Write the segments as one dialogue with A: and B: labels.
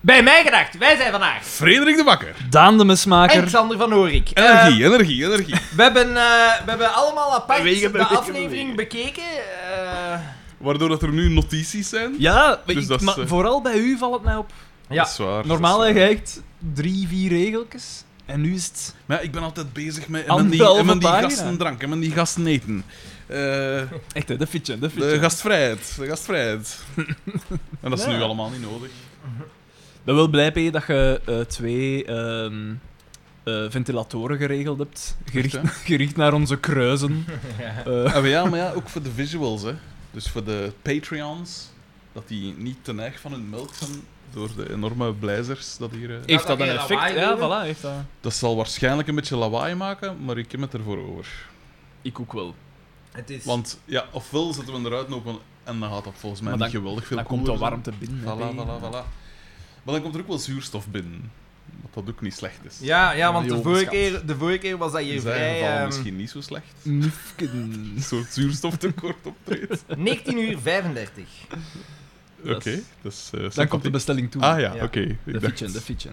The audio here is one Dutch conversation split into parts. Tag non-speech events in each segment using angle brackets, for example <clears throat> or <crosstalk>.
A: Bij mij gedacht, wij zijn vandaag
B: Frederik de Bakker.
C: Daan de mismaker.
A: Alexander van Oorik. Eh,
B: Energie, energie, energie.
A: we, hebben, eh, we hebben allemaal apart
B: Wegen,
A: de
B: wegen,
A: aflevering
B: wegen.
A: bekeken. eh,
B: Waardoor dat er nu notities zijn.
C: Ja,
B: Dus
C: ik-
B: dat is,
C: maar
B: eh,
C: vooral bij u valt het mij op.
A: ja.
B: Dat is waar.
C: Normaal
B: dat
C: heb
B: is
C: je
B: waar.
C: echt drie, vier regeltjes. En nu is het...
B: Maar ik ben altijd bezig met en met die,
C: Anderhalve
B: en met die
C: pagina.
B: gasten drank, en met die gasten eten. Eh,
C: Echt, hè, de fitje, de fitje.
B: de gastvrijheid, de
C: <laughs>
B: gastvrijheid. en dat is nu allemaal niet nodig.
C: Dat wil blij P, dat je eh, twee ehm, eh, ventilatoren geregeld hebt. Gericht,
B: Echt,
C: gericht naar onze
B: <laughs>
C: kruisen. Eh,
B: Ah, maar ja, maar ja, ook voor de visuals, hè. Dus voor de Patreons, dat die niet ten erg van hun melk zijn door de enorme blazers dat hier... eh,
C: heeft
A: dat
C: dat een
A: je
C: effect?
A: lawaai
C: Ja,
A: doet.
C: voilà, heeft dat.
B: Dat zal waarschijnlijk een beetje lawaai maken, maar ik heb het ervoor over.
C: Ik ook wel.
A: Het is...
B: Want ja, ofwel zetten we hem eruit open en dan gaat dat volgens mij
C: Maar
B: niet
C: dan-
B: geweldig veel
C: Dan komt de
B: cooler zijn.
C: warmte binnen. hè,
B: Voilà,
C: P.
B: voilà, voilà. Maar dan komt er ook wel zuurstof binnen. Wat dat ook niet slecht is.
A: Ja, ja, want
C: Die
A: de vorige,
C: overschat.
A: keer, de vorige keer was dat
B: In
A: hier
B: zijn
A: vrij...
B: geval
A: ehm, <laughs>
B: misschien niet zo slecht.
C: Nufken.
B: Een soort zuurstoftekort
C: <laughs>
B: optreedt.
A: 19 uur 35.
B: Oké,
C: Dat is-
B: dat is... eh,
C: Dan komt de
B: sympathiek.
C: bestelling toe.
B: Ah ja,
A: Ja.
B: oké. ik
C: De
B: dacht-
C: fitje, de fitje.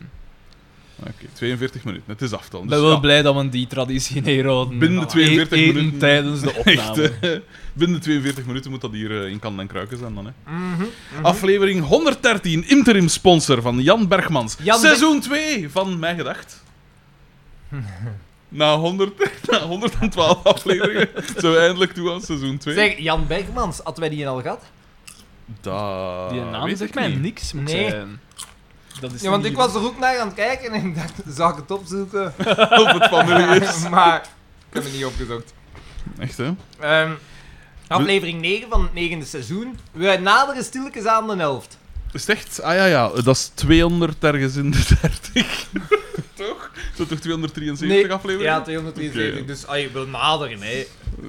B: Oké, 42 minuten. Het is afstand.
C: Ik
B: Dus
C: ben wel
B: ja,
C: blij dat we die traditie in Herode
B: Binnen de 42
C: eten
B: minuten.
C: tijdens de
B: <laughs> Echt,
C: opname.
B: eh, binnen de 42 minuten moet dat hier eh, in kan en kruiken zijn dan. Hè.
A: Mhm,
B: Mhm. Aflevering 113, interim sponsor van Jan Bergmans.
A: Jan
B: Seizoen 2 van Mij Gedacht. Na, 100, <laughs> na 112
C: <laughs>
B: afleveringen zijn we eindelijk toe aan seizoen 2.
A: Zeg, Jan Bergmans, hadden wij die al gehad?
B: Da,
C: Die naam
B: Ah, weet
C: zegt
B: ik
C: mij
B: niet.
C: niks, moet ik
A: Nee.
C: zeggen. Dat is
A: Ja, want
C: niet-
A: ik was er ook naar aan het kijken en ik dacht, zou ik het opzoeken?
B: <laughs> Of het
A: <laughs>
B: familie is.
A: maar ik heb het niet opgezocht.
B: Echt, hè?
A: Ehm, aflevering 9 van het negende seizoen. We naderen stilletjes aan de helft.
B: Is het echt? Ah ja, ja. Dat is 200 ergens in de
C: <laughs>
B: 30. toch? Is dat toch 273 afleveringen?
A: Ja, 273.
B: Oké.
A: Dus ah, je wil naderen, hè.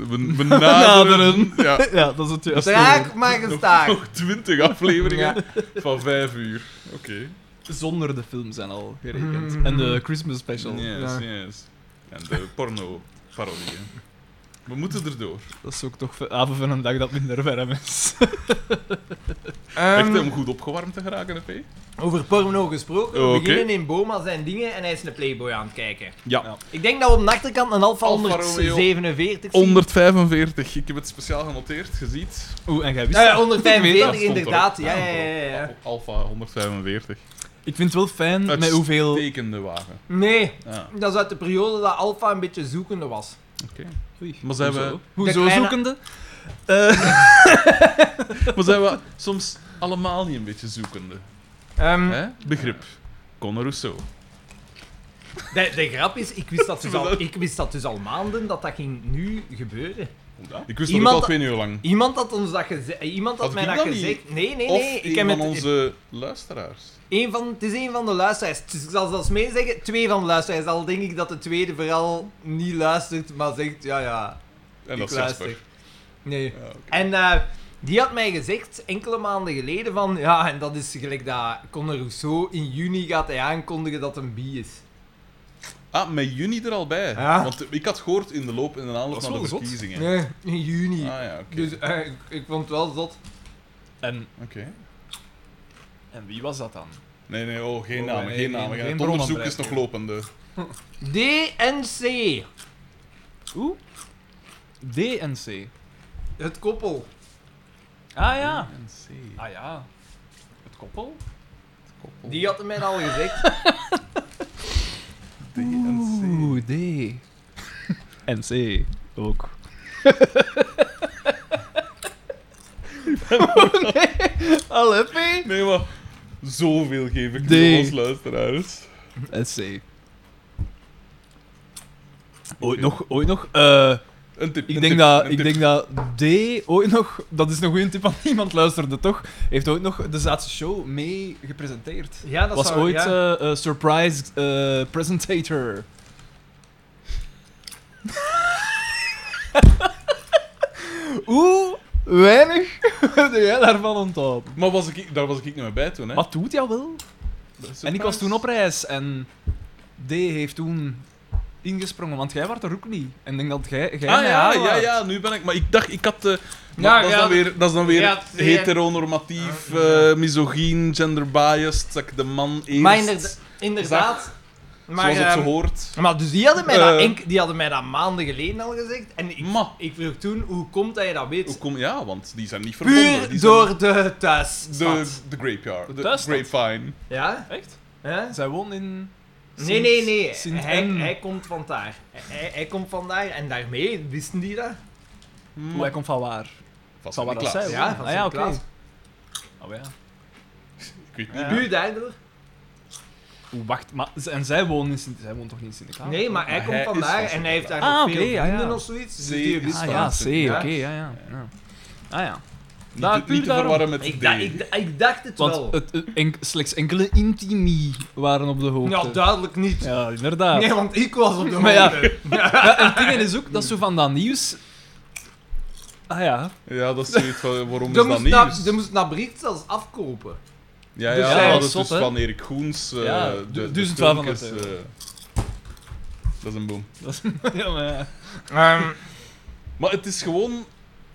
B: Ben-
C: <laughs>
B: benaderen. ja.
C: Ja, dat is het juiste.
A: Traag maar gestaag.
B: Nog 20 afleveringen
A: Ja.
B: van 5 uur. Oké.
C: Zonder de film zijn al gerekend.
A: Mm.
C: En de Christmas special.
B: Yes, yes. En
C: <laughs>
B: de porno-parodie. hè. We moeten erdoor.
C: Dat is ook toch de avond van een dag dat minder warm <laughs> is.
B: Echt eh,
A: Ehm,
B: hè, om goed opgewarmd te geraken, hè, P?
A: Over porno gesproken. We
B: Oh, oké.
A: beginnen in Boma zijn dingen en hij is een Playboy aan het kijken.
B: Ja.
C: Ja.
A: Ik denk dat we op de achterkant een Alfa
B: Alfa
A: 147 zien.
B: 145. Ik heb het speciaal genoteerd. Je ziet.
C: Oeh, en jij wist
A: Eh,
C: dat? Ik weet
A: 145
C: dat.
B: stond
A: inderdaad.
B: erop.
A: Ja, ja, ja, ja.
B: Al- Alpha 145.
C: Ik vind het wel fijn
B: Het
C: met hoeveel...
B: Tekende wagen.
A: Nee,
C: <laughs>
B: Ja,
A: dat is uit de periode dat Alfa een beetje zoekende was.
B: oké.
C: Oei,
B: Maar zijn we-
C: hoezo? Hoezo
A: De kleine-
C: zoekende? Eh,
B: Maar zijn we soms allemaal niet een beetje zoekende?
C: Hm.
A: Ehm,
B: Hè? Begrip. Conor Rousseau.
A: de, de grap is, ik wist, dat dus
B: <laughs>
A: al, ik wist dat dus al maanden dat dat ging nu gebeuren.
B: Ik wist
A: Iemand-
B: dat ook al twee uur lang.
A: Iemand had ons dat gezegd. Iemand had,
B: Had
A: mij
B: ik
A: dat,
B: dat niet?
A: gezegd. Nee, nee,
B: of
A: nee.
B: een
A: Ik heb
B: van
A: het,
B: onze luisteraars.
A: een van, het is een van de luisteraars. Het is- Ik zal zelfs mee zeggen, twee van de luisteraars. Al denk ik dat de tweede vooral niet luistert, maar zegt, ja, ja,
B: En
A: ik
B: dat is
A: luister.
B: Jasper.
A: Nee.
B: Ja, oké.
A: En eh, die had mij gezegd, enkele maanden geleden, van ja, en dat is gelijk dat Conor Rousseau in juni gaat hij aankondigen dat een bi is.
B: Ah, met juni er al bij.
A: Ja.
B: Want ik had gehoord in de loop in de aanloop
C: Dat is
B: naar de
C: wel zot.
B: verkiezingen.
A: Nee, in juni.
B: Ah ja, oké.
A: Dus eh, ik, ik vond het wel zot.
C: en,
B: Oké.
C: en wie was dat dan?
B: Nee, nee, oh, geen
C: Oh,
B: namen,
C: nee,
B: geen
C: nee,
B: namen.
C: geen
B: het
C: bronnen
B: onderzoek is nog
C: blijven.
B: lopende.
A: DNC,
C: Oeh? DNC.
A: het koppel.
C: Ah ja.
B: DNC,
C: Ah ja. Het koppel?
B: koppel.
A: Die had het mij al gezegd.
B: DNC.
C: Oeh, D.
B: <laughs>
C: NC <laughs> ook. Oh, nee. Alle P.
B: Nee, maar zoveel geef ik
C: D.
B: nu ons luisteraars.
C: NC. Ooit
B: Oké.
C: nog, ooit nog. eh,
B: Een tip.
C: ik,
B: een
C: denk
B: tip,
C: dat,
B: een
C: ik
B: tip.
C: denk dat D ooit nog, dat is een goede tip, want <laughs> niemand luisterde toch, heeft ooit nog de Zaatse Show mee gepresenteerd.
A: <laughs> Ja, dat
C: Was
A: zou-
C: ooit
A: ja.
C: eh, eh, surprise eh, presentator. Oeh, weinig heb jij daarvan onthouden.
B: Maar was ik, daar was ik niet meer bij toen, hè?
C: Wat doet jou wel? En ik was toen op reis en D heeft toen ingesprongen, want jij was er ook niet. En ik denk dat jij... jij
B: ah
C: mij
B: ja, ja,
C: aanwaart.
B: ja, nu ben ik. Maar ik dacht, ik had. eh, maar
A: Ja,
B: dat, is
A: ja,
B: dan weer, dat is dan weer
A: ja, het- ja.
B: heteronormatief, eh misogyn, genderbiased. Dat ik de man eerst.
A: Maar inderda- inderdaad. Maar,
B: zoals het zo
A: ehm,
B: hoort.
A: maar dus die hadden, mij dat
B: Eh.
A: enk- die hadden mij dat maanden geleden al gezegd. En ik,
B: Ma.
A: ik vroeg toen, hoe komt dat je dat weet?
B: Hoe kom, ja, want die zijn niet verbonden.
A: Puur
B: die
A: door de
B: zijn
A: thuisstad.
B: de, de grapeyard. De
C: Thuisstad.
B: grapevine.
A: Ja?
C: Echt?
A: Hè?
C: Zij woont in...
A: Nee, nee, nee.
C: Sint
A: hij,
C: N.
A: hij komt van daar. Hij, hij komt van daar en daarmee wisten die dat.
B: Hmm.
C: Hoe, hij komt van waar?
B: Vast
C: Van
B: in
C: waar
B: de
C: dat
B: klas.
C: zij
A: Ja,
C: woont.
A: van
C: Ah ja, oké.
A: Sint-Klaas.
C: Oh ja.
B: Ik weet niet.
C: Ja.
A: Puur daardoor.
C: Oeh, wacht, maar... z- En zij woont, in Sint... zij woont toch niet in Sint-Klaas?
A: nee, maar hij
B: maar
A: komt
B: hij
A: van
B: is
A: daar
B: van
A: en hij heeft daar
C: Ah,
A: nog
C: oké,
A: veel
C: ja,
A: vrienden
C: ja.
A: of zoiets. Dus
B: Zee
A: die
B: is
A: wist
C: Ah
A: van
C: ja,
B: Spaans,
C: C,
B: ja.
C: oké, ja, ja, ja. Ah ja.
B: Niet,
C: Daar,
B: te-
C: puur
B: niet te
C: daarom.
B: verwarren met
A: Ik,
B: D.
A: da- ik, da- ik dacht het wel.
C: Want het, het- enk- slechts enkele intimi waren op de hoogte.
A: ja, duidelijk niet.
C: Ja, inderdaad.
A: Nee, want ik was
B: <laughs>
A: op de
C: Maar ja.
A: hoogte.
C: Ja, en het ding is ook, dat zo van dat nieuws... Ah ja.
B: Ja,
A: <laughs>
B: dat is zoiets van, waarom
A: Ze
B: is dat
A: moest,
B: nieuws?
A: na, ze moest naar Brit zelfs afkopen.
B: Ja,
C: Dus
B: ja,
A: zij
B: ja, dat
C: was
B: is
C: zot,
B: dus
C: hè?
B: van Erik Goens. eh
C: Ja,
B: de,
C: du-
B: de
C: 1200
B: filmpjes,
C: euro.
B: eh, dat is een boom.
C: Dat is, <laughs> ja, maar ja.
B: Maar het is gewoon...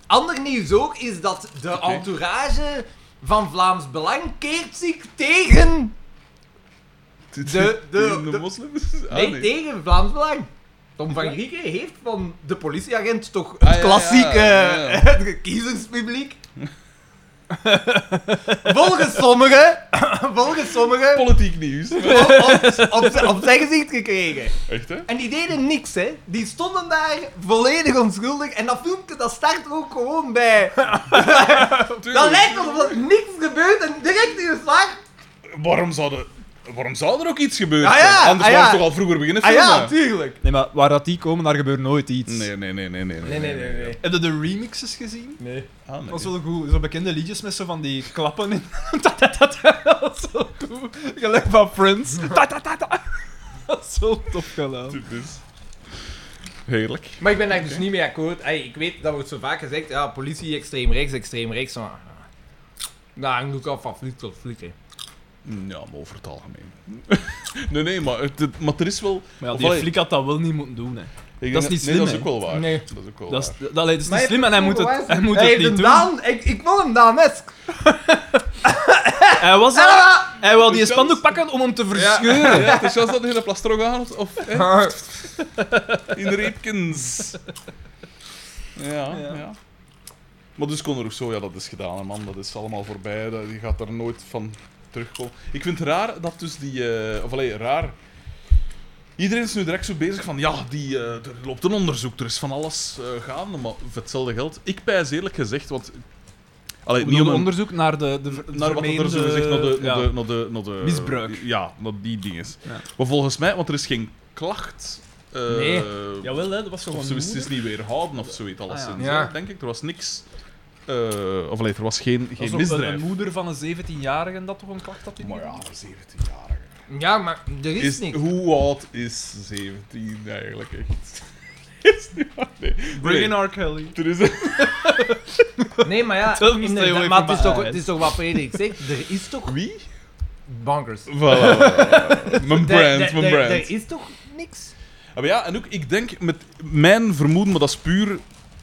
A: Ander nieuws ook is dat de
B: Oké.
A: entourage van Vlaams Belang keert zich tegen...
B: <laughs> De,
A: de- de-
B: moslims? Ah,
A: Nee, tegen Vlaams Belang. Tom van Grieken heeft van de politieagent toch het
B: Ah, ja,
A: klassieke
B: ja, ja, ja.
A: <laughs> het kiezerspubliek. <laughs> volgens sommigen, <laughs> volgens sommigen, <laughs>
B: Politiek nieuws.
A: op, op, op, op zijn gezicht gekregen.
B: Echt, hè?
A: En die deden niks, hè. Die stonden daar volledig onschuldig. En dat filmpje, dat start ook gewoon
C: <laughs>
A: bij. Dat
B: Tuurlijk.
A: lijkt alsof er niks gebeurt en direct in de slag.
B: Waarom zou, de, waarom zou er ook iets gebeuren?
A: Ah, ja,
B: zijn? Anders
A: ah,
B: waren
A: ja.
B: ze toch al vroeger beginnen
A: Ah
B: filmen?
A: ja, tuurlijk.
C: Nee, maar waar dat die komen, daar gebeurt nooit iets.
B: nee, nee, nee, nee, nee.
A: Nee, nee, nee, nee.
C: Heb je de remixes gezien?
A: Nee.
B: Ah, nee.
C: Dat was wel goed. Zo bekende liedjes met zo van die klappen in. <laughs> dat, dat, dat, dat was zo goed. Gelijk van <laughs> Friends. Dat, dat, dat, dat. Dat is zo top gedaan.
B: Dit is... Heerlijk.
A: Maar ik ben daar dus niet mee akkoord. Ey, ik weet, dat wordt zo vaak gezegd, ja, politie, extreem rechts, extreem rechts. Maar... Nou, hangt ook af van fliek tot fliek, hè.
B: Ja, maar over het algemeen. <laughs> nee, nee, maar, het, het- maar er is wel...
C: Maar ja,
B: Of
C: die
B: allee,
C: flik had dat wel niet moeten doen, hè.
B: ik denk
C: dat is niet
B: Nee,
C: slim,
B: dat is
C: hè?
B: ook wel waar.
A: Nee.
B: Dat is ook wel
C: Dat is,
B: waar.
C: dat, allee, dat is niet slim en hij moet het, hij moet
A: Hey,
C: het
A: de
C: niet doen.
A: Daan, ik, ik wil hem Daan, hè.
C: Hij was daar. Hij wou die
B: Dus dat-
C: spandoek pakken om hem te verscheuren.
B: Ja, ja, het is juist dat de hele plastro gaat, of hè, in reepkens. Ja,
C: Ja.
B: ja. Maar dus Conor Rousseau, ja, dat is gedaan, hè, man. Dat is allemaal voorbij. Dat- Die gaat er nooit van terugkomen. Ik vind het raar dat dus die... eh, of allee, raar... Iedereen is nu direct zo bezig van, ja, die, eh, er loopt een onderzoek, er is van alles eh, gaande, maar voor hetzelfde geld. Ik pijs eerlijk gezegd, want... Allee,
C: Niet
B: niet om een-
C: onderzoek naar de, de ver-
B: naar wat er zo
C: vermeende-
B: gezegd, naar de,
C: ja.
B: naar de, naar de, naar de-
C: Misbruik.
B: Ja, naar die dingen. is.
C: Ja.
B: Maar volgens mij, want er is geen klacht. eh,
A: Nee.
C: Jawel, hè, dat was
B: Of
C: gewoon
B: ze wist het is niet weerhouden of zoiets. Alleszins,
C: Ah,
A: ja.
B: hè,
A: Ja.
B: denk ik. Er was niks. eh, of allee, er was geen, geen
C: Alsof een,
B: misdrijf.
C: een moeder van een 17-jarige dat toch een klacht had?
B: Maar ja, een 17-jarige.
A: Ja, maar er is,
B: Is,
A: niks.
B: hoe oud is 17 eigenlijk echt? <laughs> is niet waar, nee.
C: Bring
B: Nee,
C: in R. Kelly.
B: Er is een-
A: Nee, maar
C: <laughs>
A: ja,
C: Tell me stay
A: inderdaad,
C: away
A: maar
C: from
A: het is,
C: my
A: toch,
C: eyes.
A: het is toch wat Frederik zegt, er is toch
B: Wie?
A: bankers. <laughs>
B: Voilà.
A: Er-
B: mijn brand, mijn
A: er-
B: brand.
A: er- Er is toch niks?
B: Ah, Maar ja, en ook, ik denk met mijn vermoeden, maar dat is puur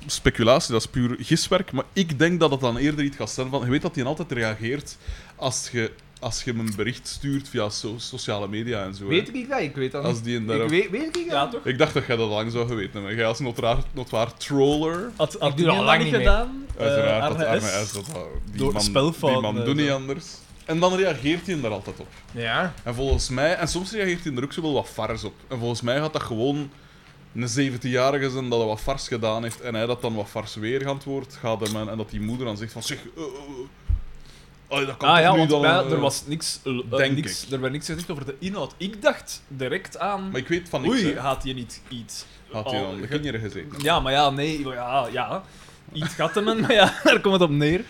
B: speculatie, dat is puur giswerk. Maar ik denk dat het dan eerder iets gaat zijn van. Je weet dat hij altijd reageert als je, als je hem een bericht stuurt via so- sociale media en zo. hè.
A: Weet ik dat? Ik weet dat
B: Als
A: niet.
B: die een
A: Ik
B: daarop-
A: weet, weet ik dat?
C: Ja, toch?
B: Ik dacht dat jij dat lang zou geweten hebben. Jij als notwaar, notwaar troller.
C: Had, had
A: doe
C: die
A: dat
C: man
A: lang
C: niet
A: niet meer.
C: gedaan? Eh,
B: Uiteraard,
C: Arne
B: dat arme
C: S.
B: S, dat, die
C: Door
B: man,
C: spelfouten,
B: Die man
C: eh,
B: doet niet
C: zo.
B: anders. En dan reageert hij daar altijd op.
A: Ja.
B: En volgens mij, en soms reageert hij er ook zo wel wat vars op. En volgens mij gaat dat gewoon een 17-jarige zijn dat hij wat vars gedaan heeft en hij dat dan wat vars weer geantwoord gaat hem en, en dat die moeder dan zegt van zeg, eh, eh, eh, ah, dat kan
C: Ah
B: toch
C: ja,
B: nu
C: want
B: dan
C: bij-
B: een,
C: er
B: eh."
C: was niks, eh, eh,
B: Denk
C: niks,
B: ik.
C: er werd niks gezegd over de inhoud. Ik dacht direct aan...
B: Maar ik weet van niks,
C: Oei,
B: hè.
C: had je niet iets...
B: had hij
C: al
B: dan de
C: ge-
B: kinderen gezeten.
C: Ja, maar ja, nee, maar ja, ja. Iets gattemen, <laughs> maar ja, daar komt het op neer.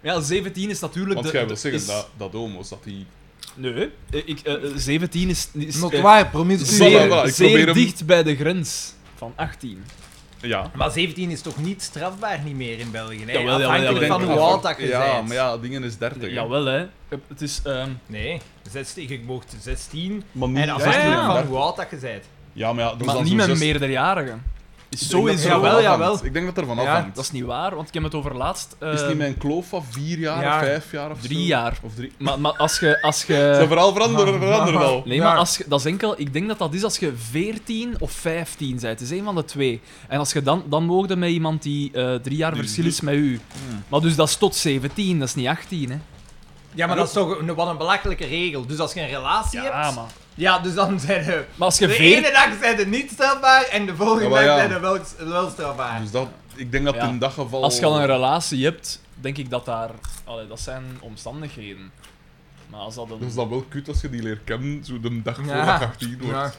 C: Ja, 17 is natuurlijk...
B: Want
C: de-
B: jij
C: de-
B: wil zeggen
C: is-
B: dat, dat homo's, dat die...
C: Nee, eh, ik, eh, eh, 17 is, is eh,
A: Notwaar, promiscuïs.
B: Voilà,
C: zeer,
B: voilà, ik
C: zeer
B: probeer hem-
C: dicht bij de grens van 18.
B: Ja.
A: Maar 17 is toch niet strafbaar niet meer in België? Hè?
C: Jawel, jawel,
A: Afhankelijk
C: jawel.
A: van hoe
B: af-
A: oud dat je
B: Ja,
A: bent.
B: maar ja, dingen is 30. hè.
C: Jawel, hè. Het is... ehm,
A: Nee, 16, je mocht 16.
B: Maar niet
A: En
C: ja,
A: afhankelijk
C: ja.
A: van hoe oud dat je bent.
B: Ja, maar ja, dus dat is
C: Maar
B: dan
C: niet
B: zo'n
C: met
B: zes-
C: meerderdejarigen.
B: Ik denk dat
C: Sowieso.
B: er
A: Jawel,
B: vanaf
A: jawel.
B: hangt. Ik denk dat er vanaf
A: Ja,
B: hangt.
C: Dat is niet waar, want ik heb het over laatst... eh,
B: Is het niet mijn kloof van vier jaar,
A: ja,
B: of vijf jaar of
C: drie
B: zo?
C: jaar.
B: Of drie.
C: Maar, maar als je... Als
B: Ze
C: je
B: vooral
C: <laughs>
B: veranderen, veranderen al.
C: nee, maar als je, dat is enkel... Ik denk dat dat is als je 14 of 15 bent. Het is een van de twee. En als je dan... Dan mogen je met iemand die eh, drie jaar
B: Die Hmm.
C: verschil
B: drie-
C: is met u. Maar dus dat is tot 17, dat is niet 18, hè.
A: Ja, maar dat is toch een, wat een belachelijke regel. Dus als je een relatie hebt...
C: maar...
A: Ja, dus dan zijn ze...
C: Maar als je
A: De
C: 14...
A: ene dag zijn ze niet strafbaar en de volgende
B: Ja, maar
A: dag
B: ja.
A: zijn ze wel, wel strafbaar.
B: Dus dat, ik denk dat
C: Ja.
B: in dat geval...
C: Als je al een relatie hebt, denk ik dat daar... Allee, dat zijn omstandigheden. Maar als dat een... <laughs>
B: Dus dat wel kut als je die leert kennen, zo de dag voordat
A: Ja.
B: je 18 wordt.
A: Ja.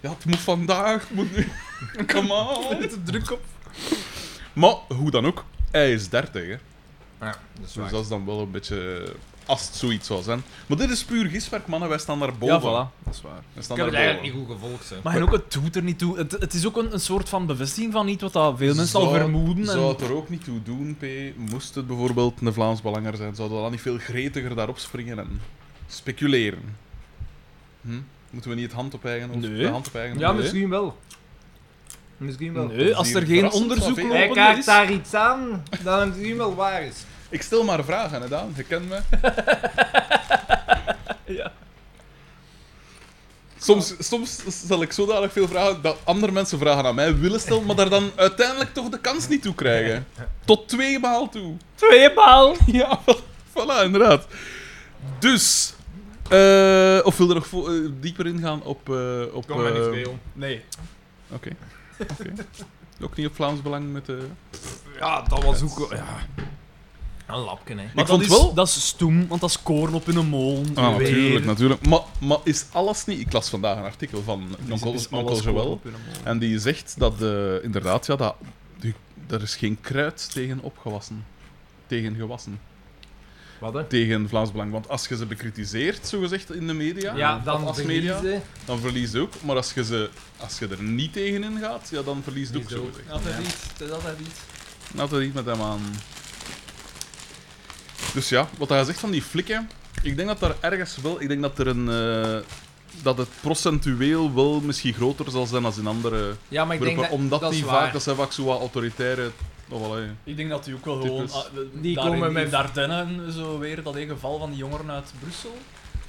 B: Ja. het moet vandaag, het moet nu. <laughs> Come on.
C: te druk op.
B: Maar, hoe dan ook, hij is 30, hè.
A: Ja, dat is
B: Dus
A: waar.
B: dat is dan wel een beetje... eh, Als het zoiets zou zijn. Maar dit is puur giswerk, mannen. Wij staan daar
C: Ja,
B: boven.
C: voilà. Dat is waar.
B: Wij
A: Ik
B: staan
A: heb het
B: daar boven.
A: eigenlijk niet goed gevolgd, hè.
C: Maar en ook, het doet er niet toe. Het, het is ook een, een soort van bevestiging van niet wat dat veel mensen al
B: Zou-
C: vermoeden. En...
B: Zou het er ook niet toe doen, P? Moest het bijvoorbeeld een Vlaams belanger zijn, zouden we dan niet veel gretiger daarop springen en speculeren? Hm? Moeten we niet het hand op eigen hoofd?
C: Nee.
B: De hand op eigen
A: Ja,
B: hoofd?
A: misschien wel. Misschien wel.
C: Nee, als er geen
B: verrassend
C: onderzoek
B: van
A: Hij
C: lopende
A: kaart
C: is...
A: daar iets aan dat het misschien wel waar is.
B: Ik stel maar vragen, hè, Daan. Je kent me.
C: <laughs> Ja.
B: Soms, soms stel ik zodanig veel vragen dat andere mensen vragen aan mij willen stellen, maar daar dan uiteindelijk toch de kans niet toe krijgen.
C: <laughs>
B: Tot twee maal toe.
C: Tweemaal!
B: <laughs> Ja, voilà, inderdaad. Dus. eh, of wil er nog vo- eh, dieper ingaan op. eh op
A: Kom maar
B: eh,
A: niet veel.
C: Nee.
B: Oké. Oké. Ook niet op Vlaams belang met eh, de.
A: Ja, dat was ook... Ja. Een lapje, hè.
C: Maar
B: ik vond
C: dat is,
B: wel.
C: Dat is stoem, want dat is koorn op in een molen.
B: Ah,
C: Weer.
B: natuurlijk, natuurlijk. Maar, maar is alles niet. Ik las vandaag een artikel van
C: Dus het
B: Onkel
C: is alles
B: Onkel
C: koorn
B: Joël.
C: op in een molen.
B: En die zegt dat. eh, inderdaad, ja, dat. Die, er is geen kruid tegen opgewassen. Tegen gewassen.
A: Wat, hè?
B: Tegen Vlaams Belang. Want als je ze bekritiseert, zogezegd, in de media.
A: Ja,
B: of
A: dan
B: als media.
A: verliezen.
B: dan verlies je ook. Maar als je, ze, als je er niet tegen in gaat, ja, dan verlies je ook
A: Verlies
B: zo.
A: ook.
B: zeg.
C: Altijd iets, het is altijd iets.
B: Laten we niet met hem aan. Dus ja, wat hij zegt van die flikken. Ik denk dat daar ergens wel. Ik denk dat er een. eh, dat het procentueel wel misschien groter zal zijn dan in andere
A: Ja, maar ik denk
B: groepen.
A: dat...
B: omdat
A: dat is
B: die
A: waar.
B: vaak. dat zijn vaak zo wat autoritaire. Oh, allee.
C: Ik denk dat die ook wel
B: Types.
C: gewoon... ah, we-
A: Die
C: daarin-
A: komen met-
C: in Dardenne, zo weer, dat ene geval van die jongeren uit Brussel.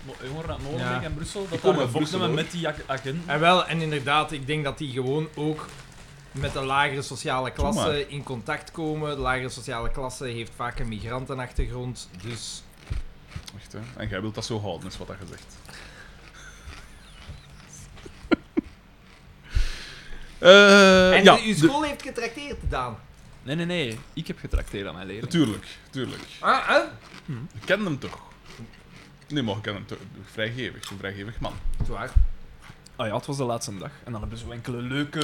C: Mo- Jongeren uit Molenbeek
A: Ja.
C: en Brussel, dat
B: komen
C: daar
B: uit Brussel,
C: gevochten hebben
B: hoor.
C: met die ag- agenten.
A: En wel, en inderdaad, ik denk dat die gewoon ook met de lagere sociale
B: Doe
A: klasse in contact komen. De lagere sociale klasse heeft vaak een migrantenachtergrond, dus...
B: Echt, hè? En jij wilt dat zo houden, is wat dat gezegd. Eh
A: en
B: ja,
A: uw
B: de-
A: school heeft getrakteerd, Daan.
C: Nee, nee, nee. Ik heb getrakteerd aan mijn leerlingen.
B: Tuurlijk, tuurlijk.
A: Ah, hè?
B: Ik ken hem toch? Nee, maar ik ken hem toch? Vrijgevig, een vrijgevig man.
A: Dat is waar.
C: Ah ja, het was de laatste dag. En dan hebben ze zo enkele leuke...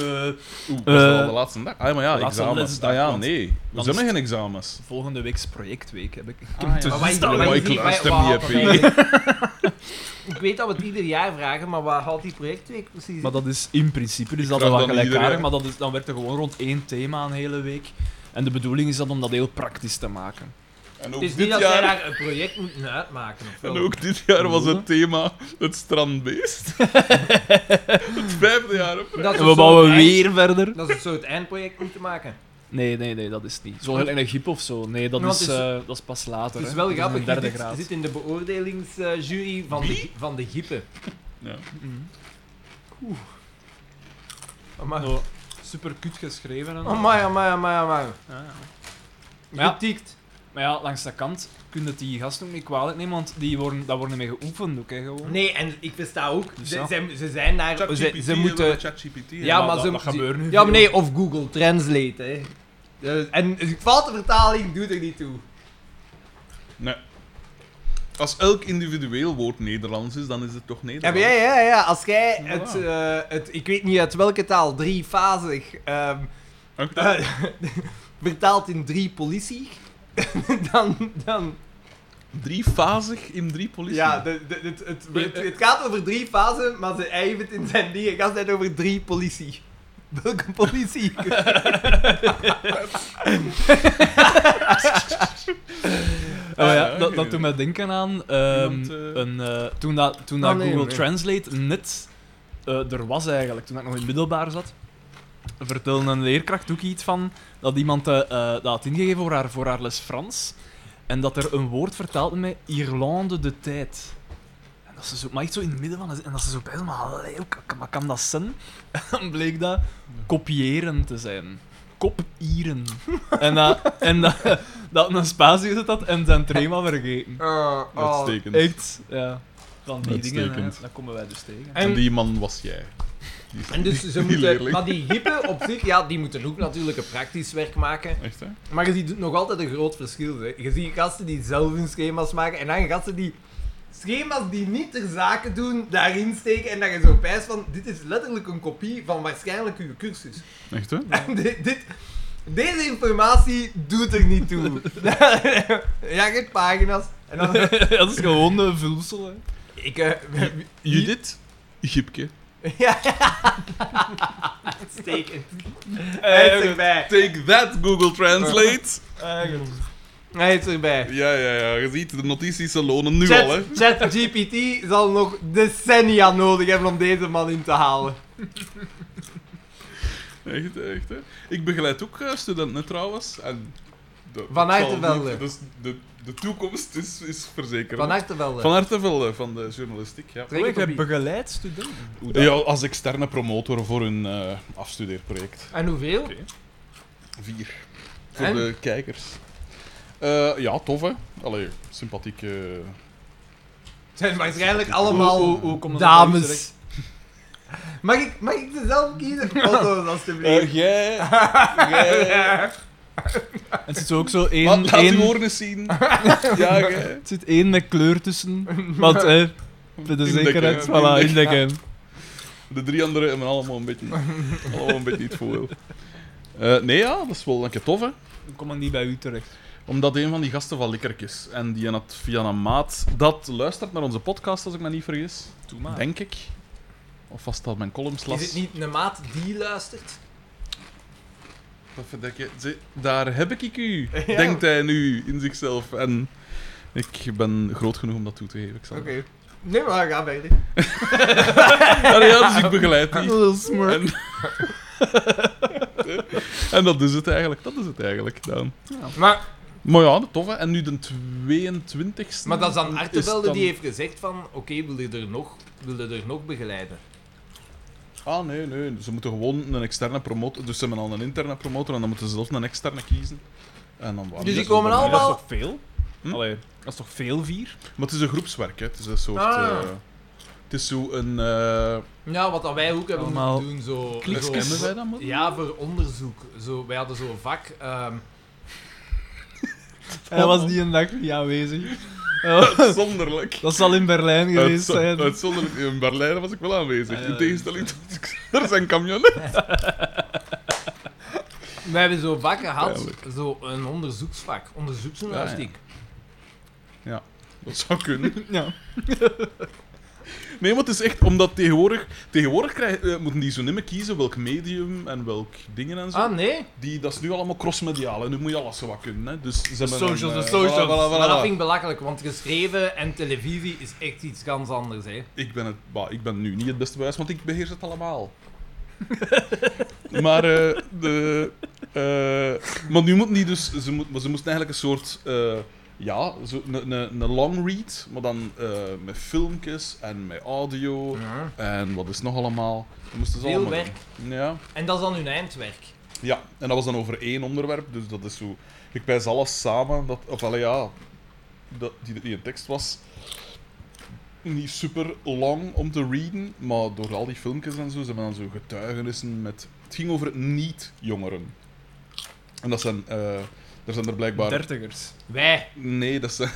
B: Oeh, was dat
C: Eh,
B: al de laatste dag? Ah, maar ja,
C: laatste
B: examens.
C: lesdag,
B: Ah ja,
C: want
B: nee. We
C: dan
B: zijn
C: is
B: nog geen examens.
C: Volgende week's projectweek heb ik. ik
B: Ah, ja.
A: Maar
B: Dus
A: wij-
B: is dat
A: wij-
B: wel-
A: wij-
B: ik luister
A: wij-
B: niet,
A: wij-
B: hè, <laughs>
A: <laughs> Ik weet dat we het ieder jaar vragen, maar wat houdt die projectweek precies
C: Maar dat is in principe is dat
B: vraag
C: wel
B: dan
C: gelijkaardig,
B: iedereen.
C: maar dat is, dan werkt er gewoon rond één thema een hele week. En de bedoeling is dat om dat heel praktisch te maken.
B: En
A: Het
B: ook
A: is niet
B: dit
A: dat zij
B: jaar...
A: daar een project moeten uitmaken, of wel?
B: En ook dit jaar was het thema het
C: <laughs>
B: strandbeest. het vijfde jaar op rij.
A: Dat is een
C: En we
A: soort
C: bouwen
A: eind-
C: weer verder.
A: Dat is een soort eindproject moeten maken.
C: Nee, nee, nee, dat is niet. Zo heel energiep of zo. Nee, dat,
A: Want
C: is,
A: het is-
C: eh, dat is pas later.
A: Het is
C: hè.
A: wel
C: Dat
A: grappig,
C: een
A: je
C: derde
A: zit,
C: graad.
A: zit in de beoordelingsjury van de, van de giepen.
B: Ja.
C: Mhm.
A: Amai,
C: Zo super kut geschreven. En
A: amai, amai, amai. amai.
C: Ja, ja. Ja.
A: Getikt.
C: Maar ja, langs de kant kun je het die gasten ook niet kwalijk nemen, want die worden, daar worden mee geoefend ook, hè, gewoon.
A: Nee, en ik versta ook,
C: Dus
A: ze,
C: ja.
A: ze, ze zijn daar, ze,
B: ChatGPT,
A: ze
B: hè,
A: moeten...
B: eh, wel, ChatGPT. hè.
A: Ja, maar
C: dat,
A: ze-
C: dat
A: ze-
C: gebeurt nu
A: Ja, maar
C: veel.
A: nee, of Google Translate, hè. Dus- En een foute vertaling doet er niet toe.
B: Nee. Als elk individueel woord Nederlands is, dan is het toch
A: Ja,
B: Nederlands.
A: maar ja, ja, ja, als jij
B: Voilà.
A: het, eh, het, ik weet niet uit welke taal, driefazig, ehm, <laughs>
B: Ook dat?
A: eh, vertaalt in drie politie, <laughs> dan, dan,
B: Driefazig in drie politie.
A: ja, de, de- het, het, het, het gaat over drie fasen, maar ze, hij heeft het in zijn dingen gaat het over drie politie. <laughs> Welke politie?
C: Oh
B: Ah, ja,
C: ja,
B: oké.
C: dat, dat doet mij denken aan ehm,
B: Eh, Iemand, eh,
C: een, eh, toen dat, toen dat
A: Ah, nee,
C: Google
A: nee.
C: Translate net eh, er was eigenlijk, toen ik nog in het middelbaar zat, vertelde een leerkracht ook iets van dat iemand eh, eh, dat had ingegeven voor haar, voor haar les Frans. En dat er een woord vertaald met Irlande de tijd. En dat ze zo, maar echt zo in het midden van de- En dat ze zo bij maar allee, hoe kan, maar kan dat zijn? En dan bleek dat kopiëren te zijn. Kopieren. En, dat, en dat, dat een spatie gezet had en zijn trema
B: <laughs>
C: vergeten.
A: <laughs> Eh, oh.
B: Uitstekend.
C: Echt, ja. Van die dingen,
B: Uitstekend.
C: hè, daar komen wij dus tegen.
B: En
C: <laughs>
A: En,
B: die man was jij. Die-
A: en dus ze
B: die
A: moeten...
B: leerling.
A: Maar die hippen op zich, ja, die moeten ook natuurlijk een praktisch werk maken.
B: Echt, hè?
A: Maar je ziet nog altijd een groot verschil. Hè. Je ziet gasten die zelf hun schema's maken en dan gasten die schema's die niet ter zake doen, daarin steken en dat je zo pijst van, dit is letterlijk een kopie van waarschijnlijk uw cursus.
B: Echt, hè?
A: <laughs> dit, dit- deze informatie doet er niet <laughs> toe. ja, je hebt pagina's. En dan,
C: dat is gewoon een vulsel, hè.
A: <laughs> ik, eh,
B: Judith? Gipke.
A: <laughs> ja, uitstekend. Hij is
C: Eigenlijk-
A: erbij.
B: Take that, Google Translate.
C: eigenlijk.
A: Hij is erbij.
B: Ja, ja, ja. Je ziet, de notities ze lonen nu al, hè.
A: Chat, ChatGPT zal nog decennia nodig hebben om deze man in te halen.
B: Echt, echt, hè. Ik begeleid ook eh, studenten, hè, trouwens. En de,
A: Van
B: het zal
A: Achtervelde.
B: niet- Dus de, de toekomst is, is verzekerd.
A: Van
B: hè.
A: harte wel.
B: Van Achtervelde, van de journalistiek, ja.
A: Trek het op
C: heb
A: wie.
C: begeleid studenten. Hoe
B: Ja, als externe promotor voor hun eh, afstudeerproject.
A: En hoeveel?
B: Oké. Vier. Voor
A: En?
B: de kijkers. Eh, ja, tof, hè. Allee, sympathiek... eh,
A: Het zijn waarschijnlijk
C: Hoe-
A: allemaal
C: hoe- hoe komen ze bij u
A: dames.
C: terecht?
A: Mag ik, mag ik ze zelf kiezen? Foto's, alstublieft.
B: Eh, jij... jij...
C: En het zit zo ook zo
B: Wat,
C: één...
B: laat
C: één
B: uw oren eens zien. ja, jij.
C: het zit één met kleur tussen.
B: <laughs>
C: Want, hè, voor de
B: Indekken,
C: zekerheid.
B: hè,
C: Voilà,
B: indekken.
C: indekken.
B: De drie anderen hebben allemaal een beetje, allemaal een beetje iets voor. Eh, nee, ja, dat is wel een keer tof, hè.
C: Dan komen die bij u terecht.
B: Omdat een van die gasten van Likkertjes, en die had via een maat, dat luistert naar onze podcast, als ik me niet vergis.
C: Doe maar.
B: Denk ik. Of was dat mijn columns las.
A: Is het niet een maat die luistert?
B: Dat vind ik, eh, ze- Daar heb ik u,
A: Ja.
B: denkt hij nu in zichzelf. En ik ben groot genoeg om dat toe te geven. Ik zal...
A: Oké. Nee, maar ga verder.
B: Ja, ja, dus ik begeleid <laughs> die.
C: Little smart.
B: En... en dat is het eigenlijk. Dat is het eigenlijk, Daan.
A: Maar,
B: Maar ja, dat tof, hè. En nu de 22 e
A: maar dat is dan Artevelde die heeft gezegd van... Oké, wil je er nog... Wil je er nog begeleiden?
B: Ah, nee, nee. Ze moeten gewoon een externe promotor... Dus ze hebben al een interne promotor en dan moeten ze zelf een externe kiezen. En dan waren
A: Dus
B: ze
A: die komen
B: erbij.
C: Ja, dat is
A: allemaal-
C: toch veel?
B: Hm?
C: Allee, dat is toch veel vier?
B: Maar het is een groepswerk, hè. Het is een soort...
A: Ah.
B: eh, het is zo een...
C: <laughs>
B: eh
A: Ja, wat dat wij ook hebben
C: Allemaal
A: moeten doen, zo...
C: klikjes.
A: zo-
B: Kennen wij dat moeten
A: Ja, voor onderzoek. Zo, wij hadden zo'n vak... ehm,
C: Hij was die een dag niet <laughs> aanwezig.
B: Uitzonderlijk.
C: dat zal in Berlijn geweest
B: Uitzo-
C: zijn.
B: Uitzonderlijk. In Berlijn was ik wel aanwezig.
C: Ah, ja.
B: In tegenstelling tot <laughs> er zijn camionet.
A: We hebben zo'n vak gehad,
B: Pijnlijk.
A: zo'n onderzoeksvak, onderzoeksjournalistiek.
B: Dat zou kunnen.
C: Ja.
B: Nee, maar het is echt omdat tegenwoordig... Tegenwoordig krijg, eh, moeten die zo niet meer kiezen welk medium en welk dingen en zo.
A: Ah, nee?
B: Die, dat is nu allemaal crossmediaal en nu moet je alles zo wat kunnen. Hè. Dus ze hebben
C: socials,
B: een,
C: de
B: eh,
C: socials.
B: voilà, voilà, voilà,
A: Maar dat
B: voilà.
A: vind ik belachelijk, want geschreven en televisie is echt iets ganz anders, hè.
B: Ik, ben het, bah, ik ben nu niet het beste bewijs, want ik beheers het allemaal. <laughs> maar, eh, de, eh, maar nu moeten die dus... Ze, moet, maar ze moesten eigenlijk een soort... eh, ja, zo- een- een een long read, maar dan eh, met filmpjes en met audio.
A: Ja.
B: En wat is nog allemaal? Dat moesten ze
A: Veel
B: allemaal
A: werk.
B: doen. Ja.
A: En dat is dan hun eindwerk.
B: ja, en dat was dan over één onderwerp, dus dat is zo... Ik wijs alles samen, dat, of allee, ja, dat, die, die een tekst was niet super lang om te readen, maar door al die filmpjes en zo, ze hebben dan zo getuigenissen met... Het ging over het niet-jongeren. En dat zijn... eh er zijn er blijkbaar...
C: Dertigers.
A: Wij.
B: Nee, dat zijn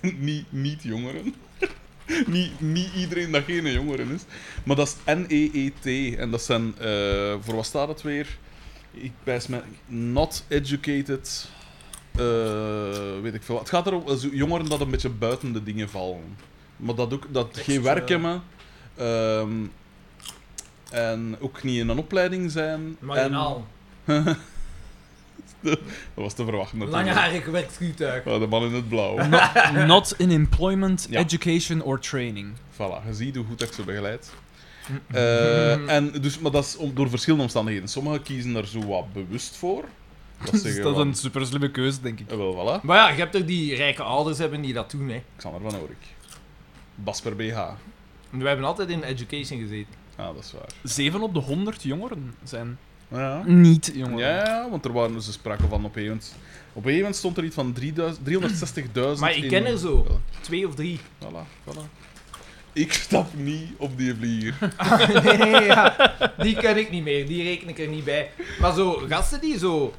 B: <laughs> niet, niet jongeren. <laughs> niet, niet iedereen dat geen jongeren is. Maar dat is NEET. En dat zijn, eh, voor wat staat het weer? Ik wijs me, not educated. eh, weet ik veel. wat. Het gaat erom, eh, zo- jongeren dat een beetje buiten de dingen vallen. Maar dat, ook, dat
C: Echt,
B: geen werk
C: eh,
B: hebben. ehm, en ook niet in een opleiding zijn. En,
A: Marginaal.
B: dat was te verwachten natuurlijk.
A: Langharig werkschuwtuig.
B: Ah, de man in het blauw.
C: <laughs> Not in employment,
B: Ja.
C: education or training. <laughs>
B: Voilà, je ziet hoe goed ik ze begeleid. Eh, en dus, maar dat is om- door verschillende omstandigheden. Sommigen kiezen daar zo wat bewust voor. Dat
C: <laughs> Dus
B: zeggen
C: dat is
B: van-
C: een super slimme keuze, denk ik.
B: Eh, wel, voilà.
A: Maar ja, je hebt toch die rijke ouders hebben die dat doen, hè.
B: Xander van Oorik. Basper BH.
A: We hebben altijd in education gezeten.
B: Ah, dat is waar.
C: 7 op de 100 jongeren zijn
B: Ja.
C: niet jongeren.
B: Ja, want er waren dus er sprake van op een gegeven moment. Op een gegeven moment stond er iets van 3000 360.000.
A: Maar ik
B: in-
A: ken er zo. Twee of drie.
B: Voilà, voilà. Ik stap niet op die vlieger.
A: <laughs> nee, nee, ja. Die ken ik niet meer, die reken ik er niet bij. Maar zo, gasten die zo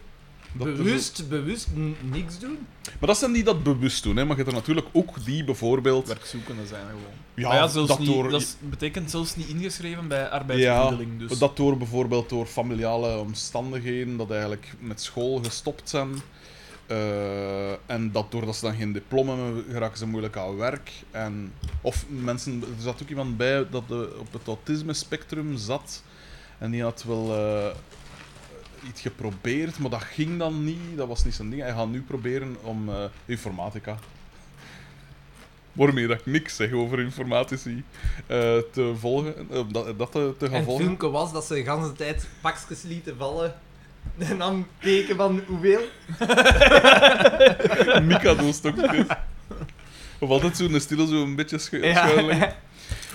B: Dat er zo-
A: bewust, bewust n- niks doen.
B: Maar dat zijn die dat bewust doen, hè. maar je hebt er natuurlijk ook die bijvoorbeeld.
C: Werkzoekenden zijn gewoon.
B: Ja,
C: maar ja, zelfs
B: dat
C: niet,
B: door.
C: dat is- betekent zelfs niet ingeschreven bij
B: ja,
C: arbeidsvermiddeling. dus.
B: dat door bijvoorbeeld door familiale omstandigheden, dat eigenlijk met school gestopt zijn. Eh, en dat doordat ze dan geen diploma meer hebben, geraken ze moeilijk aan werk. En, of mensen, er zat ook iemand bij dat de, op het autisme-spectrum zat. En die had wel eh, iets geprobeerd, maar dat ging dan niet. Dat was niet zijn ding. Hij gaat nu proberen om eh, informatica. Waarmee dat ik niks zeg over informatici eh, te volgen, eh, dat, dat te, te gaan
A: En het
B: volgen.
A: filmpje was dat ze de hele tijd pakjes lieten vallen. En dan teken van hoeveel.
B: Mikado-stokjes. Of altijd zo'n stille, zo'n beetje schu
A: Ja.
B: schuilig.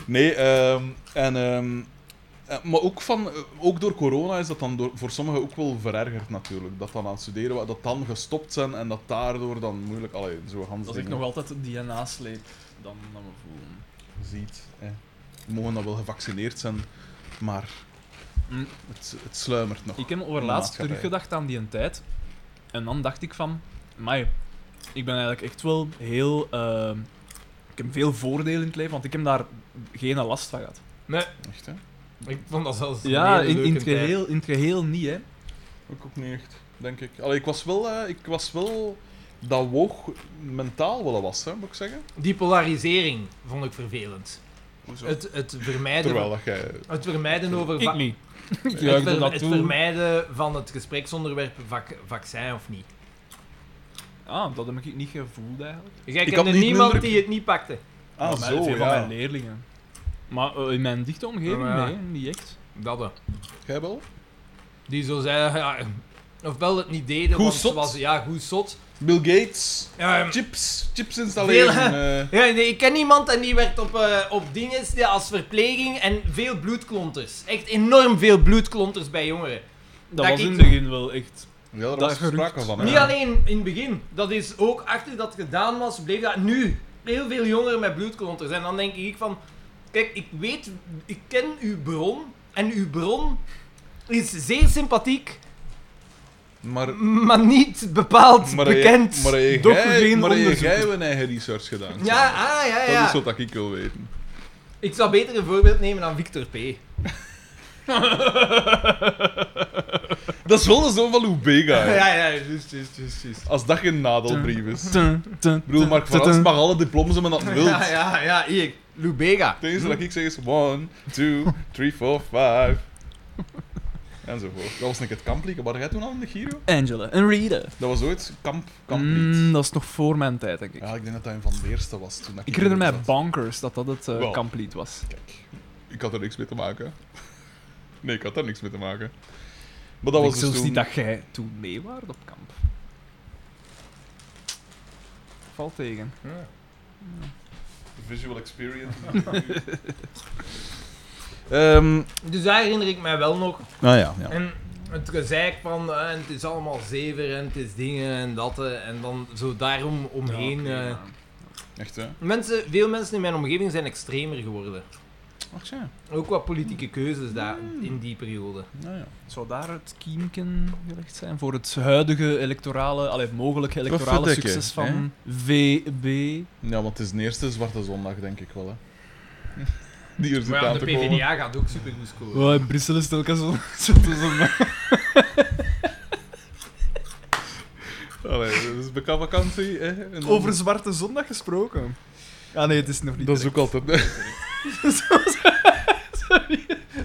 B: Nee, ehm, en, ehm, eh, maar ook, van, eh, ook door corona is dat dan door, voor sommigen ook wel verergerd natuurlijk. Dat dan aan het studeren, wa- dat dan gestopt zijn en dat daardoor dan moeilijk... Allee, zo Hans
C: Als ik
B: dingen
C: nog altijd die nasleep, dan dan me voelen.
B: ziet. Hè. We mogen dan wel gevaccineerd zijn, maar
C: Mm.
B: het, het sluimert nog.
C: Ik heb overlaatst
B: Maatschappij.
C: teruggedacht aan die tijd. En dan dacht ik van... Mai, ik ben eigenlijk echt wel heel... eh, ik heb veel voordelen in het leven, want ik heb daar geen last van gehad.
A: Nee,
B: Echt, hè?
A: ik vond dat zelfs een
C: Ja,
A: hele
C: in, in,
A: leuke
C: het
A: tijd.
C: geheel, in het geheel niet, hè.
B: Ook, ook niet echt, denk ik. Allee, ik was wel... eh, ik was wel dat woog mentaal wel was, hè, moet ik zeggen.
A: Die polarisering vond ik vervelend.
B: Hoezo?
A: Het, het vermijden...
B: Terwijl dat jij...
A: Het vermijden over... va-
C: <laughs> niet. Ik
A: Het,
C: juichte
A: ver-
C: dat
A: het
C: toe.
A: vermijden van het gespreksonderwerp vac- vaccin of niet.
C: Ah, dat heb ik niet gevoeld, eigenlijk.
A: Jij
B: Ik
A: kende
B: had niet
A: niemand
B: minder-
A: die het niet pakte.
B: Ah,
C: Van mijn-
B: zo,
C: veel van
B: ja.
C: mijn leerlingen. Maar eh, in mijn dichte omgeving,
A: Ja, maar ja.
C: nee, niet echt.
A: Dat eh,
B: Jij wel?
A: Die zo zeiden... Ja, ofwel het niet deden,
B: Hoe
A: want
B: zot?
A: ze was... Ja, hoe zot.
B: Bill Gates.
A: Ehm,
B: Chips. Chips installeren.
A: Veel,
B: eh.
A: Ja, nee, ik ken iemand en die werkt op, eh, op dingen als verpleging en veel bloedklonters. Echt enorm veel bloedklonters bij jongeren.
C: Dat,
A: Dat
C: was
A: ik-
C: in het begin wel echt...
B: Ja, daar
C: Dat
B: was
C: gerucht.
B: sprake van. hè.
A: Niet alleen in het begin. Dat is ook achter dat het gedaan was, bleef dat nu. Heel veel jongeren met bloedklonters. En dan denk ik van... Kijk, ik weet... Ik ken uw bron. En uw bron is zeer sympathiek,
B: Maar...
A: maar niet bepaald
B: Maar
A: bekend.
B: jij- maar jij-
C: Doch
B: jij-
C: geen
B: maar jij-
C: onderzoek.
B: jij hebt een eigen research gedaan.
A: ja, ah, ja,
B: Dat
A: ja.
B: is wat ik wil weten.
A: Ik zou beter een voorbeeld nemen dan Victor P.
B: Dat is wel de zoon van Lubega. hè.
A: <laughs> ja, ja, juist, juist, juist. juist.
B: Als dat geen nadelbrief is. Ik
C: Tum, tum,
B: bedoel, Mark
C: tum,
B: Frans
C: tum.
B: mag alle diplomas hebben dat wil.
A: Ja, ja, ja, hier. Lubega.
B: Het enige dat ik zeg is 1, 2, 3, 4, 5. <laughs> Enzovoort. Dat was een keer het kamplied. Waar jij toen al in de Giro?
C: Angela en Rita.
B: Dat was ooit kamp, kamplied.
C: Mm, dat is nog voor mijn tijd, denk ik.
B: Ja, ik denk dat dat een van de eerste was toen
C: Ik herinner mij
B: zat.
C: Bonkers dat dat het eh,
B: Wel.
C: kamplied was.
B: Kijk, ik had er niks mee te maken. <laughs> Nee, ik had daar niks mee te maken. Maar dat
C: ik
B: was
C: zelfs
B: dus toen...
C: niet dat jij toen mee waard op kamp. Valt tegen.
B: Visual experience.
C: <laughs>
A: Dus daar herinner ik mij wel nog.
B: nou Ehm, ja, ja.
A: En het gezeik van eh, en het is allemaal zever en het is dingen en dat. eh, en dan zo daarom omheen.
C: Ja,
A: eh.
C: oké,
B: Echt, hè?
A: mensen, veel mensen in mijn omgeving zijn extremer geworden.
B: Ach ja.
A: Ook wat politieke keuzes daar in die periode.
B: Nou ja.
C: ja. Zou daar het kiemken gelegd zijn voor het huidige electorale, allee, mogelijke electorale
B: verdikken,
C: succes van VB?
B: ja, want het is de eerste zwarte zondag, denk ik wel, hè. <laughs> Die er zit
A: Maar ja,
B: aan
A: de
B: te komen.
A: PvdA gaat ook super goed scoren.
C: Oh, in Brussel is het telkens zo. <laughs> zo tussen-
B: Allee, dat is bekend vakantie, hè. En dan-
C: Over Zwarte Zondag gesproken. Ah nee, het is nog niet.
B: Dat is ook
C: <laughs>
B: altijd...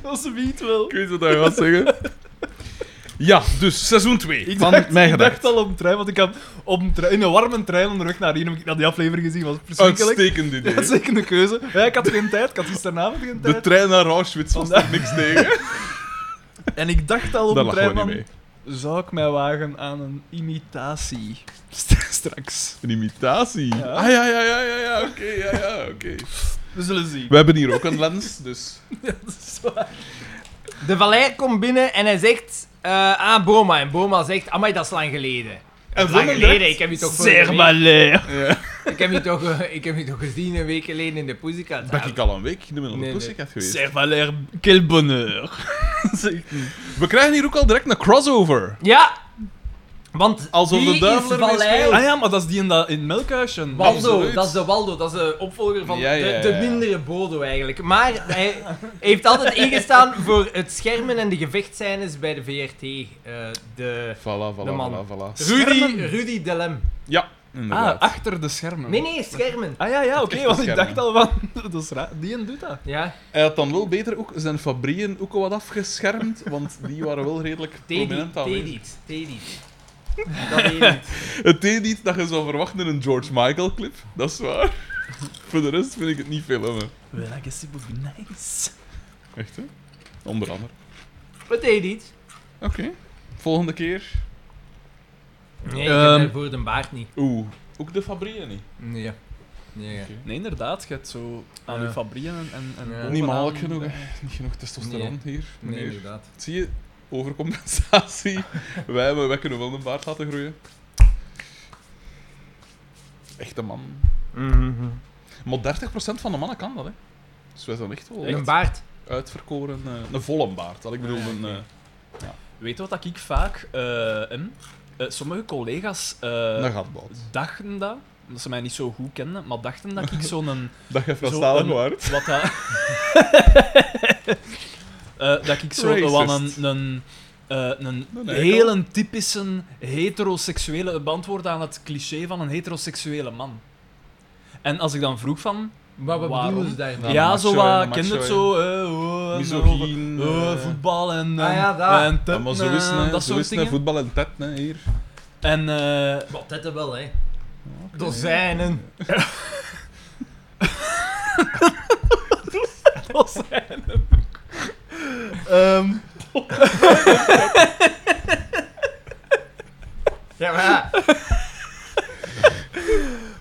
C: Als ze wie het wil. <laughs>
B: Ik weet wat hij gaat zeggen. Ja, dus seizoen 2
C: Ik
B: van
C: dacht,
B: Mijn
C: ik
B: Gedacht.
C: dacht al op een trein, want ik had op een trein, in een warme trein onderweg naar hier heb ik naar die aflevering gezien. was verschrikkelijk.
B: Uitstekend idee.
C: Dat is zeker een keuze. Ja, ik had geen tijd, ik had gisteravond geen
B: De
C: tijd.
B: trein naar Auschwitz was daar niks tegen. <laughs>
C: En ik dacht al op
B: Daar
C: een
B: lachen
C: trein,
B: we niet
C: van,
B: mee.
C: zou ik mij wagen aan een imitatie? Straks.
B: Een imitatie.
C: Ja.
B: Ah ja, ja, ja, ja, ja. Oké, ja, ja, oké.
C: We zullen zien.
B: We hebben hier ook een lens, dus...
A: De valet komt binnen en hij zegt eh, aan Boma. En Boma zegt, amai, dat is lang geleden.
B: En
A: Lang
B: Willem
A: geleden,
B: dacht-
A: ik heb je toch vorige
C: Zeg
A: week-
C: maar leer.
B: Ja.
A: Ik heb je toch, eh, ik heb je toch gezien een week geleden in de Pussycat.
B: Ben ik al een week in de middel
A: Nee,
B: van
A: nee.
B: Pussycat geweest.
C: Zeg maar leer, quel bonheur. <laughs> Zeg-
B: We krijgen hier ook al direct een crossover.
A: Ja! Want
B: Alsof de
A: die is
B: duivel ermee
A: Valei.
B: speelt. Ah,
C: Ah ja, maar dat is die in, dat, in het Melkhuisje. Ah,
A: Waldo,
B: Absoluut.
A: dat is de Waldo, dat is de opvolger van
B: Ja, ja,
A: De, de
B: ja.
A: mindere Bodo eigenlijk. Maar hij heeft altijd ingestaan voor het schermen en de gevechtscènes bij de VRT. eh, de
B: Voilà,
A: De
B: voilà,
A: man.
B: voilà, voilà.
A: Rudy,
C: Schermen?
A: Rudy Delem.
B: Ja,
C: Ah,
B: inderdaad.
C: achter de schermen.
A: Nee, nee, schermen.
C: Ah ja, ja, oké,
B: Achter de
C: want ik
B: schermen.
C: dacht al van, <laughs> dat is raar. Die en doet dat.
A: Ja,
B: Hij had dan wel beter ook zijn fabrieën ook al wat afgeschermd, want die waren wel redelijk
A: Teddy,
B: prominent aanwezig.
A: Teddy. Dat weet ik.
B: Het deed niet dat je zou verwachten in een George Michael clip, dat is waar. <laughs> Voor de rest vind ik het niet filmen.
C: Well, I guess it would be nice.
B: Echt hè? Onder andere.
A: Wat deed niet?
B: Oké. Volgende keer.
A: Nee, ik
C: Ehm.
A: heb daarvoor de baard niet.
B: Oeh, ook de fabrieën niet.
A: Nee. Nee. ja.
C: Nee, inderdaad, je hebt zo aan
A: Ja.
C: je fabrieën en... en, en
A: Ja.
C: overaan-
B: Niet mannelijk genoeg, hè. eh, <laughs> niet genoeg testosteron hier.
A: Nee,
B: meneer.
A: inderdaad.
B: Zie je,
C: <laughs>
B: overcompensatie. wij, hebben, wij kunnen wel een baard laten groeien. Echte man. Maar 30% van de mannen kan dat, hè? Dus wij zijn echt wel
A: Een
B: echt
A: baard.
B: uitverkoren. eh, een volle baard, dat ik bedoel. Een, eh,
C: Weet je wat ik vaak eh heb? Eh, sommige collega's eh,
B: een gatbaard.
C: dachten dat, omdat ze mij niet zo goed kenden, maar dachten dat ik
B: <laughs>
C: zo'n... een-
B: Dat je
C: zo'n-
B: Franstalig waard.
C: Wat dat... <laughs> Eh, dat ik zo
B: Racist.
C: wel een... een eh, een
B: Een eikel.
C: hele typische heteroseksuele beantwoord aan het cliché van een heteroseksuele man. En als ik dan vroeg van,
A: Maar wat
C: Waarom?
A: bedoelen ze daarmee?
B: Ja,
C: Ja,
B: macho,
C: zo
B: hè,
C: wat,
B: macho,
C: ken het
B: hè.
C: zo, eh, oh, en
B: Misogyn,
C: over- oh,
B: eh.
C: voetbal en,
A: Ah ja,
C: en-
A: dat.
C: en
B: Ja,
C: tetten,
B: maar zo is het,
C: eh,
B: hè.
C: dat
B: Zo
C: soort
B: is het, hè.
C: dingen.
B: voetbal en tet, hè, hier.
C: En eh,
A: Wat dat wel, hè? Dozijnen.
C: dat zijn hem ook. Ehm,
A: Ja, maar ja.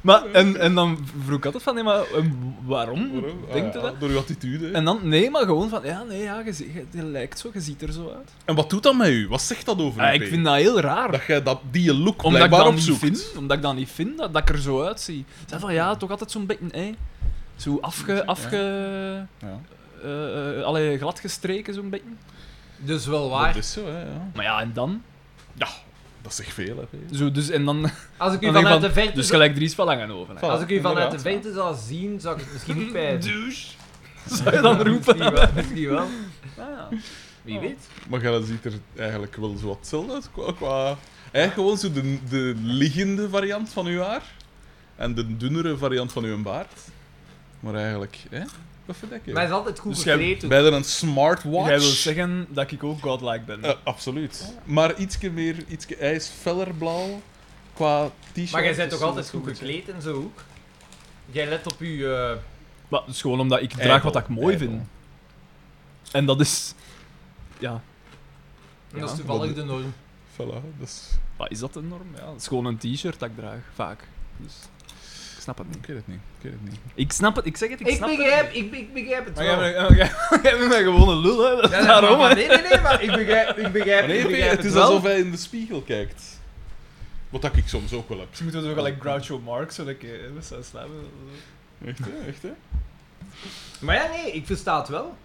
C: maar, en, en dan vroeg ik altijd van, nee, maar en waarom?
B: Waarom? Ah,
C: Denk je
B: ja,
C: dat?
B: Door uw attitude. hè.
C: En dan, nee, maar gewoon van, ja, nee, ja, je, zie- je- je lijkt zo, je ziet er zo uit.
B: En wat doet dat met u? Wat zegt dat over
C: Ah,
B: u?
C: ik
B: P?
C: vind dat heel raar.
B: Dat jij dat, die look
C: omdat ik
B: blijkbaar
C: dat
B: opzoekt.
C: niet vind, omdat ik dat niet vind, dat, dat ik er zo uitzie. Zeg van, ja, toch altijd zo'n beetje, hè. Zo afge... afge
B: Ja,
C: eh, eh, allee, glad gestreken, zo'n beetje.
A: Dus wel
B: dat
A: waar.
B: is zo, hè. Ja.
C: Maar ja, en dan?
B: ja, dat zegt veel, hè. P.
C: Zo, dus, en dan,
A: Als ik u
C: dan denk
A: vanuit
C: van,
A: de verte.
C: Dus gelijk Dries van Langenhoven. hè.
B: Voilà.
A: Als ik u vanuit de
B: inderdaad, ja.
A: verte zou zien, zou ik het misschien
C: <laughs>
A: niet pijzen.
C: Douche. Zou je dan roepen?
A: Misschien wel. misschien wel.
C: Ah,
A: Wie weet.
B: Maar jij ziet er eigenlijk wel zo wat hetzelfde uit. Qua, qua... Eigenlijk gewoon zo de, de liggende variant van uw haar. En de dunnere variant van uw baard. Maar eigenlijk, hè? Wat vind ik? hè?
A: Maar hij is altijd goed
C: Dus jij-
A: gekleed. hoor.
B: Bijna een
C: Jij
B: smartwatch.
C: wil zeggen dat ik ook godlike ben.
B: Eh, absoluut. Maar ietsje meer, ietsje, hij is feller blauw qua t-shirt.
A: Maar jij bent toch
B: dus dat
A: altijd
B: is
A: goed
B: hè.
A: gekleed en zo ook? Jij let op uw. eh,
C: Maar dat is gewoon omdat ik draag
B: Eikel,
C: wat ik mooi
B: eikel.
C: vind. En dat is... Ja,
A: dat is
C: Ja,
A: toevallig
B: wat-
A: de norm.
B: Voilà, dat is...
C: wat is dat een norm? Ja, dat is gewoon een t-shirt dat ik draag, vaak. Dus, ik snap het niet.
B: Ik weet het niet, ik weet het niet.
C: Ik snap het, ik zeg het, ik,
A: Ik
C: snap
A: begrijp,
C: het.
A: ik, be- ik begrijp het
C: Maar jij
A: wel.
C: bent- oh, jij <laughs> bent mij gewoon een lul, hè.
A: Ja, ja,
C: Daarom,
A: maar-
C: hè.
A: Nee, nee, nee, maar ik begrijp, ik begrijp,
B: Maar nee,
A: ik
B: P,
A: begrijp
B: het is
A: wel.
B: alsof hij in de spiegel kijkt. Wat dat ik soms ook wel heb.
C: Misschien moeten we zo gelijk Groucho Marx, zodat ik eh, met zijn slapen...
B: Echt, hè? Echt, hè?
A: Maar ja, nee, ik versta het wel.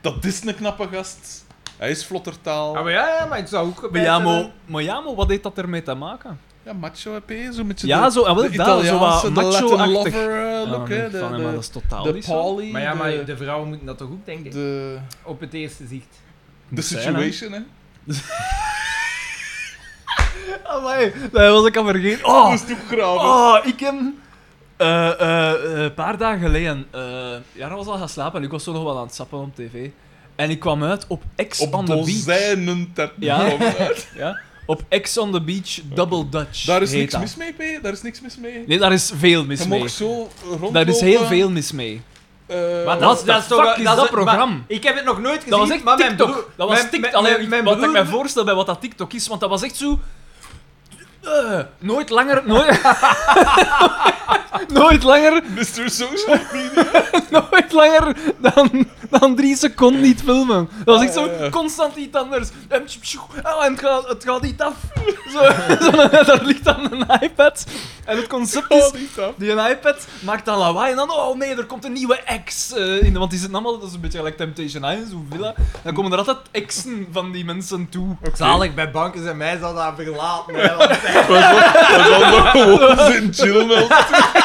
B: Dat is een knappe gast. Hij is vlottertaal.
A: Ja,
B: Ja,
A: Ah, maar ja, ja, maar ik zou ook.
C: Maar
A: gebeten
C: ja, maar,
A: hebben.
C: maar ja, maar wat heeft dat ermee te maken?
B: macho, hè, P. Zo met je
C: Ja,
B: de,
C: zo, en wel,
B: de
C: dat, zo wat
B: Italiaanse, de Latin
C: macho-achtig.
B: lover eh,
C: Ja,
B: look,
C: Ah, nee,
B: hè. De,
C: van, maar dat
B: de,
C: is totaal
B: de
C: niet zo.
B: Polly.
A: Maar ja, maar
B: de-
A: de vrouwen moeten dat toch ook denken?
B: de,
A: Op het eerste zicht.
B: de
C: Moet zijn, hè.
B: situation, hè.
C: Amai, dat was ik al vergeten. Oh,
B: Dat is toch graven.
C: oh ik heb... eh, eh, eh, Een paar dagen geleden, eh Jara was al gaan slapen en ik was zo nog wel aan het sappen op tv. En ik kwam uit op X
B: Op
C: on the Beach.
B: dozijnen ter... <laughs>
C: Ja. <laughs>
B: Ja.
C: Ja? Op X on the Beach Double Dutch.
B: Daar is
C: heet
B: niks
C: dat.
B: mis mee, P. Daar is niks mis mee.
C: Nee, daar is veel mis
B: Je
C: mee.
B: mag zo rondlopen.
C: Daar is heel veel mis mee.
B: eh,
A: Maar
C: What
A: dat,
C: the
A: dat is toch
C: fuck
A: eh,
C: is
A: dat
C: dat
A: is- maar
C: programma?
A: Ik heb het nog nooit gezien,
C: Dat was echt
A: maar mijn
C: TikTok.
A: broer-
C: dat was
A: mijn-
C: TikTok.
A: mijn-
C: Allee,
A: mijn
C: wat ik
A: broer-
C: mij voorstel bij wat dat TikTok is, want dat was echt zo... eh, nooit langer... Nooit, <laughs> nooit langer...
B: Mr.
C: <laughs>
B: Social Media.
C: Nooit langer dan, dan drie seconden niet filmen. Dat was echt
B: Ah, ja,
C: zo
B: ja.
C: constant iets anders. En, tjoep, tjoep, ah, en het, gaat, het gaat niet af. <laughs> Zo, zo, <laughs> daar ligt dan een iPad. En het concept is...
B: Oh, die taf.
C: Die een iPad maakt dan lawaai en dan, oh nee, er komt een nieuwe ex. eh, in, want die zitten allemaal, dat is een beetje gelijk Temptation Island, zo'n villa. Dan komen er altijd exen van die mensen toe.
A: Zalig, bij banken zijn mij zal dat verlaten. hè, <laughs> want-
B: We zal nog <laughs> gewoon zitten chillen wel. <laughs>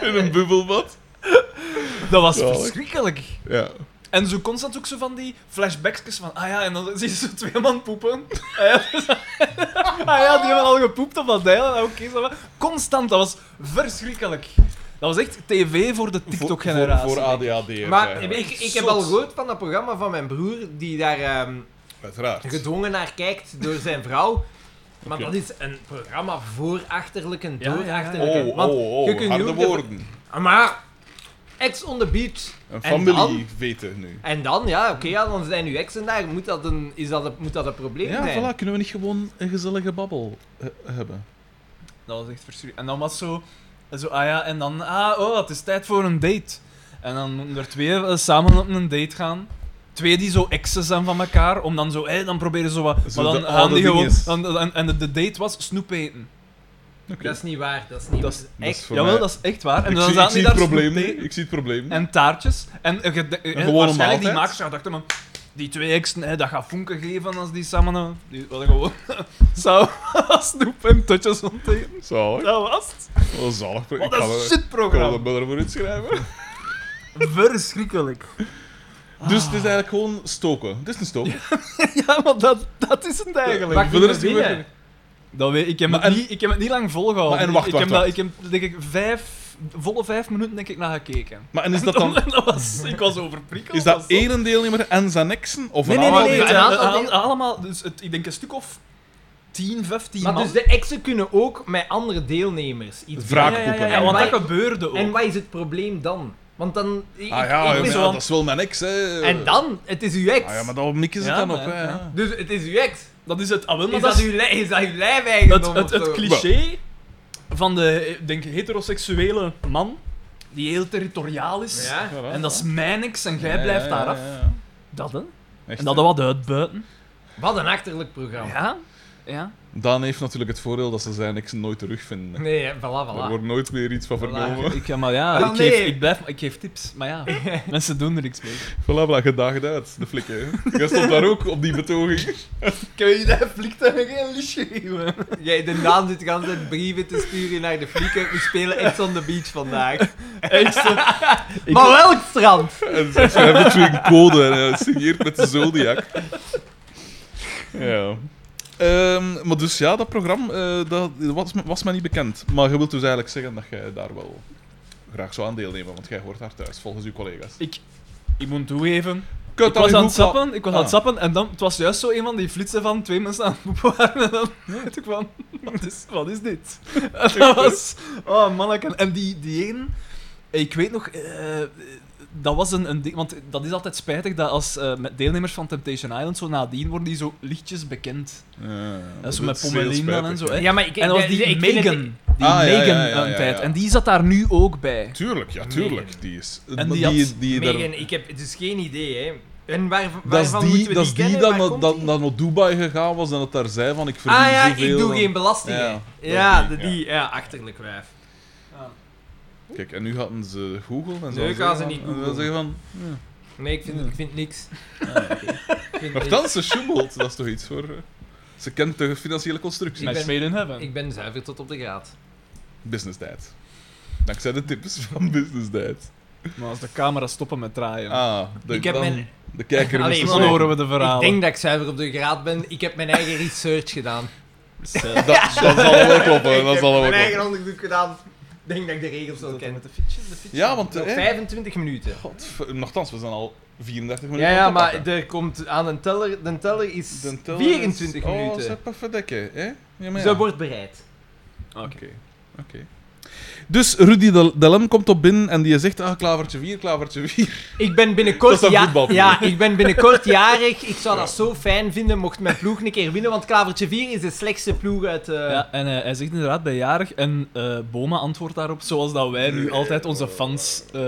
B: In een bubbelbad.
C: Dat was
B: Zalig.
C: verschrikkelijk.
B: Ja.
C: En zo constant ook zo van die flashbacks van, ah ja, en dan zie je zo twee man poepen. <laughs> Ah ja, ah ja, die hebben al gepoept op dat deel. Ah, Oké, zo wat. constant, dat was verschrikkelijk. Dat was echt tv voor de
B: Voor-
C: TikTok-generatie.
B: Voor, voor ADHD'ers
A: Maar
B: eigenlijk.
A: ik, ik heb al gehoord van dat programma van mijn broer, die daar ehm,
B: Uiteraard.
A: gedwongen naar kijkt door zijn vrouw. Maar
B: Oké.
A: dat is een programma voor achterlijken,
C: Ja,
A: door
C: ja, ja.
A: achterlijken.
B: Oh,
A: Want
B: oh,
A: je
B: oh.
A: kunt
B: Harde
A: nu ook de-
B: woorden.
A: Maar, ex on the beach.
B: Een
A: En
B: familie
A: dan?
B: weten nu.
A: En dan, ja, oké, ja, dan zijn uw exen daar. Moet dat een, is dat een, moet dat een probleem
B: Ja,
A: zijn?
B: voilà. Kunnen we niet gewoon een gezellige babbel eh, hebben?
C: Dat was echt verschrikkelijk. En dan was zo, zo, ah ja, en dan, ah, oh, het is tijd voor een date. En dan moeten er twee eh, samen op een date gaan. Twee die zo exen zijn van elkaar, om dan zo, hé, dan proberen zo wat.
B: Zo
C: maar
B: de
C: dan gaan
B: oude
C: die gewoon.
B: dinges.
C: dan- en en de, de date was snoep eten.
B: Oké.
A: Dat is niet waar, dat is niet
C: Dat is-
A: waar.
B: dat is
A: Echt,
B: voor
C: Jawel,
B: mij-
C: dat is echt waar. En
B: ik,
C: dan
B: zie, ik
C: zaten
B: zie
C: die
B: het
C: daar
B: probleem
C: snoep
B: niet.
C: eten
B: Ik zie het probleem niet.
C: En taartjes. En eh, gede- eh,
B: Een gewone
C: waarschijnlijk die
B: maaltijd.
C: makers daar dachten, maar die twee exen, hé, dat gaat vonken geven als die samen. eh, Die hadden gewoon <laughs> zou snoep en totjes ontdekt.
B: Zalig.
C: Dat was het.
B: Wat een zalig. pro- Ik
C: Wat
B: ga
C: een
B: er- ik
C: shitprogramma.
B: ga er beter voor <laughs> inschrijven. <laughs>
C: Verschrikkelijk.
B: Dus het is eigenlijk gewoon stoken. Het is een stoken.
C: Ja, maar dat, dat is het eigenlijk.
A: Waar
B: Voor de
A: kunnen
B: rest
A: we
B: doen we
A: winnen?
C: Dat weet, ik, heb
B: Maar
C: het
B: en-
C: niet, ik heb het niet lang volgehouden.
B: Maar en wacht,
C: ik,
B: wacht,
C: heb dat- ik heb denk ik vijf, volle vijf minuten denk ik naar gekeken.
B: Maar <laughs> en is dat dan...
C: <laughs> dat was, ik was overprikkeld.
B: Is dat
C: was
B: één een deelnemer en zijn exen? Of
C: Nee,
B: een
C: nee, nee.
B: aantal-
C: nee,
A: Een
C: het-
A: aantal
C: eh,
A: dingen.
C: allemaal, dus het, ik denk een stuk of 10, 15
A: Maar
C: man.
A: dus de exen kunnen ook met andere deelnemers iets
B: Vraag-
C: ja, ja, ja, ja,
B: wraakkoeken.
C: want
A: En
C: dat gebeurde ook.
A: En wat is het probleem dan? Want dan... ik-
B: Ah ja,
A: ik
B: ja,
A: ben
B: maar
A: zo-
B: dat is wel mijn ex, hè.
A: En dan? Het is uw ex.
B: Ah ja, maar dan mikken ze
C: Ja,
B: dan
C: maar-
B: op, hè.
C: ja.
B: ja.
A: Dus het is uw ex.
C: dat is het, ah, wel, maar
A: Is
C: dat
A: dat,
C: is-
A: uw, li- is dat uw
C: het,
A: lijfeigendom
C: het,
A: of
C: het
A: zo?
C: cliché van de eh, denk, ik, heteroseksuele man, die heel territoriaal is.
A: Ja.
B: Voilà.
C: En dat is mijn ex en jij
B: Ja,
C: blijft
B: ja,
C: daar
B: ja,
C: af.
B: ja, ja.
C: Dat hè?
B: Echt,
C: En dat
B: hè.
C: er wat uitbuiten.
A: Wat een achterlijk programma.
C: Ja? Ja.
B: Dan heeft natuurlijk het voordeel dat ze zijn ex nooit terugvinden.
A: Nee, hè, voilà,
B: Er
A: voilà.
B: wordt nooit meer iets van
A: Voilà.
B: vernomen.
C: Ik, ja, maar ja,
A: Wel,
C: ik,
A: nee.
C: geef, ik, blijf, ik geef tips, maar <laughs> ja, mensen doen er niks mee.
B: Voilà, voilà, gedaagd uit, de flikken. Jij stond daar ook op die betoging.
C: Ik heb je daar flikt en geen lusje gegeven.
A: Jij, de naam zit de hele tijd brieven te sturen naar de flieken. We spelen Ex on the Beach vandaag.
C: <laughs> Ik-
A: maar welk strand?
B: En ze hebben natuurlijk een code en hij signeert met de Zodiac. Ja. Ehm, maar dus ja, dat programma eh, dat was, me- was mij niet bekend. Maar je wilt dus eigenlijk zeggen dat jij daar wel graag zou aan deelnemen, want jij hoort daar thuis, volgens uw collega's.
C: Ik, ik moet toegeven,
B: Kut,
C: ik
B: dat
C: was
B: is
C: aan
B: goed
C: het sappen, ik was aan het
B: Ah.
C: sappen en dan, het was juist zo een van die flitsen van twee mensen aan het poepen waren en dan <laughs> dacht ik van, wat is, wat is
B: <laughs>
C: dit? En dat was, oh manneken. En die, die een, ik weet nog, eh, dat was een, een ding, want dat is altijd spijtig dat als eh, met deelnemers van Temptation Island zo nadien worden die zo lichtjes bekend.
B: Ja,
C: Dat is zo
B: dat
C: met
B: is heel
C: Pommelien dan
B: spijtig,
C: en zo.
B: ja.
C: hè.
A: maar ik...
C: En dat was
A: ik-
C: die
A: ik vind het-
C: Megan. Die
B: Ah, ja, ja,
C: Megan
B: ja, ja,
C: een
B: ja,
C: tijd.
B: ja.
C: En die zat daar nu ook bij.
B: Tuurlijk, ja, tuurlijk. Die is... maar
C: die
B: die,
C: had-
B: die, daar-
A: Megan, ik heb dus geen idee, hè. En waar, waarvan
B: dat is
A: moeten we
B: die, dat is die
A: kennen?
B: dat,
A: Waar
B: naar-
A: komt
B: dat,
A: die?
B: dat naar Dubai gegaan was en dat daar zei van ik verdien
A: Ah ja,
B: zoveel.
A: ik doe
B: en-
A: geen belastingen.
B: Ja,
A: Ja,
B: dat
A: de,
B: is die, ja.
A: die, ja, achterlijk wijf.
B: Kijk, en nu hadden ze Google en zo.
A: Nee, gaan ze niet googlen.
B: zeggen van... ja.
A: Nee, ik vind, ik vind niks.
B: Ah,
A: Ik vind
B: Maar
A: niks.
B: dan, ze sjoemelt, dat is toch iets voor... eh, Ze kent de financiële constructie.
A: Ik
C: Match
A: ben-
C: made in heaven.
A: Ik ben zuiver tot op de graad.
B: Business Dad. Dankzij de tips van Business Dad.
C: Maar als de camera stoppen met draaien,
B: Ah, de,
A: Ik heb
B: dan-
A: mijn-
B: de kijker
A: Allee,
B: is
A: man,
C: dan
B: gezien.
A: <laughs>
C: horen we de verhalen.
A: Ik denk dat ik zuiver op de graad ben. Ik heb mijn eigen research gedaan.
B: Dat, <laughs> dat zal wel kloppen, dat
A: ik
B: zal wel
A: heb mijn
B: kloppen.
A: eigen onderzoek gedaan. Ik denk dat ik de regels wel ken.
C: de fietsje, de fietsje.
B: Ja, want...
A: Nog
B: eh,
A: 25 minuten.
B: Godver- Nochtans, we zijn al 34 minuten.
A: Ja, ja,
B: om te
A: maar
B: pakken.
A: er komt aan een teller. De teller is
B: De teller
A: 24
B: is- oh,
A: minuten.
B: ze verdekken, hè? Ja, maar
A: Ze
B: ja.
A: wordt bereid.
C: Oké.
B: Oké. oké. Dus Rudy Del- Delem komt op binnen en die zegt: ah, klavertje 4, klavertje 4.
A: Ik ben binnenkort,
B: <laughs> Dat is een
A: ja,
B: voetbalploeg.
A: ja, ik ben
B: <laughs>
A: binnenkort jarig. Ik zou dat zo fijn vinden mocht mijn ploeg een keer winnen. Want Klavertje 4 is de slechtste ploeg uit. eh,
C: Ja, en eh, hij zegt inderdaad bij jarig en eh, Boma antwoordt daarop zoals dat wij nu altijd onze fans eh,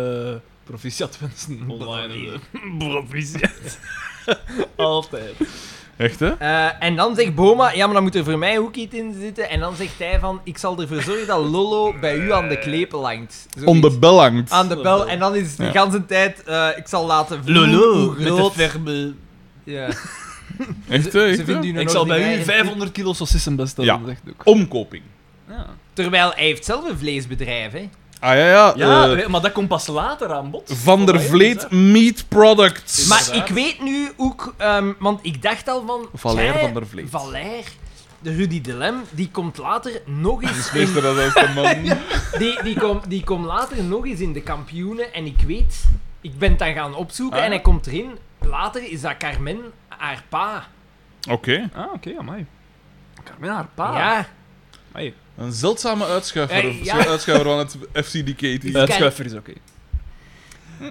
C: proficiat wensen
B: <laughs>
C: online. en, eh, proficiat. <laughs> altijd.
B: Echt, hè?
A: Eh, en dan zegt Boma, ja, maar dan moet er voor mij ook iets in zitten. En dan zegt hij van, ik zal ervoor zorgen dat Lolo bij u aan de klepen langt. Zoiets.
B: On the bell hangt.
A: Aan de bel. En dan is het de
B: Ja.
A: ganse tijd, eh, ik zal laten voelen
C: Lolo,
A: hoe
C: met de
A: groot...
C: verbe.
A: Ja.
B: Echt, hè?
A: Ze-
B: Echt,
A: ze
B: hè?
A: vinden u een
C: Ik zal bij u
A: ordinaire-
C: 500 kilo saucissen bestellen,
B: Ja.
C: zegt hij ook.
B: Omkoping.
C: Ja,
A: Terwijl hij heeft zelf een vleesbedrijf, hè.
B: Ah ja, ja.
C: ja
B: eh,
C: maar dat komt pas later aan bod. dus,
B: van der Vleet Meat Products.
A: Maar ik
C: Inderdaad.
A: weet nu ook, ehm, want ik dacht al van...
B: Valère
A: tja,
B: van der Vleet.
A: Valère, de Rudy de Lem, die komt later nog eens in...
B: Meester, dat is de
C: <laughs>
B: man.
A: Die, die komt die komt later nog eens in de kampioenen en ik weet, ik ben het dan gaan opzoeken
B: Ah.
A: en hij komt erin. Later is dat Carmen, haar pa.
B: Oké.
C: Ah, oké, amai. Carmen, haar pa.
A: Ja,
C: Amai.
B: Een zeldzame uitschuiver,
A: Eh, ja.
B: uitschuiver van het FCDK.
A: Dus
C: Eh, het
A: kijk-
C: schuiver is oké.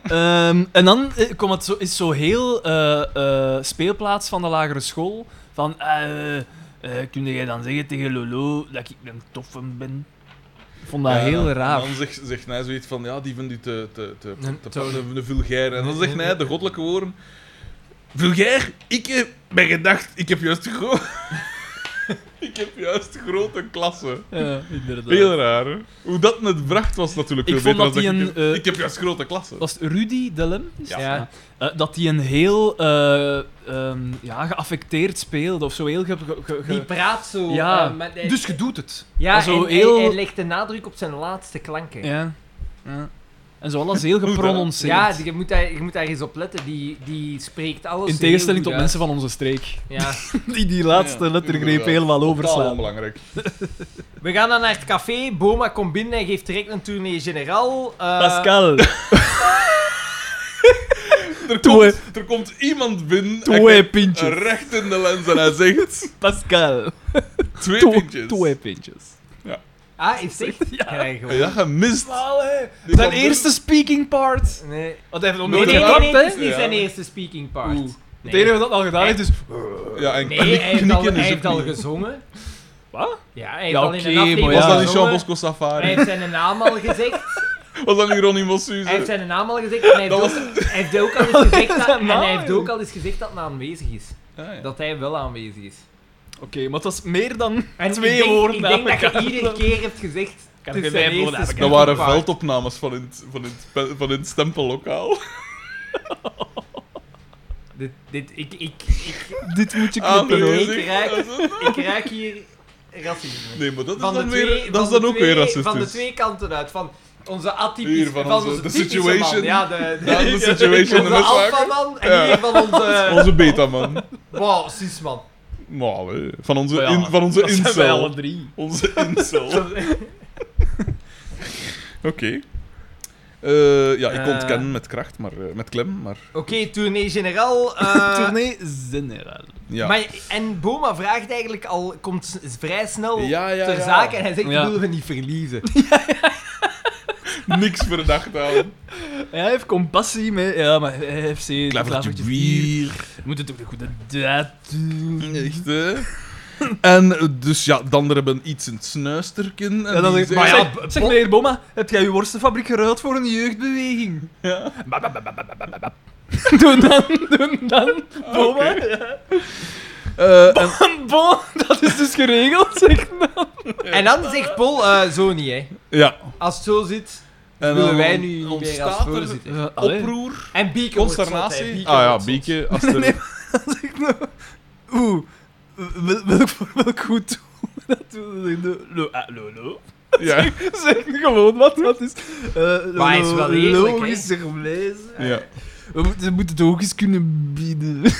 C: Ehm, en dan eh, komt het zo, is zo heel eh, eh, speelplaats van de lagere school. Van, eh, eh, kun jij dan zeggen tegen Lolo dat ik een toffe ben? Ik vond dat
B: Ja,
C: heel
B: En
C: raar.
B: dan zegt, zegt hij zoiets van, ja, die vindt u te, te, te, te,
A: Een toon.
B: te- te vulgair. En dan
A: Nee,
B: zegt
A: nee,
B: hij de goddelijke woorden. Vulgair? Ik heb bij gedacht, ik heb juist gro- <laughs> ik heb juist grote klassen.
C: Ja, inderdaad.
B: Heel raar, hè? Hoe dat het bracht was natuurlijk
C: Ik
B: veel
C: vond
B: beter
C: dat
B: dan
C: die
B: ik,
C: een, eh,
B: heb, ik heb juist grote klassen.
C: Was het Rudy Delem? Is
B: Ja.
C: het? Eh, dat hij een heel eh, ehm, ja, geaffecteerd speelde of zo heel ge- ge- ge-
A: die praat zo.
C: Ja,
A: eh, maar hij-
C: Dus je doet het.
A: ja
C: zo
A: en
C: heel-
A: hij, hij legt de nadruk op zijn laatste klanken. Ja,
C: Ja. ja. En zo alles heel
B: hè?
C: geprononceerd.
A: die- je, moet daar, je moet daar eens op letten. Die, die spreekt alles
C: In tegenstelling tot
A: heel goed
C: mensen van onze streek.
A: uit. Ja.
C: Die die laatste
B: Ja,
C: lettergreep
B: inderdaad.
C: helemaal
B: Totaal
C: overslaan.
B: onbelangrijk.
A: We gaan dan naar het café. Boma komt binnen en geeft direct een tournee generaal. Eh,
C: Pascal,
B: <laughs> Er
C: Toe-
B: komt, er komt iemand binnen en
C: twee
B: kijkt
C: pintjes.
B: recht in de lens en hij zegt...
C: Pascal,
B: Twee
C: Toe-
B: pintjes.
C: twee pintjes.
A: Ah, is het? echt? Ja, nee, gewoon.
B: Ja, gemist. Die
C: Zijn
B: kwam
C: eerste speaking part.
A: Nee.
C: Wat hij heeft nog
A: Nee,
C: nooit
A: nee, nee,
C: gedaan,
A: nee,
C: hè?
A: het is niet
B: Ja.
A: zijn eerste speaking part.
C: Oeh. Het
A: Nee.
C: enige wat hij al gedaan heeft is... dus-
B: Ja, en
A: Nee, hij heeft
B: knikken
A: al,
B: is
A: hij
B: ook
A: heeft al
B: niet.
A: gezongen.
C: Wat?
A: Ja, hij heeft
C: Ja,
A: al in
C: oké,
A: een aflevering
C: maar
B: Was
C: Ja,
B: dat niet Jean
A: gezongen.
B: Bosco Safari?
A: Hij heeft zijn naam al
B: <laughs>
A: gezegd.
B: Was dat niet Ronnie
A: Hij heeft
B: Mossuze?
A: zijn naam al gezegd. En hij, heeft
B: Dat
A: ook, hij heeft
C: <laughs>
A: ook al eens gezegd dat, en
C: naam,
A: hij heeft
C: joh.
A: ook al eens gezegd dat hij aanwezig is.
B: Ja, ja.
A: Dat hij wel aanwezig is.
C: Oké, maar het was meer dan
A: En
C: twee
A: ik denk,
C: woorden
A: Ik denk dat je
C: elkaar.
A: iedere keer hebt gezegd... het
C: Kan
A: is zijn
C: geen vijf woorden
A: eerste
C: aan
B: Dat
C: elkaar.
A: speaking
B: waren
A: part.
B: veldopnames van in het, van in het, pe- van in het
C: <laughs>
B: stempellokaal.
A: Dit, dit, ik, ik, ik,
C: <laughs> Dit moet je
B: Aan de
C: knippen, hoor.
A: ik raak- ik raak hier racisme.
B: Nee, maar dat is
A: Van de
B: dan,
A: twee-
B: weer,
A: van
B: dat is
A: de
B: dan ook
A: twee-
B: weer racistisch.
A: Van de twee kanten uit. Van onze atypische...
B: Hier, van onze- de
A: typische
B: situation.
A: man. Ja, de, de,
B: <laughs> Ja, de situation in
A: Onze
B: het
A: alfaman en
B: Ja.
A: hier van
B: <laughs>
A: onze...
B: Onze beta-man.
A: Wow, cisman.
B: Maar, allee, van onze,
C: Ja,
B: in, van onze
C: Dat zijn wij
B: incel.
C: alle drie.
A: <laughs>
B: Onze incel. Oké. <laughs> Eh, ja, ik
A: Eh.
B: ontken met kracht, maar eh, met klem, maar...
A: Oké, tournee generaal.
B: <laughs>
A: eh,
C: Tournee General.
B: Ja.
A: maar, en Boma vraagt eigenlijk al, komt s- vrij snel
B: Ja, ja,
A: ter
B: ja.
A: zake en hij zegt,
C: Ja.
A: ik wil we niet
B: <laughs>
A: verliezen.
B: Niks verdacht
A: <laughs>
B: aan.
C: Hij heeft compassie mee. Ja, maar eh, FC... de
B: Klavertje
C: klavertjes hier.
B: bier.
C: Je moet het ook de goede daad doen.
B: Echt, hè? En eh, dus ja, dan hebben iets in het snuisterken. En
C: Ja, dan
B: die
C: zeg, ik,
B: zeggen-
A: maar ja,
C: zeg,
A: b-
C: zeg,
A: bo-
C: meneer Boma, heb jij uw worstenfabriek geruild voor een jeugdbeweging?
B: Ja.
C: Ba, ba, ba, ba, ba, ba, ba, <laughs> ba. Doe dan, doe dan, Boma.
B: Eh, en-
C: Bon, bon, dat is dus geregeld, zeg dan.
A: En dan zegt Paul, eh, zo niet hè.
B: ja.
A: Als het zo zit,
B: En
A: willen
B: dan
A: wij nu niet meer als
B: ontstaat er
A: voorzitter.
C: Eh,
B: Oproer,
A: En Bieke wordt zot, hè.
B: consternatie.
A: Bieke
B: Ah
A: wordt
B: ja,
A: zot. <laughs>
B: Bieke. Als er...
C: Nee, Dan <laughs> zeg ik nou, Oeh, wel- welk voor welk goed doen? <laughs> Dat doen we. de- Lo, ah, lo, lo.
B: <laughs> ja.
C: Zeg gewoon wat wat is. Eh, lo-
A: Maar hij is wel
C: lo-
A: eerlijk, hè?
C: Logischer lezen.
B: ja.
C: We moeten, <laughs> we moeten het ook eens kunnen bieden.
B: Het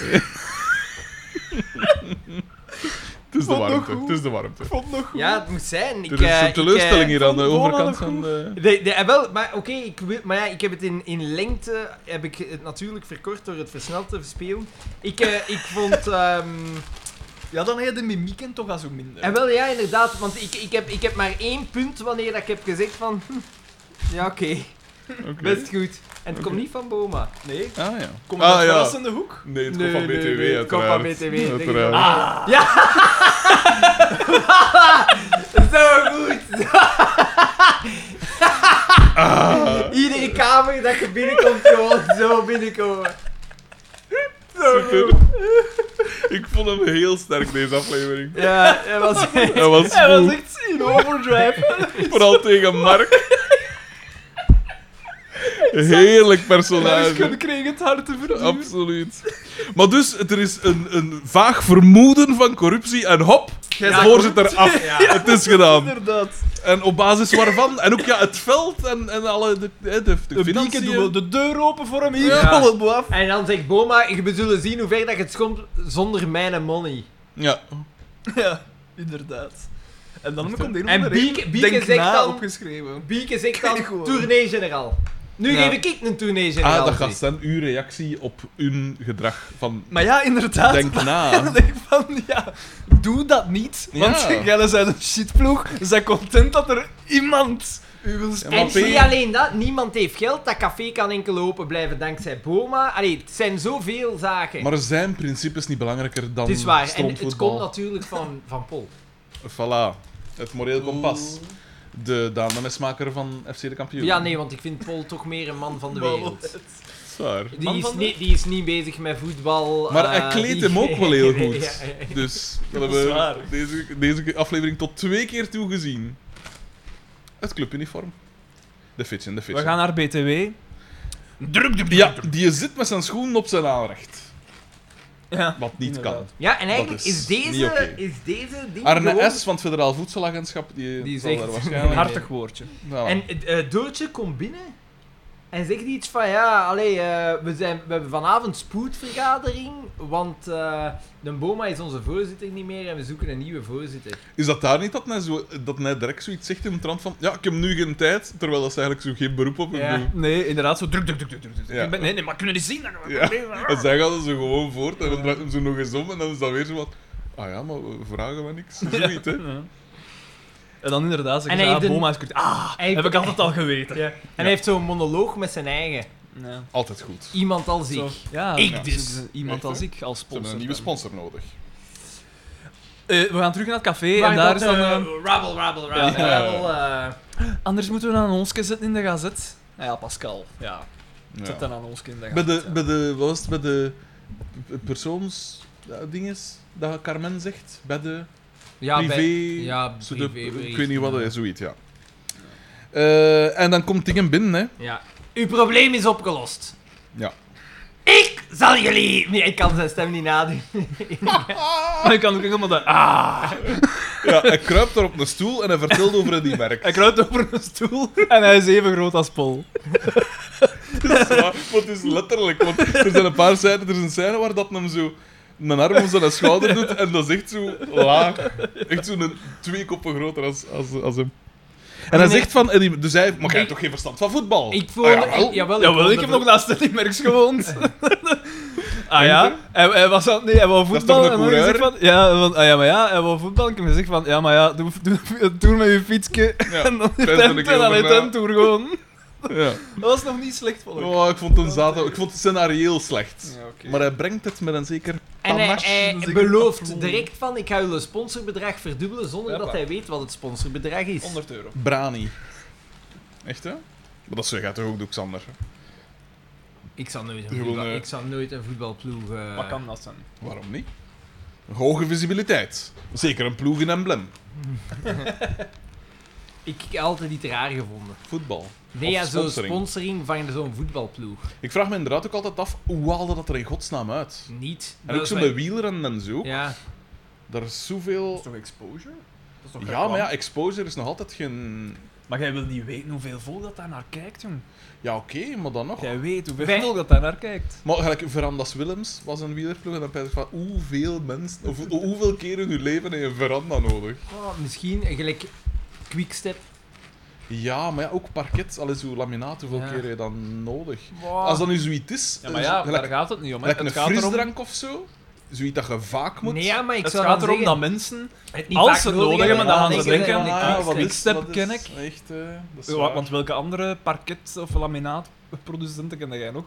B: is de
C: Vond nog
B: warmte.
C: goed.
B: Het is de warmte.
C: vond het nog goed.
A: Ja, het moet zijn. Ik,
B: Er is
A: eh,
B: een
A: ik, eh,
B: teleurstelling hier aan de
C: vond Boma
B: overkant
C: nog
B: van de...
A: De, de, eh, wel, maar oké, ik, wil- maar ja, ik heb het in, in lengte heb ik het natuurlijk verkort door het versneld te verspelen. Ik, eh, ik vond... ehm,
C: Ja, dan heb je de mimieken toch al zo minder.
A: En wel, ja, inderdaad. Want ik, ik, heb, ik heb maar één punt wanneer dat ik heb gezegd van... hm, ja, oké.
B: Oké.
A: Best goed. En het
B: Oké.
A: komt niet van Boma.
C: Nee,
B: Ah ja.
C: kom
B: ah,
C: uit
B: ja.
C: verrassende hoek.
B: Nee, het
A: Nee,
B: komt van
A: nee,
B: BTW
A: nee, het komt van
B: uiteraard.
A: BTW, denk ik wel.
B: Uiteraard.
C: Ah.
A: <laughs> Zo goed!
B: Ah.
A: Iedere kamer dat je binnenkomt, gewoon zo binnenkomen. Zo
B: <laughs> Super.
A: goed.
B: Ik vond hem heel sterk, deze aflevering.
A: Ja, dat
C: <laughs>
A: was...
B: Hij was
C: Hij was
B: goed.
C: echt in overdrive.
B: Vooral tegen Mark. Heerlijk personage.
C: Mensen kregen het hard te verdienen.
B: Absoluut. Maar dus, er is een, een vaag vermoeden van corruptie en hop,
A: Ja,
B: het voorzitter af.
A: Ja.
B: Het
A: <laughs>
B: is gedaan.
C: Inderdaad.
B: En op basis waarvan? En ook ja, het veld en, en alle de, de, de,
C: De
B: financiën.
C: bieken doen we de deur open voor hem hier.
A: Ja.
C: Alle boaf.
A: En dan zegt Boma, we zullen zien hoe ver dat je het komt zonder mijn en money.
B: Ja.
C: <laughs> Ja, inderdaad. En dan komt er
A: En Bieke- Bieke zegt dan-
C: opgeschreven.
A: Bieke zegt dan,
C: Kijk gewoon.
A: tournee-generaal. Nu
B: Ja.
A: geef ik een tournee-generaal.
B: Ah, dat gaat zijn uw reactie op hun gedrag van
C: Maar ja, inderdaad. <laughs>
B: denk na.
A: <laughs>
C: Ik denk van, ja, doe dat niet. Want <laughs>
B: Ja.
C: jij zijn een shitploeg. Zijn content dat er iemand u wil spelen.
B: maar
A: En
B: Peter-
A: niet alleen dat, niemand heeft geld. Dat café kan enkel open blijven dankzij Boma. Allee, het zijn zoveel zaken.
B: Maar zijn principes niet belangrijker dan
A: het is waar. En het
B: strontvoetbal.
A: komt natuurlijk van, van Pol.
B: Voilà. Het moreel kompas. De Daan de mesmaker van FC de Kampioen.
A: Ja, nee, want ik vind Pol toch meer een man van de wereld.
B: Zwaar.
A: Die
C: Man
A: is,
C: van de-
A: niet, die is niet bezig met voetbal.
B: Maar
A: eh,
B: hij kleedt
A: die-
B: hem ook
A: <laughs>
B: wel heel
A: Ja,
B: goed.
A: ja, ja.
B: Dus dat
C: Dat
B: hebben
C: is
B: we
C: waar.
B: deze, deze aflevering tot twee keer toe gezien. Het clubuniform. De fitchen, de
C: We
B: fitchen.
C: gaan naar BTW. Druk de
B: Ja, die zit met zijn schoenen op zijn aanrecht.
C: Ja.
B: Wat niet
C: Inderdaad.
A: Ja, en eigenlijk
B: Dat
A: is,
B: is niet
A: deze,
B: oké.
A: is deze
B: kan.
A: ding
B: Arne
A: gewoon-
B: S. van het Federaal Voedselagentschap, die,
A: Die
B: zal
A: zegt-
B: daar
C: Een
B: waarschijnlijk...
C: hartig woordje.
B: Voilà.
A: En eh, Doortje komt binnen en zegt iets van ja, allee, eh, we, zijn, we hebben vanavond spoedvergadering, want eh, de Boma is onze voorzitter niet meer en we zoeken een nieuwe voorzitter.
B: Is dat daar niet dat hij, zo, dat hij direct zoiets zegt in de trant van... Ja, ik heb nu geen tijd, terwijl dat ze eigenlijk zo geen beroep op hem
A: Ja.
B: doen.
C: Nee, inderdaad, zo druk, druk, druk, druk. druk, druk.
B: Ja.
C: Ik ben- Nee, nee, maar kunnen die zien?
B: Ja, en zij gaan ze gewoon voort en dan draait hem ze nog eens om en dan is dat weer zo wat... Ah ja, maar we vragen maar niks. Zoiets, hè.
C: Ja. En dan inderdaad
A: En
C: zeggen
A: hij
C: ze, ah,
A: heeft een-
C: Boma is corrupt. Ah,
A: Hij heeft-
C: heb ik altijd al geweten.
A: En hij heeft zo'n monoloog met zijn eigen.
C: Ja.
B: Altijd goed. Ze
A: Iemand als ik.
C: Zo. Ja,
A: Ik
C: ja.
A: dus.
C: Iemand
B: Echt,
C: als
B: hè?
C: ik, als
B: hebben
C: sponsor.
B: een nieuwe
C: dan.
B: sponsor nodig.
C: Eh, we gaan terug naar het café
A: Waar
C: en daar
A: dat,
C: is dan...
A: eh,
C: eh,
A: Rabbel, rabbel, rabbel,
B: Ja.
A: rabbel, eh.
C: Anders moeten we een annonsje zetten in de gazet. Ah ja, Pascal. Ja,
B: Ja.
C: zet een annonsje in de
B: Bij
C: gazet.
B: de,
C: ja.
B: bij de, wat was het, bij de p- persoons... ja, Dinges, dat Carmen zegt, bij de
A: Ja,
B: privé...
A: bij- ja,
B: zo de-
A: privébrief,
B: ik weet niet wat,
A: ja.
B: hè, zoiets, ja. Eh, en dan komt dingen binnen, hè.
A: ja. Uw probleem is opgelost.
B: Ja.
A: Ik zal jullie... Nee, ik kan zijn stem niet nadoen.
C: Maar ik kan ook helemaal dat... Ah!
B: Ja, hij kruipt daar op een stoel en hij vertelt over die <laughs> merk.
C: Hij kruipt over een stoel <laughs> en hij is even groot als Paul.
B: Ja, want het is letterlijk. Want er zijn een paar scènes, er is een scène waar dat hem zo een arm om zijn schouder doet en dat is echt zo laag. Echt zo'n twee koppen groter als, als, als hem. En hij
A: Nee.
B: zegt van, en die- dus hij, maar jij hebt toch geen verstand van
A: <laughs>
B: voetbal?
A: Ik voel...
B: Ah, jawel.
A: jawel,
C: Jawel,
A: vond
C: ik
A: de-
C: heb nog naast Stanley Merks gewoond. <laughs> ah ja, hij, hij was aan, nee, hij wou
B: is
C: voetbal.
B: toch een
C: en dan gezegd
B: coureur?
C: van, ja, want, ah ja, maar ja, hij wou voetbal. Ik heb gezegd van, ja, maar ja, doe, doe, doe, met je fietsje.
B: Ja,
C: <laughs> en dan heeft
B: pijs
C: hij
B: er een
C: het
B: keer
C: en dan heeft
B: over
C: hij
B: na.
C: het toer gewoon.
B: Ja.
C: Dat was nog niet slecht, volgens mij.
B: Oh, ik vond het zato, ik vond het scenario slecht.
C: Ja, oké.
B: Maar hij brengt het met een zeker
A: En hij,
B: panache.
A: hij
C: dan zeg ik
A: belooft
C: afronden.
A: direct van, ik ga jullie sponsorbedrag verdubbelen zonder
C: Hoppa.
A: dat hij weet wat het sponsorbedrag is.
C: 100 euro.
B: Brani. Echt, hè? Maar dat gaat toch ook doen, Xander?
A: Ik zal nooit een,
B: Gewoon,
A: voetbal,
B: eh,
A: ik zal nooit een voetbalploeg... eh,
C: Wat kan dat zijn?
B: Waarom niet? Hoge visibiliteit. Zeker een ploeg in emblem.
A: Ik heb altijd iets raar gevonden.
B: Voetbal.
A: Nee,
B: Of
A: ja, zo'n
B: sponsoring.
A: sponsoring van zo'n voetbalploeg.
B: Ik vraag me inderdaad ook altijd af, hoe haalde dat er in godsnaam uit?
A: Niet.
B: En ook
A: is
B: zo
A: wat-
B: met wielrennen en zo.
A: Ja.
B: Daar is zoveel...
C: toch exposure?
B: Ja, maar ja, exposure is nog altijd geen...
C: Maar jij wil niet weten hoeveel volk dat daar naar kijkt, jong.
B: Ja, oké, maar dan nog.
C: Jij weet hoeveel
A: Wij-
C: volk dat daar naar kijkt.
B: Maar gelijk, Verandas Willems was een wielerploeg en dan pijs ik van hoeveel mensen, of ho- hoeveel keer in hun leven heb je een veranda nodig?
A: Oh, misschien eh, gelijk Quickstep.
B: Ja, maar ja, ook parket, al is uw laminaat, hoeveel
C: Ja. Ah.
B: keer heb je dan nodig?
A: Wow.
B: Als dat nu zoiets is,
C: Ja, maar ja,
B: gelijk,
C: daar gaat het niet om. hè.
B: gelijk
C: Het
B: een
C: gaat erom,
B: frisdrank of zo, zoiets dat je vaak moet.
A: nee, ja, maar ik
C: het
A: zou
C: gaat
A: dan
C: erom dat
A: zeggen,
C: mensen...
A: het niet
C: als
A: vaak
C: ze het nodig hebben, dan gaan ze
A: denken,
C: denken,
A: eh,
C: ah,
A: Quickstep.
C: wat- Quickstep ken ik.
B: Echt, eh, dat is
C: Wa-
B: waar.
C: Want welke andere parket- of laminaatproducenten ken jij nog?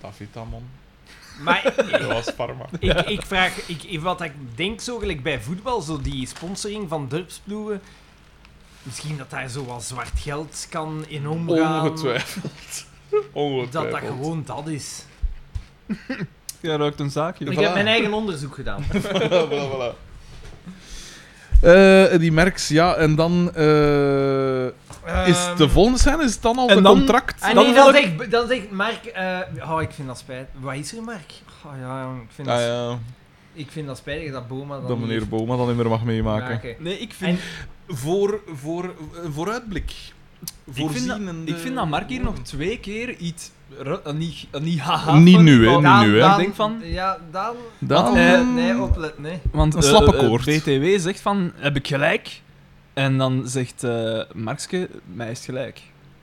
B: Tavitamon.
C: ah."
A: Maar
C: <laughs>
B: Dat was Parma.
A: ik, ik vraag, ik, wat ik denk zo gelijk bij voetbal, zo die sponsoring van dorpsploegen, misschien dat daar zo wat zwart geld kan in omgaan.
B: Ongetwijfeld. Ongetwijfeld.
A: Dat dat gewoon dat is.
C: Ja, ruikt een zaakje.
A: Ik
B: Voilà.
A: heb mijn eigen onderzoek gedaan.
B: voilà, voilà, voilà. Eh, die merks, ja, en dan eh,
A: <laughs>
B: is
A: Ehm,
B: de volgende scène is het dan al
C: en
B: een
C: dan-
B: contract.
A: Ah,
C: Dan
A: nee,
C: wil
A: dat
C: ik-
A: zegt, dat zegt Mark. eh, oh, ik vind dat spijt. Wat is er, Mark? Oh ja, jong, ik vind,
B: Ah,
A: dat,
B: ja,
A: ik vind dat spijtig dat Boma dat
B: dat
A: niet
B: meneer
A: heeft
B: Boma dan niet meer mag meemaken.
A: maken.
C: Nee, ik vind,
B: Voor, voor, eh, vooruitblik.
C: ik, vind dat,
B: Voorzienende-
C: ik vind dat Mark hier nog twee keer iets... ru- eh, Niet, eh, niet haha.
B: Niet
C: van-
B: nu, hè,
C: van-
B: niet nu, hè.
C: Ik denk van-
A: Ja, dan...
B: Dan...
C: Eh,
A: nee, oplet, nee.
C: Want
B: Een
C: eh,
B: slappe
C: eh,
B: koord.
C: BTW zegt van, heb ik gelijk? En dan zegt eh Markske, mij is het gelijk.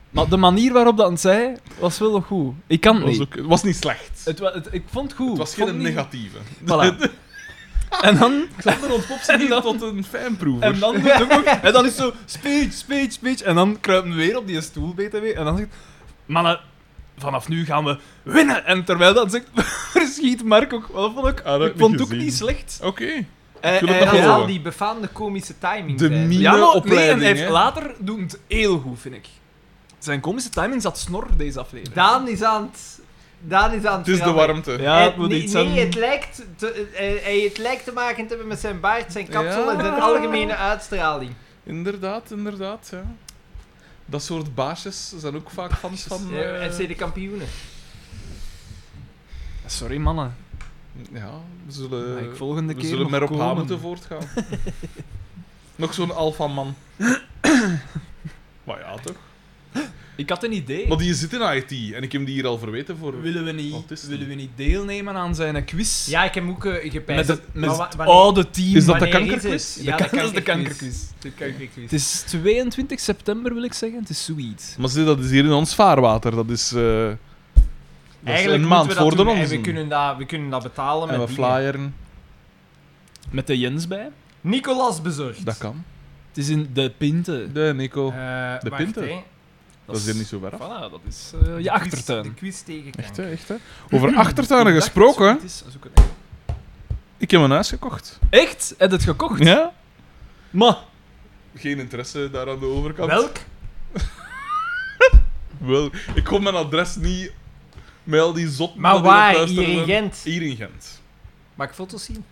C: Maar de manier waarop dat het zei, was wel nog goed. Ik kan het
B: was,
C: niet.
B: ook, was niet slecht.
C: Het, wa- het- ik vond het goed.
B: Het was
C: Ik vond
B: geen
C: het niet- <laughs>
B: negatieve.
C: Voilà. en dan...
B: Xander ontpopt zich
C: En
B: hier
C: dan-
B: tot een fanproever.
C: En dan, doet het ook,
B: <laughs>
C: en dan is zo speech, speech, speech. En dan kruipen we weer op die stoel, BTW. En dan zegt mannen, vanaf nu gaan we winnen. En terwijl dat zegt, <laughs> verschiet Mark ook. Wat vond ik?
B: Ah, dat heb
C: ik
B: ik
C: vond
B: niet
C: het ook
B: gezien.
C: niet slecht.
B: Oké.
C: Hij,
B: wil het
A: Dat
B: nog
C: hij
B: wel
C: haalt-
A: zal
B: horen.
A: Eh, die befaamde komische timing
B: De
A: zijn.
B: meme-
C: ja, maar, nee, en
B: opleiding,
C: hij heeft
B: hè.
C: later doet het heel goed, vind ik. Zijn komische timing zat snor deze aflevering.
A: Daan is aan het... Daan is aan het
B: Het is de
A: veranderen.
B: warmte.
C: ja,
A: Het-
C: het moet
A: Eh, nee,
C: iets
A: nee,
C: zijn.
A: het lijkt te, eh, hij- het lijkt te maken te hebben met zijn baard, zijn kapsel
B: Ja.
A: en zijn algemene uitstraling.
B: Inderdaad, inderdaad, ja. Dat soort baasjes zijn ook vaak fans van...
A: Eh,
B: eh,
A: FC de kampioenen.
C: Sorry mannen,
B: Ja, we zullen,
C: Maar ik volgende
B: Eh, we
C: keer
B: zullen
C: nog
B: maar op haar
C: komen.
B: moeten
C: <laughs>
B: voortgaan. nog zo'n
C: <coughs>
B: alfaman. maar ja, toch?
C: ik had een idee.
B: Maar die zit in IT en ik heb die hier al verweten voor...
C: Willen we niet,
B: Autisten.
C: willen we niet deelnemen aan zijn quiz?
A: Ja, ik heb ook eh, gepijst.
C: Met het, met
A: Maar wa-
C: het
A: wanneer-
C: oude team.
B: Is dat de
A: wanneer is
B: kankerquiz?
A: het? Ja,
C: Dat is de
A: kankerquiz. De kankerquiz.
C: Het is 22 september, wil ik zeggen. Het is zoiets.
B: Maar zie, dat is hier in ons vaarwater. Dat is, eh, dat is
A: Eigenlijk
B: een
A: moeten
B: maand
A: we dat
B: voor de
A: doen en
B: onze.
A: we kunnen dat, we kunnen dat betalen
B: en we
A: met dingen.
B: flyeren.
C: Met de Jens bij.
A: Nicolas bezorgd.
B: Dat kan.
C: Het is in de Pinte.
B: De Nico.
A: Eh,
B: De
A: wacht,
B: Pinter.
A: hè.
B: dat is hier niet zo ver af.
C: Voilà, dat is eh, je
A: De
C: achtertuin.
A: quiz tegen
B: Echt,
A: kanker.
B: hè, echt, hè. Over achtertuinen gesproken, ik heb een huis gekocht.
C: Echt? Heb je het gekocht?
B: Ja?
C: Maar,
B: Geen interesse daar aan de overkant.
A: Welk?
B: Wel, ik kon mijn adres niet met al die zot.
A: Maar waar? Hier in Gent?
B: Hier in Gent.
A: Mag ik foto's zien?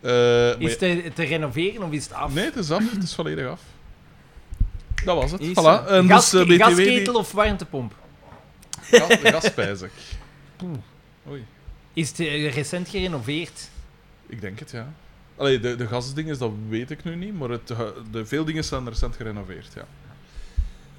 B: Eh, maar
A: Is
B: ja-
A: het te, te renoveren of is het af?
B: Nee, het is af. Het is volledig af. Dat was het.
C: Is
B: Voilà.
C: er-
B: En
A: Gas-
B: dus, eh, BTW
A: gasketel of warmtepomp?
B: Die... Ga- Gaspijzer. Oei.
A: Is het eh, recent gerenoveerd?
B: Ik denk het, ja. Allee, de, de gasdinges, dat weet ik nu niet, maar het, hu- de veel dingen zijn recent gerenoveerd, ja.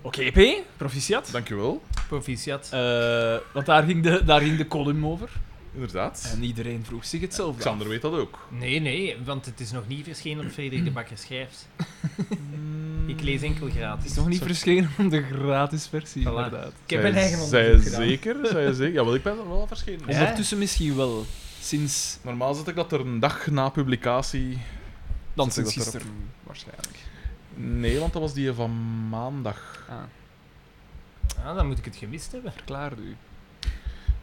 C: oké P, proficiat.
B: Dankjewel.
A: Proficiat.
C: Eh, want daar ging, de, daar ging de column over.
B: Inderdaad.
C: En iedereen vroeg zich hetzelfde. af.
B: Xander weet dat ook.
A: Nee, nee, want het is nog niet verschenen op Frederik de Bakker schrijft. Ik lees enkel
C: Het
A: gratis.
C: is nog niet verschenen om de gratis versie,
A: Voilà.
C: inderdaad.
A: Ik heb mijn eigen
B: Zij
A: onderzoek gedaan.
B: zeker?
A: <laughs>
B: Zij zeker? Ja, want ik ben er wel verschenen.
A: Ja.
C: Ondertussen misschien wel. Sinds...
B: Normaal zet ik dat er een dag na publicatie.
C: Dan
B: Zet ik
C: sinds
B: dat erop?
C: gisteren, waarschijnlijk.
B: Nee, want dat was die van maandag.
C: Ah,
A: Ah, dan moet ik het gemist hebben.
C: verklaar u.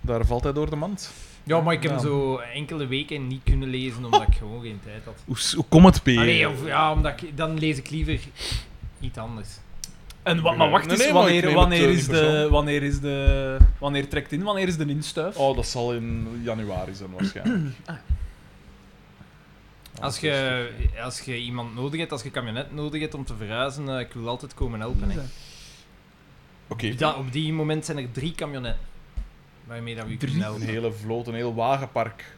B: Daar valt hij door de mand.
A: Ja, maar ik heb
B: Ja.
A: zo enkele weken niet kunnen lezen omdat ik gewoon geen tijd had.
B: Hoe, s- hoe komt het, P?
A: Allee, of, ja, omdat ik, dan lees ik liever iets anders.
C: En wa- maar wacht
B: Nee,
C: eens,
B: nee, maar ik neem
C: wanneer,
B: het,
C: wanneer,
B: eh,
C: is
B: niet persoonlijk.
C: de, wanneer is de... Wanneer trekt in? Wanneer is de instuif?
B: Oh, dat zal in januari zijn
D: <clears throat>
B: waarschijnlijk.
D: Ah.
A: Als je, als je iemand nodig hebt, als je kabinet nodig hebt om te verhuizen, eh, ik wil altijd komen helpen. Hè.
B: Oké,
A: Dan- op die moment zijn er drie kamionetten waarmee dat we u kunnen
B: een
A: helpen.
B: hele vloot, een heel wagenpark.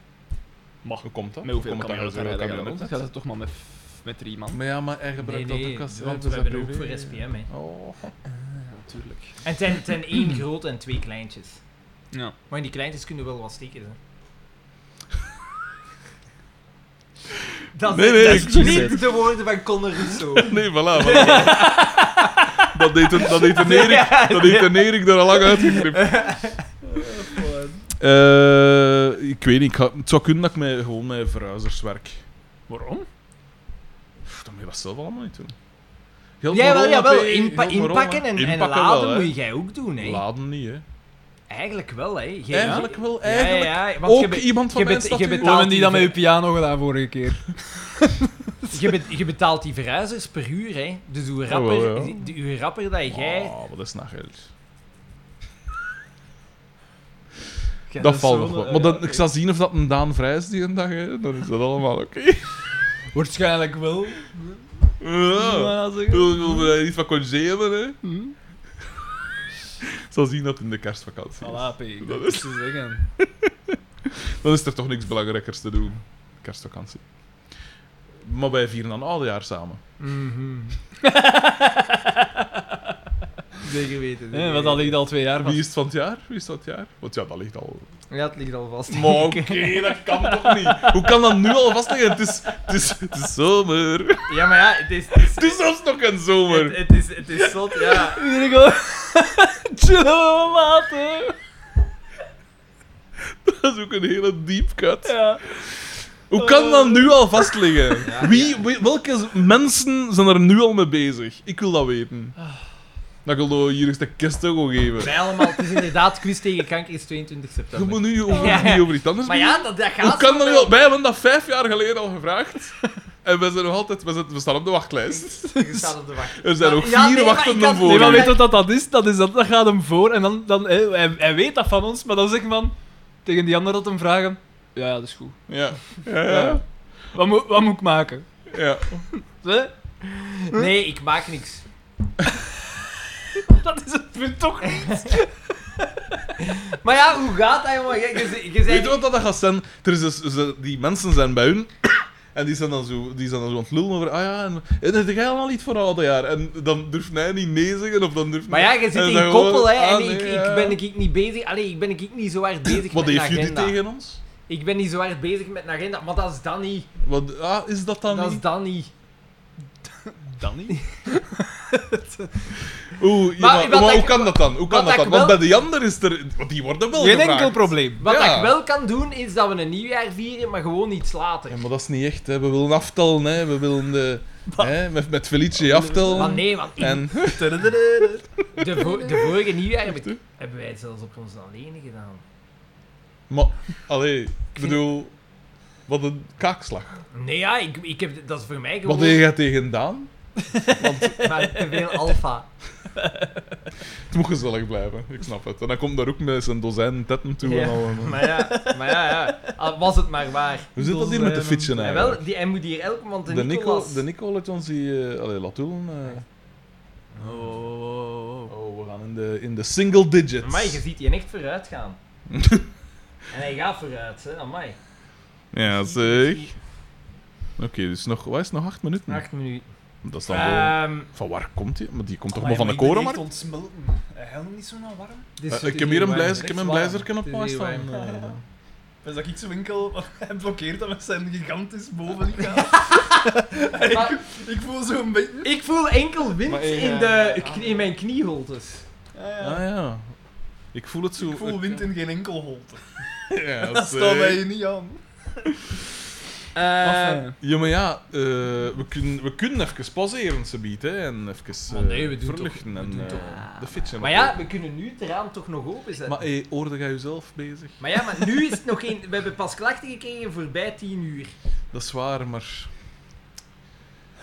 C: Mag.
B: Hoe komt dat?
C: Met hoeveel
B: Hoe komt
C: kan je
B: dat? je zoveel
C: dat
B: kamionnen
C: Dan gaat het toch maar met met drie man.
B: Maar ja, maar hij
D: Nee,
B: gebruikt dat
D: nee,
B: ook als...
D: want
B: als
D: we hebben
B: dat
D: ook
B: privé.
D: voor SPM. Hè.
B: Oh.
C: Natuurlijk.
D: En het zijn, het zijn
B: <clears throat>
D: één groot en twee kleintjes.
C: Ja.
D: Maar die kleintjes kunnen wel wat steken.
B: <laughs>
D: Hè.
A: Dat,
B: Nee,
A: nee,
B: nee,
A: dat
B: ik-
A: is niet de woorden van Conor
B: <laughs>
A: Rousseau.
B: Nee, voilà. voilà. <laughs> dat deed een, dat deed een Erik, dat deed een Erik er al lang
D: <laughs>
B: uitgeknipt. Eh, ik weet niet. ik ga- het zou kunnen dat ik mij gewoon met verhuizers werk.
C: Waarom?
B: Pff, Dan moet je dat zelf allemaal niet doen. Heel
D: Ja,
B: maar
D: wel,
B: rollen,
D: ja, wel.
B: hè, heel
D: Inpa-
B: maar
D: inpakken
B: rollen.
D: en, en
B: Inpakken
D: laden
B: wel, hè.
D: moet jij ook doen. Hè.
B: Laden niet, hè.
D: Eigenlijk wel, hè. Jij-
B: Eigenlijk wel,
D: Ja, ja,
B: eigenlijk.
D: ja, want je,
B: Ook
D: be-
B: iemand van
D: je
B: mijn
D: bet-
B: stad.
D: je
B: die- Oh,
C: Hoe
D: betaalt-
C: hebben die dat met uw piano gedaan vorige keer?
D: je, be- je betaalt die verhuizers per uur, hè. Dus
A: Oh,
D: hoe
B: Jawel,
D: rapper,
B: ja.
D: die- die- hoe rapper dat jij...
B: Oh, wat is nou geld.
C: Ja,
B: dat
C: is
B: valt
C: zo'n,
B: nog wel.
C: eh,
B: Maar dan,
C: oké.
B: ik zal zien of dat een Daan Vrij is die een dag, hè. Dan is dat allemaal oké.
C: Waarschijnlijk wel.
B: Ja.
C: Maar zeg-
B: Wil wil we daar iets van congé hebben, hè? Ik <laughs> zal zien dat het in de kerstvakantie is.
C: Voilà, P. ik Dat is te zeggen.
B: Dan is er toch niks belangrijkers te doen. Kerstvakantie. Maar wij vieren dan oudejaar samen.
D: Mhm. <laughs>
A: Zeker weten.
C: Eh, wat had ik al twee jaar
B: Wie
C: van.
B: is het van het jaar? Wie is het van het jaar? Want ja, dat ligt al...
A: Ja, het ligt al
D: <laughs>
A: vast. <laughs>
B: Maar oké, dat kan toch niet? Hoe kan dat nu al vastleggen? Het is, het is, het is zomer.
A: Ja, maar ja, het is... Het is,
B: Het is zelfs nog een zomer.
A: het, het is, het is zot, ja.
C: Hier <laughs> ik al. Chillen, maten.
B: Dat is ook een hele deep cut.
C: Ja.
B: Hoe
A: Eh.
B: kan dat nu al vastliggen? Wie, wie- welke mensen zijn er nu al mee bezig? Ik wil dat weten.
A: Ah.
B: Dat ik wil hier eens de kerst gewoon geven.
A: Wij allemaal...
D: Het is inderdaad quiz tegen kanker is 22
B: Je
D: september.
B: moet nu over,
D: Ja.
B: niet over iets anders
A: Maar ja, dat, dat gaat
B: Hoe kan
A: zo
B: dat nu
A: wel.
B: al? Wij hebben dat vijf jaar geleden al gevraagd. <laughs> En we zijn nog altijd... We, zijn- we staan op de
A: <laughs>
B: wachtlijst.
A: Je staat op de wacht.
B: Er zijn nog
A: Ja, nee,
B: vier
A: maar ik
B: wachtenden
A: had-
B: voor.
C: Nee, maar
B: u.
C: weet wat dat, dat is? Dat, is dat, dat gaat hem voor en dan, dan hij, hij, hij weet dat van ons, maar dan zegt man tegen die ander dat hem vragen: Ja, ja, dat is goed.
B: Ja. Ja, ja.
C: Wat, moet- wat moet ik maken?
B: ja.
C: Hè?
D: Nee, ik maak niks.
C: Dat is het punt toch niet?
A: <laughs> Maar ja, hoe gaat dat, jongen? Je, je, je
B: Weet
A: zei...
B: je wat dat gaat zijn? Er is dus, ze- die mensen zijn bij hun. <coughs> En die zijn dan zo, die zijn dan zo aan het lullen over. Ah ja, en, en heb jij allemaal niet voor oude jaar? En dan durft hij niet nee zeggen. Of dan durft
A: Maar ja, je
B: En
A: zit
B: dan
A: in koppel,
B: gewoon,
A: hè.
B: ah,
A: En
B: nee,
A: ik,
B: ja.
A: ik ben ik niet bezig... Allee, ik ben ik niet zo hard bezig
B: Wat
A: met een
B: heeft
A: agenda.
B: jullie tegen ons?
A: Ik ben niet zo hard bezig met een agenda, maar dat is dan niet.
B: Wat, ah, is dat dan
A: dat is
B: niet?
A: dan niet.
C: Dan niet.
B: <laughs> Oeh, ja,
A: Maar
B: maar,
A: wat
B: maar hoe
A: ik-
B: kan dat dan? Hoe kan
A: wat
B: dat
A: ik
B: dan? Want bij
A: wel-
B: die ander is er... want Die worden wel
C: Geen
B: gevraagd.
C: enkel <laughs> probleem.
A: Wat
B: Ja.
A: ik wel kan doen, is dat we een nieuwjaar vieren, maar gewoon iets later.
B: Ja, maar dat is niet echt, hè. We willen aftellen, hè. We willen de, hè, met, met Felice aftellen.
A: Maar nee, want in-
B: En
A: de, vo- de vorige nieuwjaar heb ik- hebben wij het zelfs op ons alleen gedaan.
B: Maar, allee, ik bedoel, wat een kaakslag.
A: Nee, ja, ik, ik heb, dat is voor mij
B: Wat
A: gewoon
B: deed je tegen Daan?
A: maar te veel alfa.
B: Het moet gezellig blijven, ik snap het. En dan komt daar ook met zijn dozijn tetten toe. En
A: Ja,
B: al, en-
A: Maar ja, maar ja, ja. Al was het maar waar.
B: Hoe zit dat hier met de
C: Dozijnen.
B: fietsen
A: En
B: eigenlijk?
A: wel, die, hij moet hier elke, want de,
B: de, Nico,
A: Nicolas...
B: de Nico laat ons die... eh, allee, laat doen. eh.
C: Oh, oh, oh.
B: oh, we gaan in de, in de single digits.
D: Amai, je ziet die echt vooruit
B: <laughs>
D: gaan. en hij gaat vooruit, hè. Amai.
B: Ja, zeg. Oké, dus nog, wat is het, nog acht minuten?
D: Acht minuten.
B: Dat is dan wel...
D: Ehm
B: Van waar komt die? Maar die komt toch maar van de korenmarkt?
C: ontsmelten. Hij niet zo naar warm.
A: dit is dus
B: Eh, ik heb hier een, blijzer, ik heb een blijzerken op mij staan. eh.
C: Dus dat ik zo winkel, <laughs> hij blokkeert dat met zijn gigantisch <laughs> bovenlichaam.
A: Maar
C: ik voel zo'n beetje.
A: ik voel enkel wind
C: Maar, eh,
A: in, de, in mijn knieholtes.
B: Ah ja. Ik voel het zo.
C: in geen enkel holte.
B: Ja,
C: eh, niet aan.
A: Eh,
B: Ja, maar ja, eh, we, kunnen, we kunnen even pauzeren, ze biedt, hè, en even
A: Maar
B: eh,
A: nee, we doen
B: verlichten en eh, de fietsen.
A: maar ja, we kunnen nu het raam toch nog openzetten.
B: Maar hey, hoorde jij jezelf bezig?
A: Maar ja, maar nu is het nog geen... We hebben pas klachten gekregen voorbij 10 uur.
B: Dat is waar, maar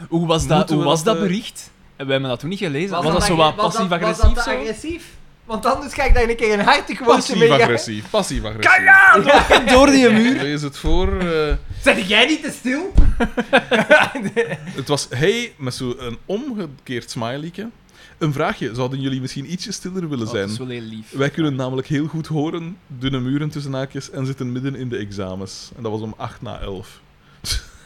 C: Hoe was dat,
B: Moeten
C: hoe
B: we
C: was
B: dat,
C: dat
B: eh,
C: bericht? Hebben wij me dat toen niet gelezen? Was, dat
A: dan
C: zo
A: agre-
C: wat
A: was dat-
C: passief-agressief?
A: Was dat te
C: zo?
A: agressief? Want anders ga ik daar een keer een hartig woordje mee gaan.
B: passief-agressief. Passief-agressief.
C: <laughs> Door die muur.
B: Lees het voor. eh,
A: Zeg jij niet te stil?
B: het was hey, met zo'n omgekeerd smileyke. Een vraagje, zouden jullie misschien ietsje stiller willen
C: Oh, dat
B: zijn?
C: is wel heel lief.
B: Wij kunnen namelijk heel goed horen, dunne muren tussen haakjes en zitten midden in de examens. En dat was om 8 na 11. <laughs>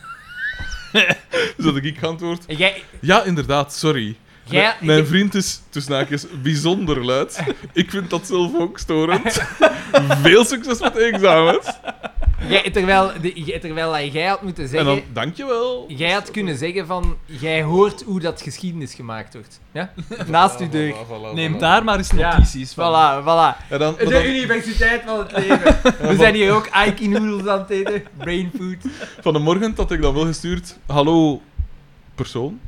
B: Dus dat ik antwoord.
A: En Jij,
B: Ja, inderdaad, sorry.
A: jij,
B: Mijn- Mijn vriend is, tussen haakjes,
A: <laughs>
B: bijzonder luid. Ik vind dat zelf ook storend. Veel succes met de examens.
A: jij- terwijl, de- jij- terwijl dat jij had moeten
B: En
A: zeggen...
B: dan, dankjewel.
A: Jij had kunnen zeggen van... Jij hoort hoe dat geschiedenis gemaakt wordt. Ja? Naast uw deur.
B: Voilà, voilà,
C: Neem
B: voilà.
C: daar maar eens
A: Ja,
C: notities van.
A: Voilà, voilà.
B: En dan, maar
A: De
B: dan-
A: universiteit van het leven. <laughs> We zijn hier ook Aiki noodles aan het eten. Brain food.
B: van de morgen had ik dan wel gestuurd. Hallo, persoon.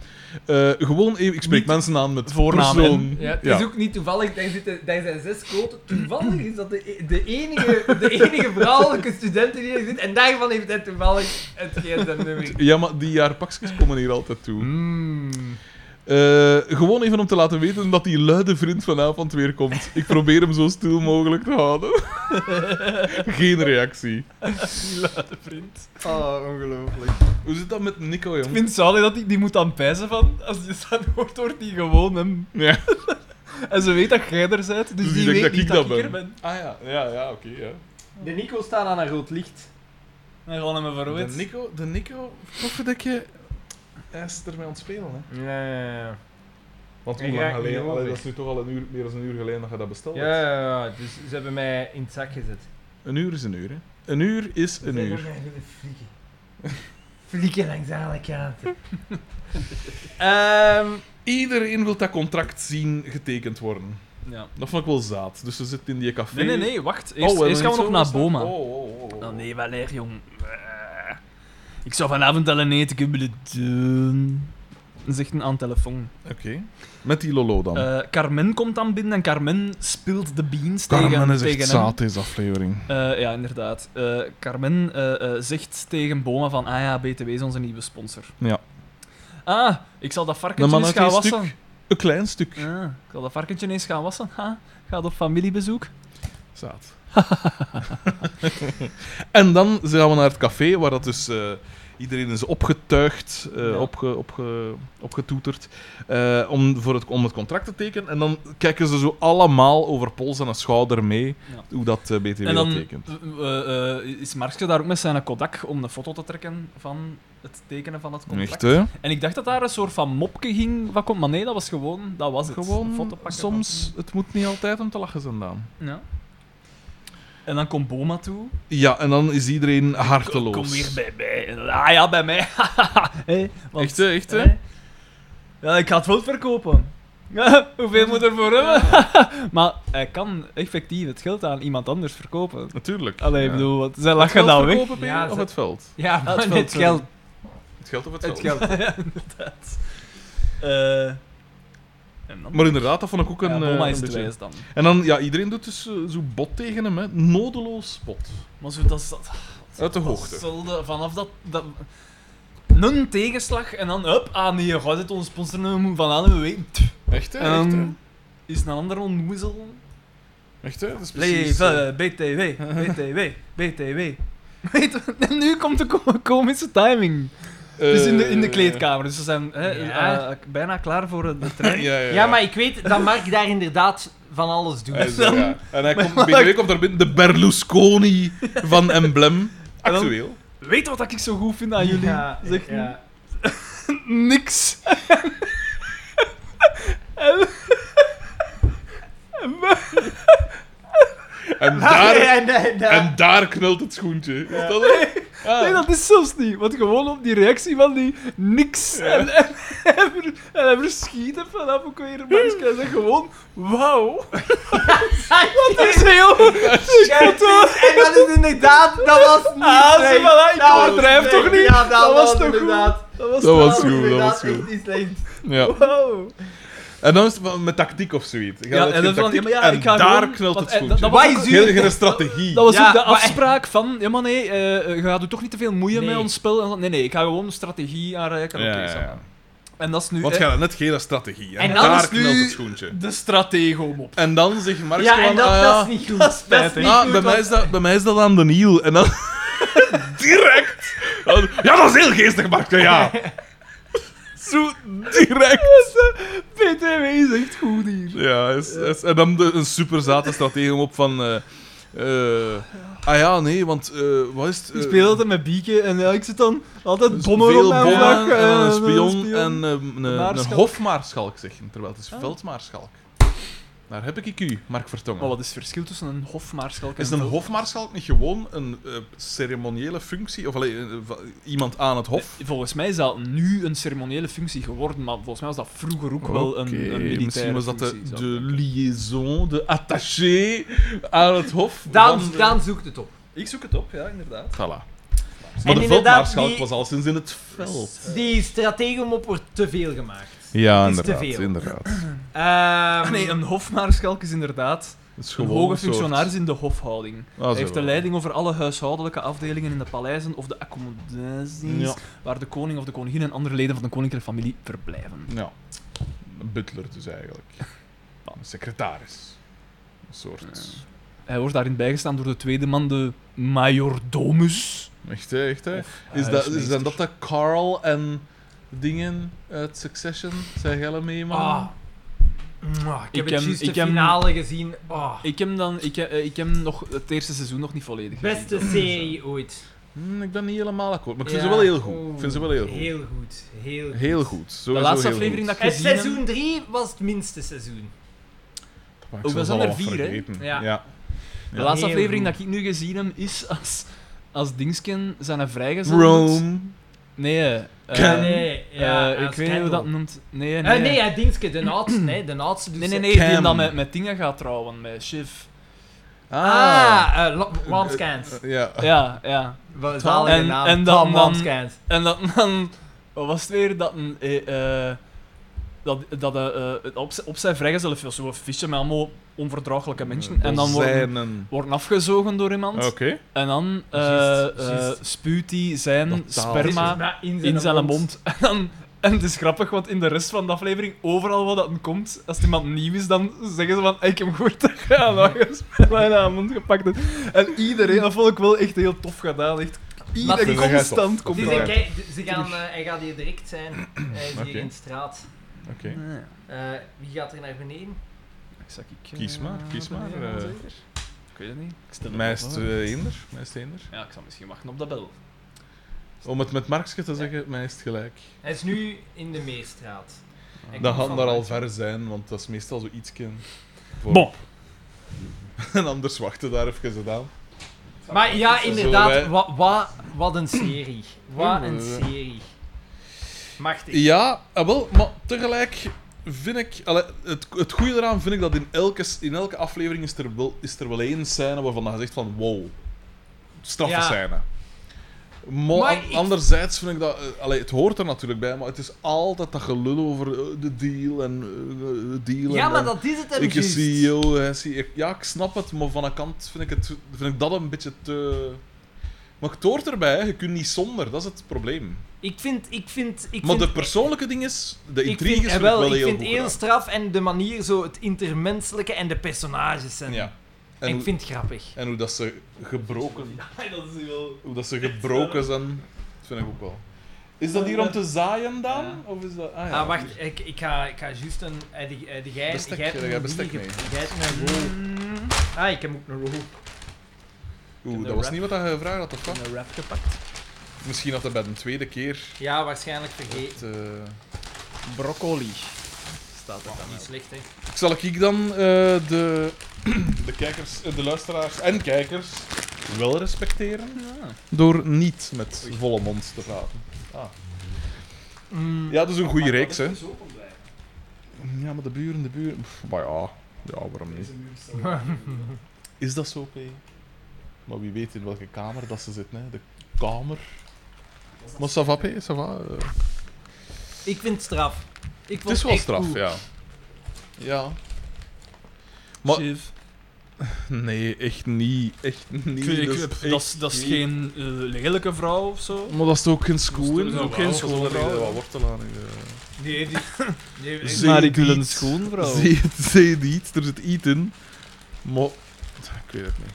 B: Eh, gewoon even, ik spreek
C: Niet
B: mensen aan met
C: voornaam
B: persoon.
A: Ja, het
B: Ja.
A: is ook niet toevallig, daar, zitten, daar zijn zes koten. Toevallig is dat de, e- de, enige, de enige vrouwelijke student die hier zit. En daarvan heeft hij toevallig het gsm-nummer.
B: Ja, maar die jaarpakjes komen hier altijd toe.
C: Hmm.
B: Eh, gewoon even om te laten weten dat die luide vriend vanavond weer komt. Ik probeer hem zo stil mogelijk te houden. <laughs> Geen reactie.
C: vriend.
E: Oh, ongelooflijk.
B: Hoe zit dat met Nico,
C: Ik
B: jong?
C: vind het zalig dat die, die moet dan pijzen van. Als je dat hoort, hoort die gewoon hem.
B: Ja.
C: En ze weet dat jij er bent, dus,
B: Dus die
C: die,
B: denkt
C: weet
B: dat
C: niet
B: ik
C: dat,
B: dat
C: ik er
B: ben.
C: ben.
B: Ah ja, ja, ja oké. ja.
A: De Nico staat aan een rood licht.
C: En gewoon hem
B: De
C: verwijt.
B: Nico, de Nico, pofferdekje, hij is ermee aan het spelen, hè.
A: Ja, ja, ja.
B: Want
A: Ik
B: hoe lang
A: raak niet
B: geleden,
A: over.
B: allee, dat is nu toch al een uur, meer dan een uur geleden dat je dat besteld hebt.
A: Ja, ja, ja. Dus ze hebben mij in het zak gezet.
B: Een uur is een uur, hè. Een uur is een uur.
A: Flikken. Flikken langs alle kanten. Ehm,
B: Iedereen wil dat contract zien getekend worden.
C: Ja.
B: Dat vond ik wel zaad. Dus ze zitten in die café.
C: Nee, nee, nee, wacht.
B: Oh,
C: Eerst,
B: hebben
C: eerst gaan we nog
B: iets
C: naar
B: overstaan?
C: Boma.
B: Oh, oh, oh, oh.
C: Oh nee, Valer, jong. Eh, Ik zou vanavond al een eten kunnen doen. Zegt een aan de telefoon.
B: Oké. Met die Lolo dan.
C: Eh, Carmen komt dan binnen en Carmen speelt de beans
B: Carmen
C: tegen,
B: is echt
C: tegen hem.
B: zaad, deze aflevering.
C: Eh, ja, inderdaad. Eh, Carmen eh, eh, zegt tegen Boma van, ah ja, BTW is onze nieuwe sponsor.
B: Ja.
C: Ah, ik zal dat
B: De
C: varkentje
B: man
C: eens
B: uit
C: gaan
B: die
C: wassen.
B: Een klein stuk.
C: Ja, ik zal dat varkentje eens gaan wassen. Ha, gaat op familiebezoek.
B: Zaad. <laughs> en dan gaan we naar het café, waar dat dus eh, iedereen is opgetuigd, eh,
C: Ja.
B: opge, opge, opgetoeterd, eh, om, voor het, om het contract te tekenen. En dan kijken ze zo allemaal over pols en schouder mee
C: Ja.
B: hoe dat eh, BTW
C: En dan
B: dat tekent.
C: eh, eh, is Markske daar ook met zijn Kodak om een foto te trekken van het tekenen van het contract.
B: Echt, hè?
C: En ik dacht dat daar een soort van mopje ging van komt, maar nee, dat was gewoon, dat was het. Een foto
B: Gewoon,
C: pakken
B: soms, het moet niet altijd om te lachen zijn, Daan.
C: van- Ja. En dan komt Boma toe.
B: Ja, en dan is iedereen
C: Kom,
B: harteloos.
C: kom weer bij mij. En dan, Ah ja, bij mij. <laughs> Hé, want-
B: Echt, hè? Echt, hè?
C: Hé. Ja, ik ga het wel verkopen. <laughs> Hoeveel moet er voor hebben? <laughs> maar hij kan effectief het geld aan iemand anders verkopen.
B: Natuurlijk.
C: Allee, ik
B: Ja.
C: bedoel, want zij
B: Het
C: lachen
B: geld
C: dan weg.
B: verkopen,
A: Ja,
B: Peter, of
A: ze-
B: het veld?
A: ja,
C: het
A: maar
C: valt
A: het
C: wel.
A: geld.
B: Het geld of het
E: Het
B: veld?
E: geld.
C: ja, inderdaad. Eh, en dan?
B: Maar inderdaad, dat vond ik ook een,
C: ja,
B: eh,
C: Boma
B: een
C: is het
B: beetje-
C: wijs dan.
B: En dan, ja, iedereen doet dus eh, zo bot tegen hem, hè. Nodeloos bot.
C: Maar zo, dat is dat...
B: Uit de
C: dat
B: hoogte.
C: zulde- vanaf dat... dat een tegenslag en dan, hup, ah nee, gaat het ons sponsoren, we moeten van aan, we weten. Tch.
B: Echt, hè?
C: En
B: Echt, hè?
C: dan is een ander ontmoezel.
B: Echt, hè? Dat is precies... eh,
C: Leven, BTW, <laughs> BTW, BTW. Weet je, <laughs> en nu komt de ko- komische timing. dus in de, in de
B: eh,
C: kleedkamer, dus ze zijn hè,
A: Ja.
C: eh, bijna klaar voor eh, de
B: Ja,
C: training.
B: ja, ja.
A: Ja, maar ik weet dat Mark daar inderdaad van alles doet.
B: Hij is
C: <laughs>
B: er, ja. En hij komt,
C: Maar-
B: BTW komt daar binnen, de Berlusconi
C: <laughs>
B: van Emblem.
C: En dan-
B: Actueel.
C: Weet wat ik zo goed vind aan jullie?
A: Ja,
C: zegt
A: ja.
C: hij. niks.
A: Ah,
B: En
C: <laughs>
B: daar,
A: ja, nee, nee.
B: en daar knelt het schoentje. Is dat het? Ah.
C: Nee, dat is zelfs niet. Want gewoon op die reactie van die niks. En, en, hij ver- en hij verschiet er vanaf ook weer een masker. Hij zegt gewoon,
B: <laughs>
C: wauw. Dat is heel...
A: Ja, <laughs> en dat is inderdaad, dat was niet.
C: Ah, zie,
A: slecht.
C: voilà, ik
A: Dat was
C: overdrijf
A: niet
C: toch
A: slecht.
C: niet?
A: Ja, dat,
C: Dat was
A: was,
C: toch goed?
A: inderdaad.
C: Dat was,
B: Dat was goed,
C: wel-
B: dat
A: inderdaad
B: was goed.
A: echt niet slecht.
B: Ja.
C: Wauw.
A: Oh.
B: En dan is het wel met tactiek of zoiets. Gaat
C: Ja,
B: het
C: en
B: geen
C: dat is
B: tactiek?
C: wel- ja, maar ja,
B: en
C: ik ga
B: daar
C: gewoon-
B: knelt het
C: want, eh,
B: schoentje.
C: dat- dat was
B: Geen-
C: ook-
B: Geen, strategie.
C: Dat was
A: Ja,
C: ook de
A: maar-
C: afspraak van, ja maar nee, eh, eh, je gaat u toch niet te veel moeien
A: Nee.
C: met ons spel. En dan- Nee, nee, ik ga gewoon een strategie aanreiken.
B: Ja,
C: Oké,
B: ja,
C: zo.
B: ja.
C: En dat is nu
B: Want
C: eh,
B: je had net geen strategie. En,
A: En dan
B: daar
A: is nu-
B: knelt het schoentje.
C: de stratego-mop.
B: En dan zegt Marx
A: Ja,
B: gewoon,
A: en dat,
B: ah,
A: dat is niet goed. Dat is
C: spijtig.
A: niet
B: ah,
A: goed,
B: bij, mij
A: want-
B: is dat, bij mij is dat aan de Niel. En dan... <laughs> direct! Ja, dat is heel geestig, Mark. Ja. Zo
C: <laughs>
B: direct.
C: PTW is echt goed hier.
B: Ja, is, is- en dan de, een super zate stratege op van... eh, Eh, ah ja, nee, want eh, wat is het?
C: Ik
B: eh,
C: speel altijd met bieken en ja, ik zit dan altijd bommen
B: Dus veel
C: op mijn
B: bommen
C: vlak.
B: en
C: eh,
B: een spion, en eh, een, een,
C: maarschalk.
B: hofmaarschalk zeggen, terwijl het is
C: Ah.
B: veldmaarschalk. Daar heb ik u, Mark Vertongen.
C: Maar wat is het verschil tussen een hofmaarschalk en
B: Is een
C: veld-
B: hofmaarschalk niet gewoon een eh, ceremoniële functie? Of allee, eh, va- iemand aan het hof?
C: Eh, Volgens mij is dat nu een ceremoniële functie geworden, maar volgens mij was dat vroeger ook wel een,
B: Oké,
C: een militaire
B: Misschien was dat de,
C: functie, zou
B: de
C: ik denken.
B: liaison, de attaché aan het hof.
A: Daan,
B: van de-
A: Daan zoekt het op.
C: Ik zoek het op, ja, inderdaad.
B: Voilà. Maar
A: En
B: de
A: inderdaad,
B: veldmaarschalk
A: die-
B: was al sinds in het veld.
A: Die strategum op wordt te veel gemaakt.
B: Ja,
A: Het is te
B: inderdaad.
A: veel.
B: inderdaad.
A: Ehm,
C: Ah, nee, een hofmaarschalk is inderdaad
B: Het is
C: een
B: gewoon
C: hoge
B: een soort-
C: functionaris in de hofhouding.
B: Ah, zo
C: Hij heeft de
B: wel.
C: leiding over alle huishoudelijke afdelingen in de paleizen of de accommodaties
B: Ja.
C: waar de koning of de koningin en andere leden van de koninklijke familie verblijven.
B: Ja. Een butler dus eigenlijk. <laughs> Een secretaris. Een soort...
C: Hij wordt daarin bijgestaan door de tweede man, de majordomus.
B: Echt, hè? Echt, hè?
C: Of eh,
B: Is dat, is,
C: huismeester.
B: zijn dat de Carl en dingen uit Succession? Zijn jij mee, man?
A: Ah. Mwah, ik heb
C: Ik
A: het
C: heb-
A: juist
C: ik
A: de
C: heb-
A: finale gezien. Ah,
C: Ik heb, dan, ik, heb, eh, ik heb nog het eerste seizoen nog niet volledig gezien.
A: beste serie ooit.
B: Hm, ik ben niet helemaal akkoord, maar ik vind
A: Ja,
B: ze wel heel goed.
A: oeh,
B: Ik vind ze wel heel goed.
A: Heel goed. Heel goed.
B: Heel goed. Sowieso
C: De laatste
B: heel
C: aflevering dat
B: goed.
C: ik
A: Het
C: gezien heb-
A: seizoen 3 was het minste seizoen.
B: Maar ik zal
C: Oh, we
B: ze
C: zijn
B: al
C: er vier, hè?
B: vergeten.
A: Ja.
B: ja.
C: De laatste
A: Heel
C: aflevering
A: goed.
C: dat ik nu gezien heb is als, als Dingsken zijn hij vrijgezet.
B: Rome.
C: Nee, eh,
B: Ken-
C: eh,
A: nee, ja,
C: ik
A: als
C: weet niet hoe dat
A: Kendall.
C: noemt. Nee,
A: Eh,
C: nee.
A: nee, ja, Dingske, de
C: <clears throat>
A: oudste. nee, de oudste doet
C: nee, nee,
A: ze-
C: nee, die
B: Cam.
C: dan met, met dingen gaat trouwen, met Shiv.
A: Ah, eh, Lo- Lamskant.
C: Ah.
B: Eh, Ja.
C: Ja, ja.
A: Wat
C: Tom.
A: zalige
C: En-
A: naam.
C: en dan-
A: Tom
C: dan-
A: Lamskant.
C: En dat dan... Wat was het weer? Dat een... eh, eh, dat, dat eh, eh, op, zijn- op zijn vrijgezellen veel zo'n visje met allemaal onverdraaglijke
B: Mm,
C: mensen. En
B: dus
C: dan worden,
B: Dozijnen.
C: worden afgezogen door iemand.
B: Oké.
C: En dan eh
B: Oh. Juist,
C: eh,
B: juist.
C: spuwt hij zijn
B: Dat taal.
C: sperma...
A: in
C: in zijn mond. <laughs> En, dan, en het is grappig, want in de rest van de aflevering, overal wat dat komt, als er iemand nieuw is, dan zeggen ze van, "Hey, ik heb gehoord dat je aan mijn mond gepakt hebt. En iedereen, dat vond ik wel echt heel tof gedaan. Echt,
A: Maar
C: iedereen
A: vind
B: jij
C: constant
B: tof?
C: komt
A: Die
B: Vind
A: zijn,
C: daar.
B: jij-
A: kijk, ze gaan, eh, hij gaat hier direct
C: <clears throat>
A: zijn. Hij is hier
B: Oké.
A: in de straat.
B: Oké.
A: Eh, wie gaat er naar beneden?
C: Zal ik, eh,
B: Kies maar, kies
C: naar
B: maar,
C: beneden gaan,
B: eh.
C: zeker? Ik weet het niet. Ik stel het
B: Meist
C: wel.
B: eh, eender. Meist eender.
C: Ja, ik zal misschien wachten op dat bel.
B: Om het met Markske te zeggen, meist gelijk.
A: Hij is nu in de Meerstraat. Hij
B: Dan
A: komt
B: gaan
A: van
B: daar al
A: buiten.
B: ver zijn, want dat is meestal zoiets.
C: Bon.
B: <laughs> En anders wachten daar even aan.
A: Maar ja,
B: Zullen
A: inderdaad,
B: wij-
A: wat, wat, wat een serie. Wat een
B: Eh.
A: serie. Machtig.
B: Ja, ah, wel, maar tegelijk vind ik. allee, het, het goede eraan vind ik dat in elke, in elke aflevering is er, wel, is er wel één scène waarvan je zegt van wow. Straffe
A: Ja.
B: scène. Maar,
A: Maar
B: an-
A: ik-
B: anderzijds vind ik dat... eh, allee, het hoort er natuurlijk bij, maar het is altijd dat gelul over eh, de deal en eh, de deal.
A: Ja,
B: en-
A: maar
B: en-
A: dat is het hem
B: Ik is
A: juist.
C: eh,
B: CEO, hij is CEO. Ja, ik snap het, maar van een kant vind ik, het, vind ik dat een beetje te. Maar het hoort erbij, hè. je kunt niet zonder, dat is het probleem.
A: Ik vind, ik vind, ik
B: maar
A: vind,
B: de persoonlijke ding is, de
A: ik
B: intrigue
A: vind,
B: is
A: eh,
B: vind ik wel,
A: ik
B: heel
A: vind
B: goed.
A: heel
B: gedaan.
A: straf en de manier zo het intermenselijke en de personages zijn.
B: ja. En,
A: En ik
B: hoe,
A: vind het grappig.
B: <laughs> en hoe dat ze gebroken,
C: dat is wel...
B: hoe dat ze gebroken zijn, dat vind ik ook wel. Is dat hier om te zaaien, dan? Of is dat... Ah, ja.
A: Ah, wacht, ik, ik ga, ik ga juist een. eh, die- eh, die gij-
B: Bestek,
A: jij hebt
B: ja,
A: een
B: jij bestek
A: bier,
B: mee.
A: jij hebt een roll. Ah, ik heb ook een roll.
B: Oeh,
C: de
B: dat was
C: rap.
B: niet wat hij gevraagd had, of wat?
C: een rap gepakt.
B: Misschien had hij bij de tweede keer
A: Ja, waarschijnlijk vergeten.
B: het... eh,
C: Broccoli. Staat er
A: Niet
C: dan
A: slecht, hè?
B: Zal ik dan eh, de, <clears throat> de kijkers, eh, de luisteraars en kijkers wel respecteren?
C: Ja.
B: Door niet met volle mond te praten.
A: Mm.
B: Ja, dat is een goede reeks, hè? Ja, maar de buren, de buren. Pff, Maar ja, ja, waarom niet? <laughs> Is dat zo, P? Maar wie weet in welke kamer dat ze zitten, hè? De kamer. Maar ça va, P? Ça va? eh.
A: Ik vind het straf. Ik
B: Het
A: vond
B: is wel
A: echt
B: straf,
A: goed.
B: ja. Ja. Maar-
C: Shiv.
B: Nee, echt niet. Echt niet.
C: Ik,
B: Dat is
C: ik-
B: echt
C: dat is, dat is
B: niet.
C: geen eh, lelijke vrouw of zo.
B: Maar dat is toch ook geen schoen?
C: Dat is toch ook geen schoen,
B: Dat is
C: vrouw?
B: wel wat wortel aan.
A: Nee,
B: <laughs>
A: die. nee,
B: Ze-
A: ik-
B: Maar ik wil een
C: schoonvrouw.
B: Zie het, zie het niet, er zit iets in. Maar... Ik weet het niet.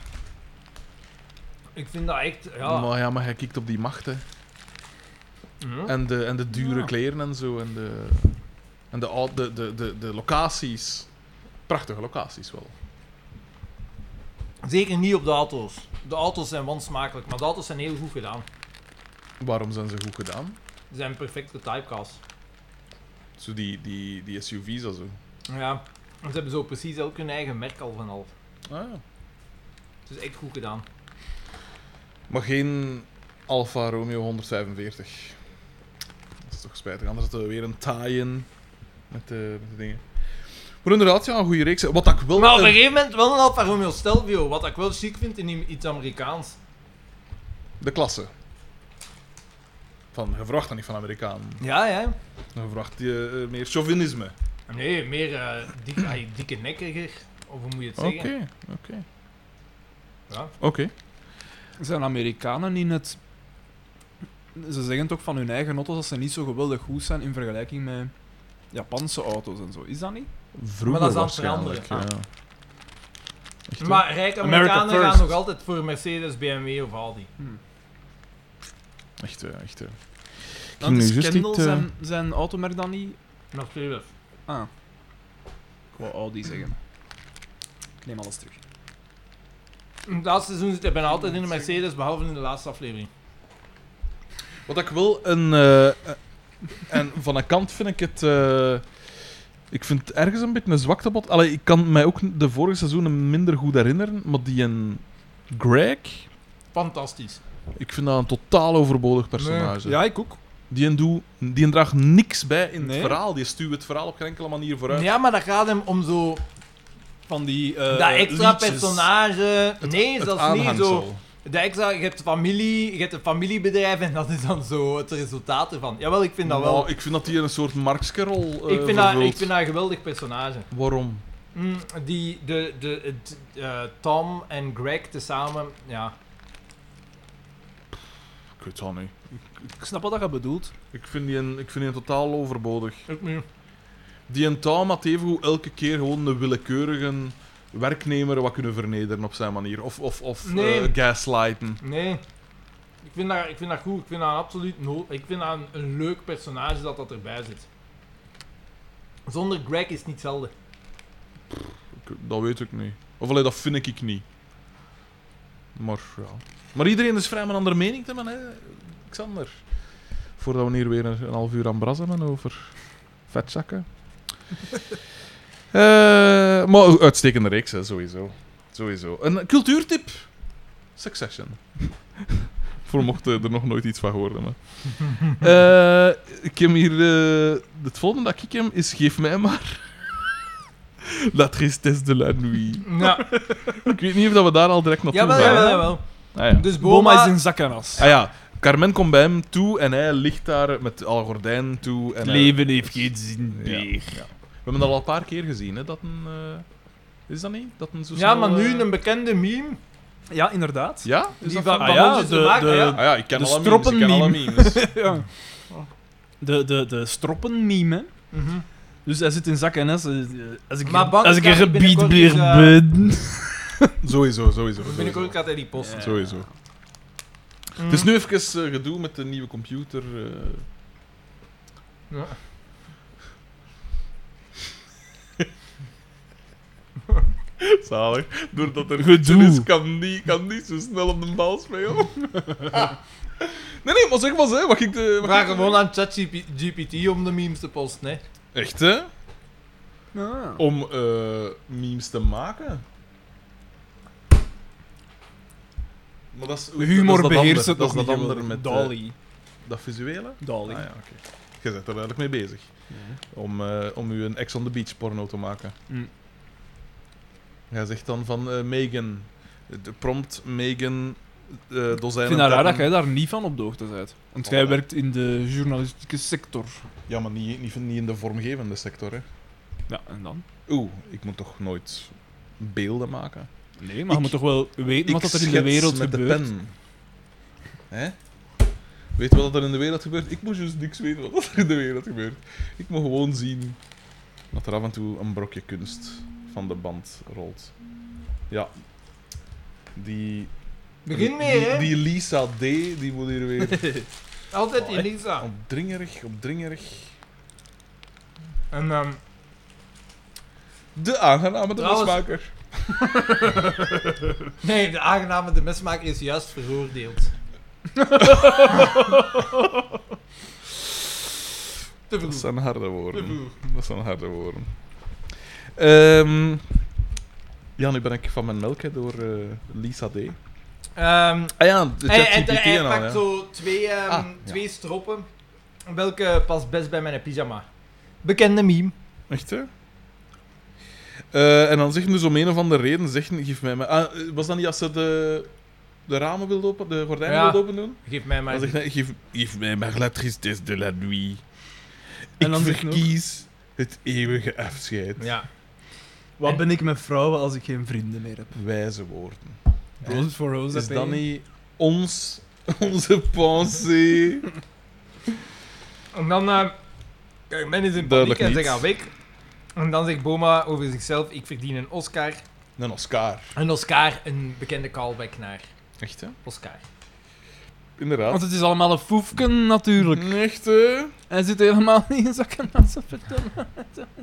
A: ik vind dat echt. Ja.
B: Maar ja, maar hij kijkt op die macht, hè.
A: Mhm.
B: En de, en de dure
C: Ja.
B: kleren en zo. En de, en de, oud- de, de, de, de locaties. Prachtige locaties wel.
A: Zeker niet op de auto's. De auto's zijn wansmakelijk, maar de auto's zijn heel goed gedaan.
B: Waarom zijn ze goed gedaan?
A: Ze zijn perfect getypecast.
B: Zo die, die, die SUV's en zo.
A: Ja, ze hebben zo precies ook hun eigen merk al van al.
B: Ah, ja.
A: Het is echt goed gedaan.
B: Maar geen Alfa Romeo 145. Dat is toch spijtig. Anders hadden we weer een taai in met de, met de dingen. Maar inderdaad, ja, een goede reeks. Wat ik wil...
A: Maar op een
B: eh,
A: gegeven moment wel een Alfa Romeo Stelvio, wat ik wel chic vind in iets Amerikaans.
B: De klasse. Van, je verwacht dat niet van Amerikaan.
A: Ja, ja.
B: Je verwacht je eh, meer chauvinisme.
A: Nee, meer eh, dik, ay, dikke nekkeriger. Of hoe moet je het zeggen?
B: oké.
A: Ja.
B: Oké.
C: Zijn Amerikanen in het. Ze zeggen toch van hun eigen auto's dat ze niet zo geweldig goed zijn in vergelijking met Japanse auto's en zo. Is dat niet?
B: Vroeger
A: Maar dat is aan het waarschijnlijk, veranderen. Maar rijke
C: America
A: Amerikanen gaan
C: first.
A: nog altijd voor Mercedes, BMW of Audi.
B: Echt, echt.
C: Dan is
B: nu juist
C: Kendall
B: niet, eh,
C: zijn, zijn automerk dan niet.
A: Natuurlijk.
C: Ah. Ik wou Audi zeggen. Ik neem alles terug.
A: Het laatste seizoen zit ik bijna altijd in de Mercedes, behalve in de laatste aflevering.
B: Wat ik wil, een. eh, eh, en van een kant vind ik het. eh, ik vind het ergens een beetje een zwakte bot. Allee, ik kan mij ook de vorige seizoenen minder goed herinneren. Maar die een Greg.
A: Fantastisch.
B: Ik vind dat een totaal overbodig personage.
C: Ja, ik ook.
B: Die, een doe, die een draagt niks bij in
C: Nee.
B: het verhaal. Die stuwt het verhaal op geen enkele manier vooruit. Eh,
A: Ja, maar dat gaat hem om zo
C: Van die. eh
A: dat extra
C: liedjes.
A: personage. nee,
B: Het
A: zelfs niet zo.
B: aanhangsel.
A: Dat extra, je hebt familie, je hebt een familiebedrijf en dat is dan zo het resultaat ervan. Jawel, ik vind dat wel.
B: Nou, ik vind dat die een soort Marx-kerol.
C: Nou,
A: ik, vind
C: eh,
A: dat, ik vind dat een geweldig personage.
B: Waarom?
A: Mm, die, de, de, het, eh, Tom en Greg tezamen, ja.
B: Ik weet het al niet.
C: Ik snap wat je bedoelt.
B: Ik vind die een, ik vind die een totaal overbodig.
A: Ik niet.
B: Die een taal had evengoed elke keer gewoon een willekeurige werknemer wat kunnen vernederen op zijn manier. Of, of, of
A: Nee.
B: eh, gaslighten.
A: Nee. Ik vind, dat, ik vind dat goed. Ik vind dat een absoluut no Ik vind dat een, een leuk personage dat dat erbij zit. Zonder Greg is het niet hetzelfde.
B: Ik- Dat weet ik niet. Of alleen dat vind ik niet. Maar ja. Maar iedereen is vrij om een andere mening te hebben, hè, Xander. Voordat we hier weer een, een half uur aan brassen hebben over vetzakken. Eh, maar een uitstekende reeks, hè, sowieso. Sowieso. Een cultuurtip: Succession. <laughs> Voor mocht eh, er nog nooit iets van gehoord hebben. Eh, ik heb hier. eh, het volgende dat ik heb is: geef mij maar. <laughs> La tristesse de la nuit.
A: Ja,
B: <laughs> Ik weet niet of dat we daar al direct naartoe
A: jawel,
B: gaan.
A: jawel, jawel.
B: Ah, ja.
A: Dus
C: Boma
A: Boma,
C: is een zakkenas.
B: Ah ja, Carmen komt bij hem toe en hij ligt daar met alle gordijnen toe. En hij-
C: heeft geen zin
B: Ja. We hebben dat al een paar keer gezien, hè? Dat een, eh, Is dat niet? Dat een zo
A: Ja,
B: snel,
A: maar nu
B: eh,
A: een bekende meme.
C: Ja, inderdaad.
B: Ja? Is
A: Die
B: dat
A: van,
B: van-
A: van
C: Ah ja,
A: ons is
C: de-
A: gemaakt.
C: de-
A: Ah ja.
B: Ah ja, ik ken
C: De
B: alle memes. Ik ken alle
A: <laughs>
B: memes.
C: Ja. De, de, de stroppenmeme, hè.
A: Mhm.
C: Dus hij zit in zak en as. eh, Als ik,
A: Maar Bank
C: als ik een
A: gaat
C: gebied
A: binnenkort
C: weer
A: eens, eh,
C: ben.
B: sowieso, sowieso.
A: Binnenkort gaat hij die posten.
B: Sowieso.
A: Mm.
B: Het is nu even eh, gedoe met de nieuwe computer. eh.
A: Ja.
B: <laughs> Zalig. Doordat er
C: Gedoe.
B: gedoe is, kan die, kan die zo snel op de bal spelen.
C: <laughs>
B: nee, nee, maar zeg maar eens, wat ik de... wat
A: Vraag
B: ik-
A: gewoon aan ChatGPT om de memes te posten, hè.
B: Echt, hè?
C: Ah.
B: Om eh, memes te maken? Maar dat is,
C: Humor
B: dat is dat
C: beheerst het
B: ander.
C: nog
B: Dat is
C: niet.
B: dat ander
C: hè.
B: met eh,
C: Dolly.
B: dat visuele?
C: Dolly.
B: Ah ja, oké. Je bent er duidelijk mee bezig. Om, eh, om u een ex on the beach porno te maken.
C: Mm.
B: Jij zegt dan van eh, Megan. De prompt Megan. eh
C: Ik
B: dozijnen
C: vind het raar dat
B: tappen.
C: jij daar niet van op de hoogte bent. Want
B: Oh,
C: jij
B: ja.
C: werkt in de journalistieke sector.
B: Ja, maar niet, niet, niet in de vormgevende sector, hè.
C: Ja, en dan?
B: Oeh, ik moet toch nooit beelden maken?
C: Nee, maar
B: Ik-
C: je moet toch wel weten
B: Ik
C: wat er in de
B: schets
C: wereld
B: met
C: gebeurt.
B: de pen. Hè? Weet je wat er in de wereld gebeurt? Ik moest dus niks weten wat er in de wereld gebeurt. Ik moet gewoon zien dat er af en toe een brokje kunst van de band rolt. Ja. Die...
A: Begin
B: die-
A: mee, hè.
B: Die Lisa D, die moet hier
A: <laughs>
B: weer
A: Altijd
B: Oh, echt?
A: Elisa.
B: opdringerig, opdringerig...
A: En, ehm,
B: De aangename
A: Trouwens-
B: dansmaker.
A: Nee, de aanname de mesmaker is juist <laughs> veroordeeld. Te
B: Dat
A: vroeg.
B: zijn harde woorden.
A: vroeg.
B: Dat zijn harde woorden. Ehm, ja, nu ben ik van mijn melk hè, door eh, Lisa D.
A: Ehm,
B: Ah ja, de
A: hij, hij,
B: ChatGPT
A: eh, hij
B: en al,
A: pakt
B: ja.
A: zo twee, ehm,
B: Ah, ja.
A: twee stroppen. Welke past best bij mijn pyjama? Bekende meme.
B: Echt, hè? Eh, en dan zeggen dus om een of andere reden, zeggen, geef mij maar... Ah, eh, was dat niet als ze de, de ramen wilde open, de gordijnen
A: Ja.
B: wilde open doen?
A: Geef mij maar.
B: Dan zegt hij, geef, geef mij maar la tristesse de la nuit.
C: En
B: Ik
C: dan zegt hij ook-
B: verkies het eeuwige afscheid.
A: Ja.
C: Wat ben ik met vrouwen als ik geen vrienden meer heb?
B: Wijze woorden.
C: Roses for Roses.
B: Is
C: heb
B: dat
C: je?
B: niet ons, <laughs> onze pensée?
A: En dan... eh, kijk, men is in paniek
B: Duidelijk
A: en ze
B: niet.
A: gaan weg. En dan zegt Boma over zichzelf, ik verdien een Oscar.
B: Een Oscar.
A: Een Oscar, een bekende callback naar
B: Echt, hè?
A: Oscar.
B: Inderdaad.
C: Want het is allemaal een foefken, natuurlijk.
B: Echt, hè?
C: Hij zit helemaal <laughs> niet in zakken aan zijn vertellen.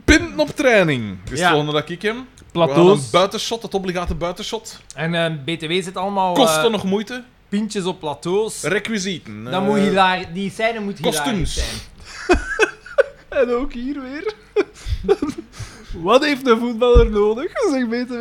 B: Pinten op training. Is
A: Ja.
B: het volgende dat ik hem. We gaan een
C: Plateaus.
B: buitenshot, het obligate buitenshot.
A: En eh, BTW zit allemaal eh,
B: Kosten nog moeite.
A: pintjes op plateaus.
B: Requisieten.
A: Dan
B: eh,
A: moet hilar- die scène moet hilarisch
B: kostuums.
A: zijn.
C: En ook hier weer. <laughs> Wat heeft een voetballer nodig? Zeg BTW.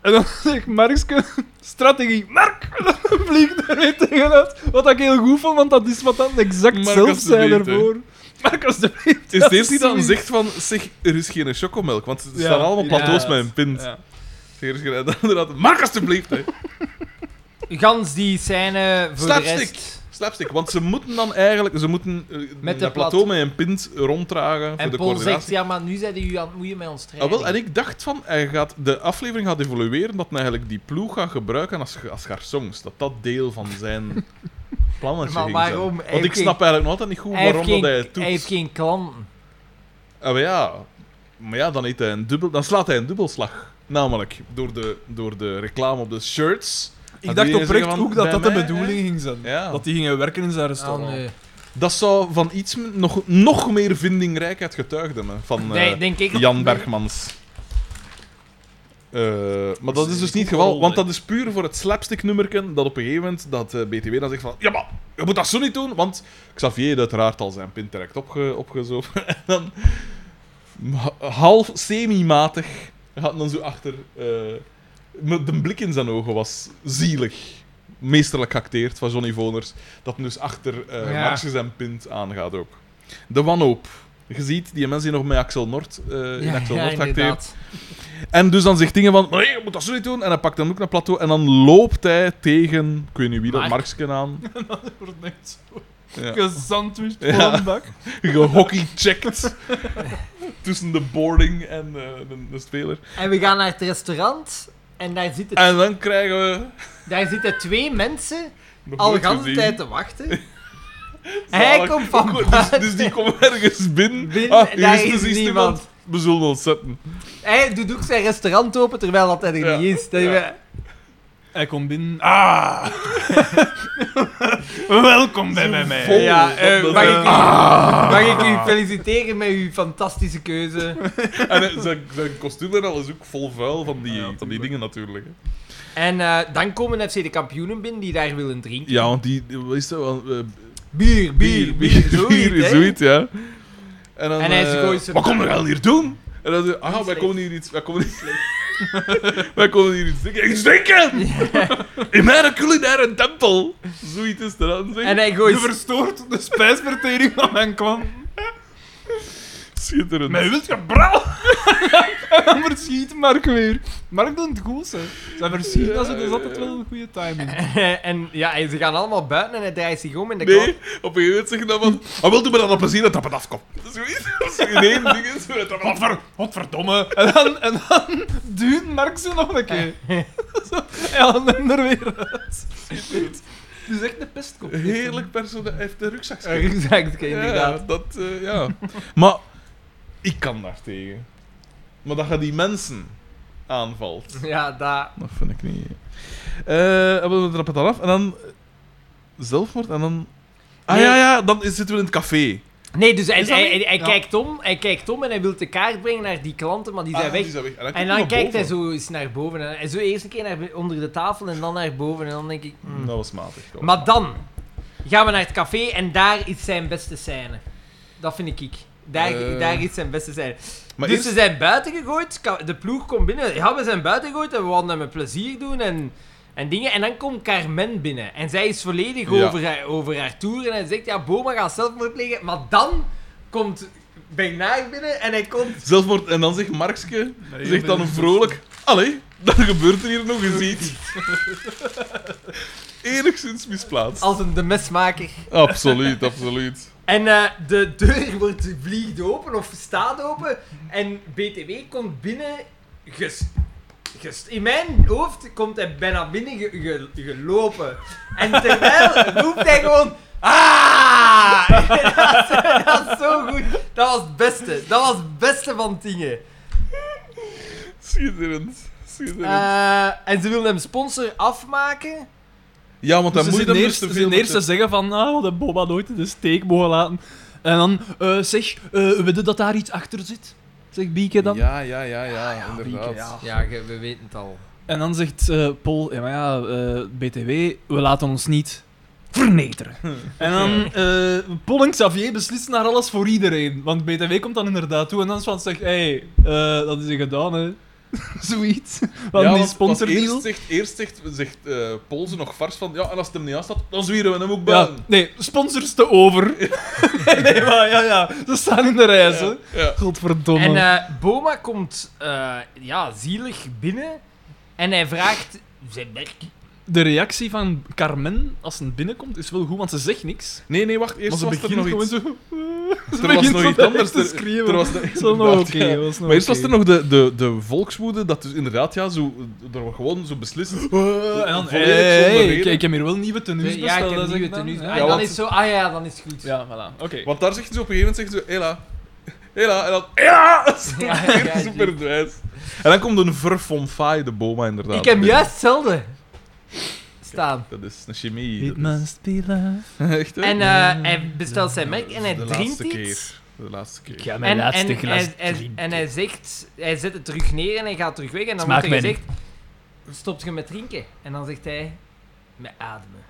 C: En dan <laughs> zegt Markske, strategie, Mark! <laughs> En dan vliegt hij weer tegenuit. Wat ik heel goed vond, want dat is wat dan exact
B: Mark,
C: zelf zijn
B: alstublieft, hè.
C: ervoor. Mark, alstublieft.
B: Is deze die dan
C: zoiets.
B: zegt van, zeg, er is geen chocomelk, want er
C: Ja,
B: staan allemaal plateaus
C: inderdaad.
B: met een pint.
C: Ja.
B: Zeg, er is geen... <laughs> en dan inderdaad, Mark alstublieft, hè.
A: Gans die scène voor
B: Slapstick.
A: de rest.
B: Slapstick, want ze moeten dan eigenlijk, ze moeten eh,
A: Met
B: dat
A: de
B: plateau met een pint ronddragen voor
A: En
B: de
A: Paul zegt,
B: coördinatie.
A: ja, maar nu zijn jullie aan het moeien met ons trein.
B: Ah, wel, en ik dacht van, hij gaat, de aflevering gaat evolueren dat hij eigenlijk die ploeg gaat gebruiken als, ge- als garçons. Dat dat deel van
A: <laughs>
B: zijn plannetje
A: Maar
B: ging zijn.
A: waarom? Hij
B: Want ik
A: heeft
B: snap eigenlijk nog altijd niet goed
A: hij, heeft
B: waarom
A: geen,
B: dat hij het doet.
A: hij heeft geen klanten.
B: Ah, maar ja. Maar ja, dan, heeft hij een dubbel, dan slaat hij een dubbelslag. Namelijk door de, door de reclame op de shirts.
C: Ik dacht oprecht
B: zeggen van,
C: ook dat
B: bij
C: dat de
B: mij,
C: bedoeling ging zijn.
B: Ja.
C: Dat die gingen werken in zijn restaurant.
A: Ah, nee.
B: Dat zou van iets m- nog, nog meer vindingrijkheid getuigden. hè, Van eh,
A: Nee, denk ik dat-
B: Jan Bergmans. Eh, maar dat is dus niet het geval, want dat is puur voor het slapstick nummerken dat op een gegeven moment dat eh, BTW dan zegt van ja maar, je moet dat zo niet doen, want Xavier heeft uiteraard al zijn pint direct opge opgezopen <laughs> en dan ha- half semi-matig gaat dan zo achter eh, met de blik in zijn ogen was zielig meesterlijk geacteerd van Johnny Voners dat hem dus achter eh
A: Ja.
B: Marxus en Pint aangaat ook. De wanhoop. Je ziet die mensen die nog met Axel Nord eh, in Axel Nord acteert.
A: inderdaad.
B: En dus dan zegt dingen van, nee, je moet dat zo niet doen. En hij pakt hem ook naar plateau en dan loopt hij tegen, ik weet niet wie dat,
A: Mark.
B: Marksken aan. <laughs>
C: wordt net zo
B: Ja.
C: gesandwiched
B: Ja.
C: voor een bak.
B: Gehockeycheckt. Tussen de boarding en eh, de, de speler.
A: En we gaan naar het restaurant. En daar zitten,
B: En dan krijgen we...
A: daar zitten twee mensen
B: nog
A: al de
B: nooit
A: hele
B: gezien.
A: tijd te
C: <laughs>
A: wachten. Hij
B: Zalig.
A: komt van
B: Dus-
A: buiten.
B: Dus, die komt ergens binnen.
A: Binnen,
B: ah, hier
A: daar
B: is, dus
A: is
B: iets
A: niemand.
B: iemand. We zullen ontzetten.
A: Hij doet ook zijn restaurant open terwijl dat er
B: Ja.
A: niet is. Dat
B: Ja.
A: we-
C: Hij komt binnen. Ah! <laughs> Welkom bij mij.
B: Vol
A: Ja,
B: van
A: eh,
B: dat-
A: mag, ik u,
B: Ah.
A: mag ik u feliciteren met uw fantastische keuze?
B: En eh, zijn, zijn kostuum en alles ook vol vuil van die, van die dingen natuurlijk. hè.
A: En eh, dan komen FC de kampioenen binnen die daar willen drinken.
B: Ja, want die, is dat wel, eh,
A: Bier, bier, bier, zoiets, hè.
B: zoiets, ja. En, dan,
A: En hij
B: eh,
A: gooit ze-
B: Wat komen we wel hier doen? En dan zei, ah, wij
A: Slecht.
B: komen hier iets... Wij komen hier, <laughs> wij komen hier iets drinken. Iets drinken! In mijn culinaire tempel! Zoiets is er aan
A: En
B: zeggen.
A: hij
C: Je
A: gooit...
C: verstoort de spijsvertering van mijn klant.
B: Schitterend.
C: Mij wilt gebral! Dan <laughs> verschiet Mark weer. Mark doet het goed, hè. Zijn verschiet, dat is dat is altijd wel een goede timing.
A: <laughs> en ja, en ze gaan allemaal buiten en hij draait zich om in de
B: Nee,
A: kant.
B: op een gegeven moment zeggen dan van... Ah, wel, doe me dan een plezier dat dat het afkomt. Zoiets. Dat is in één ding. Is, dat dat het af-
C: Godverdomme. En dan, en dan <laughs> duwt Mark zo nog een
A: <laughs>
C: keer. Zo, Hij haalt hem er weer uit. Het is echt een pestkop.
B: Heerlijk personage. Hij heeft een rugzak.
A: Een rugzakje,
B: Ja,
A: inderdaad.
B: dat, eh, ja. maar ik kan daar tegen. Maar dat je die mensen aanvalt,
A: Ja, daar.
B: dat vind ik niet. Eh, en we trappen dan af en dan eh, zelfmoord en dan. Ah
A: Nee.
B: ja, ja, dan is- zitten we in het café.
A: Nee, dus hij,
C: Is dat
A: hij,
C: niet?
A: hij- hij
C: Ja.
A: kijkt om, hij kijkt om en hij wil de kaart brengen naar die klanten, maar die zijn
B: Ah,
A: weg.
B: die zijn weg. En dan,
A: En dan kijkt hij zo eens naar boven. En en zo eerst een keer naar, be- onder de tafel en dan naar boven. En dan denk ik... mm.
B: Dat was matig. dat was
A: Maar dan gaan we naar het café en daar is zijn beste scène. Dat vind ik ik. Daar,
B: Eh.
A: daar is zijn beste scène.
B: Maar
A: dus
B: eerst-
A: ze zijn buiten gegooid, ka- de ploeg komt binnen. Ja, we zijn buiten gegooid en we wilden hem een plezier doen en, en dingen. En dan komt Carmen binnen en zij is volledig
B: Ja.
A: over, haar, over haar toer. En hij zegt, ja, Boma gaat zelfmoord plegen. Maar dan komt Bernard binnen en hij komt...
B: Zelfmoord. En dan zegt Markske,
C: Nee,
B: zegt dan
C: nee.
B: vrolijk... Allee, dan gebeurt er hier nog eens iets. <laughs> Enigszins misplaatst.
A: Als een demesmaker.
B: Absoluut, absoluut.
A: En eh, de deur <laughs> wordt vliegt open of staat open. En BTW komt binnen. Ges, ges- in mijn hoofd komt hij bijna binnen ge- ge- gelopen. En terwijl roept hij gewoon. Ah! <laughs> dat, is, dat is zo goed. Dat was het beste. Dat was het beste van dingen.
B: Schitterend. Schitterend.
A: Eh, en ze wilden hem sponsor afmaken.
B: ja, want dan
C: Dus ze
B: moet je
C: zitten
B: dan
C: eerst,
B: eerst,
C: ze
B: te
C: zitten
B: veel...
C: eerst te
B: met
C: zeggen van, nou, we hebben Boba nooit in de steek mogen laten. En dan, eh, zeg, eh weten dat daar iets achter zit? Zegt Bieke
B: de-
C: dan.
B: Ja, ja, ja, ja, inderdaad.
C: Bieke, ja.
F: Ja, ge- we weten het al.
C: En dan zegt eh, Paul, ja, maar ja, eh, BTW, we laten ons niet vernederen.
B: Hm.
C: en dan, eh Paul en Xavier beslissen naar alles voor iedereen. Want BTW komt dan inderdaad toe en dan is van, zeg, hey, eh, dat is je gedaan, hè. <laughs> Zoiets. Van
B: Ja,
C: die
B: want- want
C: sponsordeal.
B: Eerst zegt, eerst zegt, zegt eh, Paul ze nog vars van... Ja, en als het hem niet aanstaat, dan zwieren we hem ook
C: Ja,
B: buiten.
C: nee, sponsors
B: <laughs>
C: te over. nee, maar ja, ja, ze staan in de rij, hè.
B: ja.
C: Godverdomme.
A: En eh, Boma komt eh, ja, zielig binnen. En hij vraagt. Zijn werk.
C: de reactie van Carmen als ze binnenkomt is wel goed, want ze zegt niks.
B: Nee, nee, wacht. Eerst
C: Maar ze
B: was er nog
C: begint gewoon
B: iets.
C: zo...
B: <laughs> Er was nog iets anders.
C: <laughs> te
B: Er-
C: schreeuwen.
B: Er was nog-
C: Zo nog
B: inderdaad,
C: oké,
B: ja.
C: was nog
B: Maar eerst was
C: oké.
B: er nog de, de, de volkswoede, dat dus inderdaad, ja, zo, er wordt gewoon zo
C: <laughs>
B: beslist.
C: Eh, En dan,
B: Volledig
C: hey,
B: zonder
C: hey,
B: reden.
C: kijk, ik heb hier wel nieuwe tenues
A: Ja, ik
C: besteld.
A: heb
C: dat zeg
A: nieuwe
C: ik dan.
A: tenues.
C: Ja,
A: Ah, dan
B: want-
A: is het zo. Ah ja, dan is het goed. <laughs>
C: Ja, voilà. Oké.
B: Want daar zegt ze op een gegeven moment, zegt ze, hela, hela, en dan, hela, super dwijs. En dan komt een verfomfaai, de boma, inderdaad.
A: Ik heb juist hetzelfde staan.
B: Dat is een chemie.
C: It
B: dat <laughs> is-
C: must be love.
B: Echt, hè?
A: En eh, hij bestelt zijn
B: Dat
A: merk
B: is
A: en hij
B: de
A: drinkt
B: laatste
A: iets.
B: keer. De laatste keer.
C: Ja,
A: En, en, hij, hij- en hij zegt, hij zet het terug neer en hij gaat terug weg. En dan
C: Smaakt
A: wordt er
C: mij
A: gezegd, stopt je met drinken? En dan zegt hij, met ademen.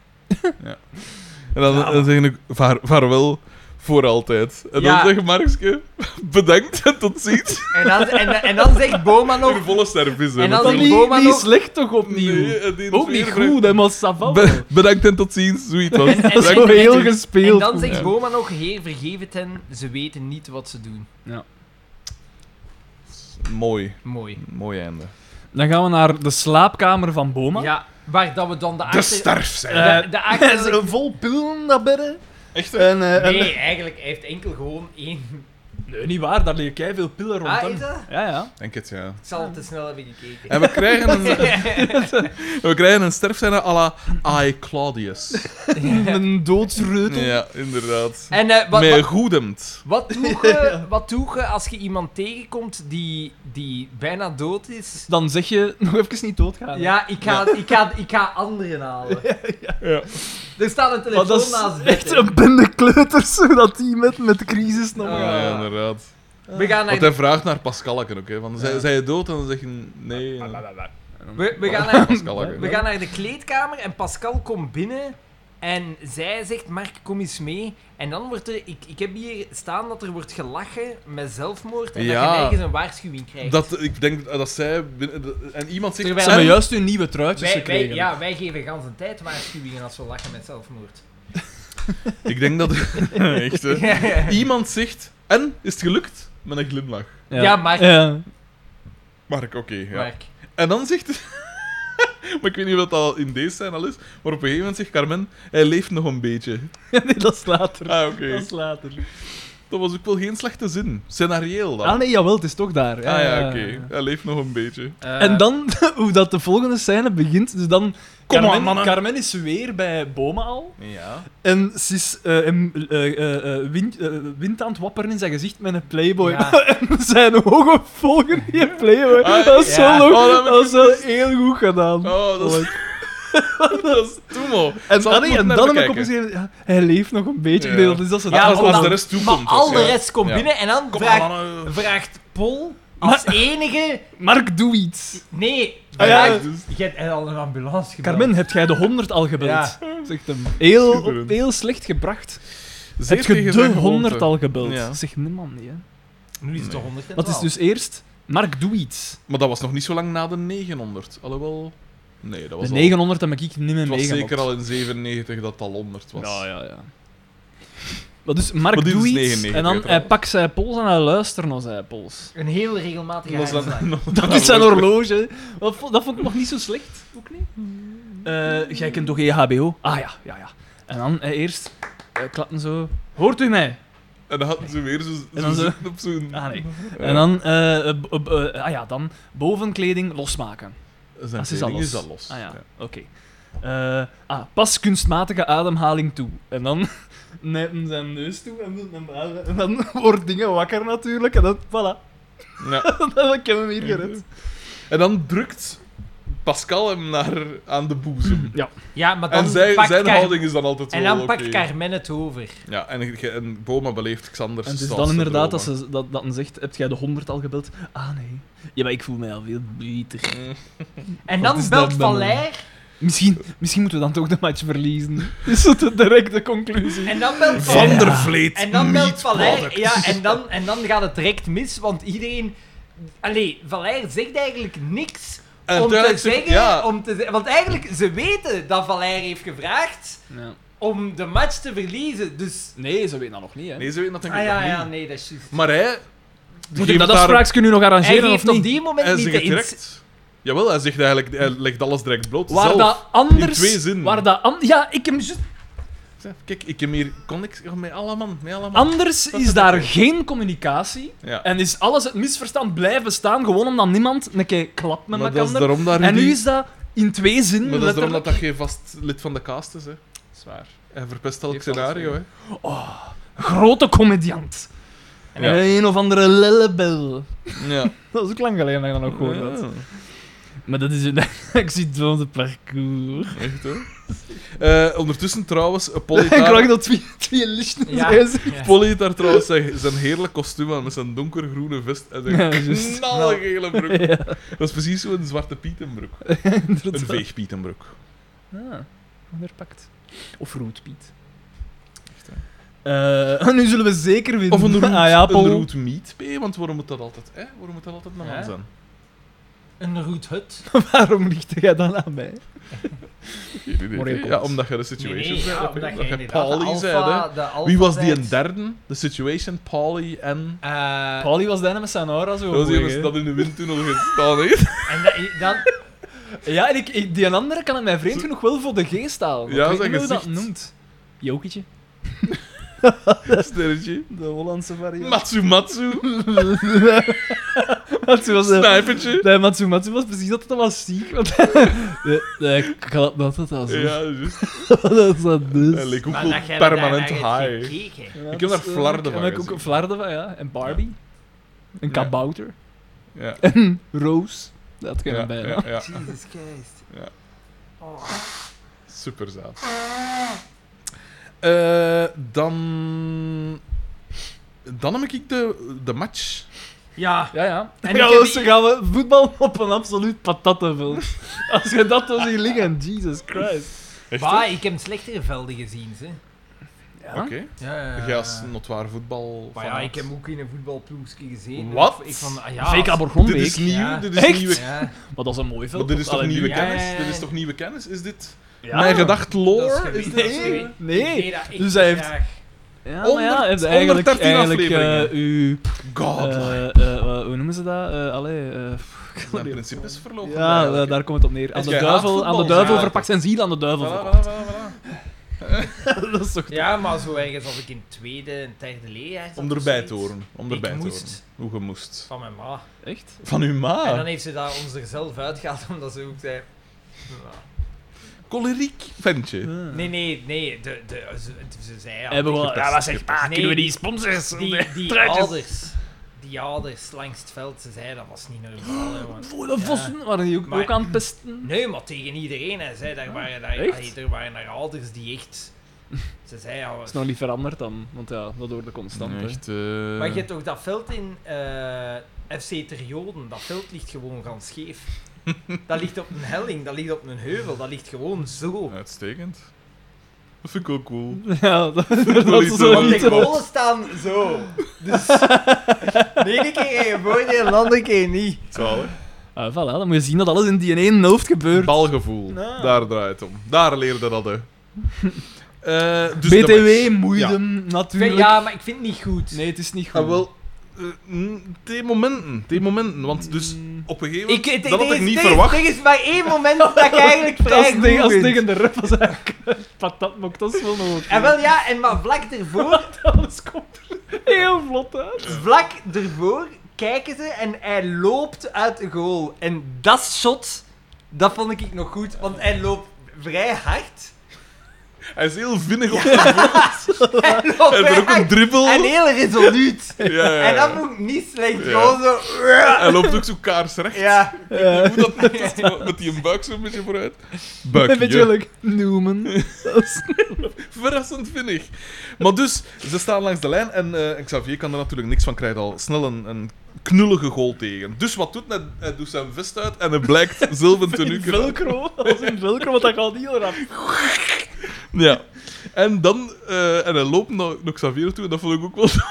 B: En dan, dan zeg ik vaar, vaarwel voor altijd. En
A: Ja.
B: dan zegt Markske, bedankt <laughs> en tot ziens.
A: En dan, en, en dan zegt Boma nog,
B: In volle service. hè,
A: En dan
C: Dat
B: natuurlijk.
A: zegt
C: niet,
A: Boma
C: niet
A: nog-
C: slecht toch opnieuw?
B: Nee, en die
C: Ook
B: is
C: niet
B: weer
C: goed, hè, maar ça va wel.
B: Be- bedankt en tot ziens, zoiets was.
A: en-
C: Dat
A: <laughs>
C: is
A: en-
C: wel
A: en-
C: heel
A: en- en
C: gespeeld.
A: dan zegt
B: Ja.
A: Boma nog, heer vergeef het hen, ze weten niet wat ze doen.
B: Mooi,
A: Mooi.
B: mooi einde.
C: Dan gaan we naar de slaapkamer van Boma.
A: Ja, waar dat we dan de
B: De
A: achter...
B: sterf zijn.
C: Eh,
A: de- de achter-
C: <laughs> Zo vol pillen, dat bedden.
B: Echt, hè?
C: En, eh, en-
A: Nee, eigenlijk, hij heeft enkel gewoon één...
C: Nee, niet waar, daar liggen keiveel pillen rond.
A: Ah,
C: hè.
A: is dat?
C: Ja, ja.
B: Denk het, ja.
A: Ik zal te snel hebben gekeken. <laughs>
B: En we krijgen een, we krijgen een sterfscène à la I. Claudius.
C: Een doodsreutel.
B: Ja, inderdaad.
A: En eh, wat,
B: Met
A: wat,
B: goedemd.
A: wat, doe <laughs> je, wat doe je als je iemand tegenkomt die, die bijna dood is?
C: Dan zeg je <laughs> nog even niet doodgaan. hè.
A: Ja, ik ga, ik ga, ik ga anderen halen.
B: Ja.
A: Er staat een
C: Want
A: telefoon
C: Oh, dat is
A: naast bed,
C: echt
A: hè.
C: een bende kleuters, <laughs> zodat die met, met de crisis nog...
A: Ah.
B: Ja, ja, inderdaad.
A: We gaan naar,
B: Want hij vraagt naar Pascalakken ook, hè. Van, zij, zij je dood? En dan zeggen nee. eh, en-
A: we, we gaan naar,
B: Pascalakken.
A: Ah, we gaan naar de kleedkamer en Pascal komt binnen. En zij zegt, Mark, kom eens mee. En dan wordt er... Ik, ik heb hier staan dat er wordt gelachen met zelfmoord. En dat
B: Ja.
A: je nergens een waarschuwing krijgt.
B: Dat, ik denk dat zij... binnen- de- En iemand zegt...
A: Terwijl-
C: Ze hebben juist hun nieuwe truitjes
A: wij, wij,
C: gekregen.
A: ja, wij geven gans een tijd waarschuwingen als we lachen met zelfmoord.
B: Ik denk dat... <laughs>
A: <laughs>
B: Echt, hè. Iemand zegt... En? Is het gelukt? Met een glimlach.
A: Ja, maar-
C: Ja.
B: Mark, oké. ja.
A: Mark.
B: En dan zegt. <laughs> maar ik weet niet wat dat al in deze zijn al is. Maar op een gegeven moment zegt Carmen: hij leeft nog een beetje.
C: <laughs> nee, dat is later.
B: Ah, oké.
C: Dat is later.
B: Dat was ook wel geen slechte zin. Scenarieel dan.
C: Ah nee, jawel, het is toch daar.
B: Ah ja, oké. Hij leeft nog een beetje.
A: Eh,
C: En dan, <laughs> hoe dat de volgende scène begint, dus dan...
B: Kom
C: Carmen,
B: aan, mannen.
C: Carmen is weer bij Boma al.
B: Ja.
C: En ze is eh, em- eh, eh, eh, wind, eh, wind aan het wapperen in zijn gezicht met een Playboy.
A: Ja.
C: <laughs> en zijn ogen volgen die Playboy.
B: Ah,
C: dat is
A: ja.
C: zo leuk.
B: Oh, dat heb ik
C: dat is wel heel goed gedaan.
B: Oh, dat is... dat is Toemo.
D: En,
B: Zal ik
D: ah, nee,
B: moeten
D: en
B: naar
D: dan heb ik
B: bekijken.
D: op een gegeven moment... ja, Hij leeft nog een beetje. Ik
B: Ja.
D: denk
C: dus
D: dat is dat ze
B: Ja, als,
D: daarom-
B: als de rest toekomt.
A: Maar al de
B: ja.
A: rest komt
B: Ja.
A: binnen en dan
B: Kom maar,
A: vraagt,
B: mannen.
A: vraagt Pol als enige...
D: Mark, doe iets.
A: Nee,
D: Ah, ja.
A: vraagt-
B: dus-
A: je hebt al een ambulance gebeld.
D: Carmen, heb jij de 100 al gebeld? Zegt hem. Heel,
B: Schitterend.
D: heel slecht gebracht.
B: Zeer
D: heb je
B: tegen
D: de
B: zijn
D: 100
B: gewoonte.
D: al gebeld?
B: Ja.
D: Zegt niemand niet, hè.
A: Nu is het
B: Nee.
A: toch 112.
D: Dat is dus eerst... Mark, doe iets.
B: Maar dat was nog niet zo lang na de 900. Alhoewel... Nee, dat was
D: De
B: al...
D: 900 heb ik niet meer
B: Het was
D: meegemaakt.
B: zeker al in 97 dat het al 100 was.
D: Nou Ja, ja, ja. Maar dus Mark
B: Maar dit
D: doe
B: is
D: iets
B: 99
D: en dan
B: trouwens.
D: hij pakt zijn pols en hij luistert naar zijn pols.
A: Een heel regelmatige
B: Dat <laughs> was dan-
A: haarslag.
D: Dat is zijn horloge. Wat vo- Dat vond ik nog niet zo slecht. Ook niet. Eh, jij kent toch EHBO? Ah ja, ja, ja. En dan eh, eerst eh, klappen zo. Hoort u mij?
B: En dan hadden ze weer zo, zo,
D: En dan zo-
B: zitten op zo'n...
D: Ah nee. En dan, eh, eh, b- b- eh, ah ja, dan bovenkleding losmaken.
B: Zijn
D: Ah, ze is al
B: kleding
D: los.
B: is al los.
D: Ah ja, oké. Eh, ah, pas kunstmatige ademhaling toe. En dan <laughs> net zijn neus toe en dan, en, dan <laughs> wordt dingen wakker natuurlijk. En dan, voilà. <laughs>
B: Ja.
D: dan hebben we hier gered.
B: En dan drukt Pascal hem naar, aan de
D: <laughs>
B: boezem.
A: Ja, maar dan
B: En zij,
A: pakt
B: zijn
A: Car-
B: houding is dan altijd
A: En
B: wel
A: dan
B: oké.
A: pakt Carmen het over.
B: Ja, en, ge- en Boma beleeft Xander
D: En het is Dus dan inderdaad dat, ze, dat, dat men zegt, heb jij de 100 al gebeld? Ah nee. Ja, maar ik voel mij al veel beter.
A: En
D: Wat
A: dan
D: is dat
A: belt
D: dan,
A: Valère.
D: Misschien, misschien moeten we dan toch de match
B: <laughs>
D: verliezen. Is dat de directe conclusie?
A: En dan belt
B: Van
A: Valère.
B: der Vleet,
A: En dan belt
B: meat
A: Valère.
B: product.
A: Ja, en dan, en dan gaat het direct mis, want iedereen. Allee, Valère zegt eigenlijk niks.
B: En
A: om te
B: uiteindelijk zegt-
A: zeggen, oh,
B: ja.
A: om te ze- want eigenlijk, ze weten dat Valère heeft gevraagd om de match te verliezen. Dus.
D: Nee, ze weten dat nog niet, hè.
B: Nee, ze weten dat denk ik
A: Ah ja,
B: nog
A: ja,
B: niet.
A: nee, dat is juist.
B: Maar hij...
D: Moet ik
B: geeft
D: dat
B: daar-
D: afspraakje nu nog
A: Hij
D: arrangeren of
A: geeft op
D: niet?
A: die moment
B: Hij
A: niet
B: zegt
A: de
B: het
A: ins-
B: direct. Jawel, hij zegt eigenlijk... Hij legt alles direct bloot.
D: Waar
B: zelf.
D: dat anders...
B: in twee zinnen.
D: Waar dat an- ja, ik heb... juist-
B: Kijk, ik heb hier connectie met alle man. Met alle man.
D: Anders is daar geen communicatie.
B: Ja.
D: En is alles het misverstand blijven staan, gewoon omdat niemand een keer klapt met
B: maar dat is
D: elkaar.
B: daarom dat
D: En
B: Rudy-
D: nu is dat in twee zinnen
B: Maar dat is daarom dat
D: letterlijk...
B: dat geen vast lid van de cast is, hè.
D: Zwaar.
B: Hij verpest elk
D: Heeft alles
B: scenario, hè.
D: Oh, Grote comediant. En
B: Ja.
D: een of andere lellebel.
B: Ja.
D: Dat is ook lang geleden dat ik dat nog gehoord had. Maar dat is een <laughs> accident van de parcours.
B: Echt, hoor. Eh, ondertussen
D: <laughs>
B: trouwens, eh, Polly
D: ik krijg
B: daar,
D: dat twee, twee lichten
A: Ja.
D: zijn ze.
A: Ja.
B: Polly heeft daar trouwens zijn, zijn heerlijk kostuum aan met zijn donkergroene vest en zijn
D: Ja, juist.
B: knalgele broek.
D: Ja,
B: Dat is precies zo'n zwarte pietenbroek.
D: <laughs> inderdaad.
B: Een veegpietenbroek.
D: Ah, onderpakt. Of roetpiet.
B: Echt,
D: Eh <laughs> nu zullen we zeker winnen.
B: Of een roet,
D: Ah, ja, Paul.
B: een roet meat, P, want waarom moet dat altijd, hè? Waarom moet dat altijd een man
A: Ja.
B: zijn?
A: Een roet hut.
D: <laughs> Waarom lichtte jij dan aan mij?
B: Geen idee.
D: Moreel
B: Ja,
D: code.
B: omdat je de
A: Nee,
B: situation
A: nee,
B: zei,
A: ja,
B: hè,
A: omdat
B: omdat
A: je
B: je
A: inderdaad
B: Polly
A: de
B: zei, hè.
A: alpha- de alpha
B: Wie was die
A: zijt.
B: een derde? De situation, Polly en...
A: Eh,
D: Paulie was daarna met zijn aura zo.
B: Dat was
D: hoog,
B: iemand
D: Oh, hè.
B: dat in de windtunnel gestaan heeft.
A: en dat- dan,
D: Ja, en ik, ik- die andere kan het mij vreemd genoeg wel voor de geest halen.
B: Ja,
D: ik weet
B: zijn
D: niet hoe dat
B: gezicht.
D: noemt. Jokietje.
B: Sterretje.
D: De Hollandse variant.
B: Matsumatsu.
D: Matsu was, eh,
B: Snijpertje.
D: nee, Matsu, Matsu was precies dat het was ziek. Want, de, de, klap dat het was.
B: Ja, juist.
D: dat is dat dus.
B: Hij leek ook
A: maar
B: wel
A: dat jij
B: permanent
A: daarnaar hebt
B: high.
A: gekeken.
D: Ja,
B: Ik heb
D: dat
B: daar
D: is, eh,
B: flarden
D: en
B: van
D: ik ook
B: gezien.
D: flarden van, ja. En Barbie.
B: Ja.
D: Een kabouter.
B: Ja.
D: Roos. Dat kan
B: Ja,
D: ja,
B: ja, ja.
A: Jesus Christ.
B: Super zaad. Eh, dan... Dan heb ik de, de match.
A: Ja,
D: Ja,
B: Ah,
D: ja.
A: En
D: En
A: ik
D: gaan,
A: heb
D: we,
A: die-
D: gaan we voetbal <laughs> op een absoluut patattenveld. Als je dat dan ziet liggen, Jesus Christ.
B: Echt,
A: maar ik heb slechtere velden gezien. Ze.
B: hè?
D: Ja?
B: Oké.
A: Ja,
D: Ah.
B: Jij als notwaar voetbal...
A: maar ja, ik heb hem ook in een voetbalploegje gezien.
B: Wat?
A: Ik vond, ah, ja,
D: VK
B: Dit
D: Borgonbeek.
B: is nieuw,
A: Ja.
B: dit is
D: Echt?
B: nieuwe...
A: Ja,
D: Maar dat is een mooi veld.
B: Maar dit is toch nieuwe
D: Allee,
A: Ja,
B: kennis?
A: ja, ja.
B: Dit is toch nieuwe kennis? Is dit
D: Ja.
B: mijn gedacht lore?
A: dat is
B: Is
A: gewin-
B: dit...
A: dat is
D: Nee,
A: gewin. Ik
D: nee.
A: deed dat echt
D: Dus hij heeft...
A: graag.
D: Ja,
B: Honderd-
D: maar ja, hij heeft
B: honderd
D: eigenlijk,
B: dertien
D: eigenlijk eh
B: afleveringen.
D: uw... eh,
B: Godlike.
D: eh, eh, hoe noemen ze dat? Eh allee, eh, pff,
B: Mijn principes verlopen.
D: ja,
B: eigenlijk.
D: eh, daar komt het op neer. Aan
B: Dus
D: de
B: jij haat
D: duivel, aan de
B: voetbal,
D: duivel
B: ja.
D: verpakt zijn ziel, aan de duivel
B: Voilà,
D: verkocht.
B: voilà, voilà, voilà.
D: dat is toch...
A: Ja, maar zo ergens als ik in het tweede en derde leerjaar zat
B: Om
A: of
B: erbij
A: zoiets.
B: te horen. Om
A: Ik
B: erbij te
A: moest.
B: horen. Hoe je moest.
A: Van mijn ma.
D: Echt?
B: Van uw ma.
A: En dan heeft ze daar ons er zelf uitgehaald, <laughs> omdat ze ook zei...
B: Ah.
A: "Ja."
B: Choleriek ventje.
D: Ah.
A: Nee, nee, nee. De, de, ze, ze zei... ja,
D: Hebben we
A: die-
D: wel...
B: Ja, wat zeg,
A: Nee, kunnen we die
D: sponsors?
A: die, die ouders... die ouders langs het veld, ze zeiden dat was niet normaal. hè, man.
D: Ah, Voor de vossen waren die ook,
A: Maar-
D: ook aan het pesten.
A: Nee, maar tegen iedereen. Hè. Zij, daar waren daar,
D: Ah, echt?
A: allee, er waren daar ouders die echt... Ze zeiden... al,
D: Dat is nog niet veranderd dan, want ja, dat hoorde constant. hè.
B: Echt, eh,
A: Maar je hebt toch dat veld in eh, FC Terjoden, dat veld ligt gewoon gaan scheef. Dat ligt op een helling, dat ligt op een heuvel, dat ligt gewoon zo.
B: Uitstekend. Dat vind ik ook cool.
D: <laughs> Ja, dat, dat
B: iets
D: is zo
B: wat
A: Want
D: niet.
A: de
B: klopt.
A: golen staan zo. Dus <laughs> de ene keer heb je een voordeel, de andere keer niet.
B: Zalig.
D: Ah, voilà, dan moet je zien dat alles in die ene hoofd gebeurt.
B: Balgevoel.
D: Nou.
B: Daar draait het om. Daar leerde dat,
D: <laughs>
B: hè. Eh, dus de match.
D: BTW, moeite, natuurlijk.
A: Ja, maar ik vind het niet goed.
D: Nee, het is niet goed.
B: Ah, wel, eh, mm, die momenten, die momenten. Want dus
D: Mm.
B: op een gegeven
A: Ik,
B: moment,
A: het-
B: dat had
A: er
B: ik
A: is-
B: niet
A: er is-
B: verwacht.
A: Er is maar één moment dat
B: <laughs>
A: ik eigenlijk
D: Als
A: vrij goed
D: ding- als
A: vind.
D: ding in de rug was eigenlijk <laughs> patatmok, dat is wel nog
A: En wel ja, en maar vlak
B: <laughs>
A: ervoor,
D: Alles komt er heel vlot uit.
A: vlak ervoor kijken ze en hij loopt uit de goal. En dat shot, dat vond ik nog goed, want hij loopt vrij
B: <laughs>
A: hard.
B: Hij is heel vinnig op de
A: Hij loopt
B: <laughs>
A: vrij
B: En er ook een
A: hard
B: dribbel.
A: en heel resoluut.
B: Ja, ja, ja.
A: En dat moet niet slecht,
B: Ja.
A: gewoon zo...
B: Hij loopt ook zo <laughs> kaarsrecht.
A: Ja.
D: Ja,
B: Hoe dat net <laughs> is, maar met die buik zo'n beetje vooruit.
D: een beetje
B: Buikje.
D: leuk. Newman. Dat is-
B: Verrassend vinnig. Maar dus, ze staan langs de lijn en eh, Xavier kan er natuurlijk niks van krijgen. Al snel een, een knullige goal tegen. Dus wat doet hij? Hij doet zijn vest uit en hij <laughs> blijkt zilver tenue.
D: in <laughs> velcro. Dat is in velcro, want dat gaat heel rap.
B: Ja. <laughs> En dan, eh, en hij loopt naar, naar Xavier toe en dat vond ik ook wel zo. <laughs>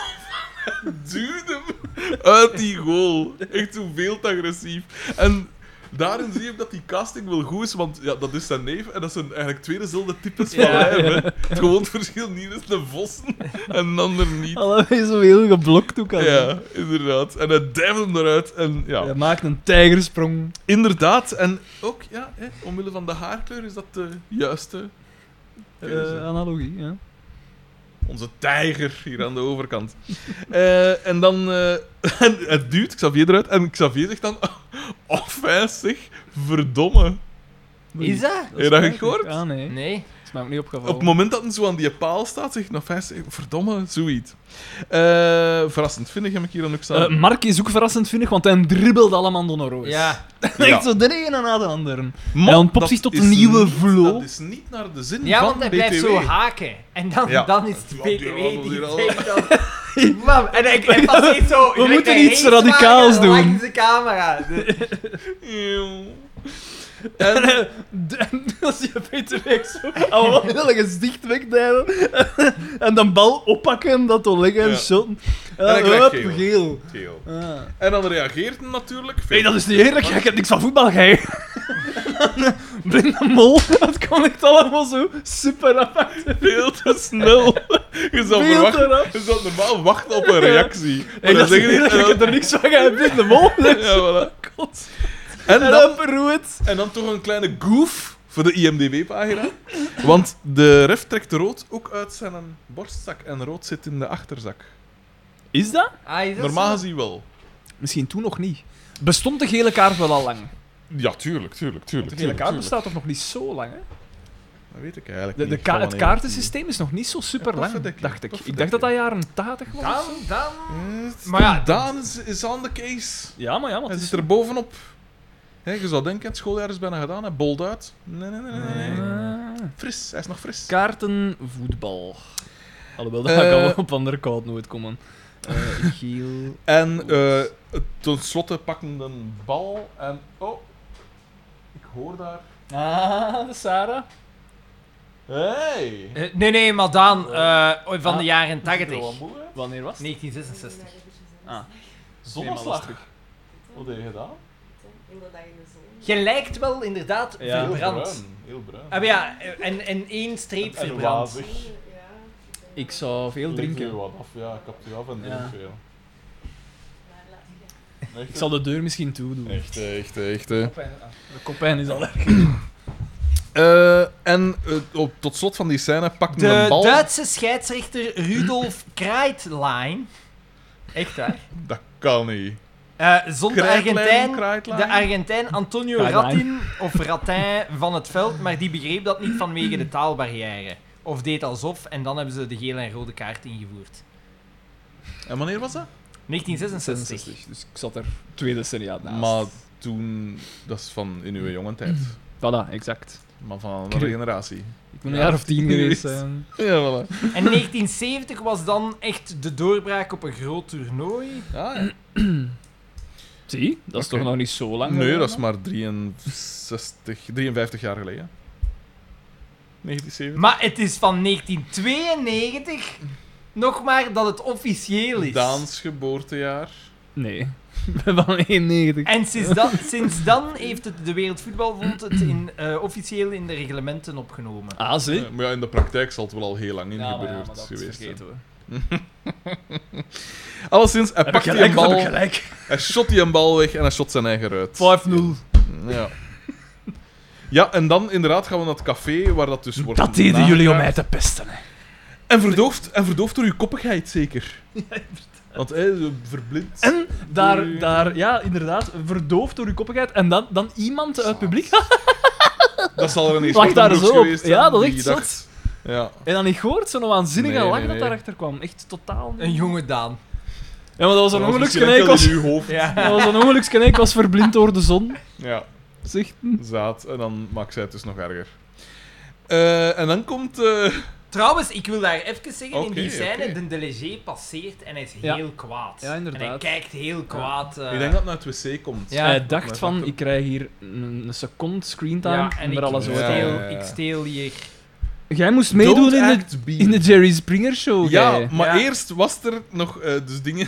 B: Duwde hem uit die goal. Echt zo veel te agressief. En daarin zie je dat die casting wel goed is, want ja, dat is zijn neef en dat zijn eigenlijk twee dezelfde types van
D: Ja,
B: lijf. hè. Het gewoon verschil hier is de vossen en de ander niet.
D: Allebei zo heel geblokt ook al.
B: Ja, inderdaad. En hij duift hem eruit en ja.
D: Hij maakt een tijgersprong.
B: Inderdaad. En ook, ja, hè, omwille van de haarkleur is dat de juiste keuze.
D: Eh, analogie, ja.
B: Onze tijger hier aan de overkant. <laughs> Eh, en dan... eh, <laughs> en het duwt Xavier eruit. En Xavier zegt dan... <laughs> Oh, fijn zeg. Verdomme.
A: Is dat?
B: Heb je dat
D: spijtig.
B: gehoord?
D: Ah, nee. Dat
A: Nee.
D: is mij ook niet opgevallen.
B: Op het moment dat hij zo aan die paal staat, zegt hij... Nou, fijn zeg. Verdomme. Zoiets. Eh verrassend vind ik hem hier dan ook staan.
D: Eh, <laughs> Mark is ook verrassend vinnig, want hij dribbelt allemaal door naar Roos.
A: Ja.
B: Ja.
D: <laughs> Echt zo de ene na de andere.
B: Maar
D: hij ontpopt
B: dat
D: zich tot
B: is
D: een nieuwe
B: niet-
D: vlo.
B: Dat is niet naar de zin
A: Ja,
B: van
A: want hij
B: BTW.
A: blijft zo haken. En dan,
B: Ja.
A: dan is het
B: Ja,
A: BTW
B: die
A: die,
B: rammelt hier al.
A: zegt dan... Mam, en hij, hij passeert zo... gelijk
D: moeten
A: een
D: iets
A: racewagen
D: radicaals doen.
A: Langs de camera. De-
B: Eeuw.
A: <laughs>
D: En eh, de- <laughs> als je BTW zo <laughs> alweer gezicht wegdijden <laughs> en dan bal oppakken, dat al liggen
B: Ja.
D: en shotten.
B: En
D: Ja,
B: hij krijgt
D: hup,
B: geel.
D: geel.
B: Geel.
D: Ah.
B: En dan reageert hij natuurlijk.
D: Nee, dat is niet eerlijk. Ik heb niks van voetbal gij. <laughs> Blinde mol, dat kon ik allemaal zo super apart.
B: veel te snel. Je zou,
D: Veel te
B: verwachten,
D: rap.
B: je zou normaal wachten op een reactie. Maar
D: Hey,
B: dan
D: dat is
B: zeggen die-
D: niet eerlijk. Ik <laughs> heb er niks van
B: <laughs>
D: gij. Blinde mol.
B: Ja, voilà.
D: God.
B: en, dan,
D: En dan Peruit.
B: en dan toch een kleine goof voor de IMDB-pagina. Want de ref trekt rood ook uit zijn borstzak. En rood zit in de achterzak.
D: Is dat?
A: Ah, is dat
B: eh, Normaal
A: zo?
B: gezien wel.
D: Misschien toen nog niet. Bestond de gele kaart wel al lang?
B: Ja, tuurlijk, tuurlijk, tuurlijk.
D: De gele kaart
B: tuurlijk.
D: bestaat toch nog niet zo lang, hè?
B: Dat weet ik eigenlijk
D: De, de
B: niet
D: ka-
B: van
D: het
B: wanneer.
D: kaartensysteem is nog niet zo super
B: Ja,
D: lang,
B: toffe dekking,
D: dacht ik.
B: toffe
D: Ik dacht dat dat
B: dekking.
D: jaren 80 was.
A: Dan, dan...
B: Eh,
A: Maar ja,
B: Daan is, is aan de case.
D: Ja, maar ja, maar
B: Hij
D: het is
B: zit er bovenop. Hè, je zou denken, het schooljaar is bijna gedaan. Hè. Bold uit. Nee, nee, nee, nee. nee.
D: Ah.
B: Fris, hij is nog fris.
D: Kaarten, voetbal. Alhoewel, dat
B: Eh.
D: kan wel op andere koud nooit komen. Eh Giel.
B: En eh ten slotte pakken we een bal en... Oh, ik hoor daar...
D: <laughs> Ah, de Sarah.
B: Hey!
A: Eh, nee, nee, maar dan eh, van de
D: Ah.
A: jaren
B: Ik
A: 80.
B: ben wel moe, hè?
D: Wanneer was het?
A: 1966.
D: Ah.
B: Zonneslag. Wat heb je gedaan?
A: Je lijkt wel inderdaad
D: Ja.
A: verbrand.
B: bruin. Heel bruin.
A: Ah, maar ja, eh, en, en één streep
B: En- en
A: verbrand.
B: wazig.
D: Ik zou veel
B: Leek u
D: drinken.
B: wat af. Ja, ik heb u af en drink
D: Ja.
B: veel.
D: Ik zal de deur misschien toedoen.
B: Echt, eh, echt, eh, echt. eh.
D: De kopijn is al erg.
B: Eh, en eh, op, tot slot van die scène pakken we
A: De
B: een bal.
A: Duitse scheidsrechter Rudolf Kreitlein. Echt waar.
B: Dat kan niet.
A: Eh zond de
B: Krijtlijn,
A: Argentijn
B: krijtlijn.
A: De Argentijn Antonio
D: Krijtlijn.
A: Ratin of Ratin van het veld, maar die begreep dat niet vanwege de taalbarrière. Of deed alsof, en dan hebben ze de gele en rode kaart ingevoerd.
B: En wanneer was dat?
A: 1966.
D: Dus ik zat er twee decennia naast.
B: Maar toen, dat is van in uw jonge tijd.
D: Voilà, exact.
B: Maar van een andere generatie. Ah,
D: Ik ben
B: Ja.
D: een jaar of <laughs> tien geweest.
B: Geweest. <laughs>
D: zijn.
B: Ja, voilà.
A: En 1970 was dan echt de doorbraak op een groot toernooi.
B: Ja, ja.
D: Zie, dat is
B: Oké.
D: toch nog niet zo lang
B: Nee,
D: geleden,
B: dat is
D: hè?
B: maar 63, 53 jaar geleden. 1970.
A: Maar het is van 1992 nog maar dat het officieel is.
B: Daans geboortejaar.
D: <laughs> Nee, we hebben al 91.
A: En sinds dan, sinds dan heeft het de Wereldvoetbalbond het in, eh, officieel in de reglementen opgenomen.
D: Ah, zie.
B: Ja, Eh, maar ja, in de praktijk zal het wel al heel lang ingeburgerd geweest zijn. Alleszins, hij
D: Heb ik
B: pakte die
D: gelijk,
B: een bal,
D: heb ik gelijk.
B: hij shot die een bal weg en hij shot zijn eigen ruit.
D: 5-0.
B: Ja. Ja, en dan inderdaad gaan we naar het café waar dat dus wordt.
D: Dat deden jullie om mij
B: nagekaart.
D: te pesten, hè.
B: En verdoofd, en verdoofd door uw koppigheid zeker. Want hij is verblind.
D: En daar,
B: Oei.
D: daar, ja, inderdaad, verdoofd door uw koppigheid. En dan, dan iemand uit het publiek.
B: Dat zal er ineens
D: Lag daar
B: Kortenbroeks
D: zo op.
B: geweest
D: Ja,
B: zijn
D: dat
B: die
D: ligt
B: dacht- Ja.
D: En dan ik gehoord, zo'n waanzinnige
B: Nee,
D: lach
B: nee,
D: dat
B: nee.
D: daarachter kwam. Echt totaal niet.
A: Een jonge Daan.
D: Ja, maar dat was een
B: Dat was misschien
D: ongelukskeneek.
B: enkel
D: Was...
B: in uw hoofd.
A: Ja.
D: <laughs> Dat was een ongelukskeneek, was verblind door de zon.
B: Ja,
D: Zegt.
B: zaad. En dan maakt zij het dus nog erger. Eh, en dan komt... eh,
A: Trouwens, ik wil daar even zeggen, in die
B: Oké,
A: scène,
B: oké.
A: de Delegé passeert en hij is
D: Ja.
A: heel kwaad.
D: Ja, inderdaad.
A: En hij kijkt heel kwaad. eh,
B: Ik denk dat het naar het wc komt.
A: Ja.
D: hij dacht
B: Maar
D: van,
B: dat-
D: ik krijg hier een, een seconde screentime
A: ja, en
D: en
A: ik,
D: er alles
B: Ja,
D: over.
B: ja,
A: steel,
B: ja.
A: ik steel hier.
D: Jij moest
B: Don't
D: meedoen in de, Oh,
B: act, be.
D: in de Jerry Springer show,
B: Ja,
D: jij.
B: maar
A: Ja.
B: eerst was er nog eh, dus dingen...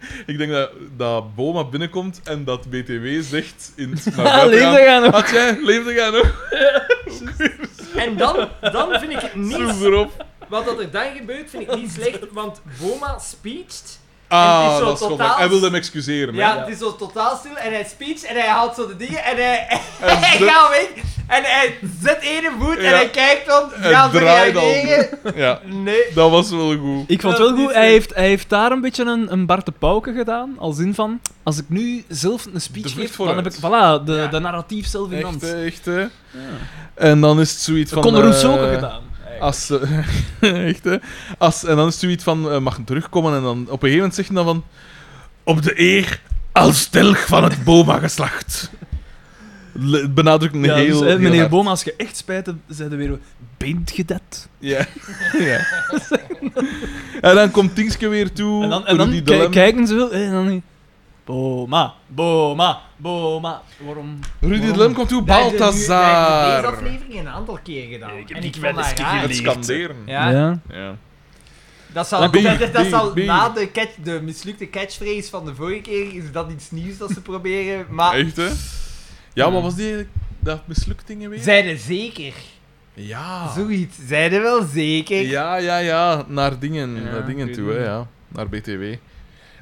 B: <laughs> ik denk dat, dat Boma binnenkomt en dat BTW zegt
D: <laughs>
B: in het naar
D: Ah,
B: buiten
D: leefde
B: gaan,
D: jij nog?
B: Had jij, leefde jij nog?
A: En dan, dan vind ik het
B: Zoek
A: niet...
B: erop.
A: Wat dat er dan gebeurt, vind ik niet slecht, want Boma speecht.
B: Ah,
A: zo
B: dat is
A: totaal-
B: totaal... Hij wilde hem excuseren. hè.
A: Ja, het is zo totaal stil en hij speecht en hij haalt zo de dingen en hij, <laughs>
B: Hij
A: hij
B: zet-
A: gaat weg. En hij zet ene voet
B: Ja.
A: en hij kijkt dan,
B: Hij
A: gaat ze
B: draait al.
A: reageren?
B: ja,
A: Nee.
B: dat was wel goed.
D: Ik vond
A: Dat
D: het wel
A: is
D: goed,
A: niet
D: hij
A: zo.
D: heeft, hij heeft daar een beetje een, een Bart de Pauke gedaan. Als in van, als ik nu zelf een
B: De
D: speech
B: vlucht
D: geef, dan heb ik,
A: vooruit.
D: voilà, de,
A: Ja.
D: de narratief zelf in
B: Echt,
D: hand.
B: hè, echt, hè. En dan is het zoiets van...
D: Dat kon er
B: eh,
D: ook gedaan.
B: Als, ze- <laughs> echt, hè? Als, en dan is het zoiets van, eh, mag hem terugkomen. En dan op een gegeven moment zegt hij dan van... Op de eer als telg van het boma-geslacht. Le- Benadrukt een
D: Ja, dus,
B: heel...
D: hè,
B: heel
D: meneer
B: hard.
D: Boom, als je echt spijt hebt, zeiden weer bent je dat?
B: Ja. <laughs> ja. en dan komt Tingske weer toe.
D: En dan, en dan
B: Rudy
D: ki-
B: de Lem.
D: kijken ze wel, en dan... Boma, boma, boma. Waarom?
B: Rudy de Lem komt toe.
A: Wij hebben nu- wij hebben Deze
B: Balthazar.
A: aflevering een aantal keer gedaan.
D: Ik heb
A: en
D: niet
A: ik vond
D: wel eens
A: dat raar.
B: Het scanderen.
A: Ja,
B: Ja.
A: Dat zal,
B: Dan bier,
A: dat, dat
B: bier,
A: zal
B: bier.
A: na de, catch, de mislukte catchphrase van de vorige keer is dat iets nieuws dat ze <laughs> proberen. Maar
B: Echt, hè? Ja, wat was die eigenlijk? Dat misluktingen weer?
A: zijde zeker.
D: Ah.
B: Ja.
A: Zoiets. Zijde wel zeker.
B: Ja, ja, ja. Naar dingen,
D: Ja,
B: naar dingen
D: ik
B: toe,
D: weet
B: hè,
D: niet.
B: ja. Naar BTW.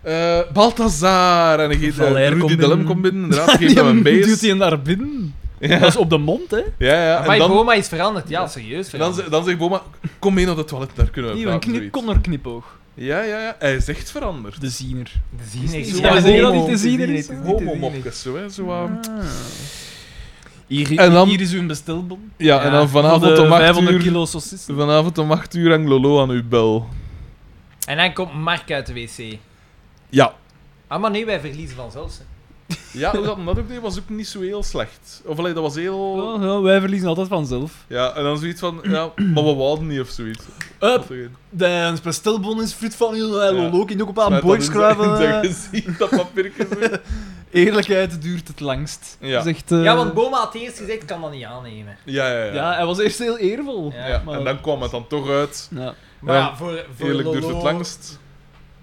B: Eh Balthazar en hij geeft, eh,
D: Valère
B: Rudy
D: komt
B: de Lem
D: binnen.
B: komt binnen,
D: <laughs>
B: inderdaad, geeft hem een
D: Duwt
B: beest.
D: hij hem daar binnen?
B: Ja,
D: Dat is op de mond, hè?
B: ja, ja.
A: maar
B: En dan,
A: Boma is veranderd. Ja, serieus.
B: en dan,
A: veranderd.
B: ze- dan zegt Boma, kom mee naar de toilet, daar kunnen we
D: Nieuw, een
B: praten.
D: knip,
B: zoiets.
D: konnerknipoog.
B: Ja, ja, ja, hij is echt veranderd.
D: De ziener.
A: De ziener
D: is
A: is
D: niet
A: ja,
D: zo-
A: homo.
D: dat niet te
A: De
D: zien
A: ziener
D: is,
A: is
D: hè?
A: niet te zien, hè.
B: Homo-mopjes, zo, hè. Zo, aan.
D: Ah. Hier,
B: En dan-
D: hier is uw bestelbon.
B: Ja, en dan
D: Voor
B: vanavond
D: de
B: om 8
D: 500
B: uur...
D: kilo saucissen.
B: Vanavond om 8 uur hangt Lolo aan uw bel.
A: En dan komt Mark uit de wc.
B: Ja.
A: Ah, maar nee, wij verliezen vanzelf. hè.
B: Ja, hoe dat, hem dat ook deed, was ook niet zo heel slecht. Of alleen, dat was heel...
D: Oh, ja, wij verliezen altijd vanzelf.
B: Ja, en dan zoiets van, ja, maar we wouden niet of zoiets.
D: Up, de bestelbon is fruit van heel
B: Ja.
D: ja. ook in ook op
C: ah,
D: aan eh.
B: Smijt <laughs>
D: boy
B: dat in zijn- in
D: schrijven.
B: zijn gezien, dat papiertje zo.
D: Eerlijkheid duurt het langst.
B: Ja.
C: Dus
D: Zegt, eh,
A: Ja, want Boma had eerst gezegd, kan dat niet aannemen.
B: Ja, ja, ja.
D: ja, hij was eerst heel eervol.
A: Ja.
B: Ja,
D: maar-
B: En dan kwam het dan toch uit.
D: Ja.
A: Maar
B: Ja,
A: ja, voor, voor
B: Eerlijk
A: Lolo
B: duurt het langst.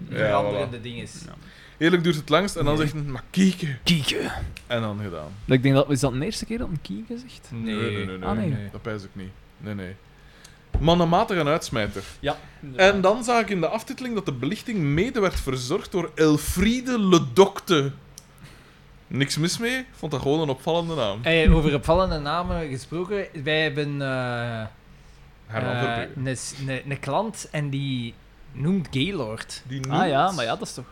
B: Ja,
A: veranderende dingen.
B: voilà. Eerlijk duurt het langst. En dan zegt hij, maar kieken.
D: Kieken.
B: En dan gedaan.
D: Ik denk dat, is dat de eerste keer dat een kieken zegt?
A: Nee.
B: nee, nee. nee,
D: Ah, nee.
B: nee. Dat pijs ik niet. Nee, nee. Mannenmatig en uitsmijter.
D: Ja.
B: En dan zag ik in de aftiteling dat de belichting mede werd verzorgd door Elfriede Ledokte. Niks mis mee, vond dat gewoon een opvallende naam.
A: Hey, over opvallende namen gesproken, wij hebben eh,
B: Herman
A: eh,
B: Verbrugge.
A: een s- een- een klant en die noemt Gaylord.
B: Die
D: Ah ja,
B: noemt-
D: maar ja, dat is toch...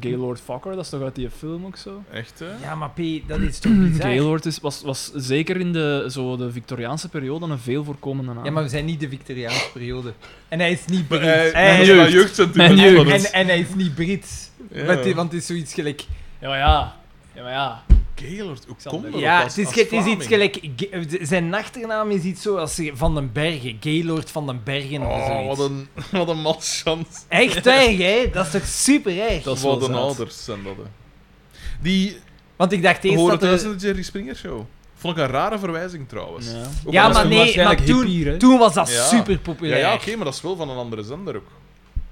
D: Gaylord Fokker, dat is toch uit die film ook zo?
B: Echt, hè?
A: Ja, maar P, dat is toch bizar?
D: Gaylord is, was, was zeker in de, zo de Victoriaanse periode een veel voorkomende naam.
A: Ja, maar we zijn niet de Victoriaanse periode. En hij is
B: Eh,
A: niet Brits.
B: Hij-
A: Hij-
B: hij is
D: jeugd.
B: een jeugdcentrum.
D: Mijn
B: en
D: jeugd.
B: alles.
A: en, en hij is niet Brits.
B: Ja.
A: Want, die- want het is zoiets gelijk...
D: Ja, maar ja. Ja, maar ja.
B: Gaylord, hoe
D: Xander.
B: komt dat?
A: Ja,
B: als-
A: het is,
B: als
A: het is
B: Vlaming?
A: iets gelijk... Ge- de- Zijn achternaam is iets zoals Van den Bergen. Gaylord Van den Bergen of
B: Oh,
A: zoiets.
B: wat een, <laughs> wat een malchance.
A: Echt erg, hè? Dat is toch super erg?
D: Dat is wel
B: Wat een
D: zaad.
B: ouders zijn dat, hè. Die
A: Want ik dacht eerst
B: horen
A: dat...
B: thuis
A: de-
B: in de Jerry Springer Show. Vond ik een rare verwijzing, trouwens.
D: Ja.
B: Ook
A: Ja,
B: al is
A: maar
B: het-
A: nee, maar toen-
D: hè?
A: Toen was dat
B: Ja.
A: super
B: Ja,
A: populair.
B: ja oké, maar dat is wel van een andere zender ook.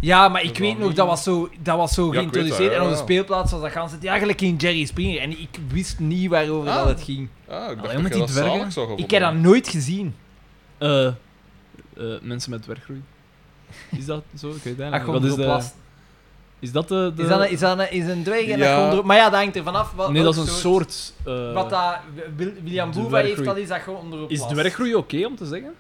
A: Ja, maar ik
B: Dat
A: weet
B: was
A: nog,
B: niet-
A: dat was zo, dat was zo
B: ik weet
A: geïntroduceerd.
B: dat, ja,
A: en op de
B: ja.
A: speelplaats was dat gans het eigenlijk in Jerry Springer. En ik wist niet waarover
B: Ah.
A: dat het ging.
B: Ah, ik dacht
D: Alleen
B: dat
D: met
B: jij
D: die
B: dat
D: dwergen?
B: zalig zou gevonden
A: Ik heb dat
B: hebben.
A: nooit gezien.
D: Eh, eh, mensen met dwerggroei. Is dat zo? Ik weet het
A: Dat
D: eigenlijk
A: komt erop
D: niet. Wat is, de,
A: last.
D: is dat de... de-
A: Ah, Is dat een, is dat een, is een dwerg en
B: Ja.
A: dat komt erop- Maar ja, dat hangt ervan af. Wat,
D: nee, dat is
A: welk
D: een soort... eh,
A: wat dat, Wil- William Boeva
D: dwerggroei.
A: heeft, dat is dat gewoon onderop
D: is
A: last.
D: dwerggroei oké om te zeggen?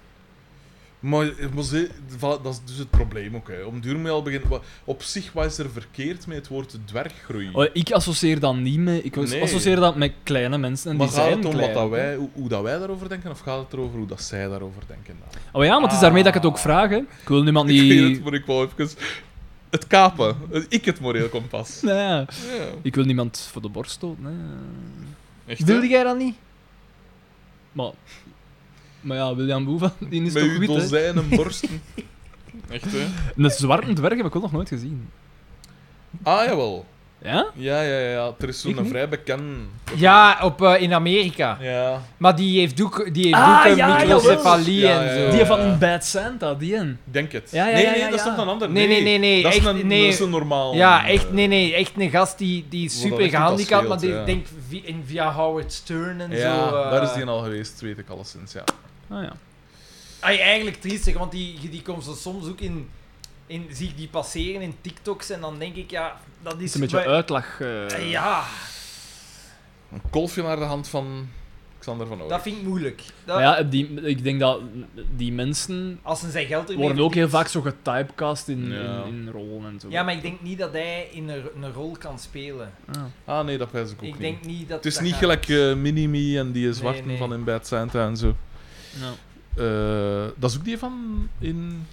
B: Maar, maar ze- va- dat is dus het probleem ook. Hè. Om duur mee al beginnen. wa- Op zich, wat is er verkeerd met het woord dwerggroei?
D: Oh, ik associeer dat niet mee. Ik
B: Mm. Nee.
D: associeer dat met kleine mensen. En
B: maar
D: die
B: gaat
D: zijn
B: het om
D: klein.
B: wat dat wij, hoe, hoe dat wij daarover denken, of gaat het erover hoe dat zij daarover denken? Dan?
D: Oh ja, maar het is daarmee dat ik het ook vraag. Hè. Ik wil niemand
B: Ah. Ik
D: die...
B: weet het, maar ik wou even... Het kapen. Ik het moreel kompas.
D: <laughs> Nee, ja.
B: Ja.
D: ik wil niemand voor de borst stoten. Hè.
B: Echt, hè?
A: Wilde jij dat niet?
D: Maar, maar ja, William Boeva, <laughs> die is
B: Met
D: toch
B: uw
D: wit, hè? <laughs>
B: dozijnen borsten. Echt, hè?
D: Een zwarte dwerg heb ik ook nog nooit gezien.
B: Ah, jawel.
D: Ja?
B: Ja, ja, ja, ja. Er is
D: Ik
B: zo'n
D: niet.
B: vrij bekend...
A: Ja, op, eh, in Amerika.
B: Ja.
A: Maar die heeft ook, die heeft
D: Ah,
A: ook een
D: ja,
A: microcefalie
B: jawel. Ja,
A: en zo.
B: ja, ja.
D: Die van een Bad Santa, die een.
B: Ik denk het.
D: Ja, ja,
B: nee,
D: ja,
B: nee,
D: ja,
B: dat is
D: ja.
B: toch een ander.
A: Nee, nee, nee, nee,
B: Dat is
A: echt,
B: een,
A: nee.
B: dat is een normaal...
A: Ja, echt,
B: eh,
A: nee, nee. Echt een gast die, die is
B: Wat dat
A: super
B: echt ook al
A: gehandicapt, maar die
B: scheelt, ja.
A: denkt vi- in, via Howard Stern en
B: Ja,
A: zo. eh.
B: daar is die al geweest, weet ik alleszins, ja.
D: Ah ja.
A: Ai, eigenlijk triestig, want die, die komt zo soms ook in, in... Zie ik die passeren in TikToks en dan denk ik, ja, dat
D: Het
A: is...
D: is een beetje
A: wij-
D: uitlag.
B: Ah,
D: eh.
A: Ja,
B: Een kolfje naar de hand van Xander van Ooyen.
A: dat vind ik moeilijk. Dat,
D: Maar ja, die, ik denk dat die mensen
A: Als ze zijn geld ermee...
D: worden ook heel
A: verdient.
D: vaak zo getypecast in,
B: Ja.
D: in, in rollen en zo.
A: Ja, maar ik denk niet dat hij in een, een rol kan spelen.
D: Ah.
B: Ah, nee, dat wijs ik ook
A: ik
B: niet.
A: denk niet dat...
B: Het is
A: dat
B: niet
A: gaat.
B: gelijk eh Minimi en die zwarten
A: nee.
B: van in Bad Santa en zo.
D: Ja.
B: Eh, dat is ook die van in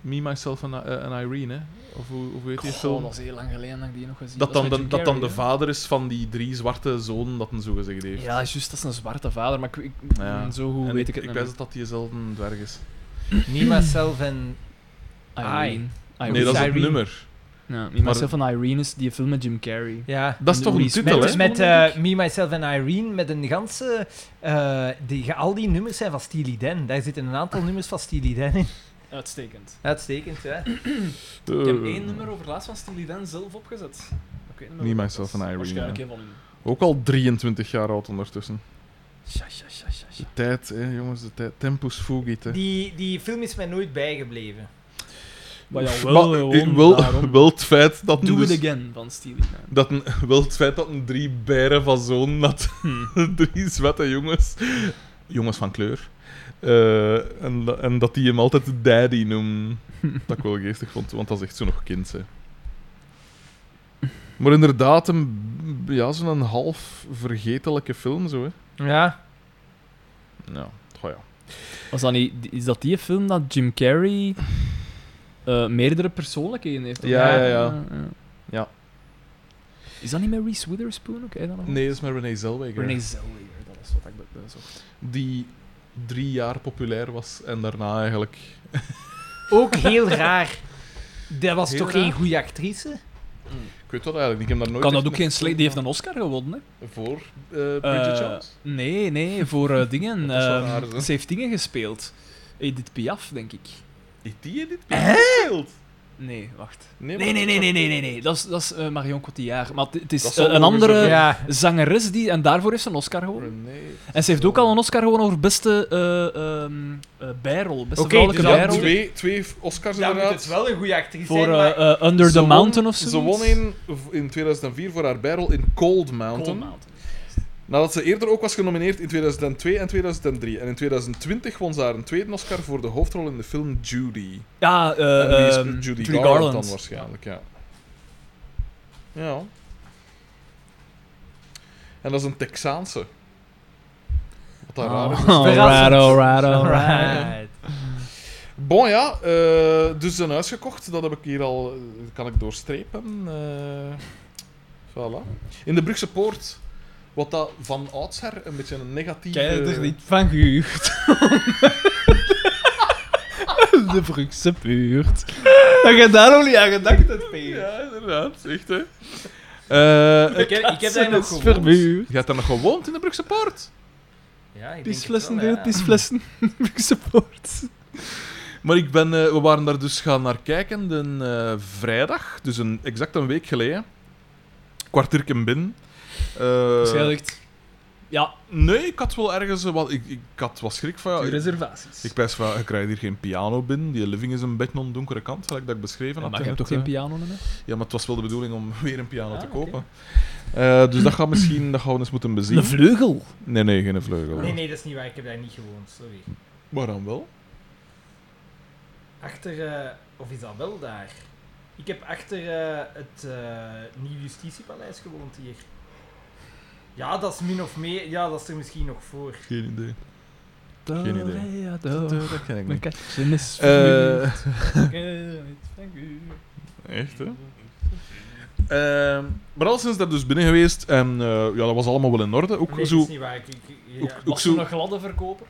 B: Me, Myself en eh, en Irene, hè? Of hoe, of hoe heet die
D: Goh,
B: film?
D: dat is heel lang geleden dat ik die nog gezien
B: Dat dan,
D: is
B: de,
D: met
B: dat
D: Jim
B: dan de
D: Carrey,
B: vader is van die drie zwarte zonen dat een zo gezegd
D: hè.
B: heeft.
D: Ja, juist, dat is een zwarte vader, maar ik, ik,
B: Ja.
D: zo goed
B: En
D: weet ik het
B: Ik
D: niet
B: wijs dat dat diezelfde dwerg is.
A: Niet myself en...
D: meer.
A: Ai.
D: Irene. Irene.
B: nee, dat is het
A: Irene?
B: nummer.
D: Ja, Me, Myself en Irene is die film met Jim Carrey.
A: Ja.
B: Dat is
D: En
B: toch een
D: Louise
B: titel,
A: Met,
B: hè?
A: met eh, Me, Myself en Irene, met een ganse... eh, die, al die nummers zijn van Steely Dan. Daar zitten een aantal nummers van Steely Dan in.
D: Uitstekend.
A: Uitstekend, hè?
D: Ik
B: Eh.
D: heb één nummer over laatst van Steely Dan zelf opgezet. Ik weet
B: Me,
D: meer wat
B: Myself
D: dat is.
B: and Irene,
D: Waarschijnlijk
B: ja.
D: een van hun.
B: Ook al 23 jaar oud ondertussen.
D: Sja, sja, sja, sja, sja.
B: De tijd, hè, jongens, de tijd. Tempus fugit, hè.
A: Die, die film is mij nooit bijgebleven.
D: Maar ja,
B: Maar,
D: wel,
B: eh,
D: gewoon
B: wel, <laughs>
D: daarom.
B: wel het feit dat...
D: Do
B: dus-
D: It Again van Steely Dan.
B: Dat een, wel het feit dat een drie bijen van zo'n had.
D: Hmm.
B: <laughs> drie zwette jongens. Jongens van kleur. Eh, en, da- en dat die hem altijd daddy noemen. Dat ik wel
D: <laughs>
B: geestig vond, want dat is echt zo nog kind, hè. Maar inderdaad, een, ja, zo'n half vergetelijke film, zo, hè.
A: Ja.
B: Ja, goh ja.
D: Was dat niet, is dat die film dat Jim Carrey eh, meerdere persoonlijkheden heeft?
B: Ja, ja, ja. Ja.
D: Is dat niet met Reese Witherspoon ook? hè, dan nog?
B: Nee, dat is met Renee Zellweger.
D: Renee Zellweger, dat is wat ik be- bezocht.
B: Die drie jaar populair was en daarna eigenlijk...
A: Ook heel raar. Dat was
B: Heel
A: toch
B: raar?
A: geen goede actrice?
B: Ik weet dat eigenlijk niet, ik heb daar nooit
D: Kan dat
B: echt
D: ook
B: een
D: geen slecht... Die heeft een Oscar gewonnen, hè?
B: Voor eh, Bridget
D: Eh,
B: Jones?
D: Nee, nee, voor eh,
B: <laughs>
D: dingen.
B: Dat is wel
D: ehm,
B: raar, hè?
D: ze heeft dingen gespeeld. Edith Piaf, denk ik.
B: Heeft die in dit gespeeld?
D: Nee, wacht.
B: Nee,
D: Nee,
B: maar-
D: nee, nee, nee, nee, nee. nee. Dat is, dat is eh, Marion Cotillard. Maar het- het is
B: Dat
D: eh,
B: zal
D: een
B: wel
D: andere
B: gezegd
A: Ja.
D: zangeres die... En daarvoor heeft ze een Oscar gewonnen.
B: Renee.
D: En ze heeft ook al een Oscar gewonnen voor beste eh ehm eh, bijrol. Beste
A: Oké,
D: vrouwelijke
A: dus
B: Ja,
A: dat
D: bijrol.
A: moet het-
B: twee, twee Oscars
A: Dan moet
B: inderdaad.
A: het wel een goede actrice
D: Voor
A: zijn, maar...
D: eh, eh, Under
B: Ze
D: the
B: won-
D: Mountain of zo.
B: Ze won in, in 2004 voor haar bijrol in Cold Mountain,
D: Cold Mountain.
B: Nadat ze eerder ook was genomineerd in 2002 en 2003. En in 2020 won ze haar een tweede Oscar voor de hoofdrol in de film Judy.
D: Ja, eh
B: en die is
D: ehm,
B: Judy
D: Judy
B: Garland, dan waarschijnlijk, ja. Ja. En dat is een Texaanse. Wat dat
D: Ah.
B: raar is.
D: Alright, alright, alright.
A: Oh, Alright.
B: Bon ja, eh, dus een huis gekocht. Dat heb ik hier al. eh, Kan ik doorstrepen. eh voilà. In de Brugse Poort. Wat dat van oudsher een beetje een negatieve.
D: Kijk er niet van gehuurd. <laughs> De Brugse buurt. Dat je daarom niet aan gedacht hebt, Peter.
B: Ja, inderdaad, echt hè. Eh,
A: Ik heb, ik heb daar nog
D: Kassen is
A: gewoond.
D: verhuurd.
B: je hebt daar nog gewoond in de Brugse Poort?
A: Ja, ik denk het
D: Pisflessen,
A: wel, ja.
D: dude, <laughs> pisflessen. Brugse poort.
B: Maar ik ben, eh, we waren daar dus gaan naar kijken de eh, vrijdag, dus een, exact een week geleden. Kwartierken binnen. Eh,
D: dus Waarschijnlijk
B: Ja, nee, ik had wel ergens eh, wat. Ik, ik had wat schrik van.
D: de
B: oh, Ja,
D: reservaties.
B: ik pijs van, je krijgt hier geen piano binnen. Die living is een beetje aan de donkere kant, gelijk dat ik beschreven had.
D: maar je
B: in
D: hebt toch
B: het,
D: geen
B: eh,
D: piano meer?
B: Ja, maar het was wel de bedoeling om <laughs> weer een piano te
A: Ah,
B: kopen. Eh, dus dat gaat misschien, dat gaan we eens moeten bezien.
D: vleugel.
B: Nee, nee, geen vleugel.
A: Nee, nee, dat is niet waar. Ik heb daar niet gewoond, sorry.
B: Maar dan wel?
A: Achter, eh, of is dat wel daar? Ik heb achter eh, het eh, Nieuw Justitiepaleis gewoond hier. Ja, dat is min of meer. Ja, dat is er misschien nog voor.
B: Geen idee.
D: Geen
B: idee. dat ken ik
D: Oh. Mijn
B: niet.
D: kasten
B: <laughs>
D: is
B: Eh,
D: verhuurd.
B: Echt, hè? Ehm, maar al sinds daar dus binnen geweest en eh, ja, dat was allemaal wel in orde. Ook
A: Nee, dat
B: zo,
A: is niet waar. Ik, ik- ja.
B: ook, ook
D: Was ze
B: zo
D: een gladde verkoper?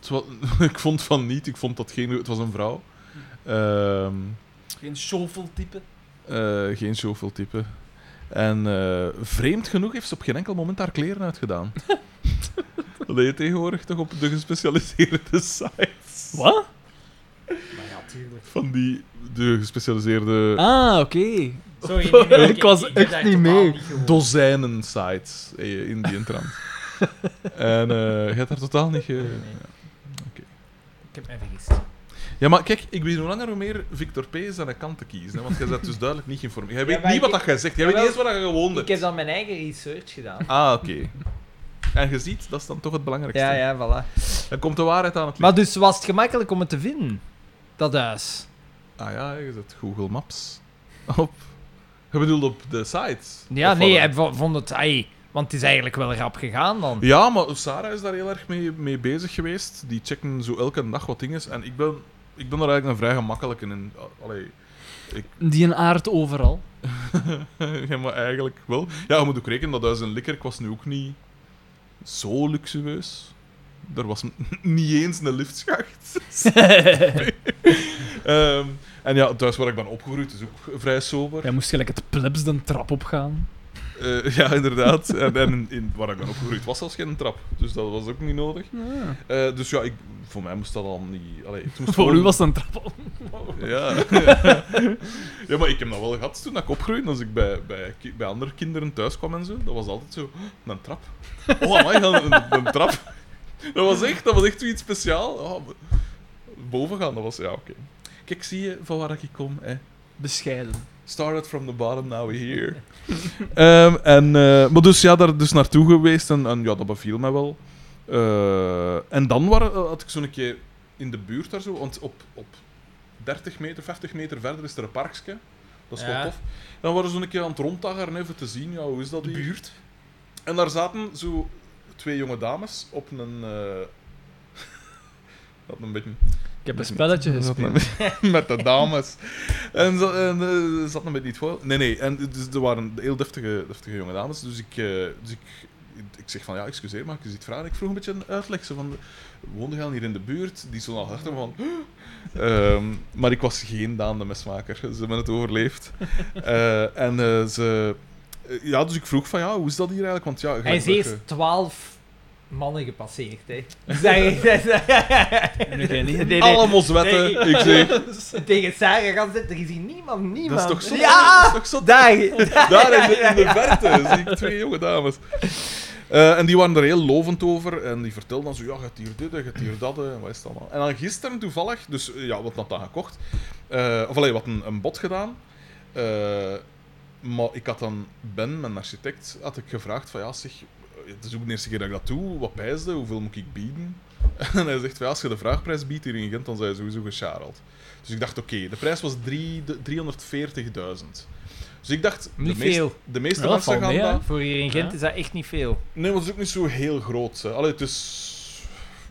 B: het wa- <laughs> ik vond van niet, ik vond dat geen, het was een vrouw. Ehm,
D: Geen shoveltype?
B: eh, geen zoveel type. En eh, vreemd genoeg heeft ze op geen enkel moment haar kleren
A: <laughs>
B: uitgedaan. Dat deed je tegenwoordig toch op de gespecialiseerde <laughs> sites.
D: Wat?
A: Maar ja,
D: <laughs>
A: tuurlijk.
B: Van die de gespecialiseerde
D: Ah, oké.
A: Sorry, nee, nee,
D: Ik was
A: heb
D: echt
A: daar
D: niet
A: totaal
D: mee.
A: gewoond.
B: dozijnen sites eh, in die trant. en eh je hebt daar totaal niet ge...
A: Nee,
D: Eh,
A: nee.
B: Oké.
A: Ik heb mij vergist.
B: Ja, maar kijk, ik weet hoe langer hoe meer Victor P. is aan de kant te kiezen. Hè, want jij bent dus duidelijk niet geïnformeerd. Jij
A: Ja,
B: weet
A: maar
B: niet wat
A: ik-
B: dat jij zegt. Jij weet niet
A: Jawel.
B: eens wat je gewoond
A: Ik
B: hebt.
A: heb dan mijn eigen research gedaan.
B: Ah, oké. En je ziet, dat is dan toch het belangrijkste.
A: Ja, ja, voilà.
B: Dan komt de waarheid aan het licht.
A: Maar dus was het gemakkelijk om het te vinden? Dat huis.
B: Ah ja, je zet Google Maps op. Je bedoelt op de sites.
A: Ja,
B: Of
A: nee,
B: wat?
A: hij vo- vond het... ai, want het is eigenlijk wel rap gegaan dan.
B: Ja, maar Sarah is daar heel erg mee, mee bezig geweest. Die checken zo elke dag wat dingen. En ik ben, ik ben daar eigenlijk een vrij gemakkelijke in. Allee, <laughs>
D: Die een aard overal.
B: ja, maar eigenlijk wel. Ja, je moet ook rekenen dat Huis en Likkerk was nu ook niet zo luxueus. Er was <laughs> n- niet eens een
A: <laughs>
B: liftschacht. <laughs> Ehm, en ja, het huis waar ik ben opgegroeid is ook vrij sober.
D: Jij moest gelijk het plebs de trap opgaan.
B: Eh, <laughs> ja, inderdaad. En, en in, in- waar ik ben opgegroeid was zelfs geen trap. Dus dat was ook niet nodig.
D: Ah,
B: Eh, dus ja, ik, voor mij moest dat al niet... Allee, het moest
D: <laughs> Voor u
B: gewoon-
D: was het een trap op.
B: Ja.
D: <laughs>
B: ja, maar ik heb dat wel gehad toen ik opgroeide. Als ik bij, bij, ki- bij andere kinderen thuis kwam en zo, dat was altijd zo... "Oh, Een trap. Oh, amai, een, een, een trap. Dat was echt, dat was echt iets speciaals. Oh, bo- boven gaan, dat was... Ja, oké. Kijk, zie je van waar ik kom, hè.
D: Bescheiden.
B: Started from the bottom, now we're here. <laughs> Ehm, en, eh, maar dus ja, daar dus naartoe geweest en, en ja, dat beviel mij wel. Eh, en dan waren, had ik zo'n keer in de buurt daar zo, want op, op 30 meter, 50 meter verder is er een parkje. Dat is wel
A: Ja.
B: tof. En dan waren ze zo'n keer aan het ronddagen even te zien, ja, hoe is dat hier? buurt. En daar zaten zo twee jonge dames op een... eh, <laughs> dat een beetje
D: Ik heb een spelletje gespeeld.
B: <laughs> met de dames. En ze en, eh, zat nog met niet voor. Nee, nee. En dus er waren heel deftige, deftige jonge dames. Dus ik, eh, dus ik, ik zeg van ja, excuseer, maar ik zit vragen. Ik vroeg een beetje een uitleg. Ze van woonde gaan hier in de buurt. Die stond al achter me van. Ehm, maar ik was geen Daan de mesmaker. <laughs> Ze hebben het overleefd. Eh, en eh, ze. Ja, dus ik vroeg van ja, hoe is dat hier eigenlijk? Want ja,
A: Hij
B: gelijk
A: is
B: dat
A: eerst
B: je-
A: twaalf mannen gepasseerd,
B: <laughs>
A: hè. <laughs> Zeg-
D: En nu geen idee.
A: Nee, nee.
B: alle moswetten.
A: Nee,
B: ik
A: <laughs>
B: zeg,
A: Tegen Sarah gaan zitten, er is hier niemand,
B: dat is
A: niemand.
B: toch zo? Dat is
A: Ja!
B: toch zo
A: <laughs> Daar!
B: Daar in de, in de verte zie ik twee jonge dames. Eh, en die waren er heel lovend over. En die vertelden dan zo, ja, je hebt hier dit, en je hebt hier dat, en wat is het allemaal. En dan gisteren toevallig, dus eh, ja, wat had dat gekocht? Eh, of alleen wat een, een bod gedaan. Eh, maar ik had dan Ben, mijn architect, had ik gevraagd van, ja, zeg, eh, het is ook de eerste keer dat ik dat doe, wat pijsde, hoeveel moet ik bieden? <laughs> En hij zegt, van, ja, als je de vraagprijs biedt hier in Gent, dan zijn je sowieso geschareld. Dus ik dacht, oké, de prijs was drie- de- 340.000. Dus ik dacht,
A: Niet
B: de, meest-
A: veel.
B: de meeste
D: Ja, dat
B: mensen
D: valt
B: gaan
D: mee, hè.
B: daar.
A: Voor hier in Gent
D: Ja.
A: is dat echt niet veel.
B: Nee, want het is ook niet zo heel groot. Hè. Allee, het is...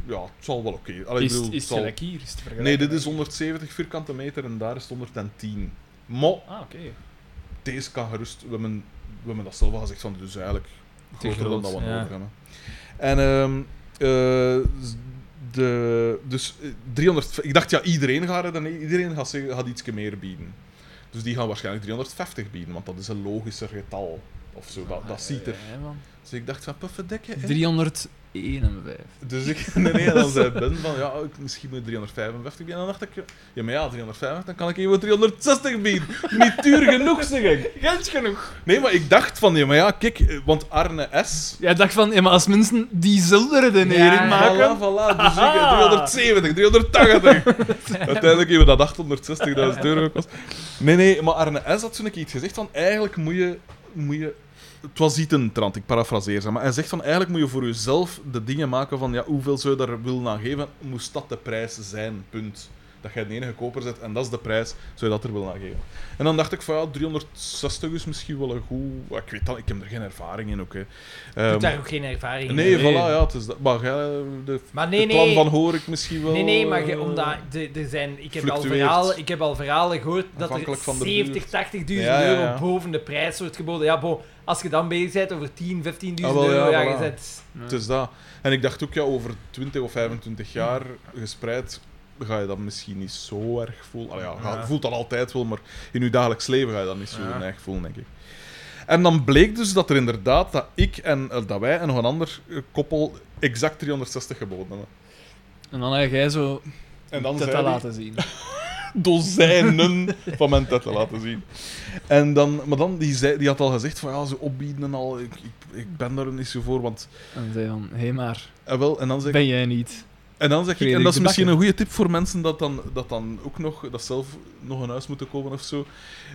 B: Ja, het zal wel oké. Allee, ik
D: Is,
B: bedoel,
D: is
B: het
D: het
B: zal-
D: gelijk hier? Is het te vergelijken?
B: Nee, dit is 170 vierkante meter en daar is het 110. Maar
D: Ah, oké.
B: deze kan gerust... We hebben, we hebben dat zelf al gezegd, van, dus eigenlijk groter dan
A: groot,
B: dat we
A: ja.
B: nodig hebben. En ehm, eh, z- de, dus eh, 300... Ik dacht, ja, iedereen gaat redden. Nee, Iedereen gaat, zeggen, gaat ietsje meer bieden. Dus die gaan waarschijnlijk 350 bieden, want dat is een logischer getal. Of zo, dat, dat ziet er.
D: Ah, Ja, man.
B: Dus ik dacht van, puffendekken. hè.
D: 351.
B: Dus ik, <laughs> nee, nee, dan zei Ben van, ja, ik, misschien moet ik 355 bieden. En dan dacht ik, ja, maar ja, 355, dan kan ik even 360 bieden. Niet duur genoeg, zeg ik.
A: Gent genoeg.
B: Nee, maar ik dacht van, ja, maar ja, kijk, eh, want Arne S...
D: Jij dacht van, ja, maar als mensen die redenering
A: Ja, Ah.
D: maken...
B: Voilà, voilà, dus ik eh, 370,
A: <laughs>
B: 380. Uiteindelijk hebben we dat 860.000 euro gekost. Nee, nee, maar Arne S had zo'n keer iets gezegd van, eigenlijk moet je... Moet je het was iets in de trant, ik parafraseer ze. Maar hij zegt van, eigenlijk moet je voor jezelf de dingen maken van, ja, hoeveel zou je daar willen aan geven? Moest dat de prijs zijn, punt. Dat jij de enige koper zet en dat is de prijs, zou je dat er willen aan geven? En dan dacht ik van, ja, 360 is misschien wel een goed... Ik weet dat, ik heb er geen ervaring in ook, hè.
A: Ik
B: Ehm,
A: heb daar ook geen ervaring in.
B: Nee,
D: Nee.
B: voilà, ja, het is dat. Maar jij, de,
A: Maar nee,
B: de plan
A: nee.
B: van hoor ik misschien wel.
A: Nee, nee, maar je-
B: eh,
A: omdat de- er zijn, ik, heb al
B: fluctueert.
A: verhalen, ik heb al verhalen gehoord dat er
B: Afhankelijk van de
A: 70, 80.000
B: Ja, ja,
A: euro
B: ja.
A: boven de prijs wordt geboden. Ja, bon, als je dan bezig bent over 10, 15.000
B: Ah, wel, ja,
A: euro, ja,
B: voilà.
A: je zet...
B: Het is dat. En ik dacht ook, ja, over 20 of 25 jaar gespreid ga je dat misschien niet zo erg voelen. Allee, ja, je
G: Ja.
B: voelt dat altijd wel, maar in je dagelijks leven ga je dat niet zo
G: Ja.
B: erg voelen, denk ik. En dan bleek dus dat er inderdaad dat ik en eh, dat wij en nog een ander eh, koppel exact 360 geboden hebben.
D: En dan heb jij zo
B: En dan
D: dat
B: zei die-
D: laten zien.
B: dozijnen van mijn tet te laten zien. En dan, maar dan, die, zei, die had al gezegd van ja, ze opbieden en al, ik, ik, ik ben daar niet zo voor, want...
D: En zei van, hé maar,
B: En, wel, en dan zeg
D: ben jij niet?
B: en dan zeg ik, en
D: Frederik
B: dat is
D: de
B: misschien
D: Bakker.
B: een goede tip voor mensen dat dan, dat dan ook nog, dat zelf nog een huis moeten kopen of zo.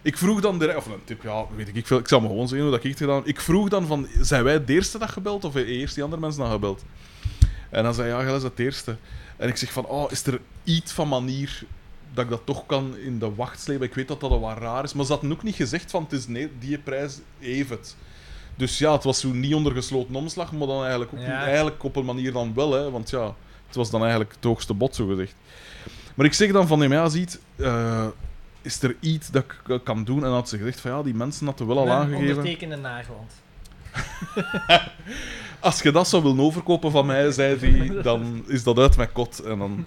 B: Ik vroeg dan direct, of een tip, ja, weet ik veel, ik zal me gewoon zeggen hoe dat ik het gedaan heb. Ik vroeg dan van, zijn wij de eerste dag gebeld of hebben eerst die andere mensen dan gebeld? En dan zei hij, ja, jij is het eerste. En ik zeg van, oh, is er iets van manier dat ik dat toch kan in de wacht slepen? Ik weet dat dat al wat raar is, maar ze hadden ook niet gezegd van, het is nee, die prijs even. Dus ja, het was zo niet onder gesloten omslag, maar dan eigenlijk ook
A: Ja.
B: niet- eigenlijk op een manier dan wel, hè, want ja... Het was dan eigenlijk het hoogste bod, zo gezegd. Maar ik zeg dan van, nee, maar ja, ziet, eh, is er iets dat ik eh, kan doen? En dan had ze gezegd van, ja, die mensen hadden wel al aangegeven.
A: Ondertekende Nageland.
B: Als je dat zou willen overkopen van mij, zei die, dan is dat uit mijn kot. En dan...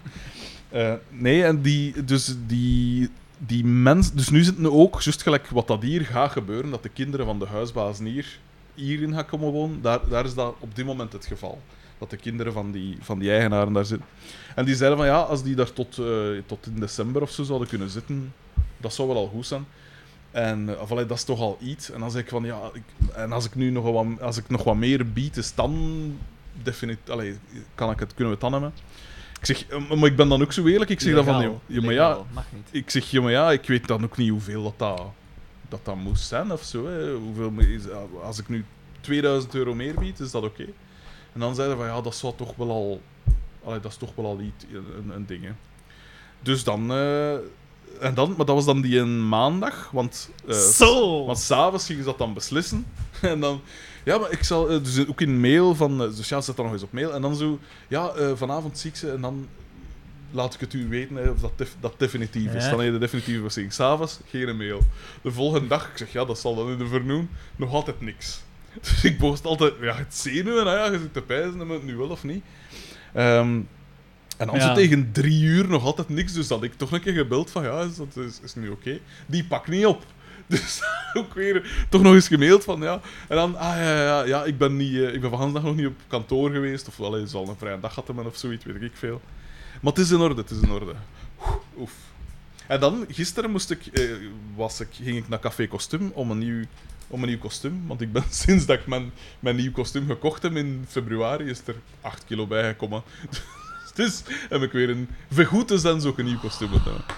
B: eh, nee, en die, dus die, die mens... Dus nu zitten ook, juist gelijk wat dat hier gaat gebeuren, dat de kinderen van de huisbaas hier, hierin gaan komen wonen, daar, daar is dat op dit moment het geval. Dat de kinderen van die, van die eigenaren daar zitten. En die zeiden van ja, als die daar tot, eh, tot in december of zo zouden kunnen zitten, dat zou wel al goed zijn. En eh, of allee, dat is toch al iets. En dan zeg ik van ja, ik, en als ik nu nog wat, als ik nog wat meer bied, is dan definitief. Allee, kan ik het, kunnen we het dan hebben? Ik zeg, eh, maar ik ben dan ook zo eerlijk. Ik zeg dan van
D: Legaal,
B: ja, ja, maar ja,
D: legaal, Mag niet.
B: ik zeg, ja, maar ja, ik weet dan ook niet hoeveel dat dat, dat, dat moest zijn of zo. Hè. Hoeveel, me- is- als ik nu 2000 euro meer bied, is dat oké? En dan zeiden we van, ja, dat zou toch wel al... Allee, dat is toch wel al iets, een, een ding, hè. Dus dan... eh, en dan... Maar dat was dan die een maandag, want... eh,
D: Zo!
B: want s'avonds gingen ze dat dan beslissen. <laughs> En dan... Ja, maar ik zal... eh, Dus ook in mail van... eh, Dus ja, zet dat nog eens op mail. En dan zo... Ja, eh, vanavond zie ik ze en dan... Laat ik het u weten hè, of dat, def- dat definitief is.
A: Ja.
B: Dan heb je de definitieve beslissing. S'avonds geen mail. De volgende dag, ik zeg ja, dat zal dan in de vernoem. Nog altijd niks. <laughs> Dus ik boogst altijd... Ja, het zenuwen. Nou ja, je zit te pijzen, hebben we het nu wel of niet? Ehm, en dan
D: Ja.
B: zo tegen drie uur nog altijd niks. Dus dat ik toch een keer gebeld van ja, is, dat, is, is nu oké? Die pakt niet op. <laughs> Dus ook weer toch nog eens gemaild van ja. En dan, ah ja, ja, ja, ja ik ben, niet, eh, ik ben van Hansdag nog niet op kantoor geweest. Of wel, is al een vrije dag gehad hebben of zoiets, weet ik veel. Maar het is in orde, het is in orde. Oef. En dan, gisteren moest ik, eh, was ik, ging ik naar Café Kostuum om een nieuw, om een nieuw kostuum. Want ik ben <laughs> sinds dat ik mijn, mijn nieuw kostuum gekocht heb in februari, is er 8 kilo bijgekomen. <laughs> Dus heb ik weer een vergoed is dan zo een nieuw kostuum moeten hebben.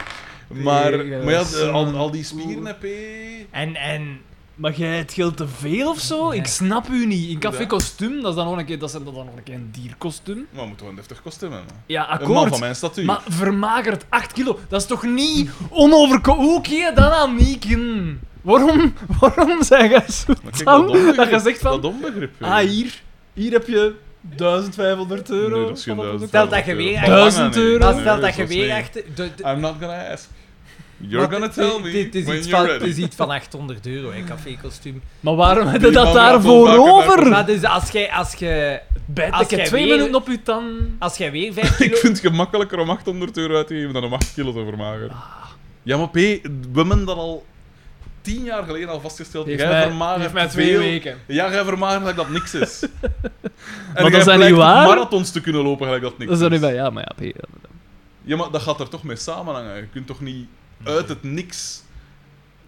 B: Maar, maar ja, de- al, al die spieren heb ik...
A: En, en...
D: Maar jij, het geld te veel of zo?
A: Ja.
D: Ik snap u niet. In café
B: Ja.
D: kostuum, dat is dan nog een keer, dat is dan nog een, keer een dierkostuum.
B: Maar we moeten wel een deftig kostuum hebben.
D: Ja,
B: Een man van
D: akkoord.
B: mijn statuur.
D: Maar vermagerd 8 kilo, dat is toch niet onoverko... Hoe kun je dat dan niet kunnen? Waarom, <laughs> waarom zeg jij zo
B: Maar kijk,
D: tam
B: dat onbegrip.
D: dat je zegt van...
B: Dat onbegrip. joh.
D: Ah, hier. Hier heb je 1500 euro.
B: Nee, dat is geen
D: Van op-
B: duizend.
A: Stel dat je weer-
B: Dat hangt
D: Duizend
B: aan, nee.
D: euro.
A: Maar
B: Nee,
A: stel dat je
B: is
A: weer
B: niet.
A: achter... de- de-
B: I'm not gonna ask. Ah, You're
A: maar
B: gonna
A: het-
B: tell
A: het-
B: me
A: Het is
B: when
A: iets
B: you're
A: van- het
B: ready.
A: is iets van 800 euro, hè, café-kostuum.
D: Maar waarom heb je
B: Die
D: dat
B: man gaat
D: daarvoor
B: wel vaker naar
D: over?
A: Maar dus als jij... Als jij
D: Bijt
A: Als
D: ik heb
A: jij
D: twee
A: weer-
D: minuten op je tand.
A: als jij weer 5
B: <laughs> <laughs> Ik
A: kilo...
B: vind het gemakkelijker om 800 euro uit te geven dan om 8 kilo te vermageren. Ja, maar P, we hebben dat al tien jaar geleden al vastgesteld.
D: Heeft
B: jij
D: mij-
B: vermagert
D: heeft mij twee
B: veel.
D: weken.
B: Ja, jij vermagert gelijk dat niks
D: <laughs>
B: is. en
D: dat
B: jij
D: is dan
B: blijkt
D: niet waar?
B: marathons te kunnen lopen gelijk dat niks
D: Dat
B: is.
D: is er niet bij. Ja, maar ja. P-
B: Ja, maar dat gaat er toch mee samenhangen. Je kunt toch niet uit het niks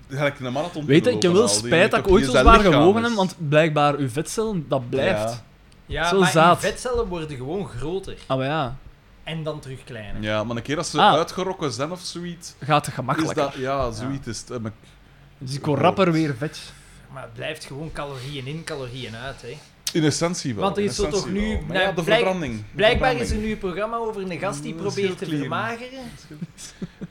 B: gelijk een marathon
D: Weet je,
B: kunnen
D: ik heb
B: lopen
D: wel
B: al. Die
D: spijt dat
B: weet
D: ik
B: toch
D: ooit zo
B: niet
D: zwaar
B: zijn lichaam
D: gewogen
B: is.
D: heb, want blijkbaar uw vetcellen, dat blijft.
B: Ja.
A: Ja,
D: Zo
A: maar
D: zaad.
A: die vetcellen worden gewoon groter.
D: Ah, maar ja.
A: En dan terug kleiner.
B: Ja, maar een keer als ze
D: Ah.
B: uitgerokken zijn of zoiets,
D: Gaat het
B: is
D: gemakkelijker.
B: dat... Ja, zoiets is het. hè, maar
D: Dus ik word rapper weer vet.
A: Maar het blijft gewoon calorieën in, calorieën uit, hè.
B: In essentie wel.
A: Want er
B: in
A: is zo toch
B: essentie
A: nu-
B: wel. Maar
A: nou,
B: ja, de
A: blijk-
B: verbranding. De
A: Blijkbaar is er
B: verbranding.
A: nu een programma over een gast die
B: Mm,
A: probeert te
B: schildklier.
A: vermageren.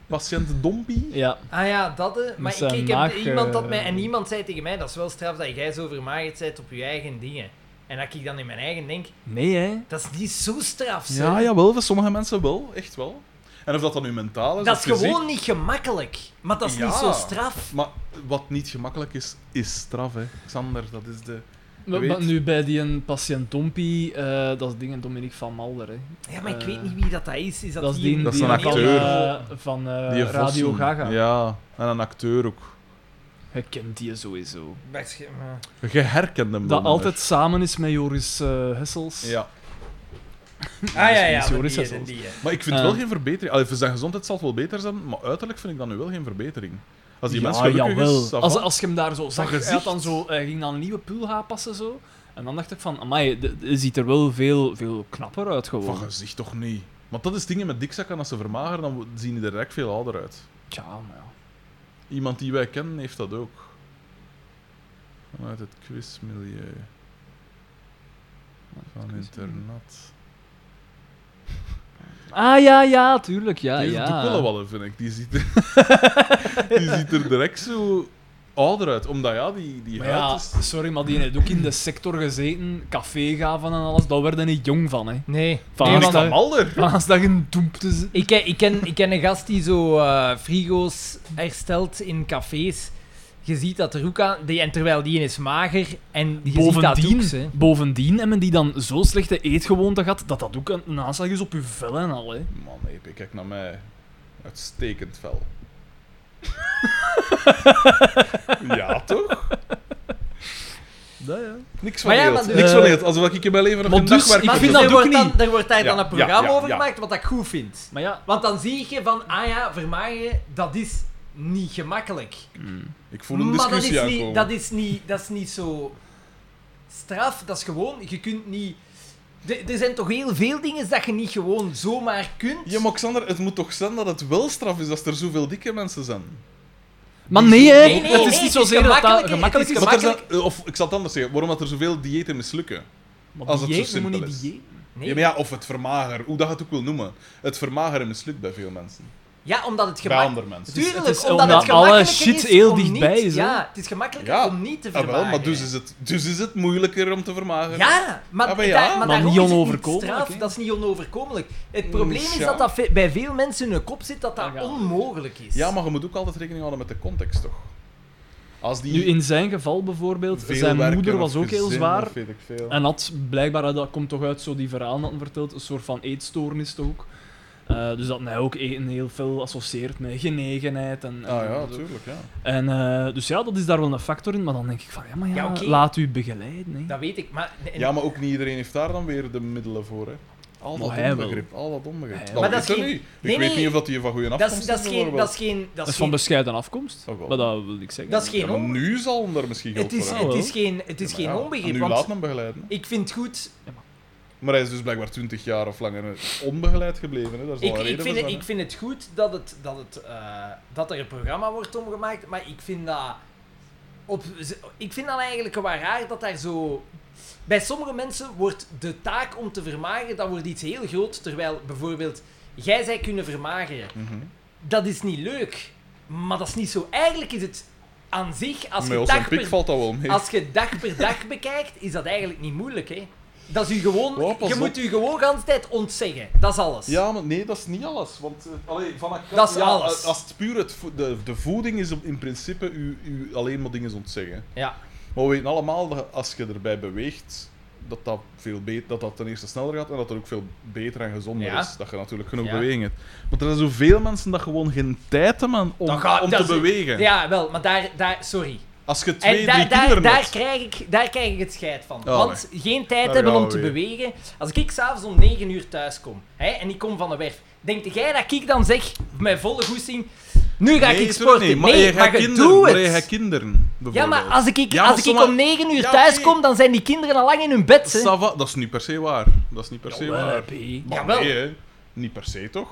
B: Patiënt Dompie?
D: Ja.
A: Ah ja, dat hè. Maar ik,
D: zijn
A: ik heb
D: maag,
A: iemand dat mij...
D: eh,
A: En iemand zei tegen mij, dat is wel straf dat jij zo vermagerd bent op je eigen dingen. En dat ik dan in mijn eigen denk,
D: Nee, hè.
A: dat is niet zo straf, zeg.
B: Ja, jawel. Voor sommige mensen wel. Echt wel. En of dat dan nu mentaal is
A: Dat
B: of
A: is
B: fysiek,
A: gewoon niet gemakkelijk. Maar dat is
B: Ja.
A: niet zo straf.
B: Maar wat niet gemakkelijk is, is straf, hè. Xander, dat is de...
D: Maar,
B: weet-
D: maar nu bij die een patiënt Tompie, eh, dat is dingen Dominique van Malder. Hè.
A: Ja, maar ik
D: Eh,
A: weet niet wie dat, dat is. Is dat,
D: Dat, is
A: die...
D: die,
B: Dat is
D: die
B: een acteur.
D: van, eh, van eh,
B: die
D: Radio
B: vossen.
D: Gaga.
B: Ja, en een acteur ook.
D: Je kent die sowieso.
A: Waarsch- maar-
B: Je herkent hem
D: Dat
B: wel,
D: altijd samen is met Joris eh Hessels.
B: hè. Ja.
A: Ah ja, ja,
D: Joris
A: maar die,
D: Hessels.
A: die, die, hè.
B: Maar ik vind
D: Eh.
B: wel geen verbetering. Allee, voor zijn gezondheid zal het wel beter zijn, maar uiterlijk vind ik dat nu wel geen verbetering. Als die
D: Ja,
B: mens gelukkig
D: jawel.
B: is, ça
D: als,
B: va.
D: als je hem daar zo zag, hij, had
B: gezicht.
D: dan zo, hij ging dan een nieuwe pul gaan passen zo. En dan dacht ik van, amai, de- de- ziet er wel veel, veel knapper uit
B: Van
D: gewoon.
B: gezicht toch niet. Want dat is dingen met dikzakken, als ze vermageren, dan zien die er direct veel ouder uit.
D: Tja, maar ja.
B: Iemand die wij kennen heeft dat ook. Vanuit het quizmilieu. Van internat.
D: Ah ja, ja, tuurlijk, ja,
B: Deze
D: Ah, ja.
B: doet wel wat, vind ik. Die ziet, er, die ziet er direct zo ouder uit. Omdat ja, die, die
D: Maar
B: huid
D: ja,
B: is...
D: sorry, maar die heeft ook in de sector gezeten, café gaven en alles, daar werden niet jong van, hè.
A: Nee.
D: Van
A: nee
B: Is
D: want-
B: dat malder?
D: Maar als dat een doempte is...
A: Ik, ken- ik, ken, ik ken een gast die zo eh, frigo's herstelt in cafés. Je ziet dat er ook aan. Die, en terwijl die is mager. En je ziet dat ook,
D: Bovendien,
A: hè.
D: bovendien hebben die dan zo slechte eetgewoonte gehad, dat dat ook een, een aanslag is op je vel en al, hè.
B: Man, nee, Pip, kijk naar mij. Uitstekend fel. <laughs> ja, toch?
D: Dat, ja.
B: Niks van
A: Maar ja,
B: heel.
A: maar dus-
B: Niks van
D: Eh,
B: heel. Alsof ik in mijn leven nog
D: maar
B: een
D: dus,
B: dag werk
D: ik
B: heb
D: vind
B: gedaan.
D: dat
A: daar, wordt
D: ook
A: dan,
D: niet.
A: daar wordt daar
B: Ja,
A: dan een
B: ja,
A: programma
B: ja,
A: over
B: ja.
A: gemaakt, wat ik goed vind.
D: Maar ja...
A: Want dan zie je van, ah ja, vermageren, dat is niet gemakkelijk.
B: Ik voel een
A: maar dat
B: discussie
A: is,
B: aankomen.
A: niet, dat, is niet, dat is niet zo straf. Dat is gewoon, je kunt niet... D- Er zijn toch heel veel dingen dat je niet gewoon zomaar kunt.
B: Ja, maar Xander, het moet toch zijn dat het wel straf is als er zoveel dikke mensen zijn?
D: Maar nee, hè.
A: Nee, nee,
D: het is
A: nee,
D: niet
A: het
D: zozeer
A: is
D: dat dat
A: gemakkelijker,
D: gemakkelijk
A: het
D: is.
A: is
B: Maar er
A: Gemakkelijk.
B: zijn, eh, of ik zal het anders zeggen, waarom dat er zoveel diëten mislukken?
D: Maar
B: als het zo
D: dieet, je
B: simpel is.
D: moet niet dieet.
A: Nee.
B: Ja, maar ja, of het vermageren, hoe dat je het ook wil noemen. Het vermageren mislukt bij veel mensen.
A: Ja, omdat het
B: Bij
A: gemakkelijk...
B: andere mensen.
A: Tuurlijk,
D: Het is
A: omdat,
D: omdat
A: het gemakkelijker
D: alle shit
A: is
D: heel
A: om
D: dichtbij
A: niet-
D: is, hè?
A: Ja, het is gemakkelijker
B: Ja,
A: om niet te
B: Ah,
A: vermageren.
B: wel, maar dus is, het, dus is het moeilijker om te vermageren.
A: Ja, maar,
B: Ah, maar ja.
A: daar-
B: Maar
A: maar daarom
D: niet
A: is het niet
D: onoverkomelijk,
A: straf,
D: hè?
A: dat is niet onoverkomelijk. Het probleem is
B: Mm, ja.
A: dat dat ve- bij veel mensen in hun kop zit dat dat
D: Ja.
A: onmogelijk is.
B: Ja, maar je moet ook altijd rekening houden met de context, toch? Als die
D: Nu, in zijn geval bijvoorbeeld,
B: veel
D: zijn
B: werken
D: moeder
B: of
D: was ook heel
B: gezin
D: zwaar.
B: of weet ik veel.
D: En had blijkbaar, dat komt toch uit zo die verhaal dat hij vertelt, een soort van eetstoornis toch ook. Eh, dus dat hij ook eten heel veel associeert met genegenheid. En,
B: Ah ja,
D: en, zo.
B: natuurlijk, ja.
D: en eh, Dus ja, dat is daar wel een factor in. Maar dan denk ik van, ja, maar ja,
A: Ja, oké.
D: laat u begeleiden. Hè.
A: Dat weet ik, maar... en-
B: Ja, maar ook niet iedereen heeft daar dan weer de middelen voor, hè. Al
D: Maar
B: dat
D: hij wel.
B: onbegrip, al dat onbegrip.
D: Hij
B: Dat
D: wel.
B: maar
A: Maar
B: dat
A: dat is
B: niet.
A: geen-
B: Ik
A: nee,
B: weet
A: nee.
B: niet of dat die van goede
A: Dat is,
B: afkomst
A: dat is geen... Dat is geen... Dat
D: Dat
A: is
D: is van
A: geen...
D: bescheiden afkomst.
B: Oh, wel.
D: maar dat wil ik zeggen.
A: Dat is geen...
B: Ja, maar
A: on-
B: nu zal er misschien geld
A: Het is,
B: voor
D: Ah,
A: het
B: hebben.
A: is geen, het is
B: Ja, maar
A: geen
B: ja,
A: onbegrip,
B: Nu
A: want
B: laat hem begeleiden.
A: ik vind goed...
B: Maar hij is dus blijkbaar 20 jaar of langer onbegeleid gebleven. Hè? Daar is al
A: Ik,
B: een
A: ik,
B: reden
A: vind,
B: voor
A: het,
B: zijn,
A: ik vind het goed dat, het, dat, het, eh, dat er een programma wordt omgemaakt, maar ik vind dat... Op, z- ik vind dan eigenlijk wel raar dat daar zo... Bij sommige mensen wordt de taak om te vermageren, dat wordt iets heel groot, terwijl bijvoorbeeld jij zij kunnen vermageren.
B: hè. Mhm.
A: Dat is niet leuk, maar dat is niet zo... Eigenlijk is het... aan zich, als
B: Met
A: je,
B: ons
A: dag
B: pik
A: per,
B: valt dat wel mee.
A: als je dag per dag bekijkt, is dat eigenlijk niet moeilijk, hè. Dat is u gewoon...
B: Oh, pas
A: je
B: op.
A: moet u gewoon de hele tijd ontzeggen. Dat is alles.
B: Ja, maar nee, dat is niet alles. Want eh, allee, van een kat-
A: Dat is
B: ja, eh,
A: alles.
B: Als het puur het vo- de, de voeding is, op- in principe u, u alleen maar dingen ontzeggen.
A: Ja.
B: Maar we weten allemaal dat als je erbij beweegt, dat dat, veel beter, dat dat ten eerste sneller gaat en dat dat ook veel beter en gezonder
A: Ja.
B: is. Dat je natuurlijk genoeg
A: Ja.
B: beweging hebt. Want er zijn zoveel mensen dat gewoon geen tijd hebben om,
A: Dat gaat-
B: om
A: dat
B: te
A: is-
B: bewegen.
A: Ja, wel, maar daar... daar sorry.
B: Als je twee,
A: En daar,
B: drie
A: daar,
B: kinderen
A: daar,
B: hebt.
A: krijg ik, daar krijg ik het scheid van.
B: Oh,
A: Want geen tijd
B: Daar
A: hebben
B: gaan
A: om
B: we
A: te
B: weer.
A: bewegen. Als ik s'avonds om 9 uur thuis kom hè, en ik kom van de werf, denk jij dat ik dan zeg, met volle goesting, nu ga
B: Nee,
A: ik
B: tuurlijk
A: sporten?
B: niet,
A: maar
B: je
A: nee,
B: gaat
A: maar je
B: kinderen,
A: doet
B: maar je gaat
A: het.
B: kinderen,
A: Ja, maar
B: bijvoorbeeld.
A: als ik,
B: Ja, maar
A: als ik
B: zomaar-
A: om 9 uur
B: Ja,
A: thuis
B: oké.
A: kom, dan zijn die kinderen al lang in hun bed. hè.
B: Ça va, dat is niet per se waar. Dat is niet per se waar. Maar
A: Jawel.
B: nee, hè. niet per se toch?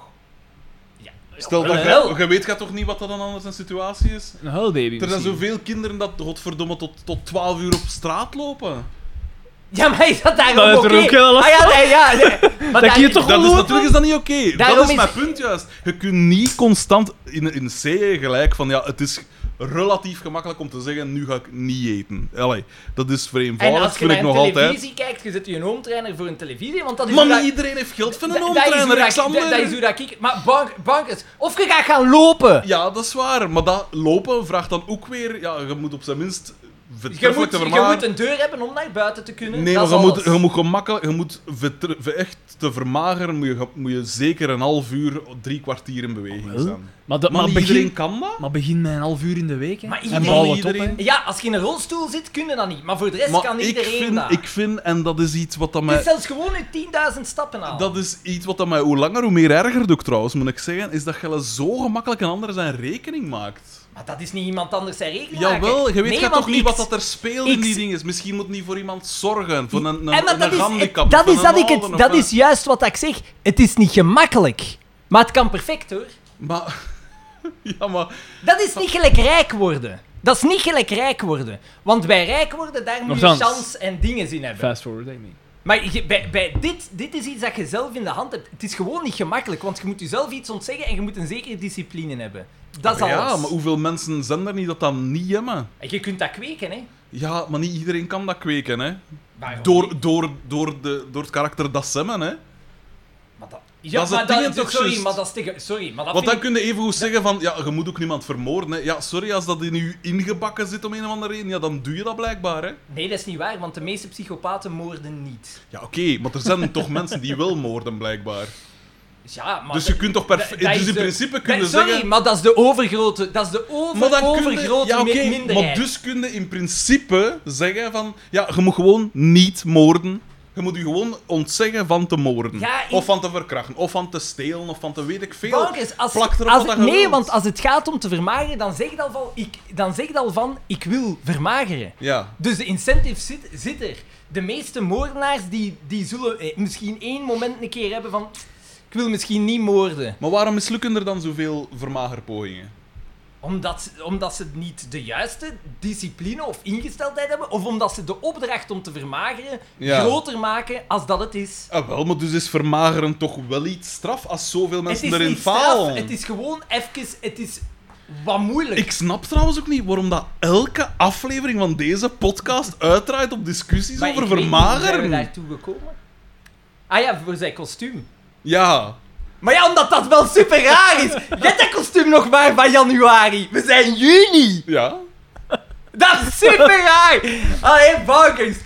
A: Ja,
B: Stel dat
A: jawel.
B: je, je weet gaat toch niet wat dat dan anders een situatie is?
D: Een huilbaby
B: Er zijn
D: misschien.
B: zoveel kinderen dat godverdomme tot, tot 12 uur op straat lopen.
A: Ja, maar is dat daarom
D: Dat is
A: oké?
D: er ook heel
A: Ah ja, nee, ja.
D: <laughs>
A: nee. Maar
D: Dat je
A: daar-
D: toch
B: Dat is
D: Geloof
B: Dus natuurlijk is dat niet oké.
A: Daarom
B: Dat
A: is-
B: is mijn punt juist. Je kunt niet constant in, in C gelijk van ja, het is relatief gemakkelijk om te zeggen nu ga ik niet eten. Allee, Oh, dat is
A: En
B: vereenvoudigd,
A: als je
B: vind ik
A: naar
B: nog
A: een
B: altijd.
A: televisie kijkt, je zet je een home trainer voor een televisie, want dat is
B: Maar
A: hoe
B: niet
A: dat-
B: iedereen heeft geld van een
A: Da- dat is hoe
B: oomtrainer,
A: dat-
B: Alexander.
A: Dat, dat is hoe dat ik... Maar bank, bankers, of je gaat gaan lopen.
B: Ja, dat is waar. Maar dat lopen vraagt dan ook weer... Ja, je moet op zijn minst...
A: Je
B: vertreffelijk
A: moet,
B: te
A: je
B: vermaken.
A: moet een deur hebben om naar buiten te kunnen.
B: Nee,
A: dat
B: maar
A: is
B: je moet,
A: alles.
B: je moet gemakkelijk, je moet vertre- ver- echt te vermageren, moet je, moet je zeker een half uur, drie kwartier in beweging
D: Wel,
B: zijn.
D: Maar, dat,
B: Maar,
D: maar,
B: niet iedereen
D: begin,
B: kan dat?
D: maar begin met een half uur in de week. Hè.
A: Maar
D: en
A: iedereen-
D: bouw het op.
B: iedereen-
D: Hè.
A: Ja, als je in een rolstoel zit, kun je dat niet. Maar voor de rest
B: Maar
A: kan
B: ik
A: iedereen
B: vind,
A: dat.
B: ik vind, en dat is iets wat dat
A: Het is
B: mij...
A: zelfs gewoon uit 10.000 stappen aan.
B: Dat is iets wat dat mij hoe langer hoe meer ergert ook trouwens, moet ik zeggen, is dat je zo gemakkelijk een ander zijn rekening maakt.
A: Maar dat is niet iemand anders zijn rekening
B: Jawel,
A: maken.
B: je weet
A: Nee,
B: jij
A: want
B: toch niet
A: ik-
B: wat dat er speelt in
A: ik-
B: die dingen is. Misschien moet niet voor iemand zorgen, voor een, een,
A: Eh, maar
B: een,
A: dat is-
B: handicap.
A: Dat
B: voor
A: is
B: een
A: dat ik het...
B: ouder of
A: Dat
B: een-
A: is juist wat ik zeg. Het is niet gemakkelijk. Maar het kan perfect, hoor.
B: Maar... <laughs> Ja, maar...
A: Dat is niet gelijk rijk worden. Dat is niet gelijk rijk worden. Want bij rijk worden, daar moet je
D: Nochtans.
A: chance en dingen in hebben.
D: Fast forward, I mean.
A: Maar je- bij, bij dit, dit is iets dat je zelf in de hand hebt. Het is gewoon niet gemakkelijk, want je moet jezelf iets ontzeggen en je moet een zekere discipline hebben. Dat is alles.
B: Ja, maar hoeveel mensen zijn er niet dat dat niet hebben?
A: En je kunt dat kweken, hè.
B: Ja, maar niet iedereen kan dat kweken, hè.
A: Waarom niet?
B: Door, door, door, de, door het karakter dat ze hebben, hè.
A: Maar dat...
B: dat
A: Ja,
B: is
A: maar
B: het
A: dat,
B: ding toch
A: sorry,
B: juist.
A: maar dat is tegen... Sorry, maar dat
B: Want dan
A: vind ik...
B: kun je even goed zeggen van... Ja, je moet ook niemand vermoorden, hè. Ja, sorry, als dat in u ingebakken zit om een of andere reden, ja, dan doe je dat blijkbaar, hè.
A: Nee, dat is niet waar, want de meeste psychopaten moorden niet.
B: Ja, oké, maar er zijn toch <laughs> mensen die wel moorden, blijkbaar.
A: Dus ja, maar...
B: Dus je
A: dat-
B: kunt toch
A: dat-
B: perfect...
A: dat
B: Dus
A: is
B: in
A: de-
B: principe
A: dat-
B: kun je
A: Sorry,
B: zeggen...
A: maar dat is de overgrote... Dat is de
B: Maar
A: over,
B: dan kun je,
A: overgrote
B: ja,
A: mi-
B: oké,
A: minderheid.
B: maar dus kun je in principe zeggen van... Ja, je moet gewoon niet moorden. Je moet je gewoon ontzeggen van te moorden.
A: Ja, ik-
B: Of van te verkrachten. Of van te stelen. Of van te weet ik veel.
A: Bankers, als,
B: Plak erop
A: als,
B: wat je
A: nee,
B: wilt.
A: want als het gaat om te vermageren, dan zeg je al van, ik, dan zeg je al van, ik wil vermageren.
B: Ja.
A: Dus de incentive zit, zit er. De meeste moordenaars die, die zullen eh, misschien één moment een keer hebben van... Ik wil misschien niet moorden.
B: Maar waarom mislukken er dan zoveel vermagerpogingen?
A: Omdat, ze- omdat ze niet de juiste discipline of ingesteldheid hebben. Of omdat ze de opdracht om te vermageren
B: Ja.
A: groter maken als dat het is.
B: Ah, wel, maar dus is vermageren toch wel iets straf als zoveel
A: Het
B: mensen
A: is
B: erin
A: niet straf.
B: falen?
A: Het is gewoon even... Het is wat moeilijk.
B: Ik snap trouwens ook niet waarom dat elke aflevering van deze podcast uitdraait op discussies
A: Maar
B: over
A: ik weet niet, hoe zijn we
B: vermageren.
A: daartoe gekomen? Ah ja, voor zijn kostuum.
B: Ja.
A: Maar ja, omdat dat wel super raar is. Je hebt dat kostuum nog maar van januari. We zijn juni.
B: Ja.
A: Dat is super raar. Allee, bankers.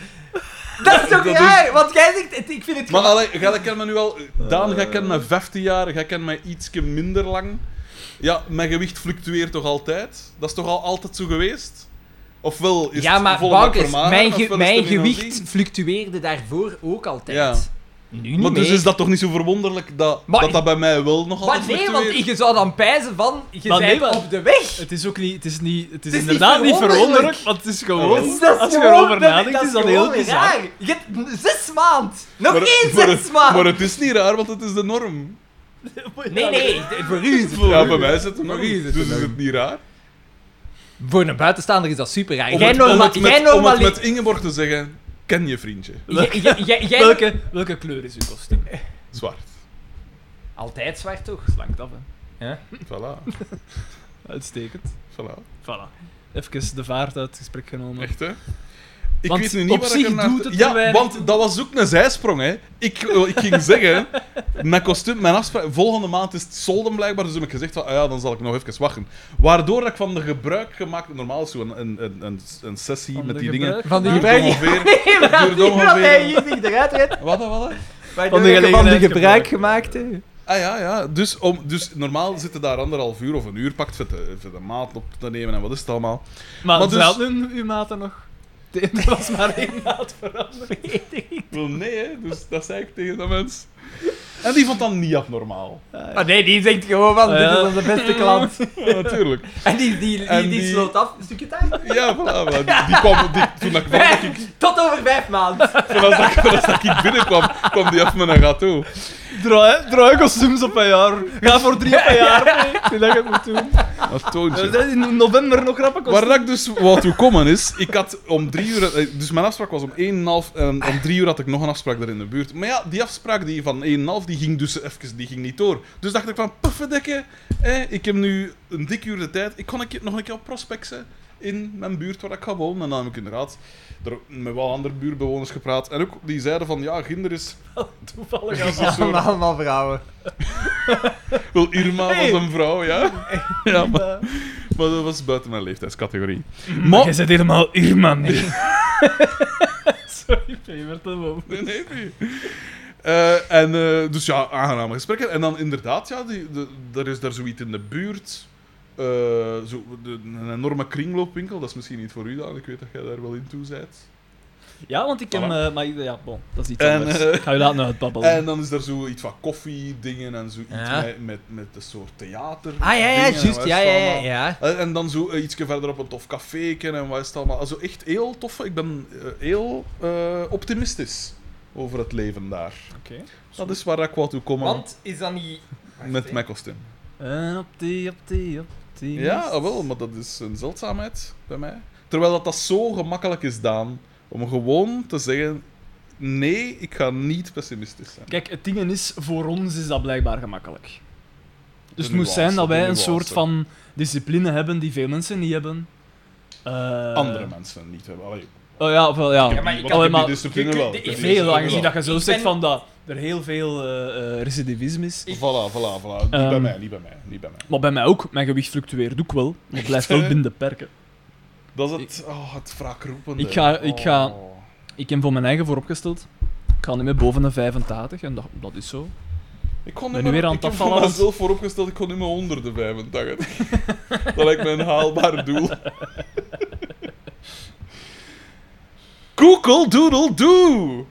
A: Dat is toch
B: Dat is-
A: raar? Want jij zegt, het- ik vind het
B: Maar
A: gewoon-
B: allee, jij kent me nu al...
G: Eh,
B: Daan, jij kent me 15 jaar, jij kent mij ietsje minder lang. Ja, mijn gewicht fluctueert toch altijd? Dat is toch al altijd zo geweest? Ofwel is
A: Ja,
B: het
A: maar
B: vol met
A: bankers,
B: vermageren,
A: mijn, ge-
B: ofwel is het
A: mijn
B: er niet aan
A: gewicht
B: zien.
A: fluctueerde daarvoor ook altijd.
B: Ja.
A: Nu niet
B: Maar dus
A: meer.
B: is dat toch niet zo verwonderlijk dat
A: Maar
B: dat, dat bij mij wel nog
A: Maar
B: altijd
A: nee, want
B: fluctueert?
A: je zou dan pijzen van, je
D: Maar nee,
A: bent
D: maar-
A: op de weg.
D: Het is ook niet, het is niet, het is,
A: niet
D: inderdaad niet
A: verwonderlijk.
D: verwonderlijk, want het is gewoon,
A: Dus dat is
D: als je
A: gewoon-
D: erover nadenkt, is dat heel
A: gewoon
D: bizar.
A: raar. Je hebt zes maand. Nog
B: Maar-
A: geen
B: maar-
A: zes maand.
B: Maar het is niet raar, want het is de norm.
A: Nee, nee, d- voor u is het.
B: Ja, bij mij is het de norm.
G: Voor u is het de
B: Dus is
G: norm.
B: het niet raar.
A: Voor een buitenstaander is dat super raar.
B: Om
A: Jij
B: het, om
A: norma-
B: het met,
A: jij
B: om het
A: normali-
B: met Ingeborg te zeggen, ken je vriendje.
A: Jij- jij- jij- jij-
D: <laughs> Welke, welke kleur is uw kostuum?
B: Zwart.
A: Altijd zwart toch?
D: Langt af, hè.
B: Voilà.
D: Uitstekend.
B: Voilà.
D: Voilà. even de vaart uit het gesprek genomen.
B: Echt, hè? Ik
D: Want
B: weet nu niet
D: op
B: waar
D: zich
B: ik er naar-
D: doet het
B: Ja,
D: er weinig toe.
B: want dat was ook een zijsprong, hè. Ik, eh, ik
D: <laughs>
B: ging zeggen, mijn kostuum, mijn afspraak... Volgende maand is het solden blijkbaar, dus heb ik gezegd van, ah ja, dan zal ik nog even wachten. Waardoor dat ik van de gebruik gemaakt... Normaal is zo'n een, een, een, een sessie
D: Van
B: met
D: de
B: die dingen...
D: gebruik-
G: Van die gebruik-
B: duurt
D: <laughs>
B: ongeveer... duurt <laughs> ongeveer...
G: hier niet eruit redt.
B: Wat, wat, wat?
G: Van de
D: gelegenheid
G: gebruik
D: gebruik.
G: gemaakt. hè.
B: Ah ja, ja. Dus, om, dus normaal zitten daar anderhalf uur of een uur pakt voor de, voor de maat op te nemen en wat is het allemaal.
D: Maar
B: Maar dus-
D: wat dus... nu uw maten nog? <laughs> Er was maar één maat veranderd.
B: Wel, nee, hè. Dus dat zei ik tegen dat mens. En die vond dat niet abnormaal.
A: Ah,
G: Maar nee, die zegt gewoon van,
D: Ah,
G: dit
D: ja.
G: is onze beste klant.
B: Ja, natuurlijk.
G: En die, die, die,
B: En
G: die
B: die-
G: sloot af, een stukje tijd.
B: Ja, voilà. voilà. Die, die kwam, die, toen, dat ik, toen, <laughs> dat ik,
A: <laughs>
G: Tot over vijf maanden.
B: toen, dat ik, toen dat ik binnenkwam, kwam die af met een gateau.
D: <laughs> Draai, draai kostuums op een jaar. Ga voor drie op een <laughs> jaar. mee. Ik vind dat je het moet doen.
B: Dat
D: We
B: toontje.
D: zijn in november nog grappen
B: Waar
D: kostuums.
B: dat ik dus wat toe komen is, ik had om drie uur... eh, Dus mijn afspraak was om 1,5 en eh, om drie uur had ik nog een afspraak daar in de buurt. Maar ja, die afspraak die van 1,5 die ging dus even, die ging niet door. Dus dacht ik van, puffendekken, eh, ik heb nu een dik uur de tijd. Ik kon een keer, nog een keer op prospectsen in mijn buurt waar ik ga wonen. En dan heb ik inderdaad er met wel andere buurtbewoners gepraat. En ook die zeiden van, ja, Ginder is...
D: Toevallig.
B: is een soort-
G: Allemaal, allemaal vrouwen.
B: Wel, Irma was een vrouw, ja. ja maar,
D: Maar
B: maar dat was buiten mijn leeftijdscategorie. Maar...
D: zit helemaal Irma nee. Sorry, je werd hem over.
B: Nee, nee, nee. Eh, en, eh, dus ja, aangename gesprekken. En dan inderdaad, ja, die, de, er is daar zoiets in de buurt. Eh, zo, de- een enorme kringloopwinkel. Dat is misschien niet voor u dan. Ik weet dat jij daar wel in toe bent.
D: Ja, want ik heb...
B: Voilà.
D: eh, maar ja, bon, dat is iets
B: En,
D: anders.
B: eh,
D: Ik ga je laten uitbabbelen.
B: En dan is daar zoiets van koffiedingen en zoiets
G: Ja.
B: met, met, met een soort theater.
G: Ah ja, ja,
B: dingen en
G: juist.
B: wat is
G: Ja,
B: het
G: ja, ja.
B: allemaal.
G: ja.
B: Eh, En dan zo eh, ietsje verder op een tof café en wat is het allemaal. Also, echt heel tof. Ik ben eh, heel eh, optimistisch over het leven daar.
D: Oké.
B: Dat is waar ik wat toe kom aan
A: Want is dat niet...
B: met mijn kostuum.
D: En op die, op die, op die...
B: Ja, ah, wel, maar dat is een zeldzaamheid bij mij. Terwijl dat, dat zo gemakkelijk is, Daan, om gewoon te zeggen: nee, ik ga niet pessimistisch zijn.
D: Kijk, het ding is, voor ons is dat blijkbaar gemakkelijk. Dus het
B: nuance,
D: moest zijn dat
B: de
D: wij een
B: nuance.
D: soort van discipline hebben die veel mensen niet hebben. Eh,
B: Andere mensen niet hebben. Allee,
D: Oh ja, of wel,
A: Ja,
D: ja.
A: maar ik
B: want
A: kan-
B: ik heb
D: maar-
B: die discipline
A: je-
B: wel.
A: de-
B: Ik heb die
D: Veel,
B: discipline
D: aangezien
B: wel.
D: dat je zo
A: Ik
D: zegt
A: ben-
D: van dat er heel veel eh, eh, recidivisme is.
B: Voilà, voilà, voilà. Niet bij
D: Ehm.
B: mij, niet bij mij, niet bij mij.
D: Maar bij mij ook. Mijn gewicht fluctueert ook wel. Maar
B: <laughs>
D: het blijft wel binnen de perken.
B: Dat is het, oh, het wraakroepende.
D: Ik ga- ik ga-
B: Oh.
D: Ik heb voor mijn eigen vooropgesteld. Ik ga niet meer boven de 85 en dat, dat is zo.
B: Ik kon
D: Ben
B: nummer-
D: weer aan
B: ik
D: het
B: heb voor
D: afvallen.
B: mezelf vooropgesteld, ik kon nummer onder de 85. <laughs> dat lijkt me een haalbaar
D: <laughs>
B: doel. Google Doodle Doo!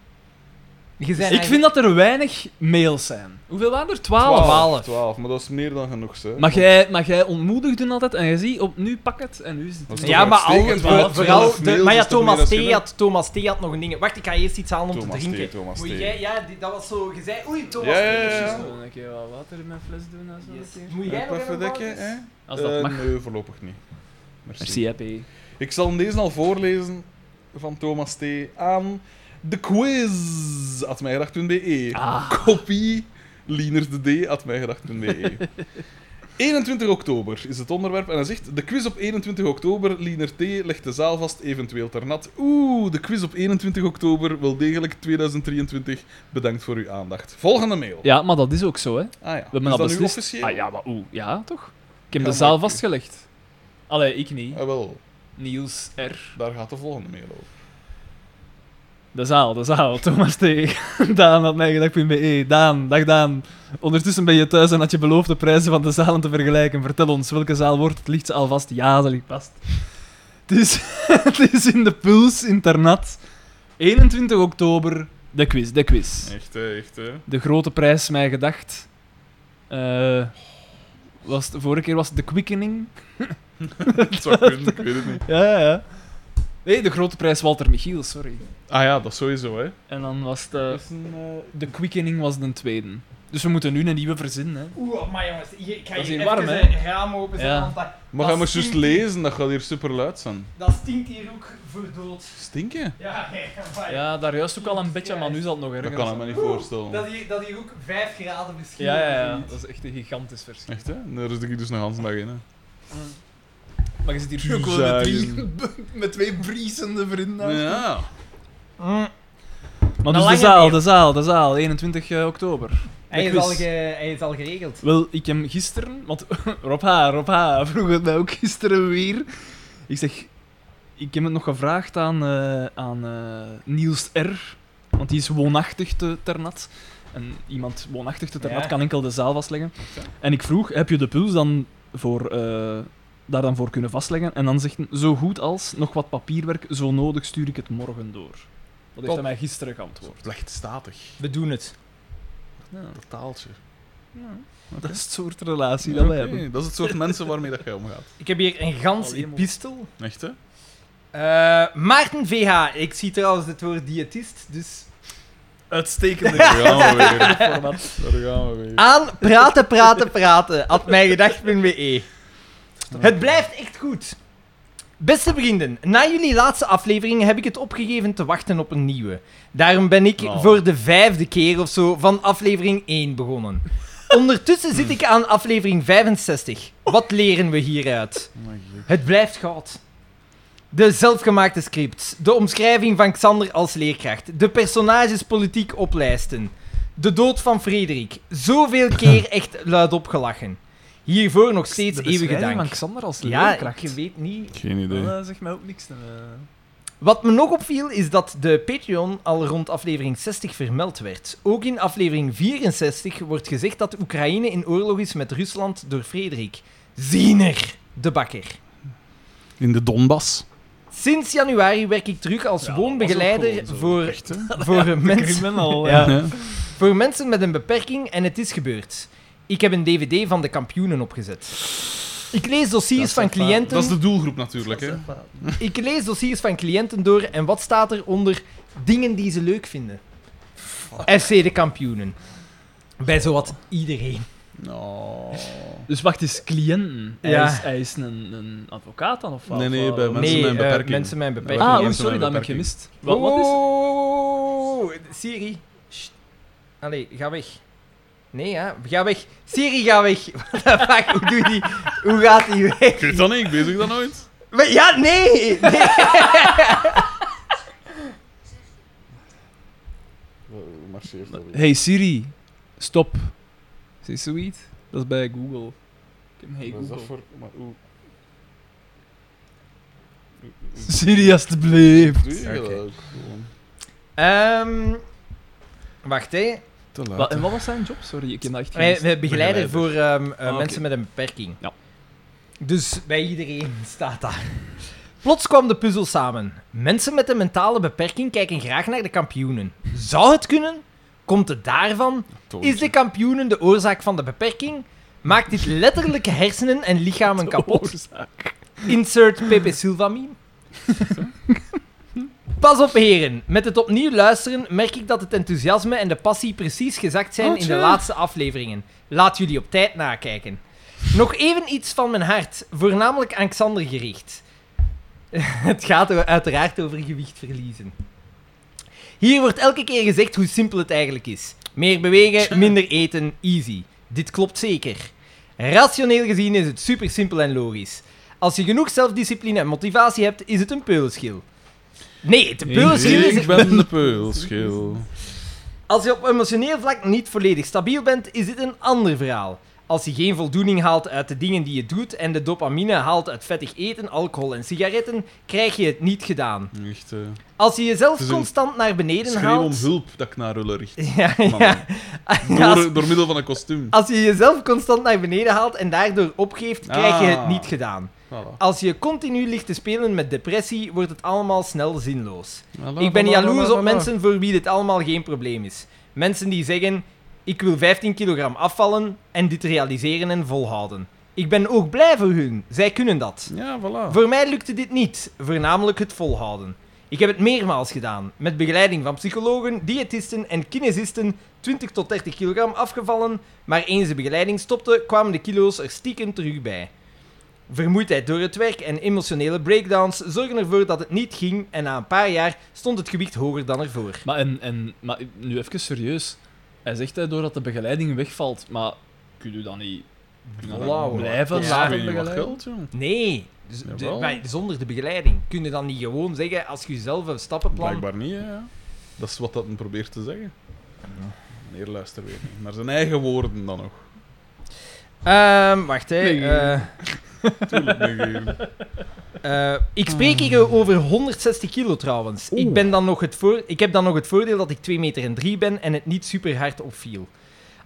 G: Je bent
D: Ik vind dat er weinig mails zijn. Hoeveel waren er? 12.
G: Twaalf.
B: 12, maar dat is meer dan genoeg, hè.
D: Maar jij, maar jij ontmoedigde altijd en je ziet op nu pak het en nu is
B: Dat
D: het.
B: is
G: Ja,
B: toch
G: maar al,
B: uitstekend,
G: voor-
B: want
G: vooral...
B: twaalf
G: De,
B: mails
G: maar ja,
B: is toch meer
G: Thomas
B: dan
G: T,
B: genoeg?
G: had, Thomas T had nog dingen. Wacht, ik ga eerst iets halen om
B: Thomas
G: te
B: T,
G: drinken.
B: Thomas
G: Moet
B: T.
G: jij... Ja, die- dat was zo... Je zei... Oei, Thomas
B: Ja,
G: T.
B: ja, ja,
G: precies
B: ja.
G: zo.
D: Gewoon een keer wat water in mijn fles doen en zo.
G: Yes.
D: een keer.
G: Moet jij nog
B: Even
G: een
B: verdekken,
G: bal?
B: hè?
D: Als dat
B: Eh,
D: mag.
B: Nee, voorlopig niet. Merci.
D: Merci, happy.
B: Ik zal deze al voorlezen van Thomas T. aan de quiz. At mijgedacht.be.
D: Ah.
B: Kopie Lieners E. de D. At mijgedacht.be.
D: <laughs>
B: 21 E. oktober is het onderwerp en hij zegt: De quiz op 21 oktober, Liener T. legt de zaal vast, eventueel ter nat. Oeh, de quiz op 21 oktober, wel degelijk 2023. Bedankt voor uw aandacht. Volgende mail.
D: Ja, maar dat is ook zo, hè?
B: Ah ja,
D: We
B: is
D: hebben al
B: dat nu
D: beslist.
B: officieel?
D: Ah ja, maar oeh. Ja, toch? Ik heb
B: Ja,
D: de
B: maar
D: zaal
B: ik-
D: vastgelegd. Allee, ik niet.
B: Ah, wel,
D: Niels R.
B: daar gaat de volgende mail over.
D: De zaal, de zaal. <laughs> Thomas T. Daan had mij gedacht, .be. E. Daan, dag Daan. Ondertussen ben je thuis en had je beloofd de prijzen van de zalen te vergelijken. Vertel ons, welke zaal wordt het lichtst alvast? Ja, zal ik vast. Het is, <laughs> het is in de Puls Internat. 21 oktober, de quiz, de quiz.
B: Echt, hè, echt, hè.
D: De grote prijs, mij gedacht. Eh, was de vorige keer was het de quickening.
B: Het zou kunnen, ik weet het niet.
D: Ja, ja, ja. Nee, de grote prijs Walter Michiel, sorry.
B: Ah ja, dat sowieso, hè.
D: En dan was de,
B: is een, eh,
D: de quickening was de tweede. Dus we moeten nu een nieuwe verzinnen, hè.
A: Oeh, oh, maar jongens, hier- ik ga
D: Dat is
A: hier
D: hier warm,
A: even
D: hè?
A: een raam openzetten,
D: Ja.
A: want dat,
B: Maar
A: Dat
B: ga maar juist
A: stinkt.
B: lezen, dat gaat hier super luid zijn.
A: dat stinkt hier ook voor dood.
B: Stinken?
A: Ja, <laughs> ja, maar-
D: Ja, daar juist ook al een beetje, maar nu zal het nog erger
B: Dat kan ik me
D: zijn.
B: niet voorstellen.
A: Dat hier, dat hier ook 5 graden verschil
D: Ja, ja, ja.
A: is.
D: Dat is echt een gigantisch verschil.
B: Echt, hè? Daar zit ik hier dus nog Hans dag in, hè.
D: Maar je zit hier ook wel met, drie, <laughs> met twee briesende vrienden.
B: Ja.
A: Mm,
D: Maar
A: Een
D: dus de
A: lange
D: zaal,
A: neer.
D: de zaal, de zaal, 21 eh, oktober.
A: Hij is,
D: quiz.
A: al ge- hij is al geregeld.
D: Wel, ik heb gisteren, want <laughs> Rob H, Rob H vroeg het mij ook gisteren weer. Ik zeg, ik heb het nog gevraagd aan, eh, aan eh, Niels R, want die is woonachtig te Ternat. En iemand woonachtig te Ternat
A: Ja.
D: kan enkel de zaal vastleggen. En ik vroeg, heb je de puls dan voor, eh, daar dan voor kunnen vastleggen? En dan zegt hij, zo goed als, nog wat papierwerk, zo nodig stuur ik het morgen door. Dat heeft
G: Top.
D: hij mij gisteren geantwoord.
B: Slecht statig.
A: We doen het.
D: Ja,
B: Dat taaltje.
D: dat is het soort relatie dat wij
B: Oké,
D: hebben.
B: Dat is het soort mensen waarmee dat jij omgaat.
A: Ik heb hier een gans
D: Alleen maar-
A: epistel.
B: Echt, hè?
A: Eh Maarten VH. Ik zie trouwens het woord diëtist, dus...
D: Uitstekende
B: Daar gaan
D: <laughs>
B: we weer.
D: format.
B: Daar gaan we weer.
A: Aan praten, praten, praten. At mijgedacht.be. eh. Het blijft echt goed. Beste vrienden, na jullie laatste aflevering heb ik het opgegeven te wachten op een nieuwe. Daarom ben ik
B: Oh.
A: voor de vijfde keer of zo van aflevering 1 begonnen. Ondertussen zit ik aan aflevering 65. Wat leren we hieruit?
B: Oh my god.
A: Het blijft goud. De zelfgemaakte scripts. De omschrijving van Xander als leerkracht. De personages politiek oplijsten. De dood van Frederik. Zoveel
D: <laughs>
A: keer echt luidop gelachen. Hiervoor nog steeds
D: De
A: eeuwige
D: beschrijving
A: dank.
D: van Xander als
A: Ja,
D: leerkracht.
A: je weet niet.
B: Geen idee.
D: Dat zegt mij ook niks. eh. <laughs>
A: Wat me nog opviel is dat de Patreon al rond aflevering 60 vermeld werd. Ook in aflevering 64 wordt gezegd dat Oekraïne in oorlog is met Rusland door Frederik. Ziener, de bakker.
B: In de Donbass.
A: Sinds januari werk ik terug als
D: Ja, dat was
A: woonbegeleider
D: ook gewoon zo.
A: voor, <laughs>
B: Echt, hè?
A: voor, mensen,
D: Criminal.
A: Ja.
D: eh.
B: Ja.
A: voor mensen met een beperking en het is gebeurd. Ik heb een dvd van de kampioenen opgezet. Ik lees
D: Dat
A: dossiers
D: is
A: van
D: echt waar.
A: cliënten,
B: Dat is de doelgroep natuurlijk, hè?
A: ik lees dossiers van cliënten door en wat staat er onder dingen die ze leuk vinden? FC de kampioenen. Bij zowat iedereen.
B: Oh.
D: Dus wacht eens, cliënten. Hij,
A: Ja.
D: is, hij is een, een advocaat dan? Of wat?
B: Nee, nee,
D: Of,
B: bij
D: eh,
B: Mensen
A: nee,
B: met een
A: eh,
B: beperking.
A: mensen met een
B: Ja,
A: beperking.
D: Ah, oei,
B: Mensen
D: sorry,
B: met
D: dat heb ik
B: beperking.
D: gemist. Wat, wat is het?
A: Oeh, Siri. Sst. Allee, ga weg. Nee, ja, ga weg. Siri, ga weg. <laughs> What the fuck, hoe doe je die? Hoe gaat die weg?
B: Ik weet dat niet, ik bezig dat nooit.
A: Maar ja, nee! <laughs> nee.
B: Marcheert
D: Hey Siri, stop. Is zoiets? Dat is bij Google. Ik heb hey Google.
B: voor... Maar hoe...
D: Siri, alstublieft.
B: Doe je
A: Oké.
B: dat ook gewoon?
A: Ehm, wacht, hè.
B: Te laat.
D: Wat, en wat was zijn job? Sorry, ik heb dat echt
A: Wij,
D: gemist.
A: wij
B: Begeleider.
A: begeleiden voor ehm, eh,
D: Ah, oké.
A: mensen met een beperking.
D: Ja.
A: Dus bij iedereen <laughs> staat daar. Plots kwam de puzzel samen. Mensen met een mentale beperking kijken graag naar de kampioenen. Zou het kunnen? Komt het daarvan?
B: Toon.
A: Is de kampioenen de oorzaak van de beperking? Maakt dit letterlijk hersenen en lichamen kapot? Insert Pepe Silva meme. Pas op, heren. Met het opnieuw luisteren merk ik dat het enthousiasme en de passie precies gezakt zijn
D: Oh,
A: in de
D: tja.
A: laatste afleveringen. Laat jullie op tijd nakijken. Nog even iets van mijn hart, voornamelijk aan Xander gericht. het gaat o- uiteraard over gewicht verliezen. Hier wordt elke keer gezegd hoe simpel het eigenlijk is. Meer bewegen, minder eten, easy. Dit klopt zeker. Rationeel gezien is het super simpel en logisch. Als je genoeg zelfdiscipline en motivatie hebt, is het een peulenschil. Nee, het een peulenschil is...
B: Ik ben de peulschil.
A: Als je op emotioneel vlak niet volledig stabiel bent, is dit een ander verhaal. Als je geen voldoening haalt uit de dingen die je doet en de dopamine haalt uit vettig eten, alcohol en sigaretten, krijg je het niet gedaan.
B: Echt, eh,
A: Als je jezelf
B: Het is een
A: constant naar beneden
B: schreeuw
A: haalt...
B: om hulp dat ik naar Rulle richt.
A: <laughs> Ja,
B: Man.
A: ja. Als-
B: Door, door middel van een kostuum.
A: Als je jezelf constant naar beneden haalt en daardoor opgeeft, krijg je het
B: Ah.
A: niet gedaan.
B: Voilà.
A: Als je continu ligt te spelen met depressie, wordt het allemaal snel zinloos.
B: Voilà,
A: Ik ben
B: voilà,
A: jaloers
B: voilà,
A: op
B: voilà.
A: mensen voor wie dit allemaal geen probleem is. Mensen die zeggen: Ik wil 15 kilogram afvallen en dit realiseren en volhouden. Ik ben ook blij voor hun, zij kunnen dat.
B: Ja, voilà.
A: Voor mij lukte dit niet, voornamelijk het volhouden. Ik heb het meermaals gedaan, met begeleiding van psychologen, diëtisten en kinesisten, 20 tot 30 kilogram afgevallen, maar eens de begeleiding stopte, kwamen de kilo's er stiekem terug bij. Vermoeidheid door het werk en emotionele breakdowns zorgen ervoor dat het niet ging en na een paar jaar stond het gewicht hoger dan ervoor.
D: Maar, en, en, maar nu even serieus. Hij zegt hè, doordat de begeleiding wegvalt, maar kun je dan niet
B: Blauw.
G: blijven laten
B: laten wat
G: begeleiden.
B: geld, jong.
A: Nee, dus de-
B: Jawel.
A: bij- zonder de begeleiding. Kun je dan niet gewoon zeggen, als je zelf een stappenplan...
B: Blijkbaar niet, hè, ja. Dat is wat dat men probeert te zeggen. Meneer luister weer niet. Naar zijn eigen woorden dan nog. <laughs>
A: Ehm, wacht, hè.
B: Nee.
A: eh,
B: Tuurlijk negeren.
A: Eh, ik spreek hier over 160 kilo trouwens.
B: Oeh.
A: Ik, ben dan nog het voor, ik heb dan nog het voordeel dat ik 2 meter en 3 ben en het niet super hard opviel.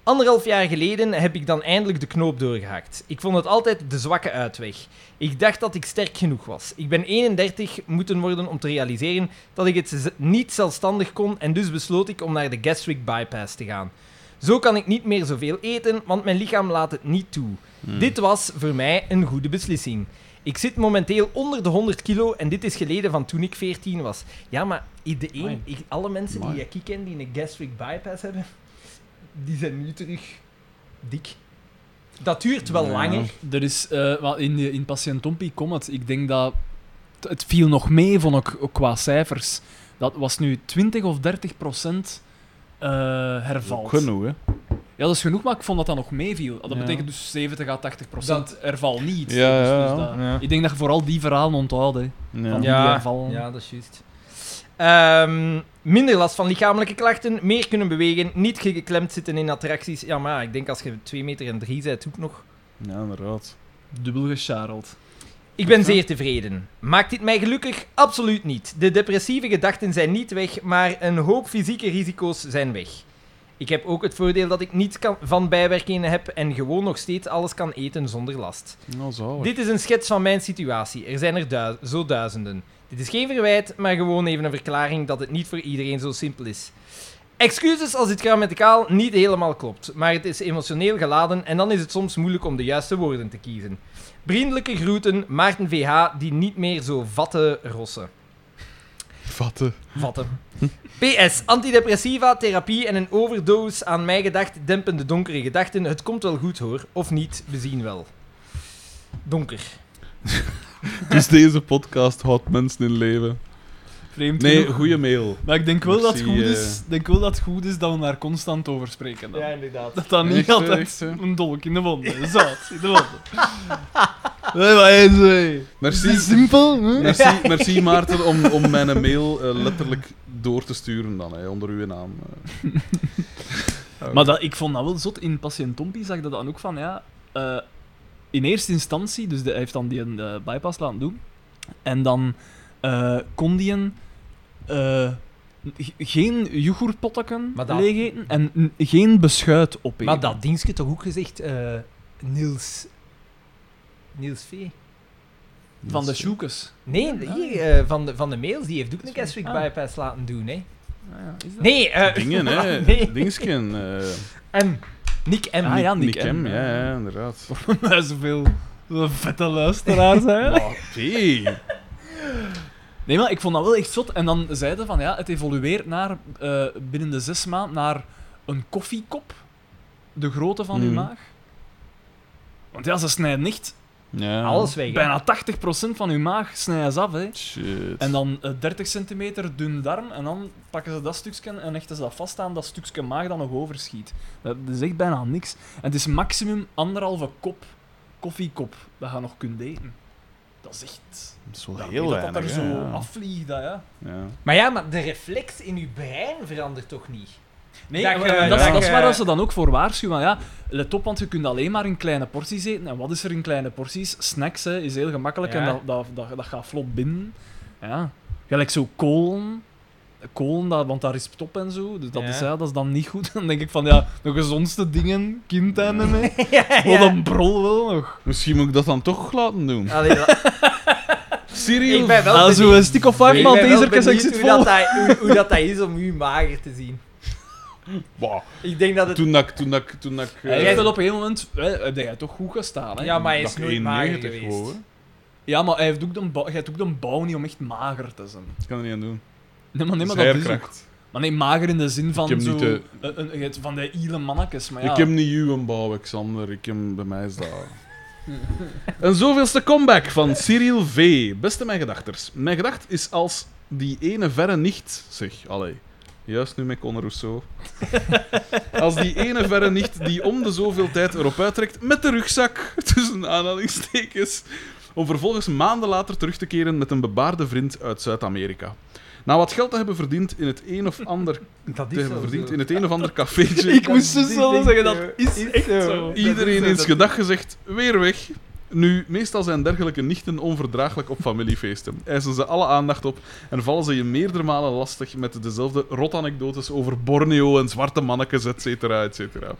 A: Anderhalf jaar geleden heb ik dan eindelijk de knoop doorgehakt. Ik vond het altijd de zwakke uitweg. Ik dacht dat ik sterk genoeg was. Ik ben 31 moeten worden om te realiseren dat ik het z- niet zelfstandig kon en dus besloot ik om naar de gastric bypass te gaan. Zo kan ik niet meer zoveel eten, want mijn lichaam laat het niet toe.
B: Hmm.
A: Dit was voor mij een goede beslissing. Ik zit momenteel onder de 100 kilo en dit is geleden van toen ik 14 was. Ja, maar i- de
D: Amai.
A: een, ik- alle mensen
B: Amai.
A: die ik ken die een gastric bypass hebben, die zijn nu terug dik. Dat duurt wel
B: Ja.
A: langer.
D: Er is, eh, wel, in, de- in Patiënt Tompi komt het. Ik denk dat het- het viel nog mee, vond ik ook qua cijfers. Dat was nu 20 of 30 procent eh hervalt.
B: Ook genoeg, hè.
D: Ja, dat is genoeg, maar ik vond dat dat nog meeviel. Dat
B: Ja.
D: betekent dus 70 à 80 procent herval niet.
B: Ja,
D: Dus-
B: ja,
D: dus
B: ja.
D: dat-
A: Ja.
D: Ik denk dat je vooral die verhalen onthoudt. hè.
B: Ja.
D: Van
A: Ja.
D: die hervallen.
A: Ja, dat is juist. Ehm, minder last van lichamelijke klachten, meer kunnen bewegen, niet geklemd zitten in attracties. Ja, maar ja, ik denk als je 2 meter en 3 bent, ook nog.
B: ja, inderdaad.
D: Dubbel gecharreld.
A: Ik ben zeer tevreden. Maakt dit mij gelukkig? Absoluut niet. De depressieve gedachten zijn niet weg, maar een hoop fysieke risico's zijn weg. Ik heb ook het voordeel dat ik niets kan, van bijwerkingen heb en gewoon nog steeds alles kan eten zonder last.
B: Nou, zalig.
A: Dit is een schets van mijn situatie. Er zijn er dui- zo duizenden. Dit is geen verwijt, maar gewoon even een verklaring dat het niet voor iedereen zo simpel is. Excuses als dit grammaticaal niet helemaal klopt, maar het is emotioneel geladen en dan is het soms moeilijk om de juiste woorden te kiezen. Vriendelijke groeten, Maarten VH, die niet meer zo vatte rossen.
B: Vatten.
A: Vatten. PS, antidepressiva, therapie en een overdosis aan mij gedacht, dempen de donkere gedachten. Het komt wel goed hoor, of niet, we zien wel. Donker.
B: Dus deze podcast houdt mensen in leven.
D: Vreemd
B: Nee,
D: genoeg.
B: goede mail.
D: Maar ik denk wel, dat het
B: Merci,
D: goed
B: eh.
D: is, denk wel dat het goed is dat we daar constant over spreken. Dan.
A: inderdaad.
D: Dat dat niet
B: Echt, eh, hè,
D: altijd
B: echt, hè.
D: een dolk in de wonden. Zout in de wonden. Nee, maar eens, hé.
B: Merci.
D: Is dit simpel? hè?
B: Merci, merci Maarten om, om mijn mail eh, letterlijk door te sturen dan, hè, onder uw naam. eh.
D: Maar dat, ik vond dat wel zot. In Patiënt Tompi zag ik dat dan ook van, ja... eh, in eerste instantie, dus de- hij heeft dan die een eh, bypass laten doen. En dan eh, kon die een... eh, g- geen yoghurtpotten
A: Maar dat-
D: leeg eten en n- geen beschuit opeten.
A: Maar dat dienstje toch ook gezegd, eh, Niels... Niels V.
D: Van de sjoekes.
A: Nee, hier, eh, van, de, van de mails, die heeft ook een gastric
D: Ah.
A: bypass laten doen, hè.
D: is dat?
A: Nee, eh...
B: Dingen,
D: <laughs>
A: <laughs>
B: hè.
A: nee.
B: Dingsken. eh,
A: M. Nick M.
D: Ah ja, Nick, eh.
B: Nick M, ja,
D: <laughs>
B: ja, inderdaad.
D: Maar zoveel zoveel vette luisteraars, hè.
B: Maar, pee.
D: Nee, maar ik vond dat wel echt zot. En dan zeiden van ja, het evolueert naar eh, binnen de zes maanden naar een koffiekop. De grootte van uw
B: Mhm.
D: maag. Want ja, ze snijden echt
B: Ja.
A: Alles weg, hè.
D: bijna 80% van uw maag snijden ze af. Hè.
B: Shit.
D: En dan eh, 30 centimeter dun darm. En dan pakken ze dat stukje en hechten ze dat vast aan dat stukje maag dat nog overschiet. Dat is echt bijna niks. En het is maximum anderhalve kop koffiekop dat je nog kunt eten. Dat is echt...
B: Dat is wel
D: dat-
B: heel
D: dat dat er
B: weinig,
D: zo
B: hè, ja.
D: afvliegt, dat, ja.
B: Ja.
A: Maar ja, maar de reflex in uw brein verandert toch niet?
D: Nee,
A: Dat
D: dat,
A: je-
D: dat,
B: dat
D: dat is
A: je-
D: waar dat ze dan ook voor waarschuwen. Ja, let op, want je kunt alleen maar in kleine porties eten. En wat is er in kleine porties? Snacks hè, is heel gemakkelijk en
A: Ja.
D: dat, dat, dat, dat gaat vlot binnen. Ja. Gelijk zo kolen. Kolen, dat, want daar is top en zo. Dus dat,
A: Ja.
D: is, ja, dat is dan niet goed. <laughs> Dan denk ik van ja, de gezondste dingen, kind en
A: <laughs>
D: mee. Wat een brol wel nog.
B: Misschien moet ik dat dan toch laten doen.
A: Allee, <laughs> la-
B: Serieus?
A: ik ben wel
D: Ah,
A: benieuwd,
D: zo een stick of
A: ik
D: five
A: ben
D: man
A: wel
D: deze en ik
A: benieuwd
D: zit
A: hoe, dat
D: vol.
A: dat, hoe, hoe dat dat is om u mager te zien.
B: Bah,
A: Ik denk dat het...
B: toen dat ik... Toen dat ik... Toen dat ik eh,
D: Hij heeft wel op een gegeven moment, hè, heb jij toch goed gestaan. Hè?
A: Ja, maar hij
B: dag
A: is nooit mager
B: 91
A: geweest.
B: gewoon, hè.
D: Ja, maar hij heeft ook de, bou- hij heeft ook de bouw niet om echt mager te zijn.
B: Ik kan er niet aan doen. Dus
D: Nee, maar, nee, maar
B: Dat is
D: dat is ook-
B: herkracht.
D: Maar nee, mager in de zin van
B: Ik heb
D: zo, eh,
B: niet de-
D: een- een- het- van de ile mannetjes, maar ja.
B: Ik heb niet uw bouw, Alexander. Ik heb bij mij is dat. <laughs> Een zoveelste comeback van Cyril V. Beste mijn gedachters. Mijn gedacht is als die ene verre nicht, zeg, allee. Juist nu met Conor
D: <laughs>
B: Rousseau. Als die ene verre nicht die om de zoveel tijd erop uittrekt met de rugzak, <laughs> tussen aanhalingstekens, om vervolgens maanden later terug te keren met een bebaarde vriend uit Zuid-Amerika. Na wat geld te hebben verdiend in het een of ander,
G: Dat
B: te hebben
G: zo.
B: verdiend in het een of ander cafeetje,
D: Ik moest
G: die
D: dus wel
G: ding, eh,
D: zeggen, dat is
G: is
D: echt
G: zo.
D: zo.
B: Iedereen
G: dat is-
B: eens gedag gezegd, weer weg. Nu, meestal zijn dergelijke nichten onverdraaglijk op familiefeesten. Eisen ze alle aandacht op en vallen ze je meerdere malen lastig met dezelfde rotanekdotes over Borneo en zwarte mannetjes, et cetera, et cetera.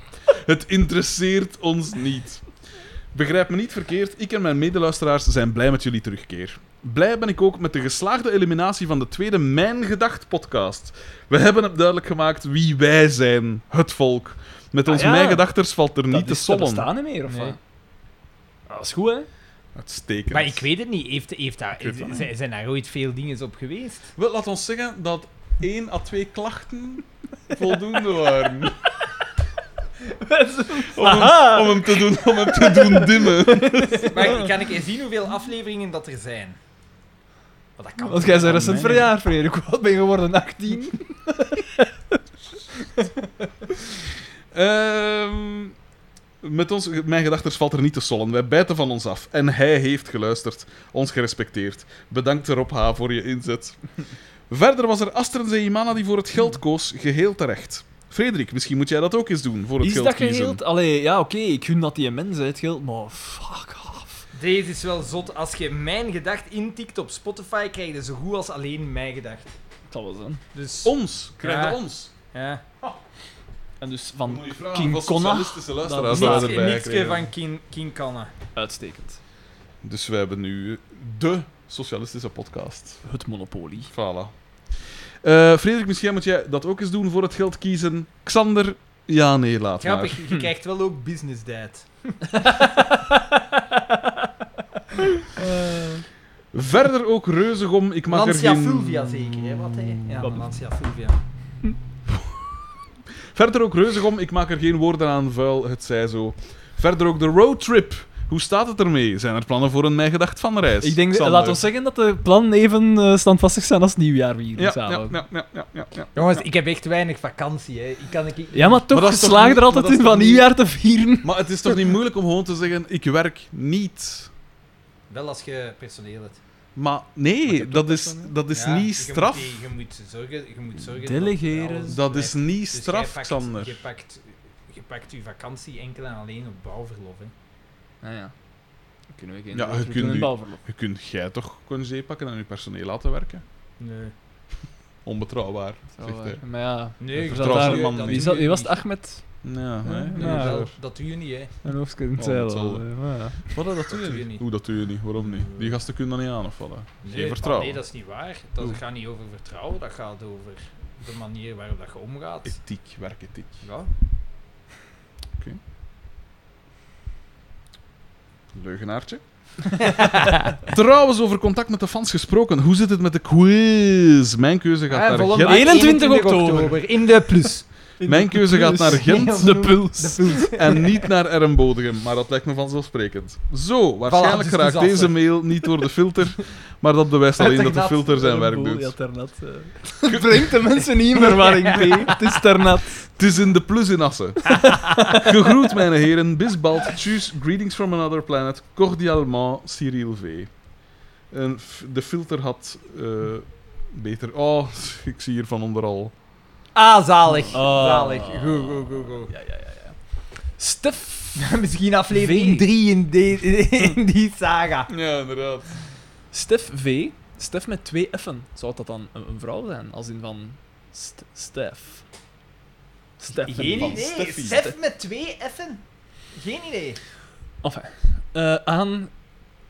B: Het interesseert ons niet. Begrijp me niet verkeerd, ik en mijn medeluisteraars zijn blij met jullie terugkeer. Blij ben ik ook met de geslaagde eliminatie van de tweede Mijn Gedacht podcast. We hebben het duidelijk gemaakt wie wij zijn, het volk. Met onze
D: ja.
B: Mijn Gedachters valt er
D: Dat
B: niet te
D: is- dat
B: sollen.
D: bestaat niet meer, of
G: Nee.
D: wat? Dat is goed, hè?
B: Uitstekend.
A: Maar ik weet het niet. Heeft, heeft daar,
B: weet het
A: zijn, zijn daar ooit veel dingen op geweest?
B: Wel, laat ons zeggen dat één à twee klachten <laughs> voldoende waren. om, hem, om hem te doen, om hem te doen dimmen.
A: Maar kan ik eens zien hoeveel afleveringen dat er zijn? Want dat kan.
D: Want jij
B: Oh,
D: zijn recent
B: man.
D: verjaar, Frederik. Wat ben je geworden?
A: <laughs>
D: 18?
B: Ehm, met ons, mijn gedachten valt er niet te sollen. Wij bijten van ons af. En hij heeft geluisterd. Ons gerespecteerd. Bedankt Rob H. voor je inzet. Verder was er Astrid Zeimana die voor het geld koos. Geheel terecht. Frederik, misschien moet jij dat ook eens doen. Voor het
D: Is
B: geld
D: dat
B: kiezen.
D: geheeld? Allee, ja, oké, ik gun dat die mensen het geld, maar fuck off.
A: Deze is wel zot. Als je mijn gedacht intikt op Spotify, krijg je zo goed als alleen mijn gedacht.
D: Dat was dan.
A: Dus.
B: Ons. Krijg je
A: Ja.
B: ons.
A: Ja.
D: En dus van
B: Moet je vragen
D: King
B: of
D: Connor?
B: socialistische luisteraars
D: Dat-
B: daar
A: Niks,
B: erbij
A: niks
B: krijgen.
A: van King, King Kanna.
D: uitstekend.
B: Dus we hebben nu de socialistische podcast.
D: Het monopolie.
B: Voilà. Eh Frederik, misschien moet jij dat ook eens doen voor het geld kiezen. Xander, ja, nee, laat maar.
A: Grappig, je krijgt wel ook business dad.
B: Verder ook Reuzegom, ik mag
A: Lancia
B: er geen...
A: Fulvia zeker, hè? Wat hè? Ja,
D: Wat?
A: Lancia Fulvia.
B: Verder ook Reuzegom, ik maak er geen woorden aan vuil, het zij zo. Verder ook de roadtrip. Hoe staat het ermee? Zijn er plannen voor een mijn gedacht van reis?
D: Ik denk,
B: Xander.
D: laat ons zeggen dat de plannen even eh, standvastig zijn als het nieuwjaar we hier
B: ja, ja,
D: samen.
B: ja, ja, ja, ja, ja.
G: Jongens, ik heb echt weinig vakantie, hè. Ik kan ik...
D: Ja, maar toch,
B: Maar dat is toch
D: geslaagd
B: niet-
D: er altijd
B: maar dat
D: in
B: is
D: van
B: toch niet-
D: nieuwjaar te vieren.
B: Maar het is toch niet moeilijk om gewoon te zeggen, ik werk niet.
A: Wel als je personeel hebt.
B: Maar nee, dat is, dat is
A: Ja,
B: niet
A: je moet
B: straf.
A: die- Je moet zorgen, je moet zorgen
D: Delegeren.
A: alles
B: Dat
A: blijft.
B: is niet
A: Dus jij
B: straf,
A: pakt-
B: Xander.
A: Je pakt, je pakt je vakantie enkel en alleen op bouwverlof. Hè.
D: Nou ja. Dan kunnen we geen
B: Ja,
D: roadtrip
B: je kunt
D: doen in
B: nu-
D: bouwverlof.
B: Je kunt jij toch congé pakken en je personeel laten werken?
A: Nee.
B: Onbetrouwbaar, zegt hij.
D: eh, Maar ja,
A: Nee,
B: Dat
A: dat
B: vertrouwt
A: doe
B: de
A: je-
B: man
A: dat doe
B: niet.
D: wie,
A: je
D: zat, wie was het?
A: niet.
D: Ahmed?
B: Ja, hè?
D: Ja.
B: Ja.
D: Ja.
A: Dat- Dat doe je niet, hè.
D: Een hoofdje in het
B: Oh, dat
D: zeil
B: zal
D: al, eh, maar ja.
B: Wat, dat doe
A: doe
B: je
A: je
B: niet.
A: niet.
B: Hoe, dat doe je niet. Waarom niet? Die gasten kunnen dat niet aan, of wat? hè?
A: Nee,
B: Geen
A: ah,
B: vertrouwen.
A: Nee, dat is niet waar. Dat
B: Oeh.
A: gaat niet over vertrouwen, dat gaat over de manier waarop dat je omgaat.
B: Ethiek, werkethiek.
A: Ja.
B: <laughs> Leugenaartje. Trouwens, over contact met de fans gesproken. Hoe zit het met de quiz? Mijn keuze gaat naar Gent.
D: 21 Eh, oktober.
A: In de plus.
B: Mijn keuze gaat naar <laughs> Gent.
D: De puls.
B: En niet naar Ermbodegem, maar dat lijkt me vanzelfsprekend. Zo,
G: Voilà,
B: waarschijnlijk
G: dus
B: geraakt
G: het is af,
B: deze
G: hè.
B: mail niet door de filter, maar dat bewijst alleen dat de
G: Ternat.
B: filter zijn werk
D: Boel, Ja,
B: doet.
D: Ternat. eh. Het brengt de mensen niet in <laughs> verwarring mee. Het is Ternat.
B: Het is in de plus in
G: <laughs>
B: Assen. Gegroet, mijn heren. Bis bald. Tjus. Greetings from another planet. Cordialement, Cyril V. En f- de filter had eh, beter... Oh, ik zie hier van onderal.
G: Ah, zalig.
D: Ah.
G: Zalig. Go, go, go, go.
D: Ja, ja, ja. ja. Stef.
A: <laughs>
G: Misschien aflevering
D: V.
G: 3 in, de- in die saga.
B: Ja, inderdaad.
D: Stef V. Stef met twee F'en. Zou dat dan een, een vrouw zijn? Als in van... St Stef. Stef.
A: Geen
D: van
A: idee.
B: Steffi.
A: Stef met twee F'en. Geen idee.
D: Enfin. Eh, aan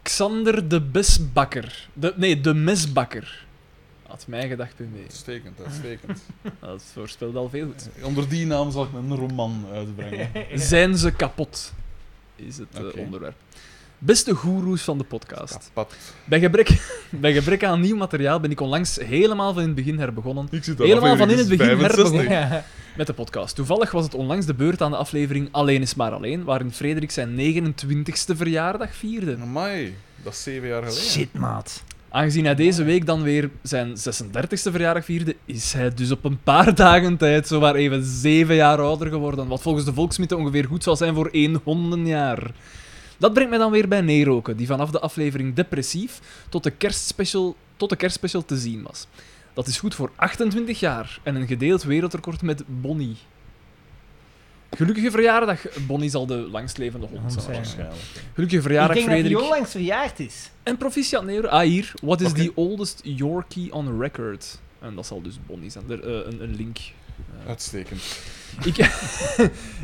D: Xander de Besbakker. De, nee, de Mesbakker. Had mij
A: <laughs>
D: gedacht in
B: Uitstekend, uitstekend.
D: Dat voorspelde al veel goed.
B: Onder die naam zal ik een roman
G: <laughs>
B: uitbrengen.
D: Zijn ze kapot? Is het eh,
B: Oké.
D: onderwerp. Beste goeroes van de podcast.
B: Pat.
D: Bij gebrek, <laughs> bij gebrek aan nieuw materiaal ben ik onlangs helemaal van in het begin herbegonnen
B: Ik zit
D: Helemaal van in het begin
B: herbegonnen.
D: <laughs> met de podcast. Toevallig was het onlangs de beurt aan de aflevering Alleen is maar alleen, waarin Frederik zijn 29ste verjaardag vierde.
B: Amai, dat is zeven jaar geleden.
G: Shit, maat.
D: Aangezien hij deze week dan weer zijn 36e verjaardag vierde, is hij dus op een paar dagen tijd zowaar even zeven jaar ouder geworden. Wat volgens de volksmythe ongeveer goed zal zijn voor één hondenjaar. Dat brengt mij dan weer bij Neroken, die vanaf de aflevering Depressief tot de kerstspecial, tot de kerstspecial te zien was. Dat is goed voor 28 jaar en een gedeeld wereldrecord met Bonnie. Gelukkige verjaardag. Bonnie zal de langstlevende hond
A: Hond
D: zijn.
A: zijn.
B: waarschijnlijk.
D: Gelukkige verjaardag,
A: ik denk dat
D: Frederik.
A: hij onlangs verjaard is.
D: En proficiat, Nero. Ah, hier. What is
B: Oké.
D: the oldest Yorkie on record? En dat zal dus Bonnie zijn. Er, eh, een, een link. Eh,
B: Uitstekend.
D: ik,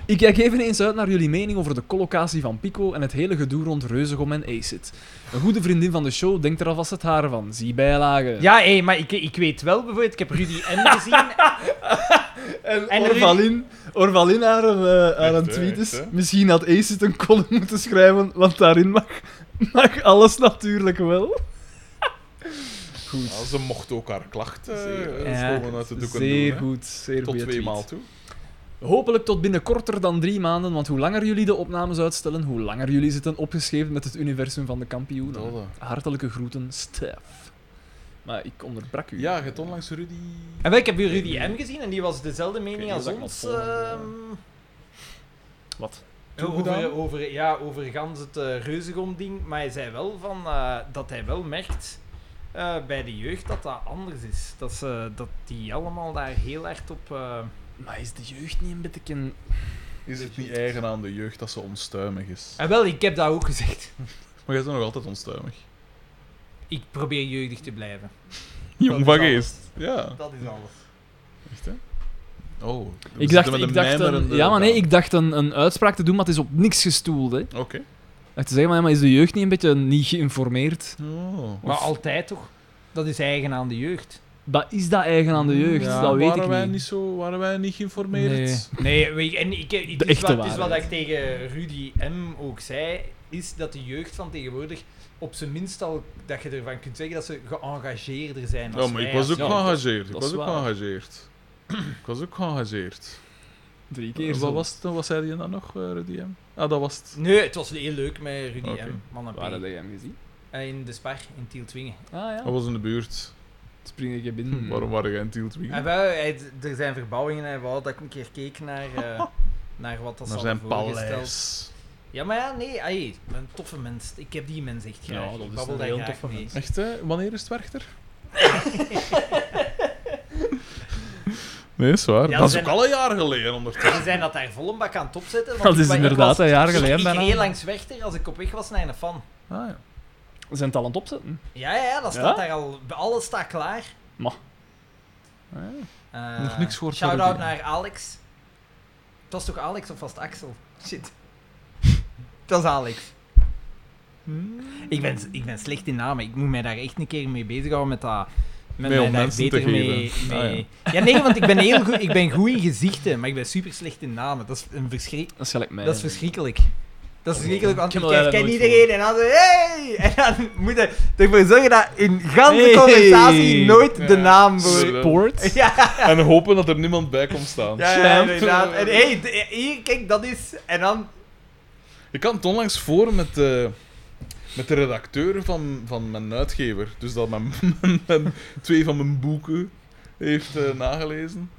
D: ik kijk even eens uit naar jullie mening over de collocatie van Pico en het hele gedoe rond Reuzegom en Acid. Een goede vriendin van de show denkt er alvast het haar van. Zie bijlagen.
A: Ja, hé, maar ik, ik weet wel bijvoorbeeld, ik heb Rudy M gezien.
D: en,
A: en
D: Orvalin, Orvalin haar, een, eh, haar een
B: Echt, hè,
D: tweet is.
B: echt, hè?
D: Misschien had Acid een column moeten schrijven, want daarin mag, mag alles natuurlijk wel. Goed.
B: Ja, ze mocht ook haar klachten
D: Zeer,
B: eh,
A: ja.
B: gewoon uit de doeken
D: Zeer
B: doen, hè.
D: goed, zeer
B: Tot
D: goeie
B: twee
D: tweet.
B: maal toe.
D: Hopelijk tot binnen korter dan drie maanden, want hoe langer jullie de opnames uitstellen, hoe langer jullie zitten opgeschreven met het universum van de kampioenen.
B: Dat, eh.
D: Hartelijke groeten, Stef. Maar ik onderbrak u.
B: Ja, je hebt onlangs Rudy...
A: En wel, ik heb weer Rudy M gezien en die was dezelfde mening
D: Ik weet
A: als
D: niet
A: ons.
D: of ik nog volgende-
A: ehm,
D: eh, Wat?
B: toegedaan?
A: over, over, ja, over gans het eh, reuzegom-ding. Maar hij zei wel van, eh, dat hij wel merkt eh, bij de jeugd dat dat anders is. Dat, ze, dat die allemaal daar heel erg op... eh,
D: Maar is de jeugd niet een beetje... een-
B: Is het niet eigen aan de jeugd dat ze onstuimig is?
A: En wel, ik heb dat ook gezegd.
B: Maar jij bent nog altijd onstuimig.
A: Ik probeer jeugdig te blijven.
B: Jong
A: is
B: van
A: alles.
B: geest. Ja,
A: Dat is alles.
B: echt hè? Oh, we
D: Ik
B: zitten
D: dacht,
B: met
D: ik dacht een,
B: mijmerende
D: ja, maar nee,
B: baan.
D: ik dacht een, een uitspraak te doen, maar het is op niks gestoeld. Hè. Ik
B: Oké.
D: dacht te zeggen, maar, ja, maar is de jeugd niet een beetje niet geïnformeerd?
B: Oh.
A: Maar altijd toch? Dat is eigen aan de jeugd.
D: Wat is dat eigen aan de jeugd?
B: Ja,
D: dat weet
B: waren
D: ik
B: wij
D: niet.
B: zo, waren wij niet geïnformeerd?
D: Nee.
A: Nee, weet je, en ik, ik,
D: De
A: het is
D: echte
A: wat, het is wat
D: waarheid.
A: ik tegen Rudy M. ook zei, is dat de jeugd van tegenwoordig op zijn minst al dat je ervan kunt zeggen dat ze geëngageerder zijn.
B: Ja,
A: Als
B: maar
A: wij
B: ik was
A: als
B: ook
D: ja,
A: jeugd.
B: geëngageerd. Ik
D: dat is
B: was ook
D: waar.
B: geëngageerd. Ik was ook geëngageerd.
D: Drie keer
B: Wat
D: zo.
B: was het dan? Wat zei je dan nog, eh, Rudy M? Ah, dat was het.
A: Nee, het was heel leuk met Rudy
B: Oké.
A: M. Man en P.
D: Waar had jij hem gezien?
A: Eh, in de Spar, in Tieltwingen.
D: Ah ja,
B: Dat was in de buurt.
D: spring ik je binnen.
B: Hm, Waarom waren jij in Tielt
A: En wij, Hmm. hij- er zijn verbouwingen en hij wou dat ik een keer keek naar,
B: <laughs>
A: eh, naar wat dat zal
B: Naar zijn
A: voorgesteld.
B: paleis.
A: Ja, maar ja, nee, ai, een toffe mens. Ik heb die mens echt graag.
D: dat
A: Ik
D: is
A: babbel
D: een
A: daar
D: heel
A: graag
D: toffe
A: mee.
D: mens.
B: Echt, hè? Wanneer is het Werchter?
D: <laughs>
B: nee, is waar.
A: Ja,
B: dat is
A: zijn-
B: ook al een jaar geleden ondertussen.
A: Ze zijn dat daar vol een bak aan het opzetten. want
D: Dat
A: ik
D: is
A: wa- ik was-
D: inderdaad een jaar
A: Dus ik-
D: geleden
A: <laughs> Ik
D: bijna.
A: reed langs Werchter als ik op weg was naar een fan.
B: Ah, ja.
D: Zijn het al aan het opzetten?
A: Ja, ja, ja, dat
D: Ja?
A: staat daar al. Alles staat klaar.
B: Ah, ja.
A: Eh,
B: Nog niks gehoord van
A: Shout-out
B: Rudy.
A: naar Alex. Het was toch Alex of was het Axel? Shit. <laughs> Dat is Alex. Ik ben, ik ben slecht in namen. Ik moet mij daar echt een keer mee bezighouden met dat... Met
B: Nee,
A: mij
B: om
A: daar
B: mensen te
A: beter mee...
B: geven.
A: mee-
B: Ah,
A: ja. nee, want ik ben heel goed... Ik ben goed in gezichten, maar ik ben super slecht in namen. Dat is een verschrik...
D: Dat is gelijk mij.
A: Dat is verschrikkelijk. Dat is verschrikkelijk, want
D: Ik
A: ik
D: heb dat
A: ken
D: nooit
A: iedereen en dan zo, hey! <laughs> En dan moet je ervoor zorgen dat in ganse
D: Hey.
A: conversatie nooit de
B: Ja.
A: naam wordt.
B: Sorry.
A: <laughs>
D: Sport?
A: Ja,
B: En hopen dat er niemand bij komt staan.
A: ja, ja, inderdaad. En hey, d- hier, kijk, dat is... En dan...
B: Ik had het onlangs voor met, eh, met de redacteur van, van mijn uitgever. Dus dat mijn, <laughs> mijn- mijn- twee van mijn boeken heeft eh, nagelezen.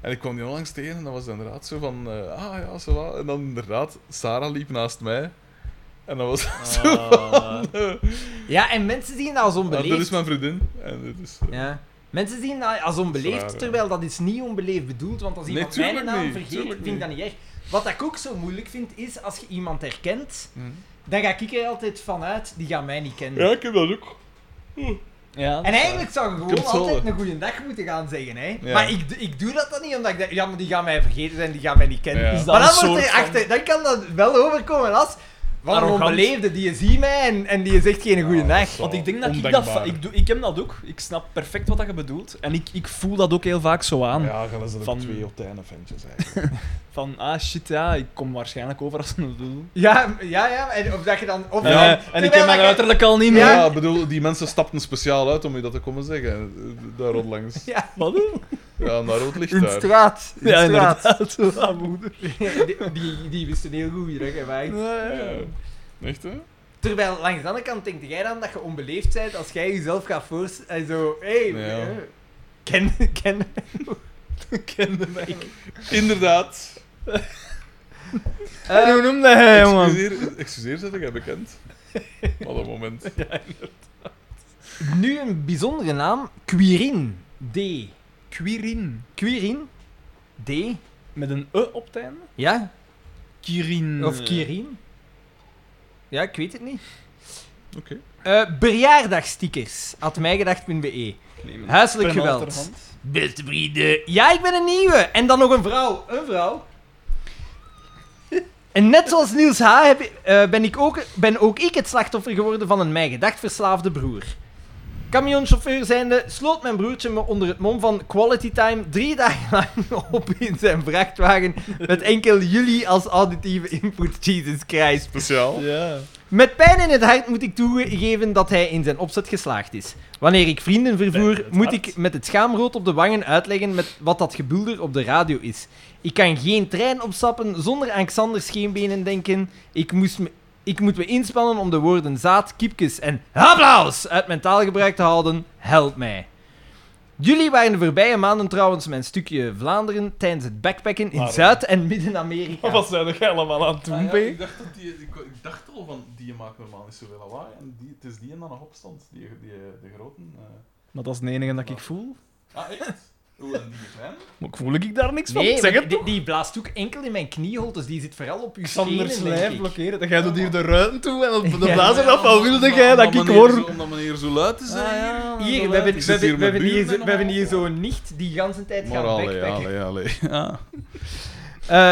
B: En ik kwam die onlangs tegen en dat was inderdaad zo van... eh, ah ja, zo wat. En dan inderdaad, Sarah liep naast mij. En dat was <laughs> zo
D: Ah.
B: van... eh,
A: Ja, en mensen zien dat als
B: ah, dit is
A: onbeleefd.
B: mijn vriendin. En dit is... eh,
A: Ja. Mensen zien dat als
B: Dat is
A: onbeleefd,
B: raar,
A: terwijl dat is niet onbeleefd bedoeld, want als
B: Nee,
A: iemand mijn
B: tuurlijk
A: naam
B: niet,
A: vergeet,
B: tuurlijk
A: vind ik dat niet erg. Wat ik ook zo moeilijk vind, is als je iemand herkent,
B: hm.
A: dan ga ik er altijd vanuit, die gaat mij niet kennen.
B: Ja, ik heb dat ook.
D: Ja, dat
A: En
D: is
A: eigenlijk zou je
B: Ik
A: gewoon
B: heb het zo,
A: altijd
B: hè.
A: een goede dag moeten gaan zeggen, hè.
B: Ja.
A: Maar ik, ik doe dat dan niet, omdat ik denk, ja, maar die gaan mij vergeten zijn, die gaan mij niet kennen.
B: Ja.
D: Is dat
A: Maar
D: een
A: dan, wordt
D: soort
A: er
D: van-
A: achter, dan kan dat wel overkomen als... Van een
D: Arrogant.
A: onbeleefde, die je ziet mij en, en die zegt geen goede dag.
B: Ah, dat is
D: Want ik denk dat ik
B: Ondenkbaar.
D: dat... Ik, doe, ik heb dat ook. Ik snap perfect wat dat je bedoelt. En ik, ik voel dat ook heel vaak zo aan.
B: Ja, gaan ze er
D: Van-
B: twee op de ene ventjes eigenlijk.
D: Van, ah shit, ja, ik kom waarschijnlijk over als een lul.
A: Ja, ja, ja. En of dat je dan... Of
D: En,
A: dan-
D: eh, en ik
A: terwijl
D: heb mijn
A: dat je-
D: uiterlijk al niet
B: Ja,
D: meer.
A: Ja.
B: ik bedoel, die mensen stapten speciaal uit om je dat te komen zeggen. eh, Daar onlangs.
A: Ja,
D: Wat?
B: Ja, naar rood licht
A: in
B: daar.
A: straat. In
D: Ja,
A: straat. <laughs>
D: inderdaad. Ja, moeder.
A: die, die, die wisten heel goed wie dat je
D: Ja, ja.
B: Ja. Echt, hè?
A: Terwijl langs de andere kant denk jij dan dat je onbeleefd bent als jij jezelf gaat voorstellen. Zo, hé,
B: Ja.
A: eh, ken, <laughs> ken,
D: kende mij.
B: Inderdaad.
D: hoe noemde hij, man?
B: Excuseer, excuseer zet ik bekend. Wat een moment.
A: Nu een bijzondere naam: Quirin. D.
D: Quirin.
A: Quirin. D.
D: Met een E op het einde?
A: Ja?
D: Kirin.
A: Of Quirin? Ja, ik weet het niet.
B: Oké.
A: Eh verjaardagstickers. At mijgedacht.be.
D: Eh,
A: Huiselijk geweld. Beste vrienden. Ja, ik ben een nieuwe. En dan nog een vrouw. Een vrouw. <laughs> En net zoals Niels H. Heb, ik- eh, ben, ik ook, ben ook ik het slachtoffer geworden van een mij gedacht verslaafde broer. Camionchauffeur zijnde sloot mijn broertje me onder het mom van Quality Time drie dagen <laughs> lang op in zijn vrachtwagen met enkel jullie als auditieve input. Jesus Christ.
B: Speciaal.
D: Ja.
A: Met pijn in het hart moet ik toegeven dat hij in zijn opzet geslaagd is. Wanneer ik vrienden
D: Pijn in
A: vervoer,
D: het
A: moet
D: hart.
A: ik met het schaamrood op de wangen uitleggen met wat dat gebulder op de radio is. Ik kan geen trein opstappen zonder aan Xander Scheenbenen denken. Ik, moest me, ik moet me inspannen om de woorden zaad, kiepjes en applaus uit mijn taalgebruik te houden. Help mij. Jullie waren de voorbije maanden trouwens mijn stukje Vlaanderen tijdens het backpacken in
D: Waarom? Oh,
A: Zuid- en Midden-Amerika.
D: Wat zijn er allemaal aan het doen,
B: Ah
D: B?
B: ja, ik, dacht dat die, ik, ik dacht al van die maakt normaal niet zoveel lawaai. En die, het is die en dan nog opstand. Die, die, de groten. eh.
D: Maar dat is het enige dat ik voel.
B: Ah, echt? Hoe en die klein?
D: Maar ik voel ik daar niks van.
A: Nee,
D: zeg
A: maar
D: het
A: die, die blaast ook enkel in mijn knieholtes. Die zit vooral op uw
D: Xanders
A: schenen, denk
D: lijf
A: ik.
D: blokkeren. Dan jij doet hier de ruiten toe en op de
A: Ja.
D: blazen af. Al wilde jij dat ik
B: hoor.
D: hoor.
B: Omdat meneer zo luid
D: Ah,
B: is. hè, hier.
A: Ah, Hier, we
B: Ah, Inderdaad,
A: hebben,
B: ik
A: we
B: zit hier
A: hebben, we
B: met
A: hebben hier,
B: buren
A: zo- we hebben hier
B: allemaal.
A: zo'n nicht die de hele tijd
B: Maar
A: gaat
B: allee,
A: backpacken.
B: allee, allee. Ja.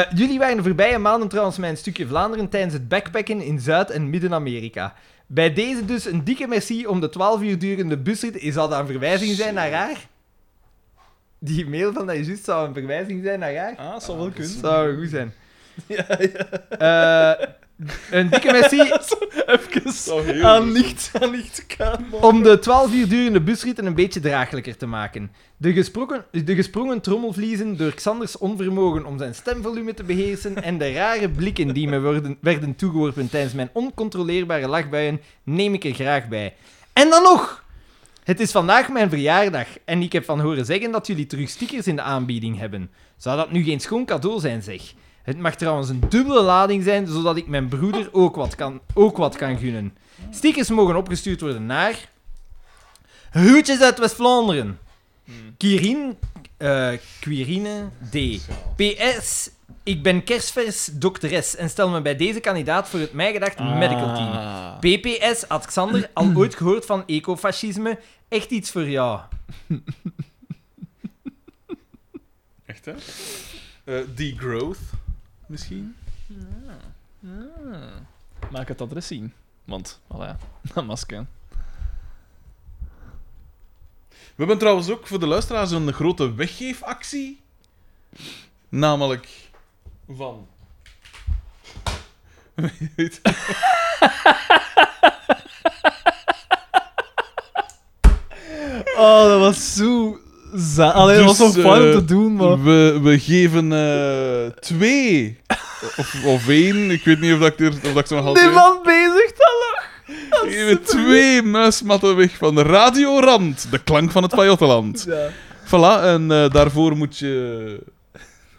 A: Eh, jullie waren de voorbije maanden trouwens mijn stukje Vlaanderen tijdens het backpacken in Zuid- en Midden-Amerika. Bij deze dus een dikke merci om de 12 uur durende busrit. Is dat een verwijzing zijn naar haar? Die mail van dat je juist zou een verwijzing zijn naar haar?
D: Ah, zou wel kunnen.
A: Zou goed
B: <laughs>
A: zijn.
D: Ja,
A: Eh, een dikke merci
B: Zou
D: Even
B: heel
D: aan
B: goed
D: Ah, niet, aan niet gaan. man.
A: Om de 12 uur durende busritten een beetje draaglijker te maken. De, gesproken, de gesprongen trommelvliezen door Xanders onvermogen om zijn stemvolume te beheersen en de rare blikken die me worden, werden toegeworpen tijdens mijn oncontroleerbare lachbuien neem ik er graag bij. En dan nog! Het is vandaag mijn verjaardag en ik heb van horen zeggen dat jullie terug stickers in de aanbieding hebben. Zou dat nu geen schoon cadeau zijn, zeg? Het mag trouwens een dubbele lading zijn, zodat ik mijn broeder ook wat kan, ook wat kan gunnen. Stickers mogen opgestuurd worden naar. Hoedjes uit West-Vlaanderen. Kirin. eh Quirine D.
B: speciaal.
A: PS. Ik ben kerstvers dokteres en stel me bij deze kandidaat voor het mijgedacht
D: Ah.
A: medical team. PPS, had Xander
B: <clears throat>
A: al ooit gehoord van ecofascisme? Echt iets voor jou.
B: Echt, hè? Eh degrowth, misschien?
D: Maak het adres zien. Want, voilà, <laughs> dat masker.
B: We hebben trouwens ook voor de luisteraars een grote weggeefactie. Namelijk van. Weet-
D: Oh, dat was zo... za- Allee, dat
B: Dus,
D: was zo fijn om
B: eh,
D: te doen, man.
B: we, we geven eh, twee. Of, of één, ik weet niet of dat ik, er, of dat ik ze nog altijd.
D: Niemand bezig, hallo.
B: We geven twee muismatten weg van de Radiorand, de klank van het Pajottenland.
D: Ja.
B: Voilà, en eh, daarvoor moet je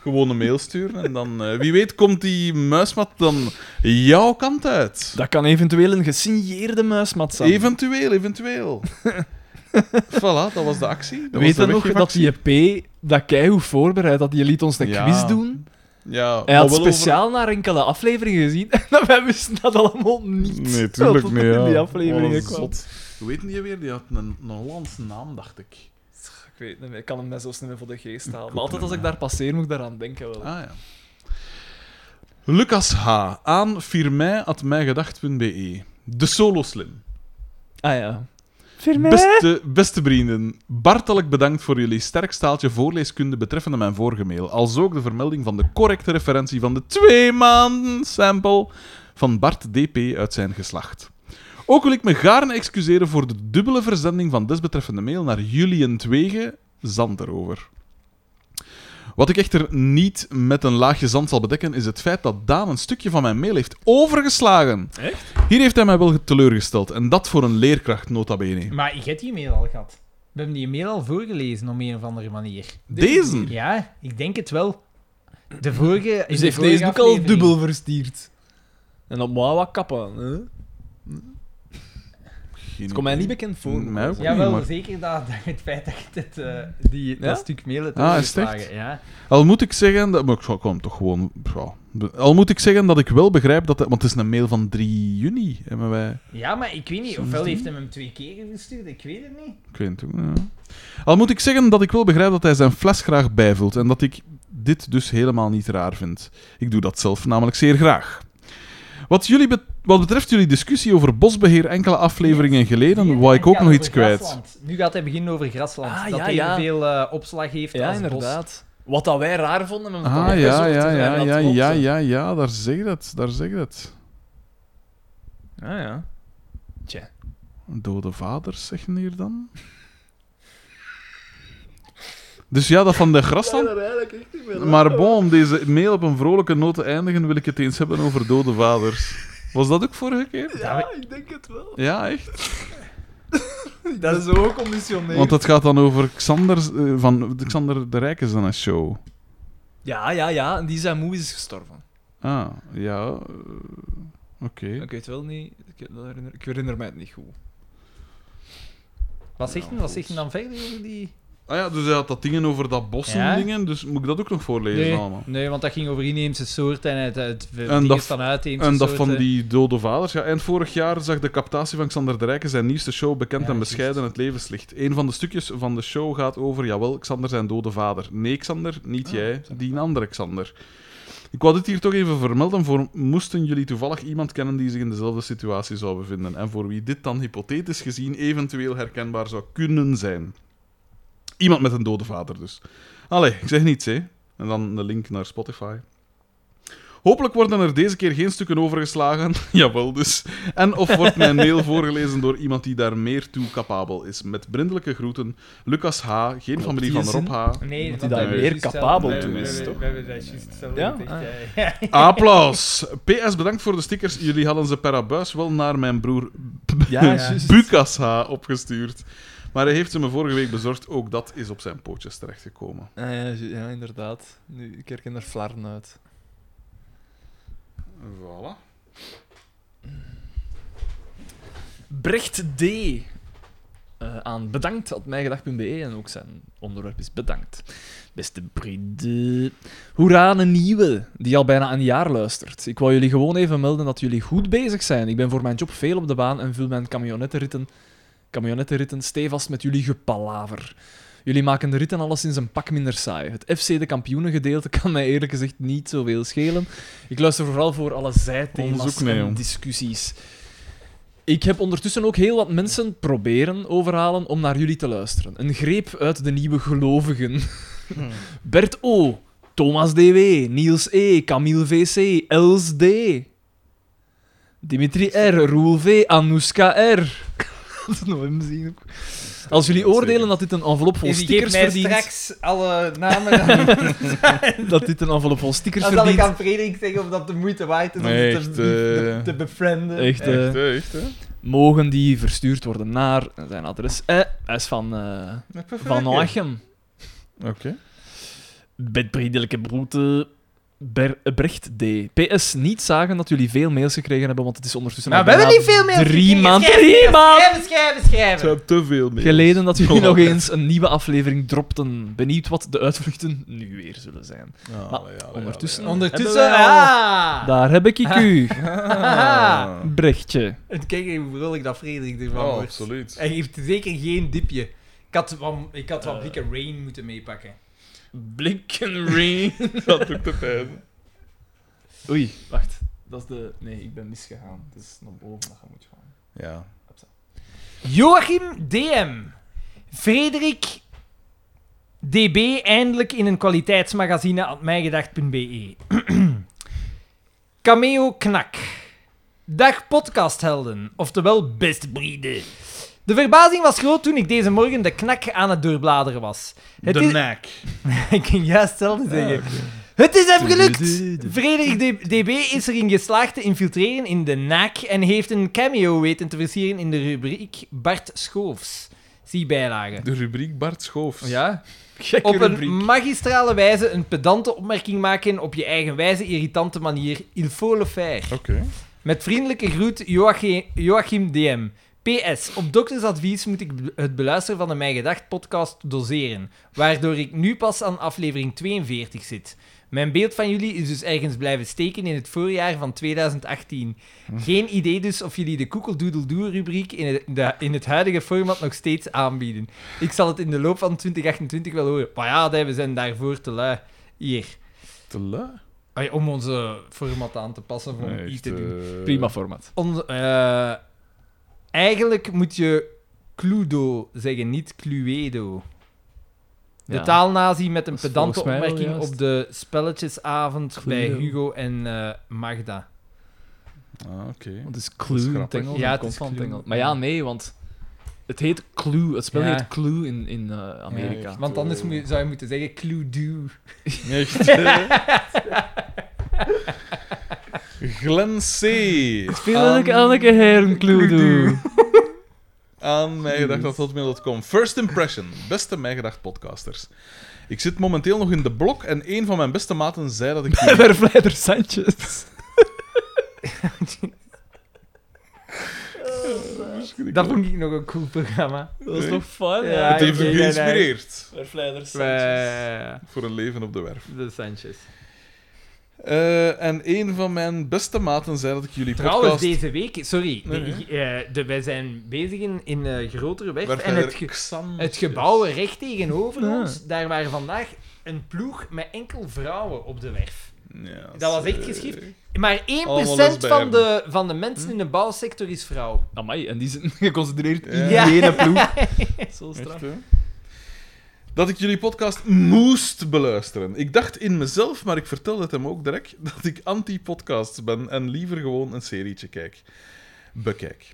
B: gewoon een mail sturen. En dan, eh, wie weet, komt die muismat dan jouw kant uit.
D: Dat kan eventueel een gesigneerde muismat zijn.
B: Eventueel, eventueel. <laughs> voilà, dat was de actie. Dat
D: Weet
B: was
D: je
B: de
D: nog dat
B: weggeefactie.
D: die P, dat keigoed voorbereid had, die liet ons een
B: Ja.
D: quiz doen.
B: Ja,
D: Hij had
B: maar wel over-
D: speciaal naar enkele afleveringen gezien <laughs> en wij wisten dat allemaal niet.
B: Nee, tuurlijk
D: <laughs> Wat
B: niet.
D: er
B: Ja.
D: in die afleveringen
B: Wat een
D: kwam.
B: zot. Hoe weet die weer? Die had een, een Hollandse naam, dacht ik.
D: Ik weet het niet meer, ik kan hem net zo snel voor de geest halen.
B: ook
D: Maar altijd
B: niet,
D: als ik
B: ja.
D: daar passeer, moet ik daaraan denken wel.
B: Ah ja. Lucas H. aan firmij.mijgedacht.be. E. De Solo Slim.
D: Ah ja.
B: Beste, beste vrienden, bartelijk bedankt voor jullie sterk staaltje voorleeskunde betreffende mijn vorige mail, als ook de vermelding van de correcte referentie van de twee maanden sample van Bart DP uit zijn geslacht. Ook wil ik me gaarne excuseren voor de dubbele verzending van desbetreffende mail naar Julian Twege, Zanderover. Wat ik echter niet met een laagje zand zal bedekken, is het feit dat Daan een stukje van mijn mail heeft overgeslagen.
D: Echt?
B: Hier heeft hij mij wel teleurgesteld. En dat voor een leerkracht, nota bene.
A: Maar ik heb die mail al gehad. We hebben die mail al voorgelezen op een of andere manier.
B: Deze?
A: Ja, ik denk het wel. De vorige. in
D: Dus
A: de
D: heeft
A: vorige
D: deze ook al
A: aflevering.
D: dubbel verstierd. En op mij wat kappen. Hè? Het komt mij niet bekend voor.
B: Mm, Mij ook.
A: Ja, wel
B: Nee, maar-
A: zeker dat, <laughs> dat het feit dat je dit, eh, die,
D: Ja?
A: dat stuk mail hebt
B: Ah, is het echt?
A: overgeslagen, Ja.
B: Al moet ik zeggen dat. Maar ik zou- kom toch gewoon. ja. Al moet ik zeggen dat ik wel begrijp dat. Want het is een mail van 3 juni. Hebben wij.
A: ja, maar ik weet niet.
B: Soms
A: Ofwel
B: doen.
A: heeft hem hem twee keer gestuurd, ik weet het niet.
B: Ik weet het ook, ja. Al moet ik zeggen dat ik wel begrijp dat hij zijn fles graag bijvult en dat ik dit dus helemaal niet raar vind. Ik doe dat zelf namelijk zeer graag. Wat, jullie bet- wat betreft jullie discussie over bosbeheer enkele afleveringen geleden,
A: Hier,
B: wou ik
A: het
B: ook
A: gaat
B: nog
A: over
B: iets kwijt.
A: Grasland. Nu gaat hij beginnen over Grasland.
D: Ah,
A: dat
D: ja,
A: hij
D: ja.
A: veel eh, opslag heeft
D: Ja,
A: als bos.
D: inderdaad. Wat dat wij raar vonden, hebben we
B: Ah,
D: dan
B: ja,
D: opgezocht
B: ja,
D: en
B: ja,
D: hebben
B: ja,
D: dat klopt,
B: ja,
D: hè.
B: ja, ja, daar zeg je dat, daar zeg je dat.
D: Ah, ja. Tja.
B: Dode vaders, zeggen hier dan? Dus ja, dat van de grasland... Maar bon, om deze mail op een vrolijke noot te eindigen, wil ik het eens hebben over dode vaders. Was dat ook vorige keer?
D: Ja, Ah, ik denk het <laughs> wel.
B: Ja, echt.
D: Dat is ook conditioneel.
B: Want het gaat dan over Xander, eh, van Xander de Rijk is dan een show.
D: Ja, ja, ja. En die zijn moe is gestorven.
B: Ah, ja. eh, Oké.
D: Ik weet wel niet... Ik, dat herinner, ik herinner mij het niet goed.
A: Wat zegt hij wat zegt hij dan verder over die...
B: Ah ja, dus hij had dat dingen over dat bos en
A: Ja?
B: dingen, dus moet ik dat ook nog voorlezen allemaal?
A: nee, want dat ging over inheemse soorten en het, het, het
B: dat
A: dinges
B: v-
A: van uitheemse
B: En dat van
A: soorten.
B: die dode vaders. Ja, eind vorig jaar zag de captatie van Xander de Rijken zijn nieuwste show Bekend
A: Ja,
B: en
A: juist.
B: Bescheiden het levenslicht. Een van de stukjes van de show gaat over, jawel, Xander zijn dode vader. Nee, Xander, niet
A: Ah,
B: jij, die een andere Xander. Ik wou dit hier toch even vermelden voor moesten jullie toevallig iemand kennen die zich in dezelfde situatie zou bevinden en voor wie dit dan hypothetisch gezien eventueel herkenbaar zou kunnen zijn. Iemand met een dode vader dus. Allee, ik zeg niets, hè. En dan de link naar Spotify. Hopelijk worden er deze keer geen stukken overgeslagen. <laughs> Jawel dus. En of wordt mijn mail voorgelezen door iemand die daar meer toe capabel is. Met brindelijke groeten, Lucas H., geen familie
D: die
B: van
D: zin?
B: Rob H.
A: Nee,
D: Dat
A: want
D: hij
A: dat
D: daar
A: hebben we
D: meer
A: juist
D: capabel
A: zelf-
B: toe
A: we-
B: is,
A: we-
D: toch?
A: We hebben dat juist zelf
D: Ja?
A: gezegd,
D: Ah.
A: ja, ja.
B: Applaus! PS, bedankt voor de stickers. Jullie hadden ze per abuis wel naar mijn broer
D: <laughs> Ja, <laughs> ja.
B: Bucas H. opgestuurd. Maar hij heeft ze me vorige week bezorgd. Ook dat is op zijn pootjes terechtgekomen.
D: Ah, ja, ju- ja, inderdaad. Nu, ik herken er flarden uit.
B: Voilà.
D: Brecht D. eh, aan bedankt at mijgedag.be E en ook zijn onderwerp is bedankt. Beste Bride. Hoera, een nieuwe die al bijna een jaar luistert. Ik wou jullie gewoon even melden dat jullie goed bezig zijn. Ik ben voor mijn job veel op de baan en vul mijn camionettenritten, camionettenritten stevast met jullie gepalaver. Jullie maken de ritten alleszins een pak minder saai. Het FC de kampioenen gedeelte kan mij eerlijk gezegd niet zoveel schelen. Ik luister vooral voor alle
B: Ons
D: zijthema's
B: ook, nee,
D: en
B: jong.
D: discussies. Ik heb ondertussen ook heel wat mensen proberen overhalen om naar jullie te luisteren. Een greep uit de nieuwe gelovigen.
A: Hm. <laughs>
D: Bert O., Thomas DW, Niels E., Camille VC, Els D., Dimitri R., Roel V., Anouska R. <laughs> Ik had het nog hem zien. ook. Als jullie oordelen dat dit een envelop vol
A: Dus die geeft
D: stickers
A: mij
D: verdient,
A: straks alle <laughs> namen aan.
D: <laughs> dat dit een envelop vol stickers
A: Dan zal ik
D: verdient,
A: aan Frederik zeggen of dat de moeite waard is om
B: Nee,
A: ze
B: echt,
A: te,
B: eh.
A: te befrienden.
D: echt, eh,
B: Echt, hè, echt, hè?
D: mogen die verstuurd worden naar zijn adres. Eh, hij is van, eh van Oachem.
B: Oké.
D: Met vriendelijke broeten. Ber- Brecht D. PS, niet zagen dat jullie veel mails gekregen hebben, want het is ondertussen
A: Maar
D: al
A: we hebben
D: bijna
A: niet veel meer.
D: Drie maanden. Drie
A: Schrijven,
D: maanden
A: schrijven, schrijven, schrijven.
B: Het zijn te veel meer.
D: geleden dat jullie
B: Oh.
D: nog eens een nieuwe aflevering dropten. Benieuwd wat de uitvluchten nu weer zullen zijn.
B: Ah,
D: Maar
B: ja, ja,
D: ondertussen-
B: ja, ja.
A: Dus Ondertussen,
D: Hebben wij
A: ah!
D: Daar heb ik u,
A: Haha.
D: Brechtje.
A: En kijk even hoe vrolijk dat Frederik ervan
B: Oh,
A: wordt. <laughs>
B: absoluut.
A: Hij heeft zeker geen dipje. Ik had wat, ik had wat blikken rain moeten meepakken.
D: Blinken Rain.
B: Dat doet de pijn.
D: Oei, wacht. Dat is de... Nee, ik ben misgegaan. Het is naar boven dat je moet gaan.
B: Ja.
A: Joachim DM. Frederik DB eindelijk in een kwaliteitsmagazine at <clears throat> mijgedacht.be. Cameo Knak. Dag podcasthelden, oftewel bestbrieden. De verbazing was groot toen ik deze morgen de knak aan het doorbladeren was. Het
B: de
A: is-
B: nek.
A: <laughs> ik ging juist hetzelfde zeggen. Het is hem gelukt! Frederik D- DB is erin geslaagd te infiltreren in de naak en heeft een cameo weten te versieren in de rubriek Bart Schoofs. Zie bijlagen.
B: De rubriek Bart Schoofs.
D: Ja? Gekke
A: Dus, Op
D: rubriek.
A: een magistrale wijze een pedante opmerking maken op je eigen wijze irritante manier. Il faut le faire.
B: Oké.
A: Met vriendelijke groet Joachim, Joachim DM. PS. Op doktersadvies moet ik b- het beluisteren van de Mijn Gedacht podcast doseren, waardoor ik nu pas aan aflevering 42 zit. Mijn beeld van jullie is dus ergens blijven steken in het voorjaar van 2018.
B: Hm.
A: Geen idee dus of jullie de koekeldoedeldoe-rubriek in, het- de- in het huidige format nog steeds aanbieden. Ik zal het in de loop van 2028 wel horen. Maar ja, nee, we zijn daarvoor te lui. Hier.
B: Te lui.
A: Ay, Om onze format aan te passen, of om
B: Nee,
A: iets
B: echt,
A: te doen.
B: eh,
D: <laughs> Prima format.
A: Onze- eh, eigenlijk moet je Cluedo zeggen, niet Cluedo. De
D: Ja.
A: taalnazi met een
D: Dat is
A: pedante
D: volgens mij wel
A: opmerking
D: juist.
A: op de spelletjesavond bij
D: Cluedo.
A: Hugo en eh, Magda.
B: Ah, oké.
A: <laughs>
D: Want het is
B: Dat is
D: clue in het
B: grappig.
D: Engels.
A: Ja,
D: en
A: het
D: komt
A: is
D: van het
A: clue.
D: Engels. Maar ja, nee, want het heet Clue. Het spel
A: Ja.
D: heet Clue in, in eh, Amerika.
B: Ja,
A: Want anders moet je- zou je moeten zeggen Cluedo.
B: Echt. Glenn C.
D: Speel ik elke her een Clue doe.
B: Aan mijgedacht.hotmail.com. First impression. Beste mijgedacht podcasters. Ik zit momenteel nog in de blok en een van mijn beste maten zei dat ik...
D: Vervleider Sanchez.
A: <laughs> Dat vond ik nog een cool programma.
D: Dat
B: Nee.
D: is toch fun?
A: Ja,
B: Het heeft me
A: oké, <laughs> nee,
B: geïnspireerd
D: Vervleider Sanchez.
A: Bij
B: voor een leven op de werf.
A: de Sanchez.
B: Eh, en een van mijn beste maten zei dat ik jullie
A: Trouwens,
B: podcast...
A: deze week, sorry,
B: Nee, nee.
A: de- eh, de- wij zijn bezig in, in eh, grotere weg.
B: Werf
A: En
B: verder
A: het, ge-
B: Xan-
A: Het gebouw recht tegenover
D: Ja.
A: ons, daar waren vandaag een ploeg met enkel vrouwen op de werf.
B: Ja,
A: Dat was echt
B: zeg.
A: geschikt. Maar 1%
B: Allemaal
A: van
B: lesbijen.
A: de, van de mensen in de bouwsector is vrouw.
D: Amai, en die zijn <laughs> geconcentreerd in
B: Ja.
A: <laughs>
D: die ene ploeg. Zo straf.
B: Echt, hè? Dat ik jullie podcast moest beluisteren. Ik dacht in mezelf, maar ik vertelde het hem ook direct, <laughs> dat ik anti-podcasts ben en liever gewoon een serietje kijk. Bekijk.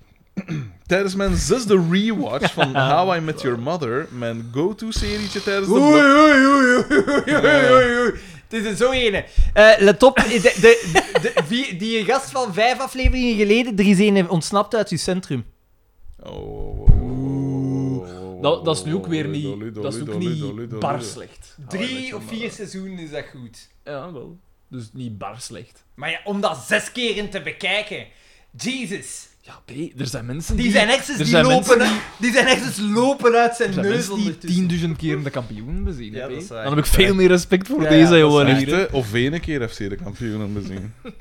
B: <clears throat> Tijdens mijn zesde rewatch van
D: <laughs>
B: How I Met Your Mother, mijn go-to-serietje tijdens de
A: Oei,
B: blok...
A: oei, oei, oei, oei, oei, oei. Het is er zo ene. Eh let op, de, de, de- die, die gast van vijf afleveringen geleden, er is een ontsnapt uit uw centrum.
B: Oh, oh, oh, oh, oh, oh, oh,
D: Dat, dat is nu ook weer
B: Ludo,
D: niet,
B: Ludo,
D: dat is
B: Ludo,
D: ook
B: Ludo, Ludo,
D: niet
B: Ludo.
D: bar slecht.
A: Ah, Drie of vier seizoenen is dat goed.
D: Ja, wel. Dus niet bar slecht.
A: Maar ja, om dat zes keren te bekijken. Jesus.
D: Ja, B, er zijn mensen
A: Die zijn hersens
D: er
A: die
D: zijn
A: lopen,
D: mensen
A: die... zijn hersens lopen uit zijn
D: Er zijn
A: neus
D: mensen die
A: ondertussen.
D: 10.000 keer de kampioen bezien.
A: Ja,
D: hè,
A: dat
D: P.
A: is waar.
D: Dan heb ik veel meer respect voor
A: Ja, ja,
D: deze
A: dat is
D: jongen hier. hè.
B: Echte of ene keer FC de kampioenen bezien. <laughs>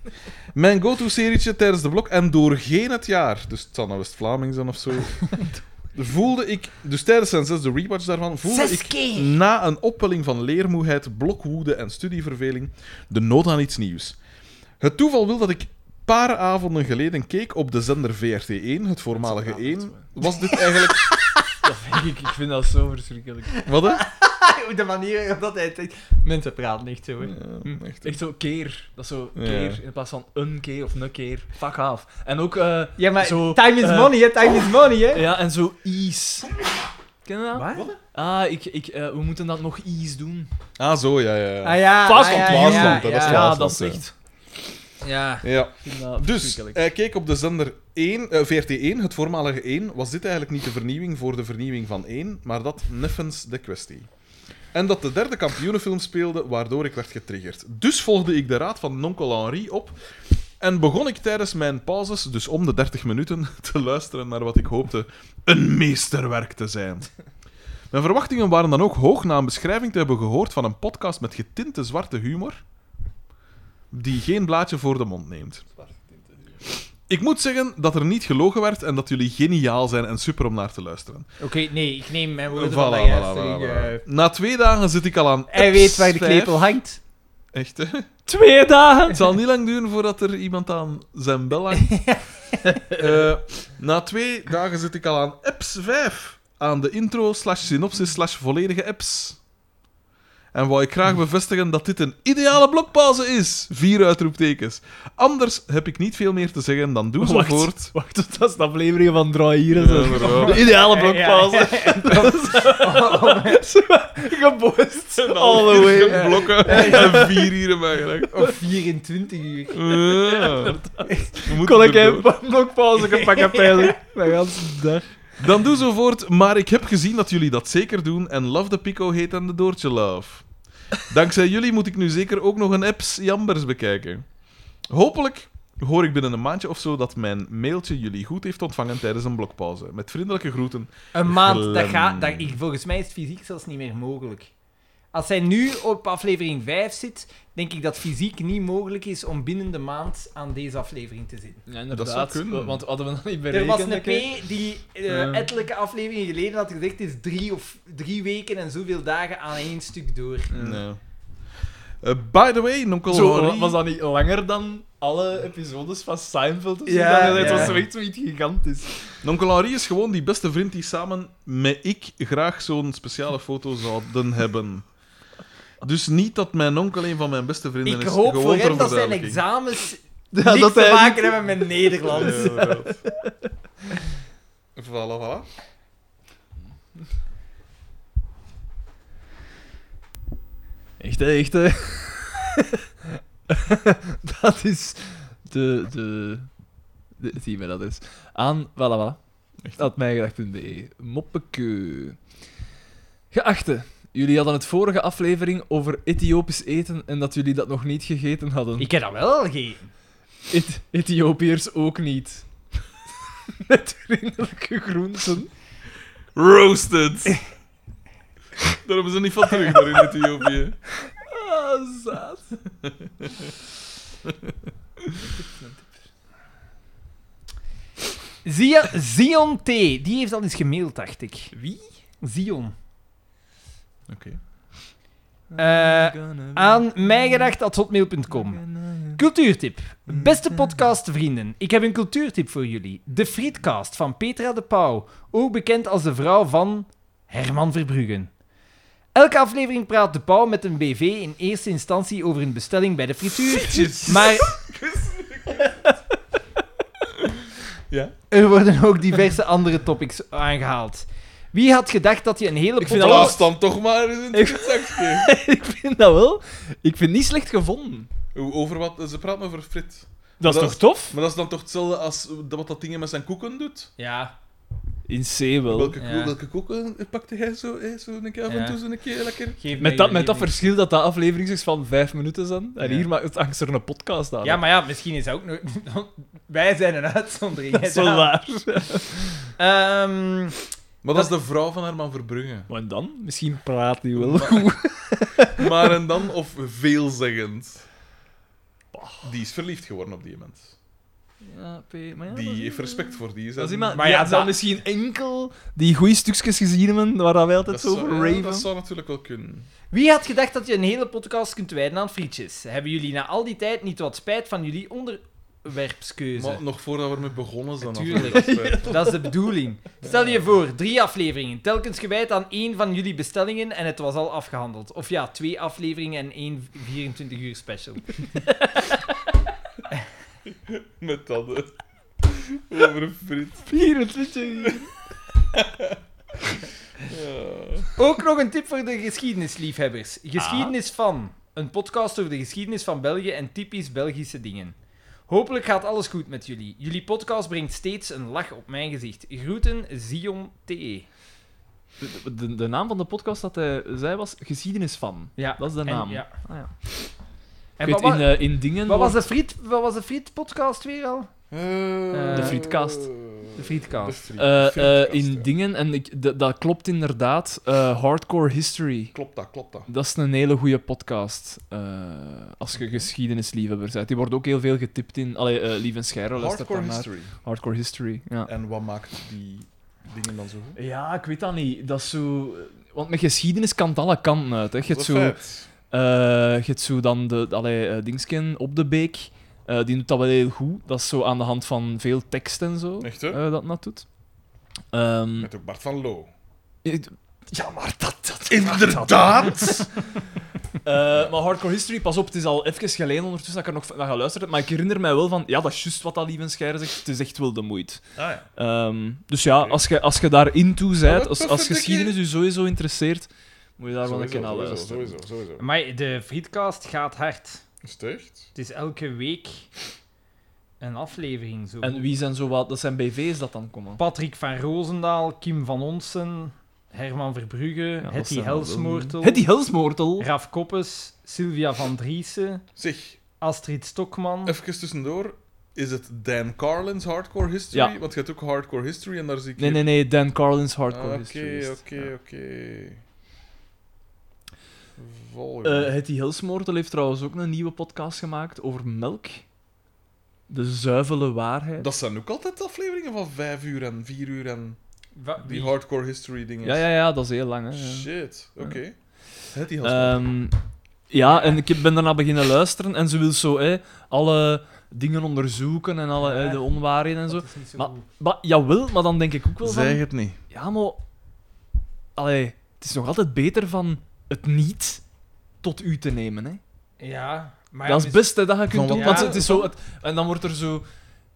B: Mijn go-to-serietje tijdens de blok en doorheen het jaar, dus het zal nou West-Vlaming zijn of zo, voelde ik, dus tijdens zijn zesde rewatch daarvan, voelde
A: Zes
B: ik
A: keer! <laughs>
B: na een opwelling van leermoeheid, blokwoede en studieverveling de nood aan iets nieuws. Het toeval wil dat ik een paar avonden geleden keek op de zender VRT1, het voormalige
D: Dat is
B: 1, was dit eigenlijk...
D: Dat vind ik, ik vind dat zo verschrikkelijk.
B: Wat hè?
A: De manier waarop dat hij het zegt. Mensen praten echt zo. hè.
B: Ja, echt.
D: Echt zo keer. Dat is zo
B: Ja.
D: keer in plaats van een keer of een keer. Fuck af. En ook, eh,
A: Ja, maar
D: Zo,
A: time is
D: eh,
A: money, hè? Time is money, hè?
D: ja, en zo ease. Ken je dat?
A: Wat?
D: Ah, ik, ik, eh, we moeten dat nog ease doen.
B: Ah, zo, ja, ja. ja.
A: Ah ja.
D: Vlaasland,
A: ah, ja,
B: Vlaasland, hè, dat is
A: ja, ja.
B: Vlaasland.
D: Ja, dat is
B: ja.
D: echt.
A: Ja.
B: ja.
D: ik vind dat
B: Dus,
D: verschrikkelijk.
B: hij keek op de zender 1, eh, VRT1, het voormalige 1. Was dit eigenlijk niet de vernieuwing voor de vernieuwing van 1, maar dat neffens de kwestie. En dat de derde kampioenenfilm speelde, waardoor ik werd getriggerd. Dus volgde ik de raad van Nonkel Henri op en begon ik tijdens mijn pauzes, dus om de 30 minuten, <laughs> te luisteren naar wat ik hoopte een meesterwerk te zijn. Mijn verwachtingen waren dan ook hoog na een beschrijving te hebben gehoord van een podcast met getinte zwarte humor, die geen blaadje voor de mond neemt. Ik moet zeggen dat er niet gelogen werd en dat jullie geniaal zijn en super om naar te luisteren.
A: Oké, nee, ik neem mijn woorden
B: Voilà,
A: van dat
B: voilà,
A: juist,
B: voilà,
A: ik,
B: voilà.
A: eh,
B: Na twee dagen zit ik al aan.
A: Hij weet waar de
B: vijf.
A: klepel hangt.
B: Echt, hè?
D: Twee dagen!
B: Het zal niet lang duren voordat er iemand aan zijn bel hangt. Eh, na twee dagen zit ik al aan apps 5. Aan de intro, slash synopsis, slash volledige apps. En wou ik graag bevestigen dat dit een ideale blokpauze is. Vier uitroeptekens. Anders heb ik niet veel meer te zeggen dan doe zo
D: Wacht.
B: voort.
D: Wacht, tot <laughs> dat is de aflevering van Draai hier. en zo.
B: Ja, maar <laughs> ja.
D: de ideale blokpauze. Gebost. <laughs> All the way.
B: Blokken <laughs> en vier hier in mijn gerecht.
A: Eh, Of 24 uur.
B: Ja. We moeten
D: Kon ik
B: erdoor.
D: even een blokpauze gepakt hebben eigenlijk. De ganse dag.
B: Dan doe zo voort, maar ik heb gezien dat jullie dat zeker doen en Love the Pico heet aan de doortje love. Dankzij jullie moet ik nu zeker ook nog een apps Jambers bekijken. Hopelijk hoor ik binnen een maandje of zo dat mijn mailtje jullie goed heeft ontvangen tijdens een blokpauze. Met vriendelijke groeten.
A: Een maand, dat
B: Glem.
A: gaat, dat, ik, volgens mij is het fysiek zelfs niet meer mogelijk. Als hij nu op aflevering 5 zit, denk ik dat fysiek niet mogelijk is om binnen de maand aan deze aflevering te zitten.
D: Ja,
B: Dat zou kunnen.
D: Want hadden we dat niet
A: Er
D: berekend?
A: was een
D: denk ik?
A: P die eh
D: Ehm.
A: ettelijke aflevering geleden had gezegd, het is drie, of, drie weken en zoveel dagen aan één stuk door.
B: Nee. Eh, by the way, nonkel
D: Zo,
B: Henri-
D: was dat niet langer dan alle episodes van Seinfeld of zo?
A: Ja,
D: dat
A: ja.
D: was zoiets, zoiets gigantisch.
B: Nonkel Henri is gewoon die beste vriend die samen met ik graag zo'n speciale foto zouden hebben. Dus niet dat mijn onkel een van mijn beste vrienden
A: Ik
B: is.
A: hoop voor
B: gewoon ter
A: hem dat zijn
B: verduidelijking.
A: examens
D: Ja,
A: niks
D: dat
A: te
D: hij
A: maken hebben met Nederlands.
B: Inderdaad. voilà, voilà.
D: Echt, hè, echt. hè. <laughs> dat is de, de... de zie je dat is. Aan, voilà, voilà. Had mijgedacht.be. E. Moppeke. Geachte, jullie hadden het vorige aflevering over Ethiopisch eten en dat jullie dat nog niet gegeten hadden.
A: Ik heb dat wel al gegeven.
D: Eth- Ethiopiërs ook niet. Met vriendelijke groenten.
B: Roasted. Daar hebben ze niet van terug daar in Ethiopië.
D: Ah, zaad.
A: Zia- Zion T, die heeft al eens gemaild, dacht ik.
D: Wie?
A: Zion.
B: Oké.
A: Eh, aan mijgedacht.hotmail.com. Cultuurtip. Beste podcastvrienden, ik heb een cultuurtip voor jullie. De Frietcast van Petra de Pauw, ook bekend als de vrouw van Herman Verbruggen. Elke aflevering praat de Pauw met een BV in eerste instantie over een bestelling bij de frituur. Maar
B: Ja?
A: er worden ook diverse andere topics aangehaald. Wie had gedacht dat je een hele
D: Ik vind dat
A: podcast-
B: Plaats dan toch maar eens in het zakje.
D: <laughs> ik vind dat wel. Ik vind het niet slecht gevonden.
B: Hoe- Over wat? Ze praat me over Frit.
D: Dat
B: is
D: is
B: toch
D: toch tof?
B: Maar dat is dan toch hetzelfde als eh, wat dat ding met zijn koeken doet?
A: Ja.
D: In C wel.
B: Welke,
A: ja.
B: welke koeken pakte hij zo, hè, zo een keer af en
A: Ja.
B: toe, zo een keer lekker?
A: Geef mij
D: Met dat,
A: uw
D: met dat
A: mening.
D: verschil dat dat aflevering is van vijf minuten dan. En
B: Ja.
D: hier maakt het angst er een podcast aan.
A: Ja, maar ja, misschien is dat ook nog... <laughs> Wij zijn een uitzondering.
D: dat
A: hè,
D: is wel
A: Daan.
D: waar.
A: Ehm,
B: Maar dat is de vrouw van Herman Verbrugge.
D: Maar dan? Misschien praat hij wel.
B: Maar en dan, of veelzeggend. Die is verliefd geworden op die mens.
D: Ja, P, maar ja, dat is-
B: Die heeft respect voor die.
D: Dat is
B: zijn-
D: iemand
A: Maar
D: die
A: ja,
D: had dan
A: dat-
D: misschien enkel die goede stukjes gezien hebben waar dat wij altijd zo over
B: zou, ja,
D: raven.
B: dat zou natuurlijk wel kunnen.
A: wie had gedacht dat je een hele podcast kunt wijden aan frietjes? Hebben jullie na al die tijd niet wat spijt van jullie onderwerpskeuze?
B: Maar nog voordat we ermee begonnen zijn.
A: Natuurlijk.
B: hadden we dat eh, spijt.
A: Dat is de bedoeling. Stel je voor, drie afleveringen, telkens gewijd aan één van jullie bestellingen en het was al afgehandeld. Of ja, twee afleveringen en één 24 uur special.
B: Met dat. hè. Over een frit.
D: 24 uur.
B: Ja.
A: Ook nog een tip voor de geschiedenisliefhebbers. Geschiedenis van. Een podcast over de geschiedenis van België en typisch Belgische dingen. Hopelijk gaat alles goed met jullie. Jullie podcast brengt steeds een lach op mijn gezicht. Groeten, Zion E. TE.
D: De, de, de naam van de podcast dat hij zei was Geschiedenis van.
A: Ja.
D: Dat is de
A: En-
D: naam.
A: ja.
D: Ah, ja.
A: En
D: Ik
A: wat,
D: weet,
A: wa-
D: in, eh, in dingen.
A: wat was
D: wordt-
A: de friet, wat was de friet podcast weer al?
B: Eh,
A: De
D: frietkast.
A: De frietkast.
B: De friet-
D: eh, eh,
B: frietkast, ja.
D: in dingen, en ik, d- dat klopt inderdaad, eh, Hardcore History.
B: Klopt dat, klopt dat.
D: Dat is een hele goede podcast. eh, als je geschiedenisliefhebber bent. Die wordt ook heel veel getipt in. Allee, eh, Lief en Scheiro luistert
B: Hardcore
D: daarnaar.
B: history.
D: Hardcore History. Ja.
B: En wat maakt die dingen dan zo goed?
D: ja, ik weet dat niet. Dat is zo. eh, Want met geschiedenis kan het alle kanten uit. Hè. Je
B: Dat
D: hebt
B: is
D: zo.
B: een
D: eh
B: feit.
D: je hebt zo dan de, de- allee, eh, Dingsken op de beek. Eh, die doet dat wel heel goed. Dat is zo aan de hand van veel tekst en zo.
B: Echt, hè?
D: eh, dat dat doet. Ehm,
B: Met ook Bart van Loo.
D: het- Ja, maar dat... dat
B: Inderdaad!
D: Eh, maar Hardcore History, pas op, het is al even geleden ondertussen dat ik er nog naar geluisterd heb, maar ik herinner mij wel van, ja, dat is juist wat dat Lieven Scheire zegt, het is echt wel de moeite.
B: Ah, ja.
D: Ehm, dus ja, als je als je daar into
B: wat
D: bent, als,
B: tof
D: als
B: vind ik
D: geschiedenis je sowieso interesseert, moet je daar wel een keer naar
B: sowieso,
D: luisteren.
B: sowieso, sowieso.
A: Maar de Frietcast gaat hard.
B: Is het echt?
A: Het is elke week een aflevering zo.
D: En wie zijn zo wat, dat zijn BV's dat dan komen.
A: Patrick van Roosendaal, Kim van Onsen, Herman Verbrugge, Hetty Helsmoortel,
D: Hetty Helsmoortel.
A: Raf Koppes, Sylvia van Driessen,
B: Zeg,
A: Astrid Stokman.
B: even tussendoor. Is het Dan Carlin's Hardcore History?
D: Ja.
B: Want je hebt ook Hardcore History en daar zie ik...
D: Nee, nee, nee, Dan Carlin's Hardcore History.
B: Ah, Oké,
D: is het.
B: oké, oké.
D: Eh,
B: Volgende.
D: Hetty Helsmoortel heeft trouwens ook een nieuwe podcast gemaakt over melk. De zuivele waarheid.
B: Dat zijn ook altijd afleveringen van 5 uur en 4 uur en
A: Wa-
B: die
A: wie-
B: hardcore history dingen.
D: Ja, ja, ja, dat is heel lang. Hè, ja.
B: Shit, oké. Het die had
D: Ehm, ja, en ik ben daarna beginnen luisteren en ze wil zo hè, alle dingen onderzoeken en alle hè, de onwaarheden en zo.
A: Dat is niet zo
D: Maar-
A: goed.
D: Maar, jawel, maar dan denk ik ook wel van...
B: het niet.
D: Ja, maar... Allee, het is nog altijd beter van het niet tot u te nemen, hè.
A: Ja, maar
D: dat is
A: dus-
D: het beste dat je kunt
B: Van
D: doen,
B: wat-
D: want
A: Ja. dus
D: het is zo... het- en dan wordt er zo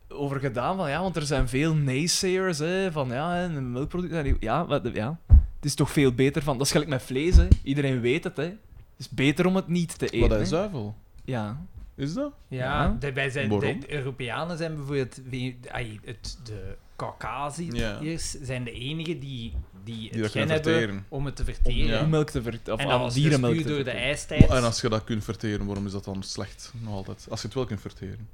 D: over gedaan van, ja, want er zijn veel naysayers, hè, van ja, hè, de melkproducten... en die- Ja, wat- ja, het is toch veel beter van... Dat is gelijk met vlees, hè. Iedereen weet het, hè. Het is beter om het niet te eten,
B: Wat
D: hè.
B: is zuivel?
D: Ja.
B: Is dat?
A: Ja,
D: Ja.
A: de- wij zijn, de,
B: Waarom?
A: Europeanen zijn bijvoorbeeld... wie- ai, het, de Caucasiërs zijn de enigen die, die
B: Die
A: het
B: dat
A: gen
B: kunnen
A: hebben
B: verteren.
A: om het te verteren.
B: Ja.
D: om melk te verteren. Of
A: En
D: aan
A: dat was dus
D: dierenmelk
A: puur
D: te
A: door de
D: verteren.
A: ijstijd.
B: En als je dat kunt verteren, waarom is dat dan slecht? Nog altijd. Als je het wel kunt verteren.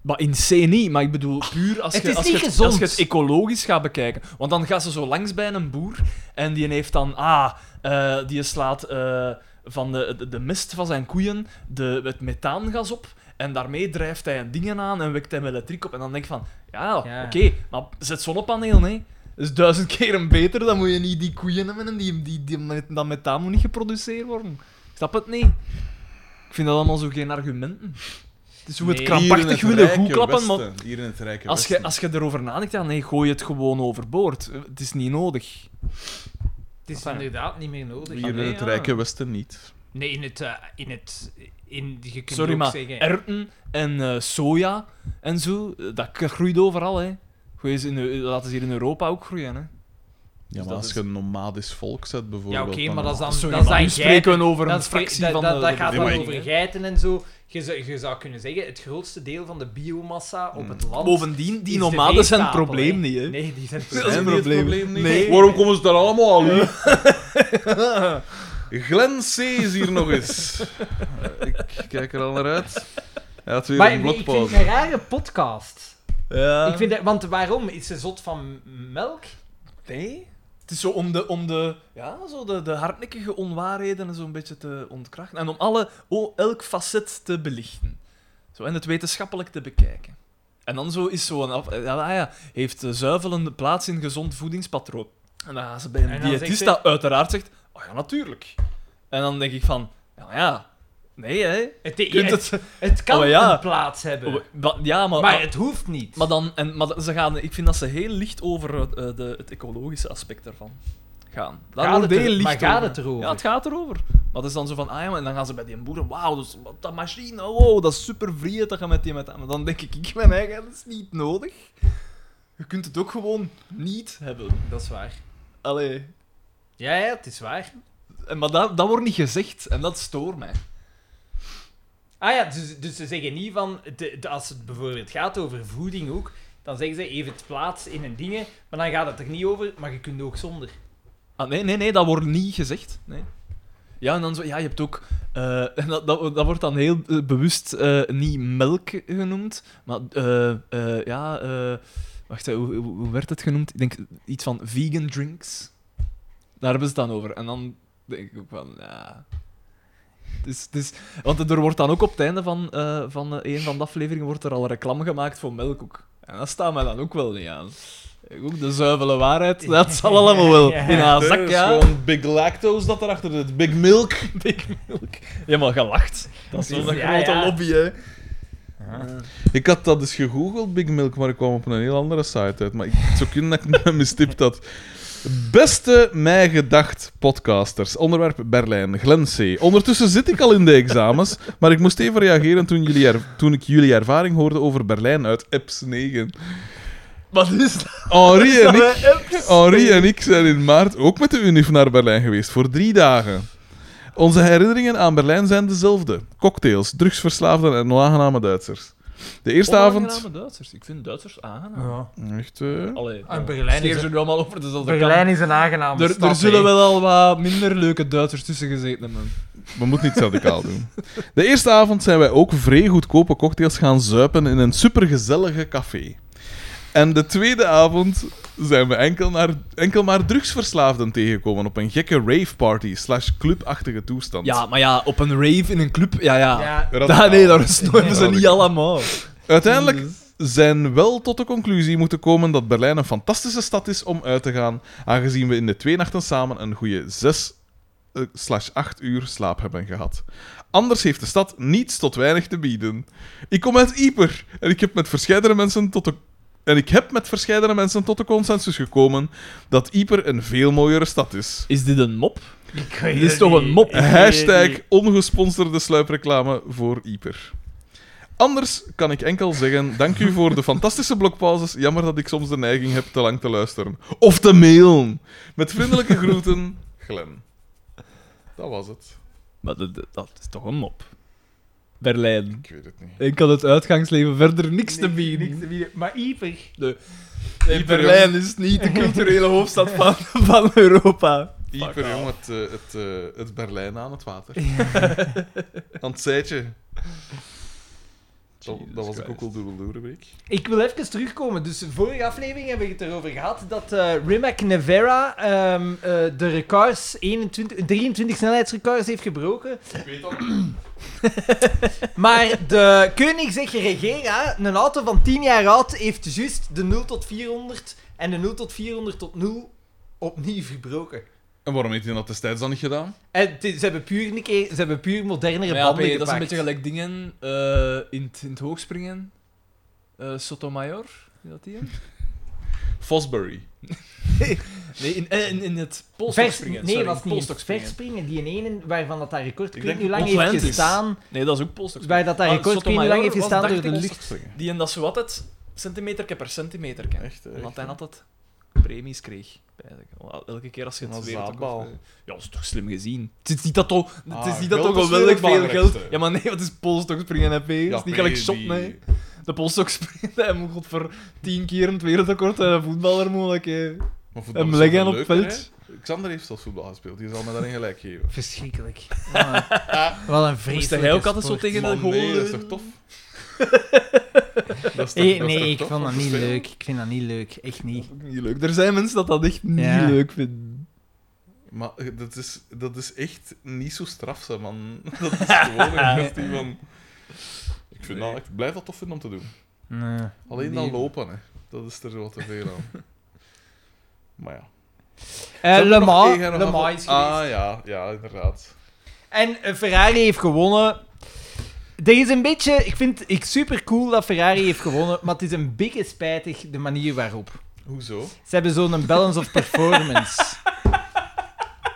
D: Maar in C niet, maar ik bedoel puur als
A: Het
D: je,
A: is
D: als,
A: niet
D: je het,
A: gezond.
D: als je het ecologisch gaat bekijken. Want dan gaan ze zo langs bij een boer en die heeft dan, ah, eh, die slaat eh, van de, de, de mist van zijn koeien de, het methaangas op en daarmee drijft hij dingen aan en wekt hij met elektriek op. En dan denk ik van, ja,
A: Ja.
D: oké, maar zet zonnepaneel, nee. Dat is duizend keren beter, dan moet je niet die koeien hebben en die, die, die, met- dat methaan moet niet geproduceerd worden. Ik snap het niet. Ik vind dat allemaal zo geen argumenten. Het is Dus hoe we het
A: Nee.
B: Hier in
D: krampachtig
B: het
D: willen
B: rijke
D: goedklappen, maar
B: Westen. Hier in het rijke
D: als je,
B: Westen.
D: als je erover nadenkt, ja, nee, gooi het gewoon overboord. Eh, Het is niet nodig.
A: Het is
D: Enfin.
A: inderdaad niet meer nodig.
B: Hier in
A: Nee,
B: het
A: ja.
B: rijke Westen niet.
A: Nee, in het... eh, in het in, je kunt
D: Sorry,
A: ook
D: maar
A: zeggen...
D: erwten en eh, soja en zo, eh, dat k- groeit overal, hè. Gooi eens in, Eu- laat eens hier in Europa ook groeien, hè.
B: Ja, maar
D: dat
B: als
D: is-
B: je een nomadisch volk
A: Dus
B: zet,
A: ja,
B: bijvoorbeeld...
A: oké, maar dat is dan...
D: Sorry,
A: dat is
D: maar
A: dan
D: nu spreken we over een
A: dat, spree-
D: fractie
A: dat-
D: van
A: dat,
D: de,
A: dat
D: de
A: gaat
B: Nee, maar
A: dan
B: ik-
D: bevolking,
A: over
D: hè.
A: geiten en zo. Je, zou- je zou kunnen zeggen, het grootste deel van de biomassa op
B: Hmm.
A: het land...
D: Bovendien,
A: is
D: die
A: de
D: nomaden zijn het
A: veestapel,
D: probleem niet, hè.
A: Nee, die
B: <laughs>
A: zijn het
D: Dat
B: is
A: probleem.
B: niet het
D: probleem
B: niet.
D: Nee.
B: Waarom komen ze daar allemaal aan? Glenn C. is hier nog eens. Eh, Ik kijk er al naar uit. Hij had weer
A: Maar
B: een
A: nee, ik vind
B: blokpauze.
A: het een rare podcast.
D: Ja.
A: Ik vind dat- want waarom? Is ze zot van melk?
D: Nee. Het is zo om de, om de, ja, zo de, de hardnekkige onwaarheden zo'n beetje te ontkrachten. En om alle, o- elk facet te belichten. Zo, en het wetenschappelijk te bekijken. En dan zo is zo'n... af- eh, Ja, ah ja, heeft eh, zuivel een plaats in gezond voedingspatroon? En dan gaan ze bij
A: En
D: een
A: dan
D: diëtist
A: zegt
D: dat uiteraard zegt... Oh ja, natuurlijk. En dan denk ik van... Ja, ja. Nee, hè.
A: Het,
D: Kunt <laughs>
A: het,
D: het...
A: het kan
D: Oh, ja. Oh,
A: een plaats hebben.
D: Wa- Ja, maar...
A: eh. maar het hoeft niet.
D: Maar dan, en, maar ze gaan, ik vind dat ze heel licht over eh, de, het ecologische aspect daarvan gaan. Daar
A: Gaat
D: wordt
A: het er-
D: heel licht
A: maar gaat
D: over.
A: het erover?
D: Ja, het gaat erover. Maar het is dan zo van, ah ja, maar- en dan gaan ze bij die boeren, wauw, dat, is- dat machine, wow, dat is super vriend, dat gaan met die met Maar dan denk ik, ik mijn eigen, dat is niet nodig. Je kunt het ook gewoon niet hebben.
A: dat is waar.
D: Allee.
A: Ja, ja, het is waar.
D: En, maar dat, dat wordt niet gezegd en dat stoort mij.
A: Ah ja, dus, dus ze zeggen niet van... de- de- als het bijvoorbeeld gaat over voeding ook, dan zeggen ze even het plaats in een dingen, maar dan gaat het er niet over, maar je kunt ook zonder.
D: Ah, nee, nee, nee, dat wordt niet gezegd. Nee. Ja, en dan zo, ja, je hebt ook. eh, <laughs> en dat, dat, dat wordt dan heel eh, bewust eh, niet melk genoemd, maar eh, eh, ja, eh, wacht, hè, hoe, hoe hoe werd het genoemd? Ik denk iets van vegan drinks. Daar hebben ze het dan over. En dan denk ik ook van, ja. Dus, dus, want er wordt dan ook op het einde van, eh, van eh, een van de afleveringen wordt er al reclame gemaakt voor melk ook. En dat staat mij dan ook wel niet aan. Ook de zuivele waarheid, dat zal allemaal wel in haar
B: Er
D: zak,
B: is
D: ja.
B: gewoon Big Lactose dat erachter zit. Big Milk.
D: <laughs> Big Milk. Helemaal gelacht. Dat is
A: Ja,
D: zo'n
A: ja.
D: grote lobby, hè.
B: Ik had dat <laughs> dus gegoogeld, Big Milk, maar ik kwam op een heel andere site uit. Maar ik het zou kunnen dat ik me mistipt had. Beste mij gedacht podcasters. Onderwerp Berlijn, Glen C. Ondertussen zit ik al in de examens, <laughs> maar ik moest even reageren toen, jullie er- toen ik jullie ervaring hoorde over Berlijn uit Eps 9.
D: Wat is dat?
B: Henri en ik Henri en ik zijn in maart ook met de UNIF naar Berlijn geweest voor drie dagen. Onze herinneringen aan Berlijn zijn dezelfde: cocktails, drugsverslaafden en onaangename Duitsers. De eerste avond.
D: Onaangename Duitsers. Ik vind Duitsers aangenaam.
A: Ja.
B: Echt, eh?
D: Allee,
A: Ah,
D: ja.
A: Berlijn
D: Schreef
A: is-
D: ze nu allemaal over dus dezelfde
A: Berlijn
D: kant.
A: is een aangename
D: Er,
A: stad.
D: er zullen
A: hè.
D: wel al wat minder leuke Duitsers tussen gezeten hebben.
B: We moeten niet radicaal doen. De eerste avond zijn wij ook vrij goedkope cocktails gaan zuipen in een supergezellige café. En de tweede avond zijn we enkel, naar, enkel maar drugsverslaafden tegengekomen op een gekke raveparty slash clubachtige toestand.
D: Ja, maar ja, op een rave in een club, ja, ja. <laughs>
A: Ja.
D: Da-
B: Radicaal.
D: nee, daar snoeven ze
B: Radicaal.
D: niet allemaal.
B: Uiteindelijk zijn wel tot de conclusie moeten komen dat Berlijn een fantastische stad is om uit te gaan, aangezien we in de twee nachten samen een goede 6 eh, slash 8 uur slaap hebben gehad. Anders heeft de stad niets tot weinig te bieden. Ik kom uit Ieper en ik heb met verscheidene mensen tot de en ik heb met verscheidene mensen tot de consensus gekomen dat Ieper een veel mooiere stad is.
D: Is dit een mop?
A: Ik weet
D: Dit is
A: het
D: toch
A: niet.
D: een mop?
B: Hashtag ongesponsorde sluipreclame voor Ieper. Anders kan ik enkel zeggen, dank u voor de fantastische blokpauzes. Jammer dat ik soms de neiging heb te lang te luisteren. Of te mailen. Met vriendelijke groeten, Glen. Dat was het.
D: Maar dat, dat- dat is toch een mop? Berlijn.
B: Ik weet het niet.
D: Ik kan het uitgangsleven verder niks te bieden.
A: Niks te bieden. Maar Ieper.
D: Nee, Berlijn is niet de culturele hoofdstad van, van Europa.
B: Ieper, jong, het, eh, het, eh, het Berlijn aan het water. Aan het zijtje. Dat, dat was ik
D: Christ.
B: ook al dubbel week.
A: Ik wil even terugkomen. Dus de vorige aflevering hebben we het erover gehad dat eh Rimac Nevera ehm, eh, de records 21, 23 snelheidsrecords heeft gebroken.
B: Ik weet dat.
A: Maar de Koenigsegg Regera, een auto van 10 jaar oud, heeft juist de 0 tot 400 en de 0 tot 400 tot 0 opnieuw verbroken.
B: En waarom heeft hij dat destijds dan niet gedaan?
A: En het is- ze hebben puur, een keer, ze hebben puur modernere
D: Ja,
A: banden
D: P,
A: gepakt.
D: dat is een beetje gelijk dingen eh, in, het- in het hoogspringen. Eh Sotomayor, is dat die? hem?
B: Fosbury.
D: Nee, in, eh, in, in het
A: Vers,
D: polstokspringen.
A: nee,
D: sorry,
A: was
D: in
A: niet
D: polstokspringen.
A: verspringen. Die ene waarvan dat, dat record, ik
B: Ik
A: weet niet
B: denk
A: hoe lang heeft
D: Atlantis.
A: gestaan.
D: Nee, dat is ook polstokspringen.
A: Waar dat daar
D: Maar
A: record ik weet niet hoe lang
D: Sotomayor
A: heeft
D: was
A: gestaan door de
D: 30
A: lucht.
D: Die en dat zo altijd centimeter per centimeter.
B: Echt, hè,
D: Omdat
B: echt,
D: hij
B: hè.
D: altijd premies kreeg. Eigenlijk. Elke keer als je
B: Een
D: het wereldrecord...
B: zaadbal.
D: eh, Ja, dat is toch slim gezien. Het is niet dat toch, het
B: Ah,
D: is niet dat
B: geld
D: toch
B: is
D: geweldig veel
B: wereldbelangrijkste.
D: geld... Ja, maar nee, wat is polstokspringen, hè, P? Dat is niet gelijk shot, nee. De polstokspringen, hij moet god voor tien keer het wereldrecord en een eh, voetballer mogelijk, hè.
B: Maar voetbal
D: Hem
B: is
D: leggen
B: toch
D: op
B: leuker,
D: veld.
B: hè? Xander heeft zelfs voetbal gespeeld, die zal me daarin gelijk geven.
D: <laughs>
A: Verschrikkelijk. Wat een
D: Ah. Moest
A: vreselijke
D: hij ook altijd zo
A: sport.
D: tegen de
B: Man,
D: goal...
B: nee, dat is
D: eh,
B: toch tof?
D: <laughs>
B: dat is
A: Eh,
B: toch,
A: Nee,
B: dat is
A: nee,
B: toch
A: ik
B: tof
A: vond
B: om
A: dat
B: te
A: niet
B: spelen?
A: leuk. Ik vind dat niet leuk. Echt
D: Dat
A: niet.
D: is ook niet leuk. Er zijn mensen dat dat echt niet
A: Ja.
D: leuk vinden.
B: Maar eh, dat is, dat is echt niet zo straf, hè, man. <laughs> Dat is gewoon een kwestie van... Ik, vind dat, ik blijf dat tof vinden om te doen.
A: Nee.
B: Alleen
D: Nee.
B: dan lopen, hè. dat is er wat te veel
D: <laughs>
B: aan. Maar ja.
A: Eh,
B: Zou er
A: Le
B: nog
A: Mans,
B: één gaan
A: Le
B: of-
A: Mans is geweest.
B: Ah ja, ja, inderdaad.
A: En eh, Ferrari heeft gewonnen. Er is een beetje... Ik vind het super cool dat Ferrari heeft gewonnen, maar het is een beetje spijtig de manier waarop.
B: Hoezo?
A: Ze hebben zo'n balance of performance. <laughs>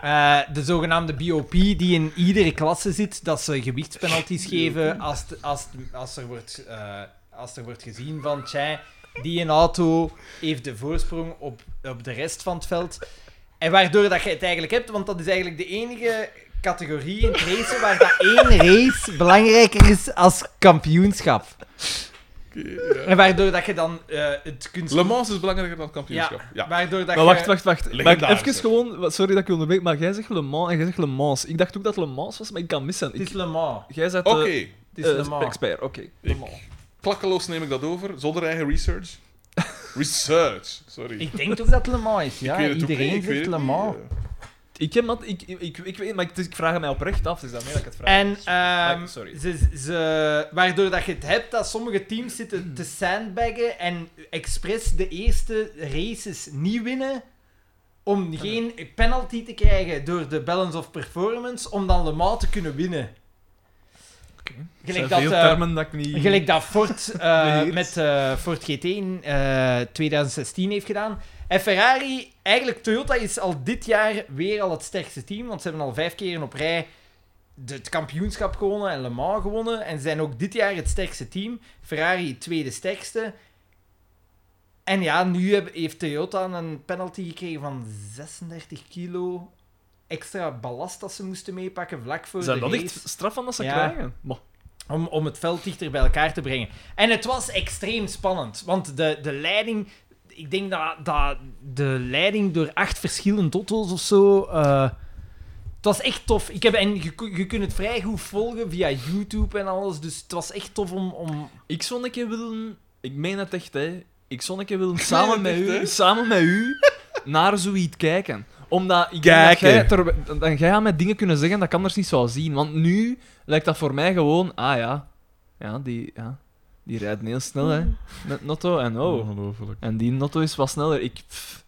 A: Eh, de zogenaamde BOP, die in iedere klasse zit, dat ze gewichtspenalties geven als, het- als, het- als, er wordt, eh, als er wordt gezien van, tja, die een auto heeft de voorsprong op, op de rest van het veld. En waardoor dat je het eigenlijk hebt, want dat is eigenlijk de enige categorie in het racen waar dat één race belangrijker is als kampioenschap.
B: Oké, ja.
A: En waardoor dat je dan eh, het kunt...
B: Le Mans is belangrijker dan het kampioenschap. Ja.
A: Waardoor dat
D: Maar
A: je-
D: wacht, wacht, wacht. Maar
B: Legendarisch,
D: even
B: hè.
D: gewoon, wa- sorry dat ik je onderbreek, maar jij zegt Le Mans en jij zegt Le Mans. Ik dacht ook dat Le Mans was, maar ik kan missen.
A: Het is
D: Ik,
A: Le Mans.
D: jij zegt
B: Oké.
D: de
A: Het is Le Mans.
D: expert, oké. Le
B: Eh, Ik-
D: Mans.
B: Klakkeloos neem ik dat over, zonder eigen
A: <laughs>
B: research. Research, sorry.
A: Ik denk toch dat Le Mans is, ja.
B: Ik weet het ook
A: Iedereen
B: niet, ik weet
A: zegt Le
B: het niet,
A: Mans.
B: eh.
D: Ik, heb dat, ik, ik, ik, ik weet, maar ik, ik vraag het mij oprecht af, dus daarmee dat ik het vraag.
B: eh.
A: En
D: Maar,
A: ehm
D: sorry.
A: ze, ze, waardoor dat je het hebt dat sommige teams zitten te sandbaggen en expres de eerste races niet winnen om geen penalty te krijgen door de balance of performance om dan Le Mans te kunnen winnen.
D: Oké. Er
A: Gelijk
D: zijn
A: dat,
D: veel
A: eh,
D: termen dat ik niet...
A: Gelijk dat
D: <laughs>
A: Ford eh,
D: Beheerst.
A: met eh, Ford GT in eh, 2016 heeft gedaan. En Ferrari, eigenlijk Toyota is al dit jaar weer al het sterkste team, want ze hebben al vijf keer op rij de- het kampioenschap gewonnen en Le Mans gewonnen. En ze zijn ook dit jaar het sterkste team. Ferrari het tweede sterkste. En ja, nu heb- heeft Toyota een penalty gekregen van 36 kilo extra ballast dat ze moesten meepakken vlak voor
D: Zijn
A: de
D: dat
A: race
D: echt straf van dat ze
A: Ja.
D: krijgen? Maar,
A: om, om het veld dichter bij elkaar te brengen. En het was extreem spannend, want de, de leiding... Ik denk dat, dat de leiding door acht verschillende auto's of zo... eh, het was echt tof. Ik heb, en je, kun- je kunt het vrij goed volgen via YouTube en alles, dus het was echt tof om... om
D: ik zou een keer willen... Ik meen het echt, hè. Ik zou een keer willen samen met,
B: het echt, hè.
D: u, samen met <laughs> u naar zoiets kijken. Omdat ik denk dat
B: Kijken.
D: jij, ter, dan jij aan mij dingen kunnen zeggen dat ik anders niet zou zien. Want nu lijkt dat voor mij gewoon... Ah ja, ja die, ja, die rijdt heel snel, hè. Met Notto en oh.
B: Ongelooflijk.
D: En die Notto is wat sneller. Ik... pff.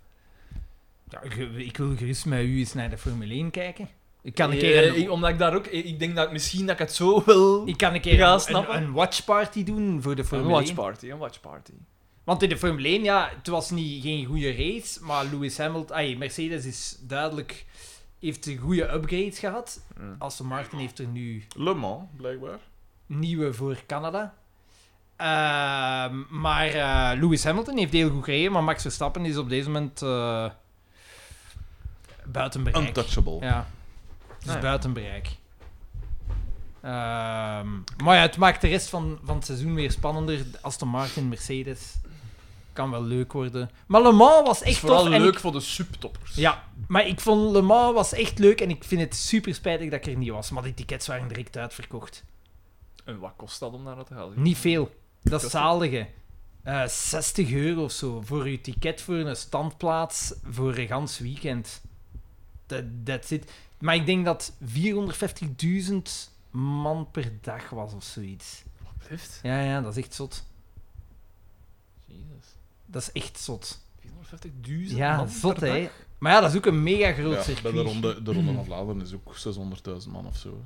A: ja, ge- ik wil gerust met u eens naar de Formule 1 kijken. Ik kan een
D: Eh,
A: keer... een-
D: ik- omdat ik daar ook... Ik denk dat ik misschien dat ik het zo wil...
A: ik kan een keer
D: Ja,
A: een-
D: snap
A: een,
D: ik.
A: een watchparty doen voor de
D: Een
A: Formule 1.
D: watchparty, een watchparty.
A: Want in de Formule 1, ja, het was niet, geen goede race, maar Lewis Hamilton... ai, Mercedes is duidelijk... Heeft goede upgrades gehad.
D: Ja.
A: Aston Martin heeft er nu
B: Le Mans, blijkbaar.
A: nieuwe voor Canada. Ehm, maar eh, Lewis Hamilton heeft heel goed gereden, maar Max Verstappen is op deze moment... eh, buiten bereik.
B: Untouchable.
A: Ja. Het is
D: Ah, ja.
A: buiten bereik. Ehm, maar ja, het maakt de rest van, van het seizoen weer spannender. Aston Martin, Mercedes. Kan wel leuk worden. Maar Le Mans was
D: Het is
A: echt
D: vooral
A: tof. en
D: leuk
A: ik-
D: voor de subtoppers.
A: ja, maar ik vond Le Mans was echt leuk en ik vind het super spijtig dat ik er niet was. Maar die tickets waren direct uitverkocht.
D: En wat kost dat om naar dat te gaan?
A: Niet veel. Dat is
D: Kost het?
A: zalige. Eh, 60 euro of zo voor je ticket voor een standplaats voor een gans weekend. That, that's it. Maar ik denk dat 450.000 man per dag was of zoiets.
D: Wat heeft?
A: Ja, ja, dat is echt zot.
D: Jezus.
A: Dat is echt zot.
D: 450.000
A: Ja,
D: man
A: zot
D: per
A: hè.
D: dag?
A: Maar ja, dat Hmm. is ook een mega groot
B: Ja, bij
A: circuit.
B: de ronde, de ronde van Vlaanderen is ook 600.000 man of zo.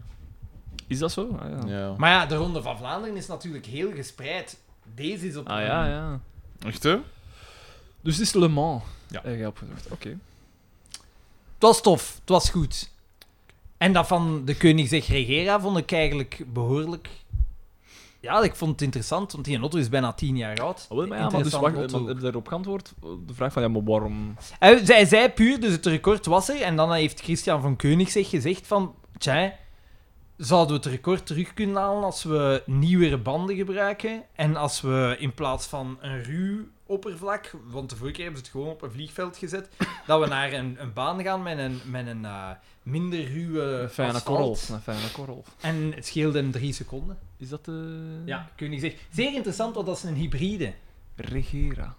D: Is dat zo? Ah, ja.
B: Ja.
A: Maar ja, de Ronde van Vlaanderen is natuurlijk heel gespreid. Deze is op
D: Ah, ja, ja.
B: Echt hè?
D: Dus het is Le Mans.
B: Ja.
D: Eh, jij opgezocht. Oké.
A: Het was tof, het was goed. En dat van de koning zegt Regera vond ik eigenlijk behoorlijk. Ja, ik vond het interessant, want die auto is bijna tien jaar oud.
D: Oh, wel, maar ja, maar dus
A: Interessante
D: wacht, eh,
A: auto.
D: maar heb je daarop geantwoord? De vraag van, ja, maar waarom...
A: Hij Eh, zij zei puur, dus het record was er. En dan heeft Christian van Keunig zich gezegd van... Tja, zouden we het record terug kunnen halen als we nieuwere banden gebruiken? En als we in plaats van een ruw oppervlak... Want de vorige keer hebben ze het gewoon op een vliegveld gezet. <laughs> dat we naar een, een baan gaan met een, met een eh, minder ruwe
D: Een fijne
A: asfalt.
D: korrel. Een fijne korrel.
A: En het scheelde hem drie seconden.
D: Is dat eh, de...
A: Ja, Keunig zegt... Zeer interessant, want dat is een hybride.
D: Regera.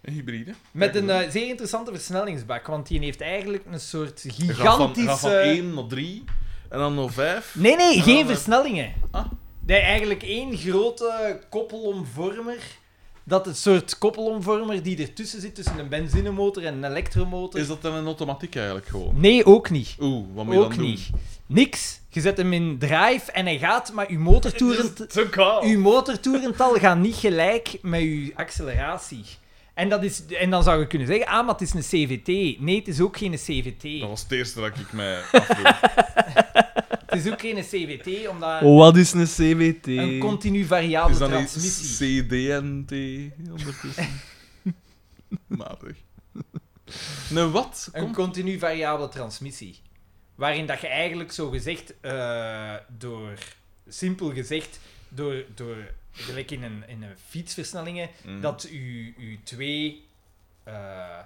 B: Een hybride.
A: Met een eh, zeer interessante versnellingsbak, want die heeft eigenlijk een soort
B: Je gaat van-
A: gigantische...
B: je gaat van 1 naar 3 en dan naar 5.
A: eh, Nee, nee,
B: Ja,
A: geen
B: maar-
A: versnellingen.
B: Ah.
A: Nee, eigenlijk één grote koppelomvormer. Dat het soort koppelomvormer die ertussen zit tussen een benzinemotor en een elektromotor.
B: Is dat dan een automatiek eigenlijk gewoon?
A: Nee, ook niet.
B: Oeh, wat moet je
A: Ook
B: dan doen?
A: niet. Niks. Je zet hem in drive en hij gaat, maar uw
B: <laughs>
A: motortoerent...
D: Zo koud.
A: Uw motortoerental gaat niet gelijk met uw acceleratie. En, dat is, en dan zou je kunnen zeggen, ah, maar het is een CVT. Nee, het is ook geen CVT.
B: Dat was het eerste dat ik mij afvroeg.
A: Het is ook geen CVT, omdat
D: Oh, Wat is een CWT?
A: Eh, een continu variabele
B: Oh, Is dat niet
A: transmissie...
B: CDNT ondertussen?
A: <laughs>
B: Matig. Een wat?
A: Een
B: Komt
A: continu variabele transmissie. Waarin dat je eigenlijk zo gezegd, eh, door, simpel gezegd, door, door gelijk in een, in een fietsversnellingen,
B: Mm.
A: dat u, u twee, eh,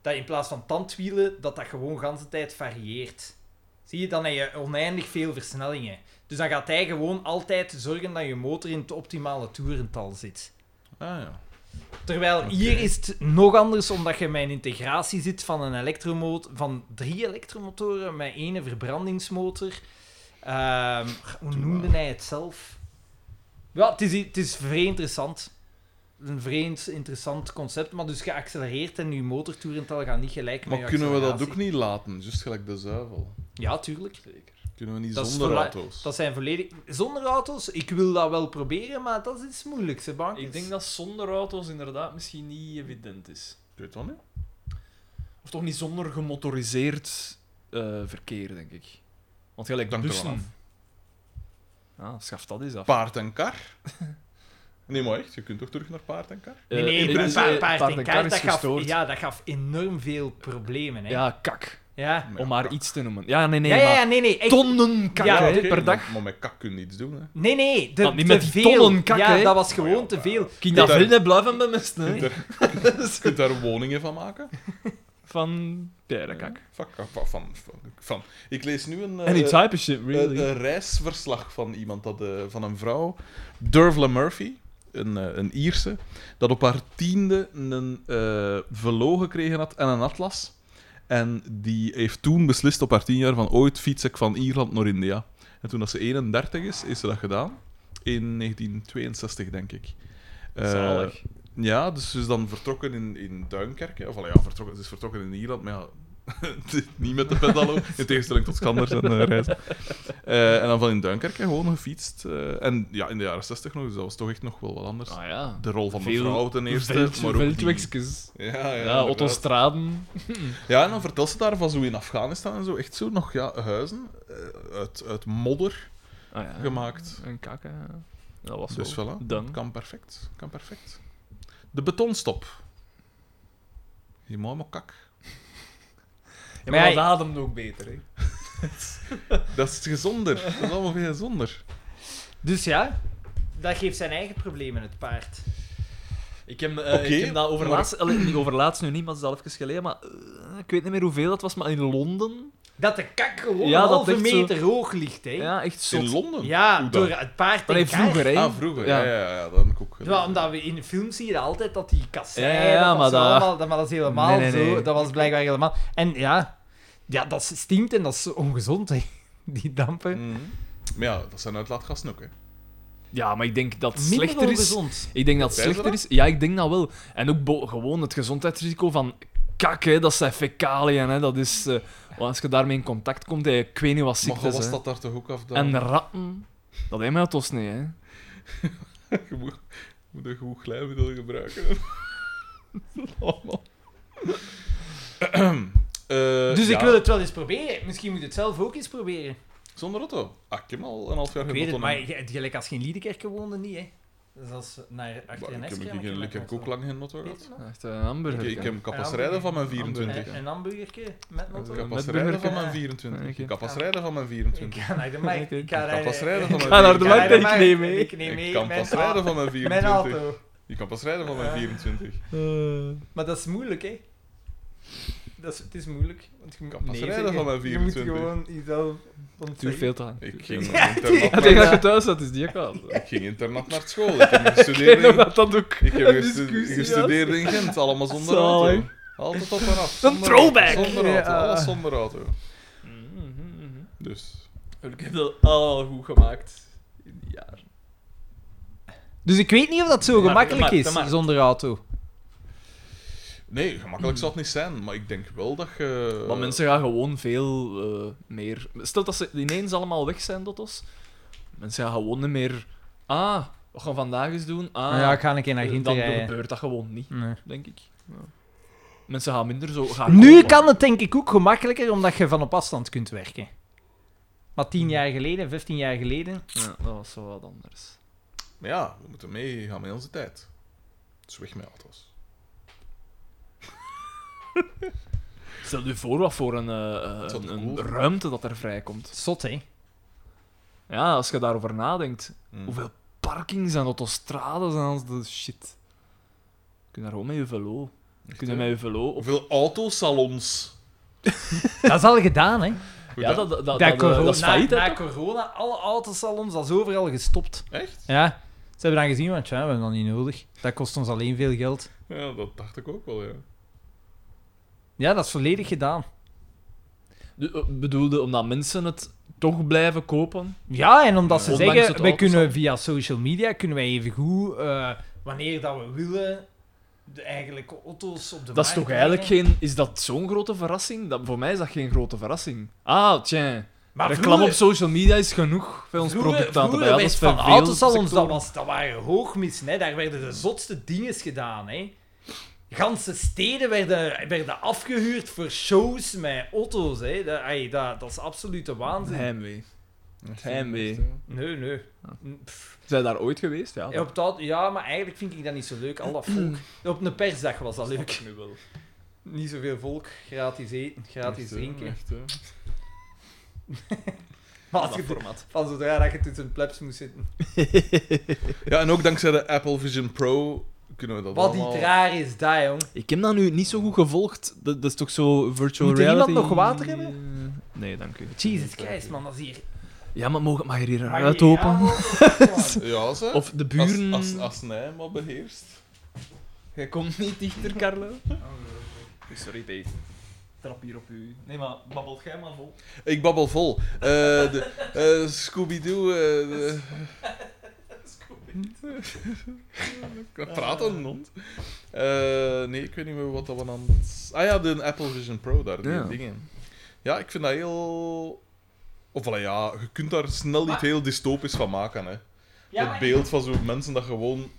A: dat in plaats van tandwielen, dat dat gewoon de hele tijd varieert. Zie je, dan heb je oneindig veel versnellingen. Dus dan gaat hij gewoon altijd zorgen dat je motor in het optimale toerental zit.
B: Ah ja.
A: Terwijl hier is het nog anders, omdat je met een integratie zit van een elektromotor, van drie elektromotoren met één verbrandingsmotor. Ehm, hoe noemde hij het zelf? Ja, het is, het is vrij interessant. Een vreemd interessant concept, maar dus geaccelereerd en je motortoerental gaat niet gelijk met
B: Maar
A: je
B: kunnen we dat ook
A: acceleratie.
B: niet laten? Juist gelijk de zuivel.
A: Ja, tuurlijk.
B: Zeker. Kunnen we niet
A: Dat is
B: zonder
A: verla-
B: auto's?
A: Dat zijn volledig... Zonder auto's, ik wil dat wel proberen, maar dat is iets moeilijks, hè, bankers.
D: Ik denk dat zonder auto's inderdaad misschien niet evident is.
B: Ik weet het wel niet.
D: Of toch niet zonder gemotoriseerd eh, verkeer, denk ik. Want gelijk
B: Dank er wel
D: bussen... Ah, schaf dat eens af.
B: Paard en kar?
A: <laughs>
B: Nee, maar echt, je kunt toch terug naar paard en kar?
A: Nee,
D: Eh,
A: nee,
D: in
A: pa-
D: onze-
A: pa- paard
D: paard
A: en
D: kar
A: kar,
D: is
A: dat gaf,
D: gestoord.
A: ja, dat gaf enorm veel problemen, hè.
D: Ja, kak.
A: Ja.
B: Maar
D: Om
B: ja,
D: maar
B: kak.
D: iets te noemen. Ja, nee, nee,
A: ja, ja,
D: maar
A: ja, nee, nee. echt-
D: tonnen kak
A: Ja,
D: hè,
B: oké,
D: per dag.
B: Maar, maar met kak kun je niets doen,
A: <laughs>
B: hè.
A: Nee, nee, de,
D: Maar niet
A: te
D: met
A: veel.
D: tonnen kak,
A: ja,
D: hè.
A: dat was gewoon
B: ja,
A: te veel.
D: Kun je
B: dat
D: dat
B: daar-
D: vinden blijven bemesten,
B: Je kunt
D: hè?
B: daar- je kunt daar woningen van maken.
D: Van Perekak.
A: Eh,
B: Van, van, van, van. Ik lees nu een... eh,
D: En die type shit,
B: Het
A: eh,
D: really.
B: reisverslag van iemand, dat, eh, van een vrouw, Dervla Murphy, een, eh, een Ierse, dat op haar tiende een eh velo gekregen had en een atlas. En die heeft toen beslist op haar tien jaar van ooit fiets ik van Ierland naar India. En toen dat ze 31 is, is ze dat gedaan. In 1962, denk ik. Eh,
D: Zalig.
B: ja, dus ze is dan vertrokken in, in Duinkerk. Hè. Of allee, ja, vertrokken, ze is vertrokken in Ierland, maar ja, <laughs> het is niet met de pedalo. In tegenstelling tot Scanders en eh, Reis. Eh, en dan van in Duinkerk hè, gewoon gefietst. eh, en ja, in de jaren 60 nog, dus dat was toch echt nog wel wat
A: eh,
B: anders.
D: Ah ja.
B: De rol van de
D: Veel
B: vrouw ten eerste,
D: Veld-
B: maar ook die...
D: veldwegjes.
B: Ja, ja,
D: Ja,
B: inderdaad.
D: autostraden.
B: Ja, en dan vertelt ze daar van zo in Afghanistan en zo, echt zo nog ja, huizen eh, uit, uit modder
D: Ah ja.
B: gemaakt.
D: Een kak, hè. Dat was
B: Dus
D: wel.
B: voilà,
D: Dan.
B: kan perfect, kan perfect. De betonstop. Je mooi maar kak.
D: Ja,
A: Maar
D: maar
A: ja,
D: dat ademt ook beter, hè.
B: Dat is gezonder, dat is allemaal veel gezonder.
A: Dus ja, dat geeft zijn eigen problemen, het paard.
D: Ik heb, eh,
B: Oké,
D: ik heb dat overlaatst, allee, niet overlaatst nu niet, maar dat is al even geleden, maar eh, ik weet niet meer hoeveel dat was, maar in Londen...
A: Dat de kak gewoon
D: Ja,
A: een
D: dat
A: halve
D: echt zo-
A: meter hoog ligt, hè. Ja,
D: Ja, echt zot.
B: In Londen? Hoe dan?
A: door het paard en
D: Allee,
A: kar.
D: vroeger, hè.
B: Ah, vroeger, ja,
D: Ja.
B: ja, ja, dat heb ik ook
A: Ja,
B: gedaan.
A: omdat we in films zie je altijd dat die kasseien,
D: Ja, ja, ja,
A: dat,
D: maar
A: was
D: dat-
A: allemaal, dat, maar dat is helemaal
D: Nee, nee, nee.
A: zo. Dat was blijkbaar helemaal... En ja, ja dat stinkt en dat is ongezond, hè. <laughs> Die dampen.
B: Mhm. Maar ja, dat zijn uitlaatgassen ook, hè.
D: Ja, maar ik denk dat het
A: Minder
D: slechter is...
A: ongezond.
D: Ik denk dat het
B: Wijzen
D: slechter is. Ja, ik denk dat wel. En ook bo- gewoon het gezondheidsrisico van kak, hè, dat zijn fecaliën. Hè, dat is, eh, als je daarmee in contact komt, hè, ik weet niet wat
B: Maar je
D: ziektes.
B: was
D: hè.
B: dat daar toch ook af dan?
D: En ratten, dat hebben we toch niet. Hè.
B: <laughs> Je moet, je moet een goed glijmiddel gebruiken.
A: <laughs> Oh,
B: Allemaal. <clears throat> Eh,
A: Dus ik
B: ja,
A: wil het wel eens proberen. Misschien moet je het zelf ook eens proberen.
B: Zonder auto? Ah, ik heb al een half jaar
A: Ik
B: geen
A: weet het,
B: auto.
A: maar je- gelijk als je in Liedekerke woonde, niet, hè. Dus als we naar achter een
B: Maar ik heb
A: Esker-
B: in lekker ook lang geen auto
A: Weet je
B: gehad.
A: nog?
D: Echt een hamburger.
B: Ik, ik heb kapasrijden van mijn 24.
A: Een, een hamburgerke met noten.
B: Ik
D: Ja,
B: heb
D: met
B: pas rijden van
D: beperking.
B: mijn 24.
D: Ja, oké.
B: Ik heb pas rijden van mijn 24.
A: Ik ga naar de markt. Ik ga
B: kan pas rijden
A: Ik
B: van
D: ga
B: mijn
D: naar de
A: ga naar
D: markt en
A: de
D: ik
A: markt.
D: neem mee.
A: Ik neem mee
B: Ik kan
A: mijn,
B: pas rijden van mijn
A: mijn
B: 24.
A: auto.
B: Je kan pas rijden van mijn
A: Ja.
B: 24.
A: Maar dat is moeilijk, hè? Dat is, het is moeilijk. Want je moet
B: kan pas
A: nee
B: rijden
A: zeggen.
B: van mijn
A: Je
B: 24.
A: moet gewoon jezelf ontzeggen.
D: Duurt veel te lang.
B: Ik ging,
A: Ja,
B: internat
D: Ik
B: naar-
D: denk dat je thuis zat, is die ook al.
B: ik ging internat naar school. Ik heb
D: Ik <laughs> denk
B: gestudeerd,
D: dat dat ook.
B: in, ik heb
D: een
B: gestu-
D: discussie
B: gestudeerd in Gent, allemaal zonder
D: Zalig.
B: auto. Altijd op en af.
D: Een
B: Zonder
D: throwback.
B: auto, Zonder auto,
D: Ja.
B: alles zonder auto.
D: was. Mhm, mhm, mhm.
B: Dus,
D: Ik heb dat allemaal goed gemaakt. in die jaren.
A: Dus ik weet niet of dat zo
D: maar-
A: gemakkelijk
D: maar-
A: is
D: maar-
A: zonder auto.
B: nee, gemakkelijk zal het niet zijn, maar ik denk wel dat je...
D: Maar mensen gaan gewoon veel eh, meer. Stel dat ze ineens allemaal weg zijn, Dottos. Mensen gaan gewoon niet meer. Ah, wat gaan we vandaag eens doen? Ah,
A: ja, ik ga een keer naar
D: eh,
A: Ginter
D: dan
A: rijden.
D: gebeurt dat gewoon niet,
A: Nee.
D: denk ik. Mensen gaan minder zo. Gaan
A: Nu
D: kopen.
A: kan het denk ik ook gemakkelijker omdat je van op afstand kunt werken. Maar tien jaar geleden, 15 jaar geleden.
D: Ja, dat was zo wat anders.
B: Maar ja, we moeten meegaan met onze tijd. Dus weg met auto's.
D: Stel je voor wat voor een, eh,
B: Dat
D: een,
B: is wel
D: een
B: cool.
D: ruimte dat er vrijkomt.
A: Zot, hè?
D: Ja, als je daarover nadenkt.
A: Hm.
B: Mm.
D: Hoeveel parkings en autostrades en al dat shit. Je kunt daar gewoon met je velo. Je kunt
B: hè?
D: met je velo op
B: Hoeveel autosalons.
A: Dat is al gedaan, hè?
B: Hoe
D: Ja,
B: dat-
D: dat, dat, dat,
A: Dat
D: dat, eh, dat is failliet,
A: na,
D: hè,
A: na
D: toch?
A: corona, alle autosalons, dat is overal gestopt.
B: Echt?
A: Ja, ze hebben dan gezien, want ja, we hebben dat niet nodig. Dat kost ons alleen veel geld.
B: Ja, dat dacht ik ook wel, ja.
A: Ja, dat is volledig gedaan.
D: De- eh, bedoelde omdat mensen het toch blijven kopen.
A: Ja, en omdat ze
D: Ondanks het
A: zeggen, we
D: auto's
A: kunnen
D: al.
A: via social media kunnen wij even goed eh, wanneer dat we willen, de eigenlijke auto's op de
D: Dat is toch eigenlijk geen... Is dat zo'n grote verrassing? Dat, voor mij is dat geen grote verrassing. Ah, tja.
A: Maar
C: Reclame op
A: vroeger-
C: social media is genoeg bij ons
A: Vroeger-
C: product aan te
A: vroeger
C: bijen. Dat
A: werd
C: is
A: van
C: bij veel
A: auto's al ons, dat,
C: sectoren.
A: was, dat waren hoogmis, hè. daar werden de zotste dingen gedaan. Hè. Ganse steden werden, werden afgehuurd voor shows met auto's. Hè. Dat, ai, dat, dat is absolute waanzin. Nee,
C: Heimwee. Heimwee.
A: nee.
C: Zijn daar ooit geweest? Ja.
A: Ja, op dat, ja, maar eigenlijk vind ik dat niet zo leuk,
C: <clears throat>
A: al dat volk. Op een persdag was dat leuk.
C: nu wel.
A: Niet zoveel volk, gratis eten, gratis drinken.
B: Echt, hè.
A: Maar als je- van zodra dat je tussen plebs moest zitten.
B: Ja, en ook dankzij de Apple Vision Pro kunnen we dat
A: Wat
B: allemaal...
A: die raar is, dat jong.
C: Ik heb dat nu niet zo goed gevolgd. Dat, dat is toch zo virtual
A: Moet er iemand
C: reality?
A: nog water hebben?
C: Eh, Nee, dank u.
A: Jesus Christ, man, dat is hier.
C: Ja, maar mogen- mag je hier
A: Maar
C: uit
A: hier-
C: open?
A: Ja,
B: Ja, ze.
C: Of de
B: Als-
C: buren...
B: Als, als, hij maar beheerst.
C: Je komt niet dichter, Carlo. Sorry, Dave. Trap hier op u. Nee, maar babbel jij maar vol.
B: Ik babbel vol. Eh, de- eh, Scooby-Doo... eh, de- Ik praat aan een hond. Eh, nee, ik weet niet meer wat dat we aan... het- Ah ja, de Apple Vision Pro daar, die
C: Ja.
B: dingen. Ja, ik vind dat heel... Of wel, ja, je kunt daar snel iets heel dystopisch van maken, hè. het
A: maar-
B: beeld van zo'n mensen dat gewoon...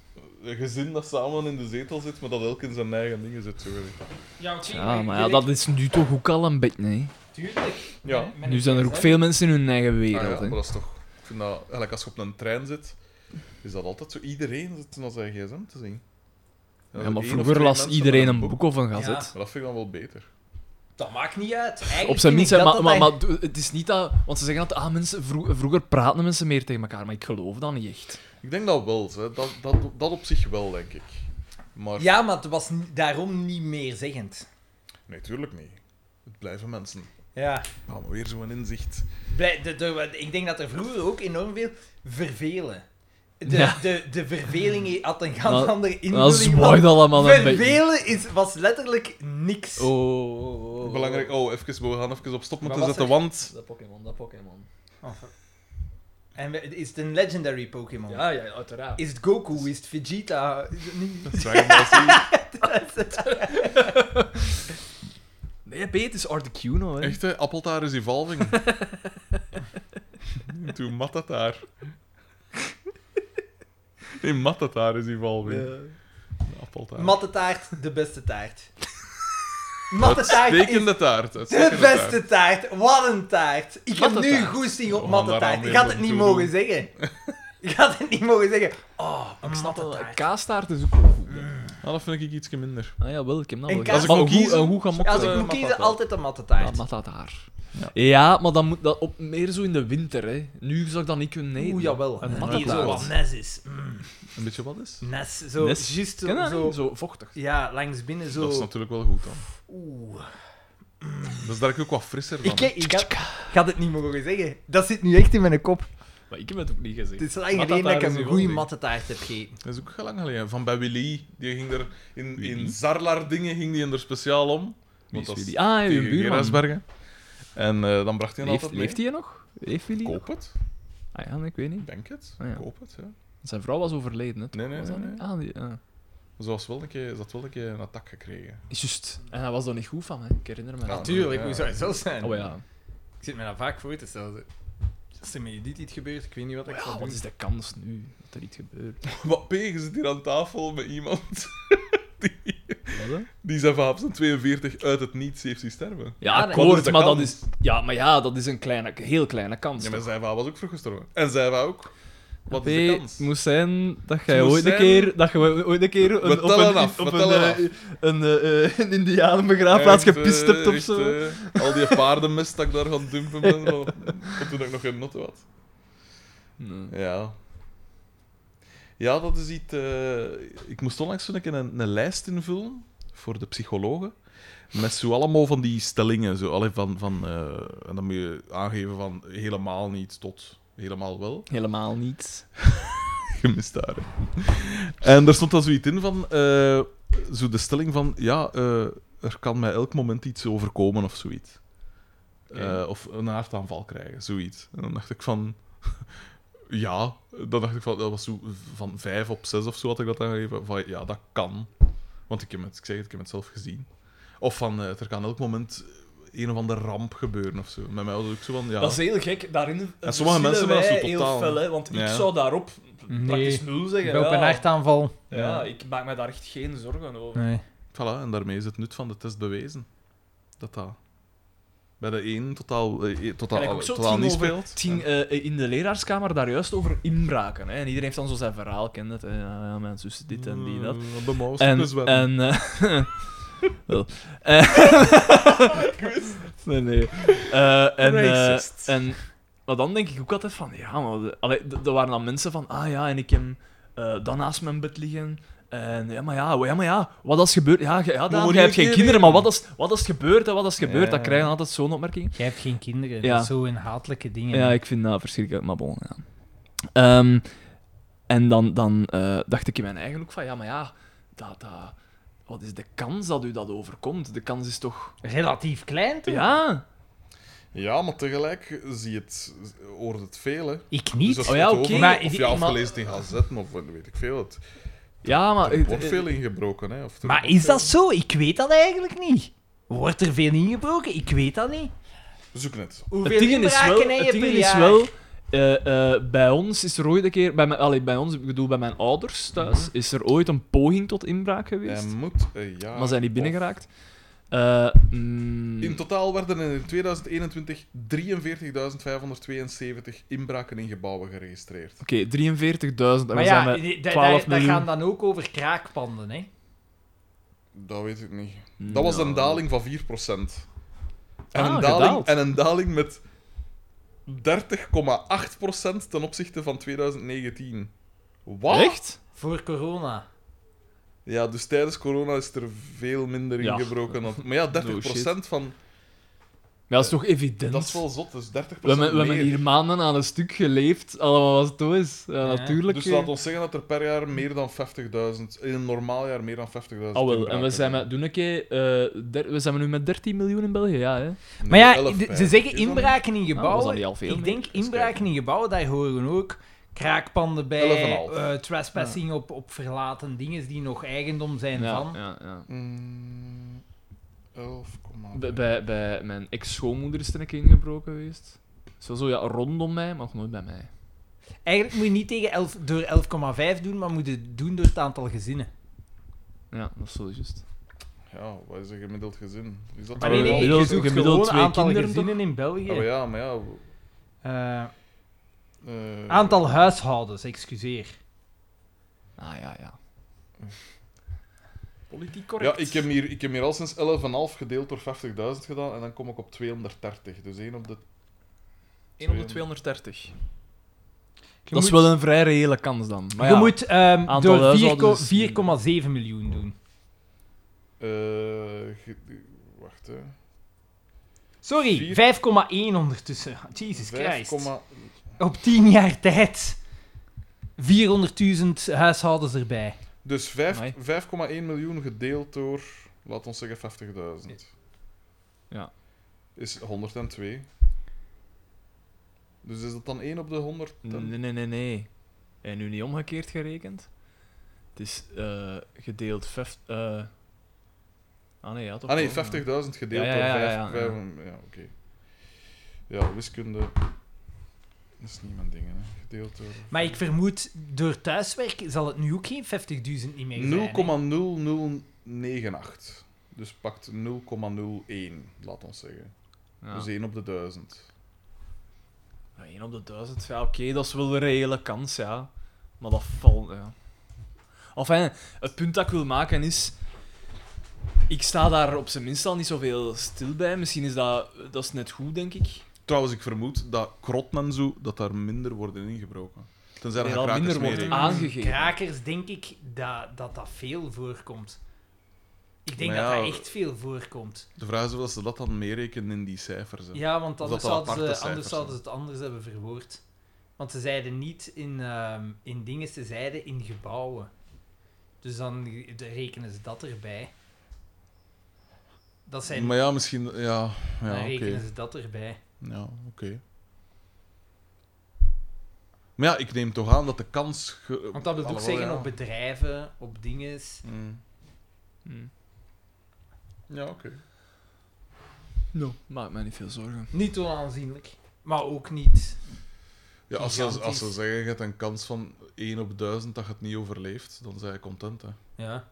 B: Een gezin dat samen in de zetel zit, maar dat elk in zijn eigen dingen zit. Zo. weet ik.
A: Ja, oké,
C: Ja, maar ja, dat is nu toch ook al een beetje, hè.
A: Tuurlijk.
B: Ja.
A: Met- met
C: Nu
A: een
C: zijn er ook
A: pers,
C: veel mensen in hun eigen
B: Ah
C: wereld,
B: ja, maar
C: hè.
B: dat is toch... Ik vind dat... Eigenlijk als je op een trein zit, is dat altijd zo. Iedereen zit naar zijn gsm te zien. En dan
C: Ja, maar
B: één of
C: vroeger
B: twee
C: las
B: mensen
C: iedereen
B: met
C: een boek of een gazet.
B: Maar dat vind ik dan wel beter.
A: hè. Dat maakt niet uit. Eigenlijk
C: Op zijn
A: vind
C: minst,
A: ik
C: hè,
A: dat
C: maar,
A: dat
C: maar, maar d- het is niet dat... Want ze zeggen dat ah, mensen, vro- vroeger praten mensen meer tegen elkaar, maar ik geloof dat niet echt.
B: Ik denk dat wel. Hè. Dat, dat, dat op zich wel, denk ik. Maar...
A: hij- Ja, maar het was ni- daarom niet meer zeggend.
B: Nee, tuurlijk niet. Het blijven mensen.
A: Ja.
B: Gaan we weer zo'n inzicht.
A: Blij- de- de- wat- ik denk dat er vroeger ook enorm veel vervelen. De,
C: Ja.
A: de, de
C: <laughs>
A: verveling had een ganz
C: Nou,
A: andere
C: Dat
A: invulling.
C: zwaait allemaal een beetje.
A: vervelen is, was letterlijk niks.
C: Oh, oh, oh, oh.
B: Belangrijk. Oh, even, we gaan even op stop moeten
A: Wat was
B: zetten,
A: er?
B: want... <laughs>
C: Dat Pokémon, dat Pokémon.
A: En we- is het een legendary Pokémon?
C: Ja, ja, uiteraard.
A: Is het Goku? Is het Vegeta? Is het niet-
B: Dragon Ball Z.
C: Nee, P, het is Articuno, hè.
B: Echt, hè? Appeltaar is
C: <laughs>
B: evolving. Toen Matataar. Nee, Matataar is evolving. Appeltaar.
A: Matte taart, de beste taart. Matte taart is
B: Uitstekende taart.
A: de
B: uitstekende taart.
A: beste taart. Wat een taart. Ik heb
C: Matte
A: nu
C: taart.
A: goesting op
C: Oh,
B: We gaan
A: matte
B: daar
A: taart.
B: aan
A: Ik
B: weer
A: had het niet
B: naartoe
A: mogen zeggen.
C: <laughs>
A: Ik had het niet mogen zeggen. Oh,
C: Ik
A: een
C: snap
A: matte
C: dat.
A: taart.
C: Kaastaart is ook wel goed. hè.
B: Ah, dat vind ik iets minder.
C: Ah ja, wel, ik heb dat
A: En
C: wel.
A: kaas- Als
B: ik
C: Maar
B: moet
C: een goed-
B: kiezen-
C: een goed gemokt.
A: Als ik
B: eh,
A: moet
B: matte
A: kiezen,
B: taart.
A: altijd een matte
C: Ja,
A: taart.
C: maar dat daar.
B: Ja.
C: Ja. maar dan moet dat op, meer zo in de winter, hè. Nu zou ik dat niet kunnen eten.
A: Oeh, jawel.
C: Een
A: Die zo wat
C: mattataart.
A: nes is. Mm,
B: Een beetje wat is?
A: nes, zo,
C: Nes?
A: juist
C: Ken je dat
A: zo,
C: niet?
A: zo.
C: Zo vochtig.
A: Ja, langs binnen zo.
B: Dat is natuurlijk wel goed dan.
A: Oeh.
B: Dat is daar ook wat frisser dan.
A: Ik,
B: hè.
A: ik had, ik had het niet mogen zeggen. Dat zit nu echt in mijn kop.
C: Maar ik heb het ook niet gezien.
A: Het is lang geleden dat ik
C: is
A: een
C: hier
A: goede
C: wel
A: matte taart heb gegeten.
B: Dat is ook heel lang geleden. Van bij Willy. Die ging er in, in Zarlar dingen ging die er speciaal om.
C: Wie is
B: dat
C: Willy? Ah, uw
B: tegen
C: buurman.
B: Gerardsbergen. En eh, dan bracht hij hem
C: Leeft,
B: altijd mee.
C: leeft hij nog? Leeft Willy nog?
B: Koop het.
C: Ah ja, nee, ik weet niet.
B: Denk het.
C: Ah, ja.
B: Koop het, ja.
C: Zijn vrouw was overleden, hè.
B: Nee, nee,
C: was dat
B: nee,
C: niet? Ah, die, ah.
B: Ze was wel een keer, ze had wel een keer een attack gekregen. <laughs>
C: Juist. En hij was er niet goed van, hè. Ik herinner me. dat.
A: Tuurlijk,
B: Ja.
A: hoe zou het zo zijn?
C: Oh ja.
A: Ik zit me daar vaak voor te stellen. Als er met Judith iets gebeurt, ik weet niet wat ik
C: Oh ja.
A: zal
C: Wat
A: doen.
C: is de kans nu dat
D: <laughs>
C: er iets gebeurt?
B: Wat P, je zit hier aan tafel met iemand
C: Wat, hè?
B: die zijn vaap zijn 42 uit het niets heeft zien sterven.
C: Ja,
B: Wat is
C: akkoord,
B: de
C: maar dat
B: kans?
C: is... Ja, maar ja, dat is een kleine, heel kleine kans.
B: Ja, maar zijn vaap was ook vroeg gestorven. En zijn vaap ook. Wat is de
C: Nee,
B: kans?
C: het moet zijn dat jij
B: Het moet
C: ooit een
B: zijn-
C: keer, dat jij ooit een keer een, op
B: tellen
C: een,
B: af, we
C: op een,
B: tellen
C: eh, een, eh, eh, een indianenbegraafplaats
B: Echt,
C: gepist
B: eh,
C: hebt of
B: echt,
C: zo.
B: eh, al die paardenmest dat ik daar gaan dumpen ben,
C: <laughs>
B: wel. Of toen ik nog geen notte had.
C: Nee.
B: Ja. Ja, dat is iets... eh, ik moest onlangs zo'n keer een, een lijst invullen voor de psychologen. Met zo allemaal van die stellingen. Zo, allee, van, van, eh, en dan moet je aangeven van helemaal niet tot helemaal wel.
C: Helemaal niet.
B: Gemist daar. hè. En daar stond dan zoiets in van... eh, zo de stelling van... Ja, eh, er kan mij elk moment iets overkomen of zoiets. Eh, of een hartaanval krijgen, zoiets. En dan dacht ik van... <laughs> Ja, dan dacht ik van, dat was zo van vijf op zes of zo had ik dat aangegeven. Van, ja, dat kan. Want ik, heb het, ik zeg het, ik heb het zelf gezien. Of van, eh, er kan elk moment een of andere ramp gebeuren of zo. Met mij was het ook zo van, ja...
D: Dat is heel gek. Daarin
B: En sommige mensen
D: verschillen
B: zijn
D: wij
B: dat zo totaal.
D: heel fel, hè, want ik
B: Ja.
D: zou daarop
A: Nee.
D: praktisch nul zeggen.
A: Bij op een
D: ja.
A: hartaanval.
D: Ja,
B: Ja.
D: ik maak me daar echt geen zorgen over.
A: Nee.
B: Voilà, en daarmee is het nut van de test bewezen. Dat dat bij de een totaal, eh, eh, totaal,
D: En ik ook zo, het
B: totaal
D: ging
B: niet
D: over-
B: speelt.
D: Het ging eh, in de leraarskamer daar juist over inbraken. Hè. En iedereen heeft dan zo zijn verhaal, ken het. Hè. Ja, ja, mijn zus dit en die dat.
B: Eh, De mouse
D: En,
B: dus wel.
D: en eh, <laughs> wel. Eh, <laughs> nee, nee. Eh, en, eh,
B: Racist.
D: en, maar dan denk ik ook altijd van, ja, maar, de- allee, d- er waren dan mensen van, ah ja, en ik heb eh dan naast mijn bed liggen. En ja, maar ja, ja, maar ja, wat als gebeurd? Ja, ge- ja Daan,
B: moet
D: jij
B: je
D: hebt geen
B: keer
D: kinderen, maar
B: leren.
D: wat als, wat als gebeurd en wat als gebeurd?
B: Ja.
D: Dan krijgen altijd zo'n opmerking.
A: Jij hebt geen kinderen.
D: Ja.
A: Dat is zo een hatelijke dingen.
D: Ja, ik vind dat verschrikkelijk, maar bon. Ja. Ehm, en dan, dan eh, dacht ik in mijn eigen hoek van, ja, maar ja, dat, dat, wat is de kans dat u dat overkomt? De kans is toch...
A: Relatief klein, toch?
D: Ja,
B: Ja, maar tegelijk zie je het, hoort het veel, hè.
A: Ik
B: Dus
A: niet.
B: als
D: Oh
B: je
D: ja,
B: het
D: oké,
B: over-
A: maar-
B: Of ja, of
D: maar-
B: gelezen in gazetten, of eh, weet ik veel. Het,
D: ja maar... eh,
B: er wordt veel ingebroken, hè. Of er
A: Maar
B: wordt
A: is dat
B: veel-
A: zo? Ik weet dat eigenlijk niet. Wordt er veel ingebroken? Ik weet dat niet.
B: We zoeken het.
A: Hoeveel
D: Het ding is
A: inbraken
D: wel,
A: heb je
D: het ding
A: per
D: is
A: jaar?
D: wel eh, eh, bij ons is er ooit een keer, bij, mijn, allee, bij ons, ik bedoel bij mijn ouders thuis,
A: Mhm.
D: is er ooit een poging tot inbraak geweest.
B: En moet eh, een jaar...
D: maar zijn die
B: of-
D: binnengeraakt? Eh, mm,
B: In totaal werden er in 2021 43.572 inbraken in gebouwen geregistreerd.
D: Oké, 43.000. en we
A: Maar
D: zijn
A: ja,
D: bij
A: die- die-
D: 12
A: daar daar
D: miljoen.
A: gaan dan ook over kraakpanden, hè?
B: Dat weet ik niet. Dat was een
D: Nou.
B: daling van 4%. En,
D: Ah,
B: een, daling,
D: gedaald.
B: en een daling met 30,8% ten opzichte van 2019. Wat?
D: Echt?
A: Voor corona.
B: Ja, dus tijdens corona is er veel minder
D: Ja. Oh,
B: ingebroken. dan- Maar ja, 30% van...
D: Ja, dat is toch evident?
B: Dat is wel zot, dus 30%
D: We, hebben, we hebben
B: meer.
D: hier maanden aan een stuk geleefd, allemaal was het is. Ja,
A: Ja.
D: natuurlijk.
B: Dus
D: eh.
B: laat ons zeggen dat er per jaar meer dan 50.000... In een normaal jaar meer dan 50.000
D: Ah, wel. En we
B: inbraken
D: zijn, met, doen een keer, eh, der- we zijn nu met 13 miljoen in België, ja. Hè.
B: Nee,
A: Maar ja,
B: 11
A: de-
D: eh,
B: bij.
A: ze zeggen
B: Is dat
A: inbraken in
D: Nou, was dat
A: gebouwen.
D: niet al veel
A: ik
D: meer?
A: denk
B: Eens
A: inbraken
B: kijken.
A: in gebouwen, daar horen ook kraakpanden bij,
B: 11,5.
A: eh, trespassing op, op verlaten dingen die nog eigendom zijn
D: Ja,
A: van.
D: ja, ja.
B: Mm, 11,5.
D: Bij- Bij, bij mijn ex-schoonmoeder is er een keer ingebroken geweest. Zo, zo ja, rondom mij, maar nog nooit bij mij.
A: Eigenlijk moet je niet tegen 11, door 11,5 doen, maar moet je doen door het aantal gezinnen.
D: Ja, dat is zo juist.
B: Ja, wat is een gemiddeld gezin? Is dat
A: Maar
D: nee,
A: nee,
B: wel-
A: nee,
D: gemiddeld-
A: je zoekt
D: gemiddeld
A: gewoon
D: twee
A: aantal
D: kinderen,
A: gezinnen in België.
B: Oh ja, maar ja...
A: Eh,
B: eh,
A: aantal huishoudens, excuseer.
D: Ah, ja, ja.
H: Politiek
B: Ja, ik heb, hier, ik heb hier al sinds 11,5 gedeeld door 50.000 gedaan en dan kom ik op 230. Dus één op de...
D: 1 op de
B: Twee-
D: 230.
A: Je
D: dat is
A: moet-
D: wel een vrij reële kans dan. Maar
A: je
D: ja,
A: moet ehm,
D: aantal
A: door
D: huishoudens
A: vierko-
D: is-
A: 4,7 miljoen doen.
B: eh, ge- wacht, hè.
A: Sorry,
B: Vier-
A: 5,1 ondertussen. <laughs> Jesus Christ.
B: 5,1.
A: Op 10 jaar tijd 400.000 huishoudens erbij.
B: Dus vijf-
D: Amai.
B: 5,1 miljoen gedeeld door, laat ons zeggen, 50.000.
D: Ja.
B: Is 102. Dus is dat dan 1 op de 100?
D: Nee, nee, nee, nee. En nu niet omgekeerd gerekend. Het is eh, gedeeld 50. eh Ah nee, ja, toch?
B: Ah nee, 50.000
D: wel, ja.
B: gedeeld
D: Ja, ja,
B: door
D: ja,
B: 5.
D: ja, ja,
B: Ja,
D: ja.
B: oké. Ja, wiskunde. Dat is niet mijn ding, hè. Gedeeld door.
A: Maar ik vermoed, door thuiswerk zal het nu ook geen 50.000 niet meer zijn. hè?
B: 0,0098. Dus pakt 0,01, laat ons zeggen.
D: Ja.
B: Dus 1 op de 1000.
D: Ja, één op de 1000, ja, oké, dat is wel een reële kans, ja. Maar dat valt, ja. Enfin, het punt dat ik wil maken is... Ik sta daar op zijn minst al niet zoveel stil bij. Misschien is dat, dat is net goed, denk ik.
B: Trouwens, ik vermoed dat krot en zo, dat daar minder worden ingebroken. Tenzij
D: Dat
B: er
D: al
B: krakers
D: minder
B: meer
D: wordt
B: in.
D: aangegeven.
A: Krakers denk ik dat dat, dat veel voorkomt. Ik denk
B: Maar
A: dat
B: ja,
A: dat echt veel voorkomt.
B: De vraag is of dat ze dat dan meerekenen in die cijfers. hè.
A: Ja, want
B: dat
A: anders,
B: dat
A: zouden,
B: aparte
A: ze, anders
B: cijfers
A: zouden ze het anders hebben verwoord. Want ze zeiden niet in, ehm, in dingen, ze zeiden in gebouwen. Dus dan re- rekenen ze dat erbij. Dat zijn,
B: Maar ja, misschien. Ja,
A: dan
B: ja oké.
A: rekenen ze dat erbij.
B: Ja, oké. Maar ja, ik neem toch aan dat de kans. ge-
A: Want dat wil ook
B: Alhoewel,
A: zeggen
B: ja.
A: op bedrijven, op dinges.
B: Mm.
D: Hm.
B: Ja, oké.
C: No. Maakt mij niet veel zorgen.
A: Niet onaanzienlijk, maar ook niet.
B: Ja, als, ze, als ze
A: Gigantisch.
B: zeggen, je hebt een kans van 1 op 1000 dat je het niet overleeft, dan zijn je content, hè.
A: Ja.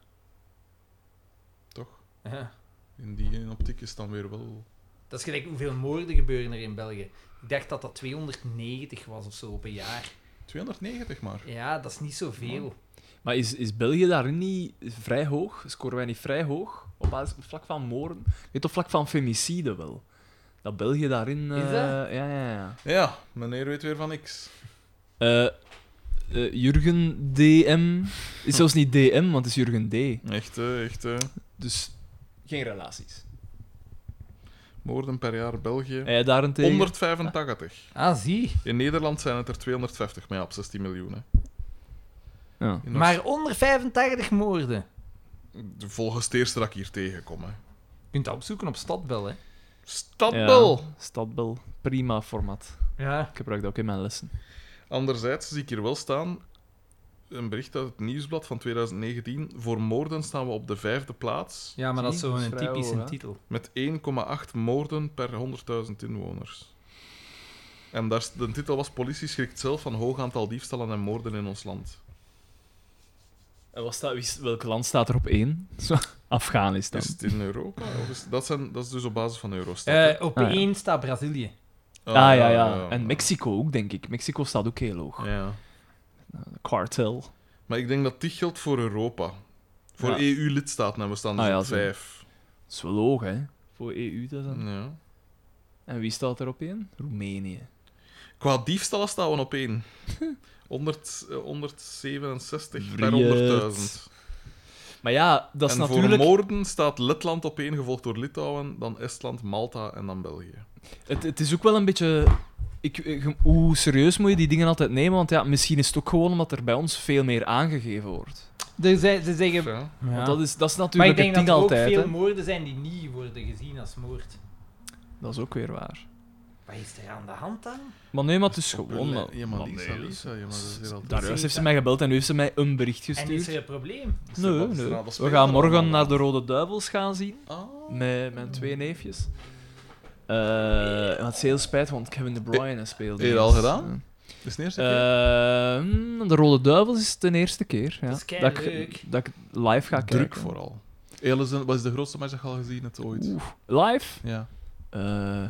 B: Toch?
A: ja.
B: In die optiek is het dan weer wel...
A: Dat is gelijk hoeveel moorden gebeuren er in België. Ik dacht dat dat 290 was of zo op een jaar.
B: 290 maar.
A: Ja, dat is niet zoveel.
C: Maar is, is België daarin niet vrij hoog? Scoren wij niet vrij hoog? Op, basis- op vlak van moorden? Weet op vlak van femicide wel. Dat België daarin...
A: Is
C: eh,
A: dat?
C: Ja, ja, ja.
B: Ja, meneer weet weer van niks.
C: Eh, eh, Jurgen DM.
D: <laughs>
C: Is zelfs niet DM, want het is Jurgen D.
B: Echt, hè, echt. hè.
C: Dus geen relaties.
B: Moorden per jaar België.
C: En jij daarentegen?
B: 185.
A: Ah, zie.
B: In Nederland zijn het er 250, maar ja, op 16 miljoen. Hè.
C: Ja.
B: In
A: Maar onder 85 moorden.
B: Oost- Volgens het eerste dat ik hier tegenkom. Hè.
A: Je kunt dat opzoeken op Stadbel, hè.
B: Stadbel!
C: Ja, stadbel. Prima format.
A: Ja.
C: Ik gebruik dat ook in mijn lessen.
B: Anderzijds zie ik hier wel staan een bericht uit het nieuwsblad van 2019. Voor moorden staan we op de vijfde plaats.
A: Ja, maar dat is
C: Zie, dat
A: zo'n
C: is vrij
A: typische
C: hoog, hè.
A: titel.
B: Met 1,8 moorden per 100.000 inwoners. En daar, s- de titel was Politie schrikt zelf van hoog aantal diefstallen en moorden in ons land.
C: En wat staat, wie is- welk land staat er op
D: <laughs>
C: één? Zo, Afghanistan.
B: Is het in Europa? Of is, dat, zijn, dat is dus op basis van Eurostat. hè?
A: Eh, op
C: Ah, ja.
A: één staat Brazilië.
C: ah ja, ja. En Mexico ook, denk ik. Mexico staat ook heel hoog.
B: Oh, Ja.
C: Cartel.
B: Maar ik denk dat die geldt voor Europa. Voor
C: Ja.
B: EU-lidstaten en we staan dus
C: Ah, ja,
B: op
C: zo.
B: vijf.
C: Dat is wel hoog, hè? Voor E EU dat dan.
B: Ja.
C: En wie staat er op één? Roemenië.
B: Qua diefstallen staan we op één. <laughs> 100, eh, 167 per
C: Vriet.
B: 100.000.
C: Maar ja, dat is
B: En voor
C: natuurlijk...
B: moorden staat Letland op één, gevolgd door Litouwen, dan Estland, Malta en dan België.
C: Het, het is ook wel een beetje. Ik, eh, ge- hoe serieus moet je die dingen altijd nemen? Want ja, misschien is het ook gewoon omdat er bij ons veel meer aangegeven wordt.
A: Dus ze, ze zeggen...
B: Ja.
C: Want dat is, dat is
A: Maar ik
C: natuurlijk
A: denk
C: het
A: dat
C: ding
A: er ook
C: altijd.
A: veel
C: hè.
A: moorden zijn die niet worden gezien als moord.
C: Dat is ook weer waar.
A: Wat is er aan de hand dan?
C: Maar nee, maar het is gewoon. Maar,
B: Ja, maar
C: maar
B: Lisa,
C: nee,
B: Lisa, ja, maar dat is hier altijd...
C: Daar juist heeft ze mij gebeld en nu heeft ze mij een bericht
A: En is
C: gestuurd.
A: er een probleem?
C: Nee,
B: Wat is er
C: nee.
B: aan dat
C: We
B: spelen
C: gaan morgen
B: allemaal?
C: naar de Rode Duivels gaan zien.
B: Ah.
C: Met mijn twee neefjes. Eh, en dat is heel spijt, want Kevin De Bruyne speelde.
B: heb je dat al
C: eens.
B: gedaan? Is het eerste keer?
C: Eh, mm, de Rode Duivels is de eerste keer. Ja.
A: Dat is
C: dat, ik,
A: keileuk.
C: dat ik live ga kijken.
B: Druk vooral. Elison, wat is de grootste match dat je al gezien hebt ooit?
C: Oeh. Live?
B: Ja.
C: Eh,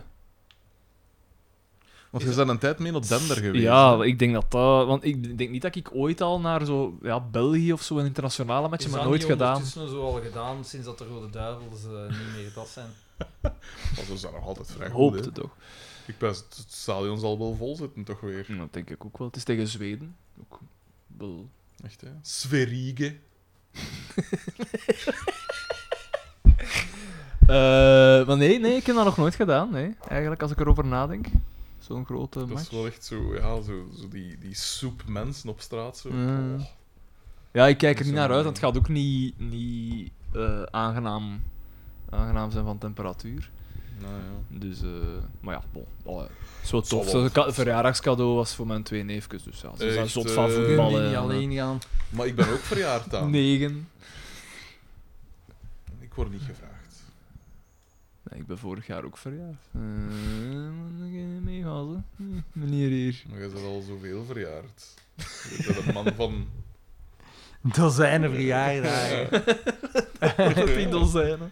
B: Want je bent een tijd mee op Dender geweest.
C: ja, ik denk dat dat. Want ik denk niet dat ik ooit al naar zo. Ja, België of zo een internationale match heb, maar nooit gedaan.
A: Is dat niet ondertussen zo al gedaan, sinds dat de Rode Duivels eh, niet meer dat zijn?
B: Want we zijn nog altijd vrij goed, hè.
C: Hoopte toch?
B: Ik ben het stadion zal wel vol zitten, toch weer.
C: Nou, Dat denk ik ook wel. Het is tegen Zweden. Ook wel.
B: Echt, hè? Sverige.
C: Eh, maar nee, nee, ik heb dat nog nooit gedaan. Nee. Eigenlijk, als ik erover nadenk. Zo'n grote
B: Dat is
C: match.
B: wel echt zo, ja, zo, zo die, die soep mensen op straat. Zo.
C: Ja.
B: Oh.
C: Ja, ik kijk
B: Dat
C: er
B: is
C: niet naar
B: wel mooi.
C: uit, want het gaat ook niet, niet eh, aangenaam, aangenaam zijn van temperatuur.
B: Nou, ja.
C: Dus, eh, maar ja, bon. allee.
B: Zal
C: Zo tof.
B: wel.
C: Zo'n ka- verjaardagscadeau was voor mijn twee neefjes, dus ja, ze zijn
B: Echt,
C: zot van
B: eh,
C: voetbal.
A: Kun je
C: hè.
A: niet alleen gaan.
B: Maar ik ben ook verjaard aan.
C: Negen.
B: Ik word niet gevraagd.
C: Nee, ik ben vorig jaar ook verjaard. Eh, dan ga je meegaan, zo. Hm, meneer <laughs> hier.
B: Maar je bent al zoveel verjaard. Je bent een man van...
A: Dat zijn een <laughs> verjaardagen.
C: Dat die dozijnen.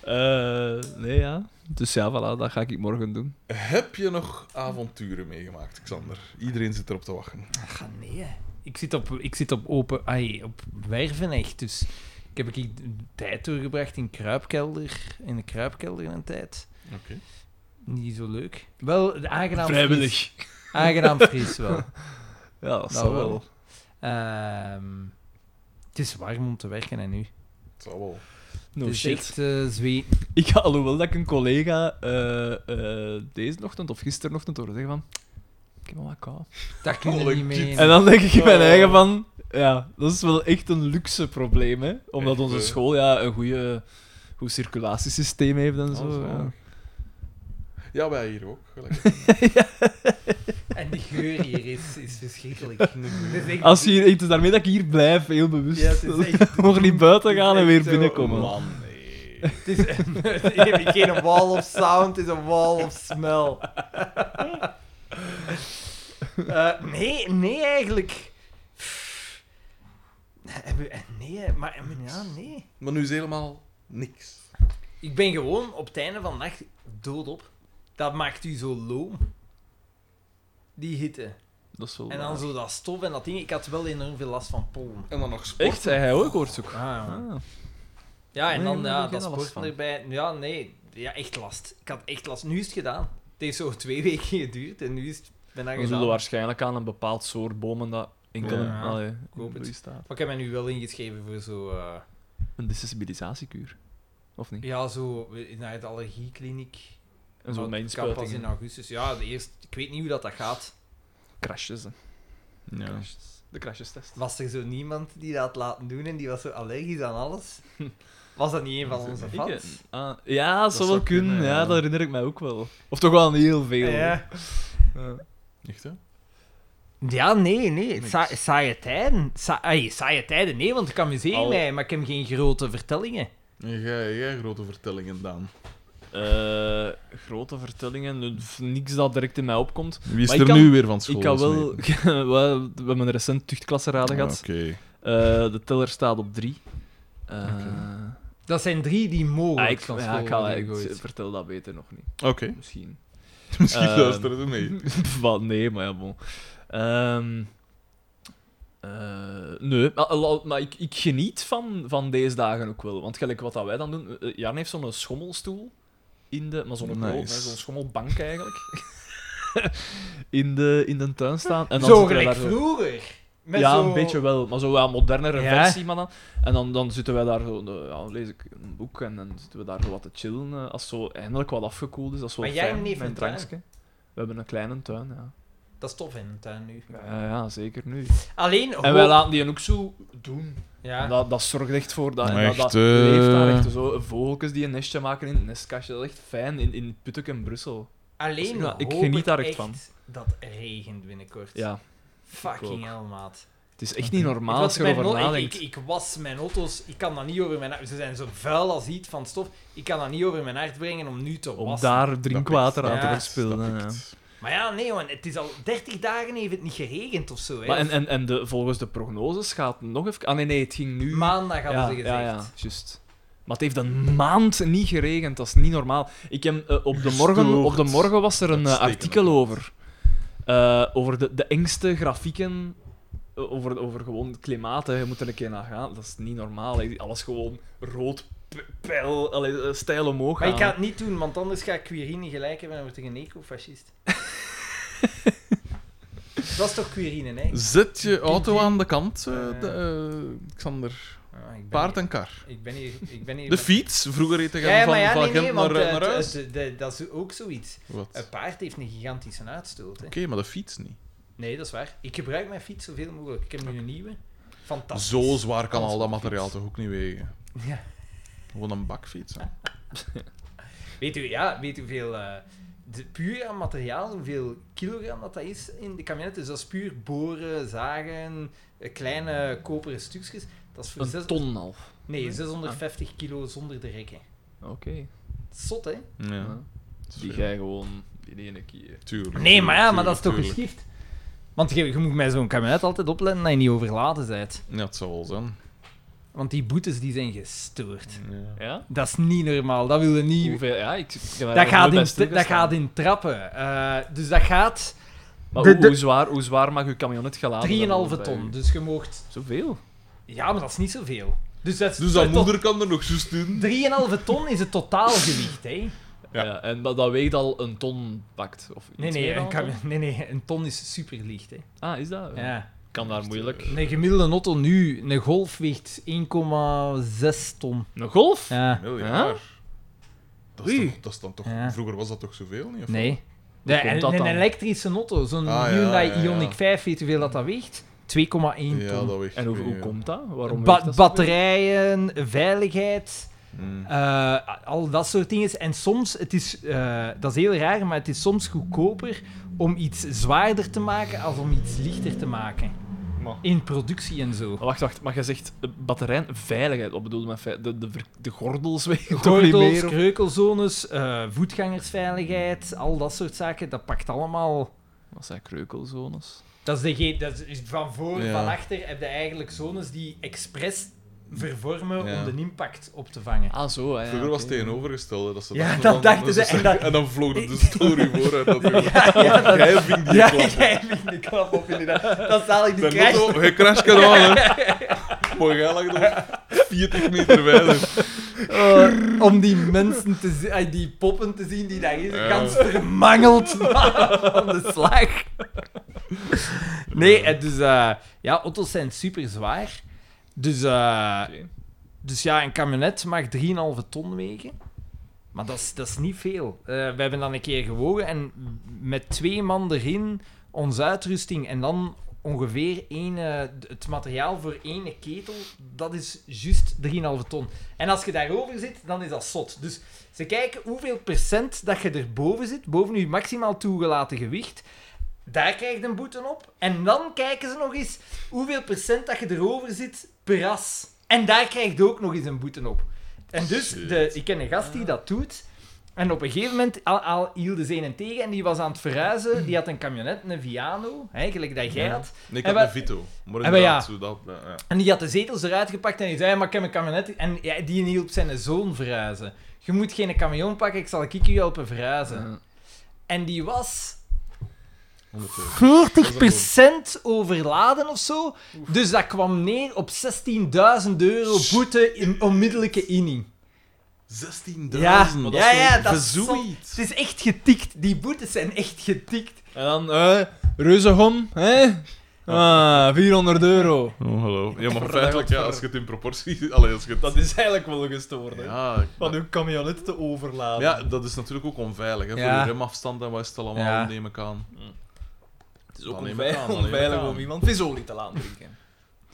C: Eh, nee, ja. Dus ja, voilà, dat ga ik morgen doen.
B: Heb je nog avonturen meegemaakt, Xander? Iedereen zit erop te wachten.
A: Ach, nee. hè. Ik zit op, ik zit op open... Ai, op werven echt, dus... Ik heb ik tijd doorgebracht in kruipkelder. In de kruipkelder een tijd.
B: Oké.
A: Niet zo leuk. Wel, aangenaam fris.
C: Vrijwillig.
A: Aangenaam fris wel.
C: Ja, dat
A: Dat
C: zal
A: wel.
C: Nou, wel.
A: Ehm, het is warm om te werken en nu.
B: Het zal wel.
C: No
A: het is
C: shit.
A: echt eh, zweet.
C: Ik ga, alhoewel dat ik een collega eh, eh, deze ochtend of gisterenochtend hoorde zeggen van... Ik heb wel wat kou.
A: Dat kun je
B: Holy
A: niet mee.
B: kid.
C: En dan denk ik in mijn
B: Oh.
C: eigen van... Ja, dat is wel echt een luxe probleem, hè. Omdat
B: Echt,
C: onze
B: hè?
C: school ja, een goede, goed circulatiesysteem heeft en
B: Oh,
C: zo.
B: zo.
C: Ja.
B: Ja, wij hier ook. Gelijk.
A: En de geur hier is, is verschrikkelijk. Het is echt-
C: Als je hier, het is daarmee dat ik hier blijf, heel bewust. <laughs>
A: Ja, het is echt-
C: Mocht niet buiten gaan en weer
A: Het is echt zo-
C: binnenkomen.
B: Man, nee.
A: Het is <laughs> een, het is geen wall of sound, het is een wall of smell. Eh, nee, nee eigenlijk. Pff. Hebben we- eh, Nee, maar ja, nee.
B: Maar nu is helemaal niks.
A: Ik ben gewoon op het einde van de nacht doodop. Dat maakt u zo loom. Die hitte.
C: Dat is wel
A: En dan zo dat stof en dat ding. Ik had wel enorm veel last van pollen. Ah,
B: En dan nog sport.
C: Echt? Hij hij ook hoort zoeken.
A: Ja, en
C: Nee,
A: dan
C: maar daar
A: ja,
C: heb
A: dat
C: jij last
A: sport
C: van.
A: erbij. Ja, nee. Ja, echt last. Ik had echt last. Nu is het gedaan. Het heeft zo <laughs> twee weken geduurd en nu is het bijna
C: We
A: gedaan.
C: zullen waarschijnlijk aan een bepaald soort bomen dat enkel
A: Ja.
C: in- allee,
A: hoop het.
C: in staat.
A: Maar ik heb mij nu wel ingeschreven voor zo... eh,
C: Een desensibilisatiecuur. Of niet?
A: ja, zo eh, naar het allergiekliniek.
C: En zo'n
A: Maar het kan pas in
C: inspuiting.
A: augustus. Ja, de eerste, ik weet niet hoe dat, dat gaat.
C: Crashes. hè.
I: Ja.
C: De crashestest.
A: Was er zo niemand die dat had laten doen en die was zo allergisch aan
C: <laughs>
A: alles? Was dat niet een van onze
C: Ik,
A: fans?
C: eh, ah, ja, dat zou wel
I: zou
C: kunnen.
I: kunnen,
C: ja.
I: ja.
C: dat herinner ik mij ook wel. Of toch wel aan heel veel.
A: Ja.
B: Echt, hè?
A: Ja, nee, nee. Sa saaie tijden. Sa ai, saaie tijden, nee, want ik amuseer
C: Al-
A: mij, maar ik heb geen grote vertellingen.
B: En jij, jij grote vertellingen, Daan.
C: Eh, grote vertellingen, eh, f- niks dat direct in mij opkomt.
B: Wie is
C: Maar ik
B: er
C: kan-
B: nu weer van school?
C: Ik kan wel... <laughs>
B: gesmeten?
C: we, we hebben een recent tuchtklasseraden
B: Ah,
C: gehad.
B: Oké.
C: Eh, de teller staat op drie. Eh,
A: Dat zijn drie die mogelijk
C: ah, ik,
A: van
C: ja,
A: Oh, school
C: ik, ga,
A: worden
C: ik
A: gegooid.
C: vertel dat beter nog niet.
B: Oké. <laughs>
C: Misschien. <laughs>
B: Misschien
C: Ehm.
B: luisteren ze mee.
C: Wat? Nee, maar ja, bon. Ehm, eh, nee, maar, la- maar ik, ik geniet van, van deze dagen ook wel. Want gelijk wat dat wij dan doen... eh, Jan heeft zo'n schommelstoel in de... Maar zo'n
B: Nice.
C: nice. zo'n schommelbank eigenlijk. <laughs> in, de, in de tuin staan. En dan
A: Zo
C: zitten wij
A: gelijk
C: daar zo-
A: vroeger. Met
C: ja,
A: zo...
C: een beetje wel. Maar zo wel een modernere
A: Ja.
C: versie, maar dan. En dan, dan zitten wij daar zo... eh, Ja, lees ik een boek en dan zitten we daar zo wat te chillen. eh, Als zo eindelijk wat afgekoeld is, dat is wel
A: Maar jij
C: fijn,
A: hebt niet
C: mijn
A: een tuin?
C: drankje. We hebben een kleine tuin, ja.
A: Dat is tof in een tuin nu.
C: Ja, ja, zeker nu.
A: Alleen...
C: En wij laten die ook zo doen.
A: Ja.
C: Dat, dat zorgt echt voor dat. en
B: Maar
C: dat, dat
B: echt, eh,
C: leeft daar echt zo. Vogeltjes die een nestje maken in het nestkastje. Dat is echt fijn in, in Putteke en Brussel.
A: Alleen
C: Ja, ik
A: hoop
C: geniet
A: ik
C: daar echt van.
A: dat het regent binnenkort.
C: Ja,
A: Fucking
C: ook.
A: hell, maat.
C: het is echt niet
A: Ik
C: normaal als
A: was,
C: je
A: mijn
C: erover
A: no- ik,
C: nadenkt.
A: ik, ik was mijn auto's, ik kan dat niet over mijn hart- Ze zijn zo vuil als iets van stof. Ik kan dat niet over mijn hart brengen om nu te
C: Om
A: wassen.
C: daar drinkwater
A: Dat
C: aan te
A: pikt.
C: verspillen.
B: Dat
C: hè, ja.
B: pikt.
A: Maar ja, nee, man, het is al 30 dagen heeft het niet geregend of zo. Hè.
C: Maar en en, en de, volgens de prognoses gaat het nog even. Ah nee, nee, het ging nu.
A: Maandag hadden
C: ja,
A: ze gezegd.
C: ja, ja, juist. Maar het heeft een maand niet geregend, dat is niet normaal. Ik heb, eh, op, de morgen, op de
B: Gestoord.
C: morgen was er een eh,
B: Uitstekend.
C: artikel over. Eh, over de, de engste grafieken. eh, over, over gewoon het klimaat. Hè. Je moet er een keer naar gaan. Dat is niet normaal. hè. Alles gewoon rood, p- pijl, allee, eh, stijl omhoog.
A: Maar ik
C: gaan,
A: ga
C: hè.
A: het niet doen, want anders ga ik Quirine gelijk hebben en word ik een
B: <laughs>
A: ecofascist. Dat is toch Quirine, hè?
B: Zet je auto aan de kant, eh, de- eh, Xander.
A: Ah, ik ben
B: Paard
A: hier-
B: en kar.
A: Ik ben hier... Ik ben hier
B: De fiets. Vroeger reed je
A: Ja, ja,
B: van,
A: maar ja,
B: van
A: nee, nee,
B: Gent
A: want
B: naar,
A: eh,
B: naar
A: het-
B: huis.
A: het- de- dat is ook zoiets.
B: Wat?
A: Een
B: Oké,
A: paard heeft een gigantische uitstoot, hè.
B: maar de fiets niet.
A: Nee, dat is waar. Ik gebruik mijn fiets zoveel mogelijk. Ik heb nu een nieuwe. Fantastisch.
B: Zo zwaar kan al dat materiaal toch ook niet wegen.
A: Ja.
B: Gewoon een bakfiets. Hè.
A: Weet u, ja, weet u hoeveel... eh, de, puur aan materiaal, hoeveel kilogram dat, dat is in de kabinet. Dus dat is puur boren, zagen, eh, kleine koperen stukjes. Dat is voor
C: Een
A: zes-
C: ton en een half.
A: Nee, 650 kilo zonder de rekken.
C: Oké.
A: Zot, hè?
B: Ja.
C: Die jij gewoon in ene keer.
B: Tuurlijk.
A: Nee, maar ja,
B: tuurlijk,
A: maar dat is toch
B: tuurlijk.
A: geschift. Want je, je moet bij zo'n kabinet altijd opletten dat je niet overladen bent.
B: Ja, het zal wel zijn.
A: Want die boetes die zijn gestoord.
B: Ja.
C: Ja?
A: Dat is niet normaal, dat wil je niet...
C: Hoeveel? Ja, ik, ik heb daar
A: Dat
C: nog
A: gaat,
C: nooit
A: in,
C: bij
A: dat
C: stilgestaan.
A: gaat in trappen. Eh, dus dat gaat
C: Maar
A: de-
C: hoe,
A: de-
C: hoe zwaar, hoe zwaar mag uw camionet geladen
A: 3,5
C: worden bij
A: ton.
C: u?
A: Dus je moogt...
C: Zoveel?
A: Ja, maar dat is niet zoveel. Dus dat is...
B: Dus dat
A: tot-
B: moeder kan er nog zo in.
A: 3,5 ton is het totaalgewicht, hè?
B: Ja.
C: Ja. en dat, dat weegt al een ton pakt. Of iets
A: Nee nee,
C: meer dan
A: een
C: een ton?
A: kab- nee, nee, een ton is superlicht, hè?
C: Ah, is dat?
A: ja.
C: Kan daar moeilijk.
A: Een gemiddelde auto nu, een golf weegt 1,6 ton.
C: Een golf?
A: Ja.
B: Miljard. Dat is,
C: Oei.
B: toch, dat is dan toch...
A: Ja.
B: Vroeger was dat toch zoveel, niet? Of
A: Nee.
C: Hoe
A: Ja, en-
C: komt dat
A: en een
C: dan?
A: elektrische auto, zo'n
B: Ah, ja,
A: Hyundai
B: ja, ja.
A: Ioniq 5, weet je hoeveel dat, dat weegt? 2,1 ton.
B: Ja, dat weegt
C: En hoe, hoe
B: weer.
C: komt dat? Waarom
A: Ba-
C: weegt dat zoveel?
A: batterijen, veiligheid,
B: Mm.
A: eh, al dat soort dingen. En soms, het is, eh, dat is heel raar, maar het is soms goedkoper om iets zwaarder te maken als om iets lichter te maken.
B: Maar...
A: In productie en zo.
C: Wacht, wacht, maar je zegt eh, batterij, veiligheid. Wat bedoel je met vei- de, de, ver- de gordels weg? <laughs> toch niet
A: Gordels,
C: meer? of-
A: kreukelzones, eh, voetgangersveiligheid, al dat soort zaken, dat pakt allemaal...
C: Wat zijn kreukelzones?
A: Dat is, degene, dat is van voor,
B: Ja.
A: van achter, heb je eigenlijk zones die expres vervormen
B: Ja.
A: om de impact op te
C: <laughs>
A: vangen.
C: Ah, zo, hè. ja,
B: Vroeger was het
C: oké.
B: tegenovergesteld. hè, Dat ze
A: Ja,
B: dachten
A: dat
B: van-
A: dachten ze,
B: En
A: en
B: dan,
A: dat- <laughs>
B: vloog er de story vooruit. natuurlijk.
A: ja, dat-
B: Jij ving die
A: <laughs> Ja,
B: klap op.
A: jij vindt de klap op, inderdaad. Dat zal ik die
B: Mijn
A: crash.
B: motto, je crasht kan aan, hè. Mooi, jij lag er op 40 meter verder.
A: Eh, om die mensen te zien, eh, die poppen te zien die daar is,
B: Ja.
A: kans vermangeld van de slag. Nee, eh, dus eh, ja, auto's zijn super zwaar. Dus, eh, dus ja, een camionet mag 3,5 ton wegen. Maar dat is, dat is niet veel. Eh, we hebben dan een keer gewogen en met twee man erin, onze uitrusting en dan ongeveer één, eh, d- het materiaal voor één ketel, dat is juist 3,5 ton. En als je daarover zit, dan is dat zot. Dus ze kijken hoeveel procent dat je erboven zit, boven je maximaal toegelaten gewicht. Daar krijg je een boete op. En dan kijken ze nog eens hoeveel procent dat je erover zit per as. En daar krijg je ook nog eens een boete op. En dus, de, ik ken een gast die dat doet. En op een gegeven moment al, al hielden ze een tegen en die was aan het verhuizen. Die had een camionet, een Viano, eigenlijk dat jij
B: Ja.
A: had.
B: Nee, ik
A: En
B: had
A: we-
B: een Vito. Maar
A: En we- ja.
B: inderdaad, zo dat... eh, ja.
A: En die had de zetels eruit gepakt en die zei, maar ik heb een camionet. En ja, die hielp zijn zoon verhuizen. Je moet geen camion pakken, ik zal ik u helpen verhuizen. En die was
B: 100 euro.
A: 40% overladen of zo. Dus dat kwam neer op 16.000 euro boete in onmiddellijke inning.
B: 16.000.
A: Ja,
B: Maar
A: ja, ja,
B: wel
A: dat is
B: verzoeid.
A: Het is echt getikt. Die boetes zijn echt getikt.
C: En dan, eh, reuzegom, hè? Ah, 400 euro.
B: Ongelooflijk. Ja, maar feitelijk, ja, als je het in proportie... Allee, als je het...
C: Dat is eigenlijk wel gestoord, hè.
B: Ja,
C: Van uw camionet te overladen.
B: ja, dat is natuurlijk ook onveilig. Hè,
A: Ja.
B: Voor je remafstand en wat is het allemaal,
A: Ja.
B: neem ik aan.
C: Mm. het is
B: ook
C: ook
B: Dan neem ik onveil- aan, dan neem ik onveilig
C: onveilig
B: aan. om
C: om iemand visolie te laten drinken.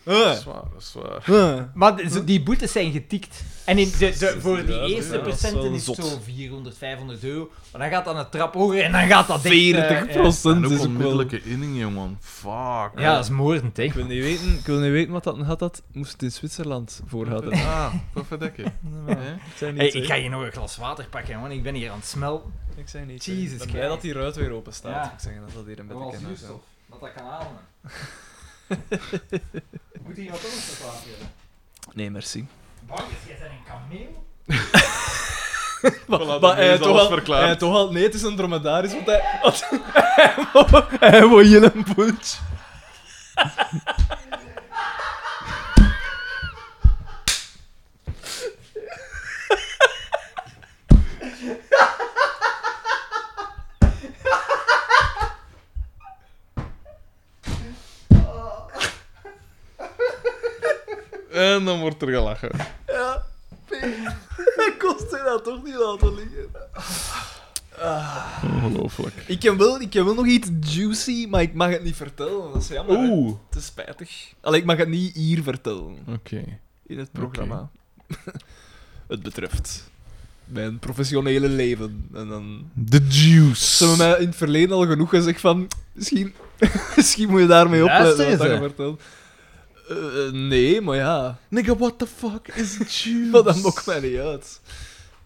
B: Dat is
C: Eh.
B: waar, dat is waar.
A: Maar de- zo- die boetes zijn getikt. En in de, de, voor die
B: 16.000
A: eerste
B: euro.
A: procenten is
C: Dat
A: het
C: is wel
A: zo 400, 500 euro. Maar dan gaat dat een trap hoger en dan gaat dat echt, eh, ja.
B: En ook
C: is ook wel...
B: onmiddellijke inning, jongen. Fuck.
A: Ja, dat is moordend, hè.
C: Ik wil niet weten, ik wil niet weten wat dat had dat. Moest het in Zwitserland voor hadden.
B: Ah, wat <laughs> verdekken. Hè?
C: Ik zei niet
A: Hey,
C: twee.
A: ik ga hier nog een glas water pakken, want ik ben hier aan het smelten.
C: Ik zei niet.
A: Jesus
C: Ik ben blij
A: Christ.
C: dat die ruit weer open staat.
A: Ja.
C: Ik zeg dat dat hier een beetje kennis is.
A: dat dat kan halen. <laughs> Moet hier wat anders te plaatsen hebben?
C: Nee, merci.
A: Bang, jij bent een kameel?
B: Voilà,
C: Maar eh,
B: dan
C: hij
B: is
C: had toch
B: alles
C: al,
B: verklaard.
C: hij had toch al, nee, het is een dromedaris, want hij, want, hij wou- <laughs> hij wil je een boeltje.
B: En dan wordt er gelachen.
C: Hij kost hij dat toch niet laten liggen.
B: Ongelooflijk.
C: Ik heb, wel, ik heb wel nog iets juicy, maar ik mag het niet vertellen. Dat is jammer. hè.
B: Oeh,
C: Het is spijtig. Allee, ik mag het niet hier vertellen.
B: oké.
C: In het programma. <laughs> het betreft mijn professionele leven. En dan...
B: The
C: Ze
B: juice.
C: hebben mij in het verleden al genoeg gezegd van... Misschien, <laughs> misschien moet je daarmee
A: Luister
C: opletten wat
A: eens,
C: je
A: hè.
C: vertelt. Eh, eh, nee, maar ja. <laughs>
B: Nigga, what the fuck is juice?
C: Maar dat maakt mij niet uit.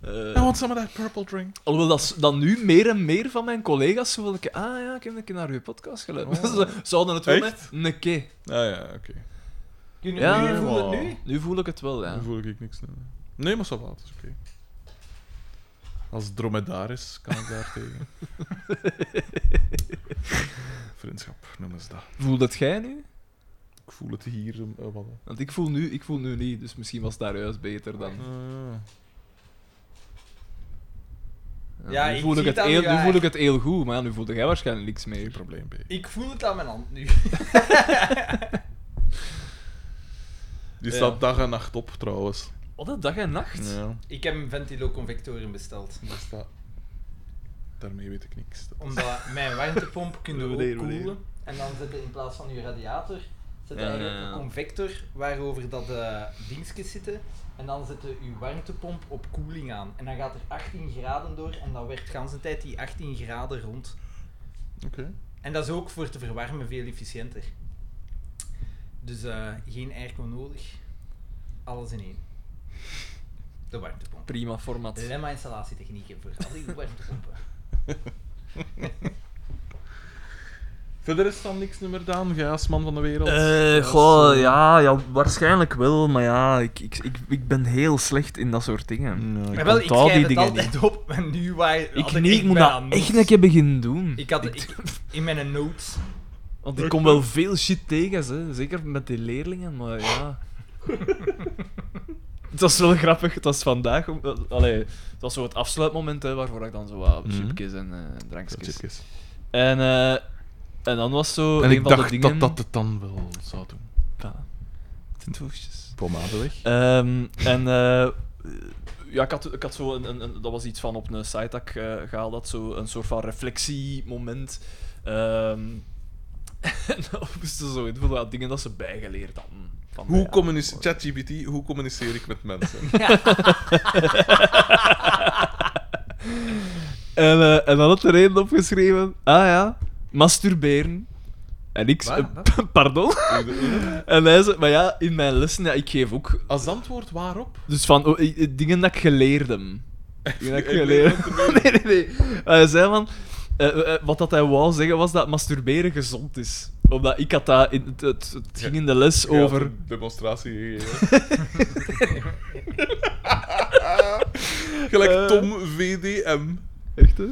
C: Eh,
B: I want some of that purple drink.
C: Alhoewel, dat is- dan nu meer en meer van mijn collega's zo wel een keer... Ah ja, ik heb een keer naar uw podcast geluisterd.
B: Oh.
C: <laughs> Ze hadden het wel
B: Echt?
C: met een keer.
B: Ah ja, oké.
A: Kunnen
C: Ja,
A: jullie voelen
B: wow.
A: het nu?
C: Nu voel ik het wel, ja.
B: Dan voel ik niks. Nee, nee maar zo is oké. Als dromedaris kan ik daar
C: <laughs>
B: tegen. Vriendschap, noemen ze dat.
C: Voel dat jij nu?
B: Ik voel het hier. eh, wat,
C: Want ik voel nu, ik voel nu niet, dus misschien was het daar juist beter dan.
B: eh,
A: Ja,
C: nu,
A: ik
C: voel
A: zie
C: ik het
A: het aan
C: heel,
A: uw
C: nu
A: haar.
C: voel ik het heel goed, maar ja, nu voelde jij waarschijnlijk niks
B: geen
C: meer.
B: probleem, B.
A: Ik voel het aan mijn hand nu.
B: Die
C: Ja.
B: staat dag en nacht op, trouwens.
C: Wat een dag en nacht.
B: Ja,
A: Ik heb een ventiloconvectoren besteld.
B: dat staat... Daarmee weet ik niks. Dat is-
A: Omdat mijn warmtepomp kunnen ook
C: Meneer, meneer.
A: koelen. En dan zet je in plaats van je radiator, zet je
C: Ja,
A: eigenlijk
C: ja, ja.
A: een convector waarover dat eh dingetjes zitten. En dan zet je je warmtepomp op koeling aan. En dan gaat er 18 graden door en dan werkt de hele tijd die 18 graden rond.
B: Oké.
A: En dat is ook voor te verwarmen veel efficiënter. Dus eh, geen airco nodig. Alles in één. De warmtepomp.
C: Prima format.
A: Dilemma installatietechnieken voor al die warmtepompen.
B: <laughs> Verder is dan niks meer gedaan, jij als man van de wereld.
C: Eh,
B: Als,
C: goh,
B: eh,
C: ja, ja, waarschijnlijk wel, maar ja, ik, ik, ik, ik ben heel slecht in dat soort dingen.
B: ja,
A: Maar wel, ik
C: onthoud die
A: schrijf het
C: dingen
A: altijd op. En nu waar had
C: Ik, niet, ik moet
A: bijna
C: dat
A: niks.
C: echt een keer beginnen doen.
A: Ik had ik, in mijn notes.
C: Want ik kom wel veel shit tegen, hè. zeker met die leerlingen, maar
A: <laughs>
C: ja. het was wel grappig, het was vandaag. om- eh, Allee, het was zo het afsluitmoment hè, waarvoor ik dan zo wat
B: Mhm.
C: chipjes en eh, drankjes.
B: chipjes.
C: En, eh, en dan was zo.
B: En
C: een
B: ik
C: van de
B: dacht dat
C: dingen-
B: dat het dan wel zou doen.
C: Ja. Tintoefjes.
B: Pomade weg.
C: Ehm, en eh, ja, ik had, ik had zo een, een, een- dat was iets van op een site dat ik eh, gehaald had, zo een soort van reflectiemoment. Ehm <laughs> en dan moesten ze zo in van wat dingen dat ze bijgeleerd hadden. Van mij,
B: Hoe
C: ja.
B: communice- ChatGPT, hoe communiceer ik met mensen?
C: <laughs> En, eh, en dan had er één opgeschreven, ah ja, masturberen. En ik...
G: Wat?
C: eh, <laughs> pardon? en hij zei, maar ja, in mijn lessen, ja, ik geef ook...
B: Als antwoord waarop?
C: Dus van oh, eh, eh, dingen dat ik geleerd heb. <laughs> Dingen dat ik
B: Ik leer
C: geleerd <laughs> nee, nee, nee. Maar hij zei van... eh, eh, wat dat hij wou zeggen was dat masturberen gezond is. Omdat ik had dat... In, het, het, het ging in de les
B: Jij had
C: over...
B: een demonstratie gegeven.
C: <laughs>
B: Gelijk
C: Eh.
B: Tom VDM.
C: Echt, hè?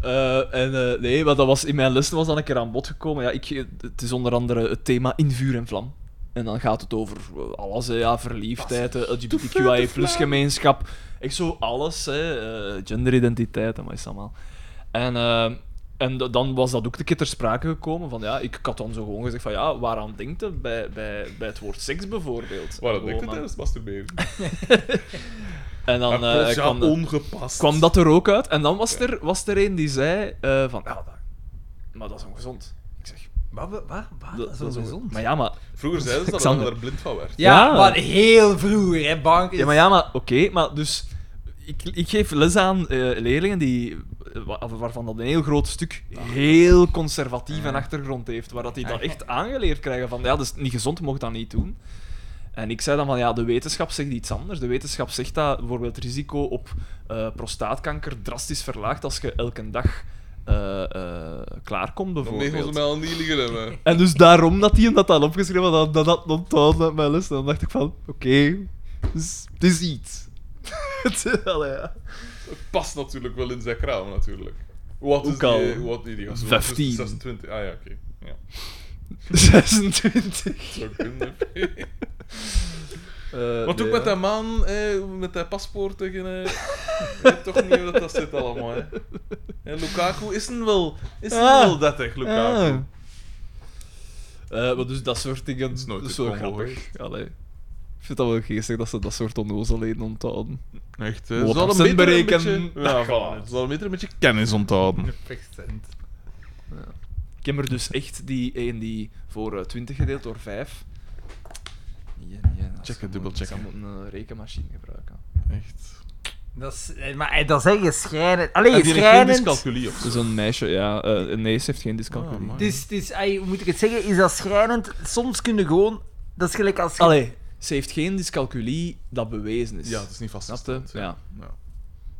C: Eh, en eh, nee, maar dat was, in mijn lessen was dat een keer aan bod gekomen. Ja, ik, het is onder andere het thema in vuur en vlam. En dan gaat het over eh, alles, hè, ja, verliefdheid, eh, LGBTQIA gemeenschap. Echt zo alles, hè, eh, genderidentiteit en wat is dat allemaal. En, eh, en d- dan was dat ook een keer ter sprake gekomen. Van, ja, ik, ik had dan zo gewoon gezegd van ja, waaraan denkt het bij, bij, bij het woord seks bijvoorbeeld?
B: Waar dat
C: Gewoon
B: denkt het
C: aan-
B: tijdens masturberen?
C: En dan
B: Maar
C: eh,
B: plots, ja, oh,
C: kwam dat-
B: ongepast.
C: kwam dat er ook uit. En dan was er, was er een die zei eh, van, ja, dat, maar dat is ongezond. Ik zeg,
G: Wat? Wat? Wat? Wat?
C: Ah, dat, dat is
G: ongezond.
C: Maar ja, maar...
B: Vroeger zeiden ze dat dat je
C: Xander.
B: daar blind van werd.
A: Ja,
C: Ja.
A: maar heel vroeger, hè, bankjes.
C: Ja, maar ja, maar oké, maar dus... Ik, ik geef les aan eh, leerlingen die, eh, wa- waarvan dat een heel groot stuk heel conservatief een achtergrond heeft, waar dat die dat echt aangeleerd krijgen van, ja, dat is niet gezond, je mag dat niet doen. En ik zei dan van, ja, de wetenschap zegt iets anders. De wetenschap zegt dat bijvoorbeeld het risico op eh, prostaatkanker drastisch verlaagt als je elke dag eh, eh, klaarkomt,
B: Dan negen ze
C: bijvoorbeeld.
B: mij al niet liggen hebben.
C: En dus daarom dat hij hem dat had opgeschreven, dat dat, dat onthouden uit mijn les. En dan dacht ik van, oké, dus, het is iets. <laughs> Het is- Allee, ja.
B: Het past natuurlijk wel in zijn kraam, natuurlijk. Wat is
C: Ook al.
B: die... Wat die, die gast?
C: 15.
B: 26. Ah ja, oké. Ja,
C: 26.
B: zou
C: <laughs>
B: kunnen.
C: Eh,
B: Maar ook
C: nee,
B: met
C: ja.
B: dat man, eh, met dat paspoort tegen... eh, ik weet toch niet hoe dat, dat zit allemaal, hè. En Lukaku is een wel... Is een
C: Ah.
B: wel dat, hè, Lukaku.
C: Ah. <laughs> Eh, maar dus dat soort dingen,
B: is nooit
C: dat is
B: het
C: wel
B: Congo
C: grappig. Allee. Ik vind dat wel geestig dat ze dat soort onnozelheden onthouden.
B: Echt, hè.
C: Wat
B: Ze hadden
C: procent
B: beter een
C: berekenen,
B: beetje-
C: dat
B: Ja,
C: gaat.
B: voilà. Ze hadden beter een beetje kennis onthouden.
G: Percent.
C: Ik heb er dus echt die één die voor eh, 20 gedeeld door 5. Ja, ja, dat is
B: Checken,
C: gewoon-
B: dubbelchecken.
C: Ze moeten een rekenmachine gebruiken.
B: Echt.
G: Dat is, eh, maar eh, dat is echt schrijnend. Allee,
B: En die heeft geen
G: schrijnend.
B: dyscalculie op.
C: Dus een meisje, ja. eh nee, ze heeft geen
B: Ah,
C: discalculie.
B: amai.
G: Het is, het is, ai, hoe moet ik het zeggen, is dat schrijnend. Soms kunnen gewoon... Dat is gelijk als... je-
C: Allee, ze heeft geen dyscalculie dat bewezen is.
B: Ja, het is niet vast.
C: Snap je? Ja.
B: ja.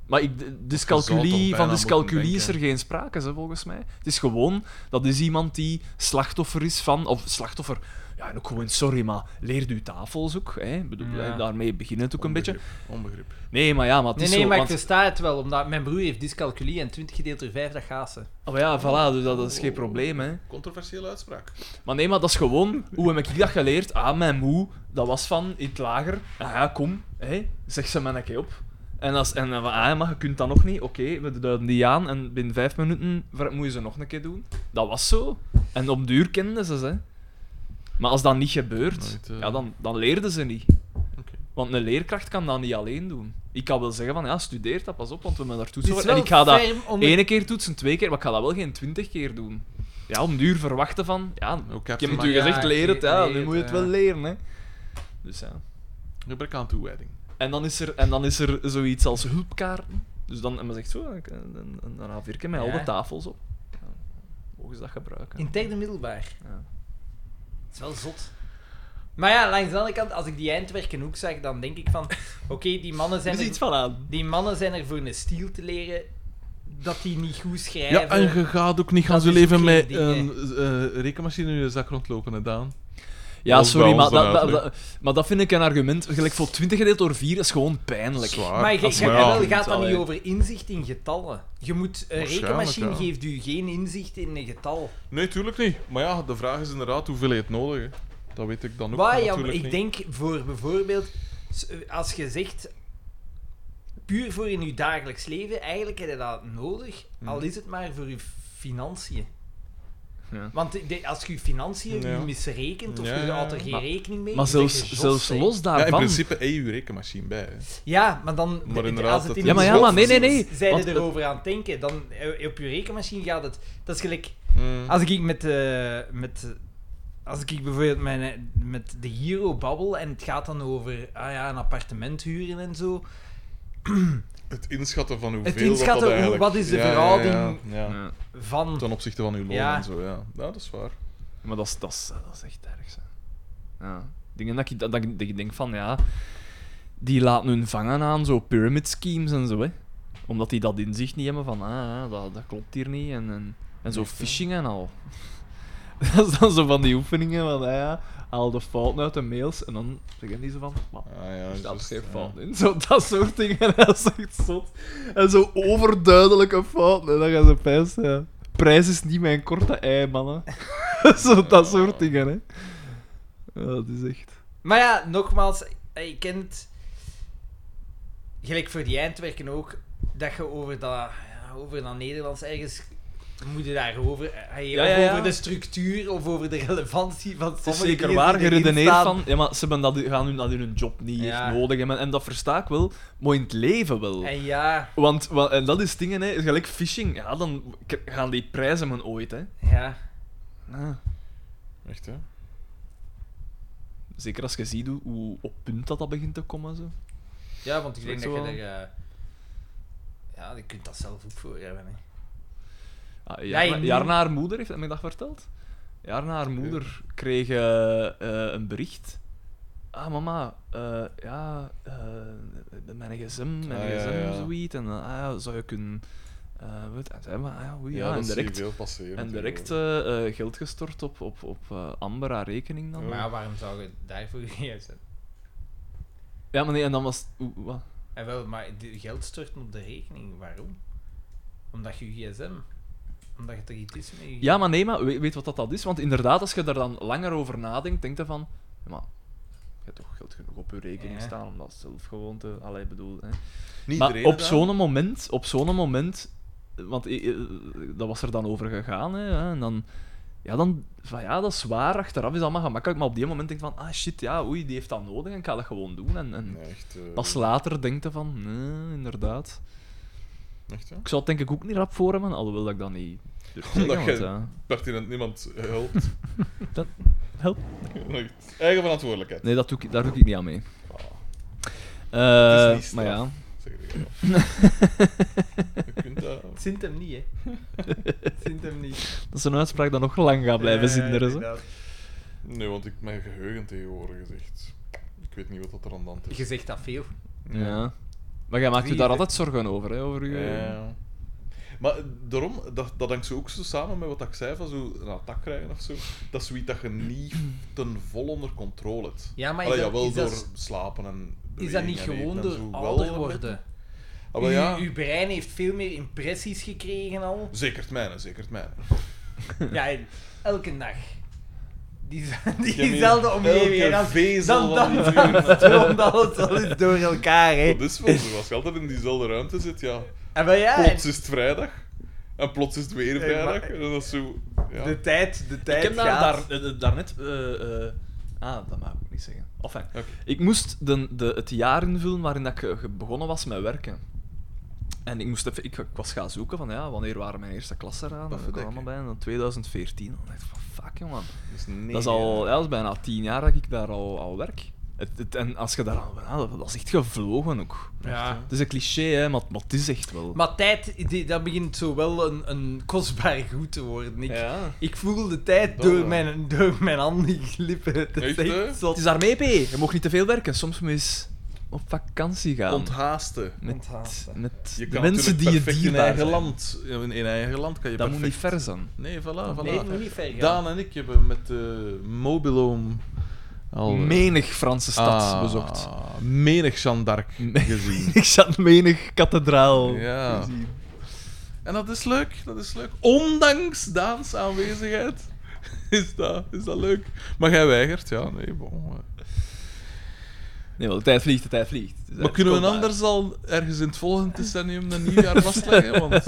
C: Maar ik, d- dyscalculie,
B: bijna
C: van
B: moeten
C: dyscalculie is er
B: denken.
C: geen sprake, hè, volgens mij. Het is gewoon, dat is iemand die slachtoffer is van... Of slachtoffer... Ja, en ook gewoon, sorry, maar leer u tafels ook. Hè? Ik Bedoel,
A: Ja.
C: eh, Daarmee beginnen het ook een beetje.
B: Onbegrip.
C: Nee, maar ja, maar het
A: Nee,
C: is
A: nee,
C: zo...
A: maar
C: want-
A: ik versta het wel, omdat mijn broer heeft dyscalculie en 20 gedeeld door 5, dat gaat ze.
C: Ah, maar ja, voilà, dus dat, dat is geen probleem, hè.
B: Controversiële uitspraak.
C: Maar nee, maar dat is gewoon... <laughs> Hoe heb ik dat geleerd? Ah, mijn moe, dat was van in het lager. Ah ja, kom, hè, zeg ze mij een keer op. En, als, en dan van, ah ja, maar je kunt dat nog niet. Oké, we duiden die aan en binnen vijf minuten ver- moet je ze nog een keer doen. Dat was zo. En op duur kenden ze ze. Maar als dat niet gebeurt,
B: Nooit, eh.
C: ja, dan, dan leerden ze niet.
B: Oké.
C: Want een leerkracht kan dat niet alleen doen. Ik kan wel zeggen van, ja, studeer dat, pas op, want we hebben daar
A: Het
C: toetsen
A: is
C: voor. En
A: wel
C: ik ga dat
A: ferm om...
C: Eén keer toetsen, twee keer, maar ik ga dat wel geen twintig keer doen. Ja, om duur verwachten van... Ja,
B: Ook
C: ik heb
B: heb
C: het
B: je
C: u
A: maar ja,
C: gezegd, leer het, ja,
A: leer
C: nu
A: het,
C: moet je het
A: ja.
C: wel leren, hè. Dus ja.
B: gebrek aan toewijding.
C: En dan is er, en dan is er zoiets als hulpkaarten. Dus dan, en men zegt zo, ik- een, een, een A4'tje met
A: Ja.
C: al de tafels op. Ja, mogen ze dat gebruiken.
A: In het derde middelbaar.
C: Ja.
A: Dat is wel zot. Maar ja, langs de andere kant, als ik die eindwerken ook zag, dan denk ik van...
C: <laughs>
A: Oké, die mannen
C: Er
A: zijn
C: is
A: er
C: iets van aan.
A: Die mannen zijn er voor een stiel te leren dat die niet goed schrijven.
B: Ja, en je gaat ook niet gaan
A: Dat
B: zo
A: is
B: leven
A: geen
B: met
A: ding,
B: een eh, rekenmachine in je zak rondlopen, hè, Daan.
C: Ja,
B: Dat is
C: sorry,
B: bij
C: maar
B: ons
C: dat,
B: dan
C: dat,
B: uitleg.
C: dat- maar dat vind ik een argument. Gelijk voor 20 gedeeld door 4 is gewoon pijnlijk.
B: Zwaar.
A: maar je,
B: Ah, Dat is
A: je-
B: maar
A: jawel,
B: ja.
A: gaat dat
C: Allee.
A: niet over inzicht in getallen. Je moet, een
B: Waarschijnlijk,
A: rekenmachine
B: ja.
A: geeft u geen inzicht in een getal.
B: Nee, tuurlijk niet. Maar ja, de vraag is inderdaad hoeveel je het nodig hebt. Dat weet ik dan ook
A: Waar, ja,
B: natuurlijk
A: ik
B: niet.
A: denk voor bijvoorbeeld, s- als je zegt, puur voor in je dagelijks leven, eigenlijk heb je dat nodig, al
B: Mhm.
A: is het maar voor je financiën.
C: Ja.
A: Want de- als je je financiën
B: Ja.
A: misrekent of
B: Ja,
A: je
B: ja,
A: houdt er
B: ja.
A: geen
C: Maar-
A: rekening mee,
C: Maar
A: dan ben je
C: zelfs,
A: zot,
C: zelfs
A: hè.
C: los
B: Ja, in
C: daarvan...
B: princine heb je je rekenmachine bij. hè.
A: Ja, maar dan...
B: Maar inderdaad,
A: als het
B: dat
A: in
B: is-
C: ja, maar ja,
A: de-
C: maar nee, nee, nee.
A: Zij
C: Want
A: er erover aan het denken, dan eh, op je rekenmachine gaat het. Dat is gelijk.
C: Hm.
B: Mm.
A: Als ik met, eh, met eh, als ik bijvoorbeeld mijn, eh, met de Hero babbel en het gaat dan over ah ja, een appartement huren en zo.
B: Het inschatten van hoeveel dat,
A: inschatten
B: dat
A: hoe-
B: eigenlijk...
A: wat is de
B: Ja, ja,
A: verhouding?
B: Ja, ja.
C: Ja.
A: Van
B: Ten opzichte van uw loon
A: Ja.
B: en zo, ja. Ja, dat is waar.
C: Maar dat is, dat is, dat is echt erg, zo. Ja. Dingen dat ik, dat, dat ik- dat ik denk van, ja... Die laten hun vangen aan zo pyramid schemes en zo, hè. Omdat die dat inzicht niet hebben van, ah, ja, dat, dat klopt hier niet. En, en, en zo phishing en al. <laughs> Dat is dan zo van die oefeningen van, ah, ja, haal de fouten uit de mails. En dan zeggen die zo van, wat?
B: Ah, ja,
C: Er staat
B: juist,
C: geen
B: ja.
C: fout in. Zo, dat soort dingen, <laughs> dat is echt zot. En zo overduidelijke fouten, en dan gaan ze pijs, ja. Prijs is niet mijn korte ei, mannen. <laughs> zo, dat soort dingen, hè. Ja, dat is echt...
A: Maar ja, nogmaals, eh, je kent. Gelijk voor die eindwerken ook, dat je over dat, ja, over dat Nederlands ergens. Moet je daarover. eh,
C: Ja,
A: of
C: ja, ja.
A: over de structuur of over de relevantie van
C: Het is
A: sommige
C: zeker
A: dingen
C: waar
A: die erin
C: geredeneerd
A: staan.
C: van... Ja, maar ze hebben dat, gaan hun, dat hun job niet
A: Ja.
C: echt nodig hebben. En dat versta ik wel, maar in het leven wel.
A: En ja,
C: Want, wa- en dat is dingen, hè. Gelijk phishing, ja, dan k- gaan die prijzen men ooit, hè. Ah,
A: ja.
C: Ja.
B: Echt, hè?
C: Zeker als je ziet hoe, hoe op punt dat dat begint te komen, zo.
A: Ja, want ik
C: Is dat
A: denk dat je
C: zo?
A: er... eh, ja, je kunt dat zelf ook voor hebben. Hè.
C: Ah,
A: Ja,
C: jaar,
A: je
C: na-
A: moet-
C: jaar na haar moeder, heeft hij me dat verteld? Jaar na haar moeder kreeg eh, eh, een bericht. Ah, mama, eh, ja, eh, mijn gsm, mijn
B: Ah, ja,
C: gsm,
B: ja.
C: zoiets. En dan, ah, ja, zou je kunnen... eh wat, en zei, maar, ah, ja, oei,
B: Ja,
C: ja, en
B: dat zie je
C: direct,
B: veel passeren.
C: en direct
B: tegenwoordig.
C: eh, eh, geld gestort op, op, op eh, Amber, haar rekening dan.
A: Maar ja, waarom zou je daarvoor <laughs> juist zijn?
C: Ja, maar nee, en dan was... het- oeh, wat?
A: En wel, maar de- geld storten op de rekening, waarom? Omdat je je gsm... Omdat je er iets is mee...
C: Ja, maar nee, maar weet, weet wat dat, dat is? Want inderdaad, als je daar dan langer over nadenkt, denk je van... ja, maar je hebt toch geld genoeg op je rekening
A: Ja.
C: staan om dat zelf gewoon te... Allee, bedoel, hè.
B: Niet
C: Maar
B: iedereen
C: op
B: daar.
C: zo'n moment, op zo'n moment, want eh, eh, dat was er dan over gegaan, hè, ja, en dan, ja, dan, van ja, dat is waar, achteraf is allemaal gemakkelijk, maar op die moment denk je van, ah shit, ja, oei, die heeft dat nodig en ik ga dat gewoon doen. En, en
B: Nee, echt, eh,
C: pas later denk je van, nee, inderdaad.
B: echt, hè?
C: Ik zou het denk ik ook niet rap voor hebben, alhoewel dat ik dat niet durf
B: <laughs>
C: te
B: Omdat
C: zeggen, want,
B: je-
C: ja.
B: Pertinent niemand
A: <laughs>
B: helpt.
C: Dat-
B: <laughs>
C: help.
B: Echt. Eigen verantwoordelijkheid.
C: Nee, dat doe ik, daar doe ik niet aan mee.
B: Ah,
C: Eh,
B: Het is niet
C: maar ja. <laughs>
B: zeg ik wel. Je kunt dat...
A: Het zint hem niet, hè. Het zint hem niet.
C: Dat is een uitspraak <laughs> dat nog lang gaat blijven zinderen. zo.
B: Nee, want ik, mijn geheugen tegenwoordig is echt... Ik weet niet wat dat er aan de hand is.
A: Je zegt dat veel.
C: Ja. Maar jij maakt je
A: Wie-
C: daar altijd zorgen over, hè? Over je...
B: Ja. Maar daarom, dat, dat hangt zo ook zo samen met wat ik zei van zo een attack krijgen of zo. Dat is zoiets dat je niet ten vol onder controle hebt.
A: Ja, maar is
B: Allee,
A: dat-
B: jawel,
A: is
B: door
A: dat-
B: slapen en
A: Is dat
B: bewegen
A: niet
B: en eten
A: gewoon
B: en
A: door
B: zo wel
A: ouder
B: een beetje.
A: worden?
B: Ah, wel ja.
A: Uw, uw brein heeft veel meer impressies gekregen al.
B: Zeker het mijne, zeker het mijne.
A: <laughs> Ja, en elke dag. Die, <laughs>
B: Ja,
A: diezelfde
B: elke
A: omgeving. en dan-
B: vezel
A: dan-
B: van
A: dan-
B: die vuur.
A: stroomt alles wel eens door elkaar, hè.
B: Dat is wel zo. Als je altijd in diezelfde ruimte zit, ja.
A: En maar Ah, ja, en
B: Plots is het vrijdag. En plots is het weer
A: Eh, maar-
B: vrijdag. En dan is zo... Ja.
A: de tijd, de tijd
C: Ik heb daar,
A: gaat.
C: daar, eh, eh, daarnet... eh, eh, ah, dat mag ik ook niet zeggen. Enfin,
B: Oké.
C: ik moest de, de, het jaar invullen waarin dat ik eh, ge- begonnen was met werken. En ik, moest even, ik, ik was gaan zoeken van, ja, wanneer waren mijn eerste klassen eraan? Dat kwam
B: Pafferdekker.
C: allemaal bij. En dan 2014. Dan dacht ik van, fuck, jongen.
B: Dat is, eh, negen
C: dat, is
B: jaar.
C: al, ja, dat is bijna tien jaar dat ik daar al, al werk. Het, het- en als je daar aan benadert, dat is echt gevlogen ook.
A: Ja.
C: Het is een cliché, hè, maar, maar het is echt wel.
A: Dus- Maar tijd, die, dat begint zo wel een, een kostbaar goed te worden. Ik,
C: ja.
A: ik voel de tijd
B: Dat
A: door
B: wel.
A: mijn, door mijn handen glippen. Dat is
B: Echt,
A: echt
B: hè?
A: zot.
C: Het is daarmee, P. Je mag niet te veel werken. Soms moet je eens op vakantie gaan.
B: Onthaasten.
C: met
A: Onthaasten.
C: met
B: Je
C: de
B: kan
C: mensen die je
B: natuurlijk perfect in
C: dierbaar
B: eigen
C: zijn.
B: land. ja, In, in eigen land kan je
C: Dat moet niet
B: perfect...
C: ver zijn.
B: Nee, voilà, voilà.
A: Nee, moet niet ver gaan.
B: Daan en ik hebben met de Mobiloom al... eh,
C: Menig Franse stad
B: ah,
C: bezocht. <laughs>
B: Menig Jeanne d'Arc gezien.
C: Ik zat menig kathedraal.
B: Ja. En dat is leuk, dat is leuk. Ondanks Daans aanwezigheid <laughs> is dat, is dat leuk. Maar jij weigert, ja, nee, bon. eh.
C: Nee, wel, de tijd vliegt, de tijd vliegt. Het is
B: Maar kunnen we
C: uitkombaar.
B: anders al ergens in het volgende decennium een nieuw jaar vastleggen?
C: <laughs>
B: Want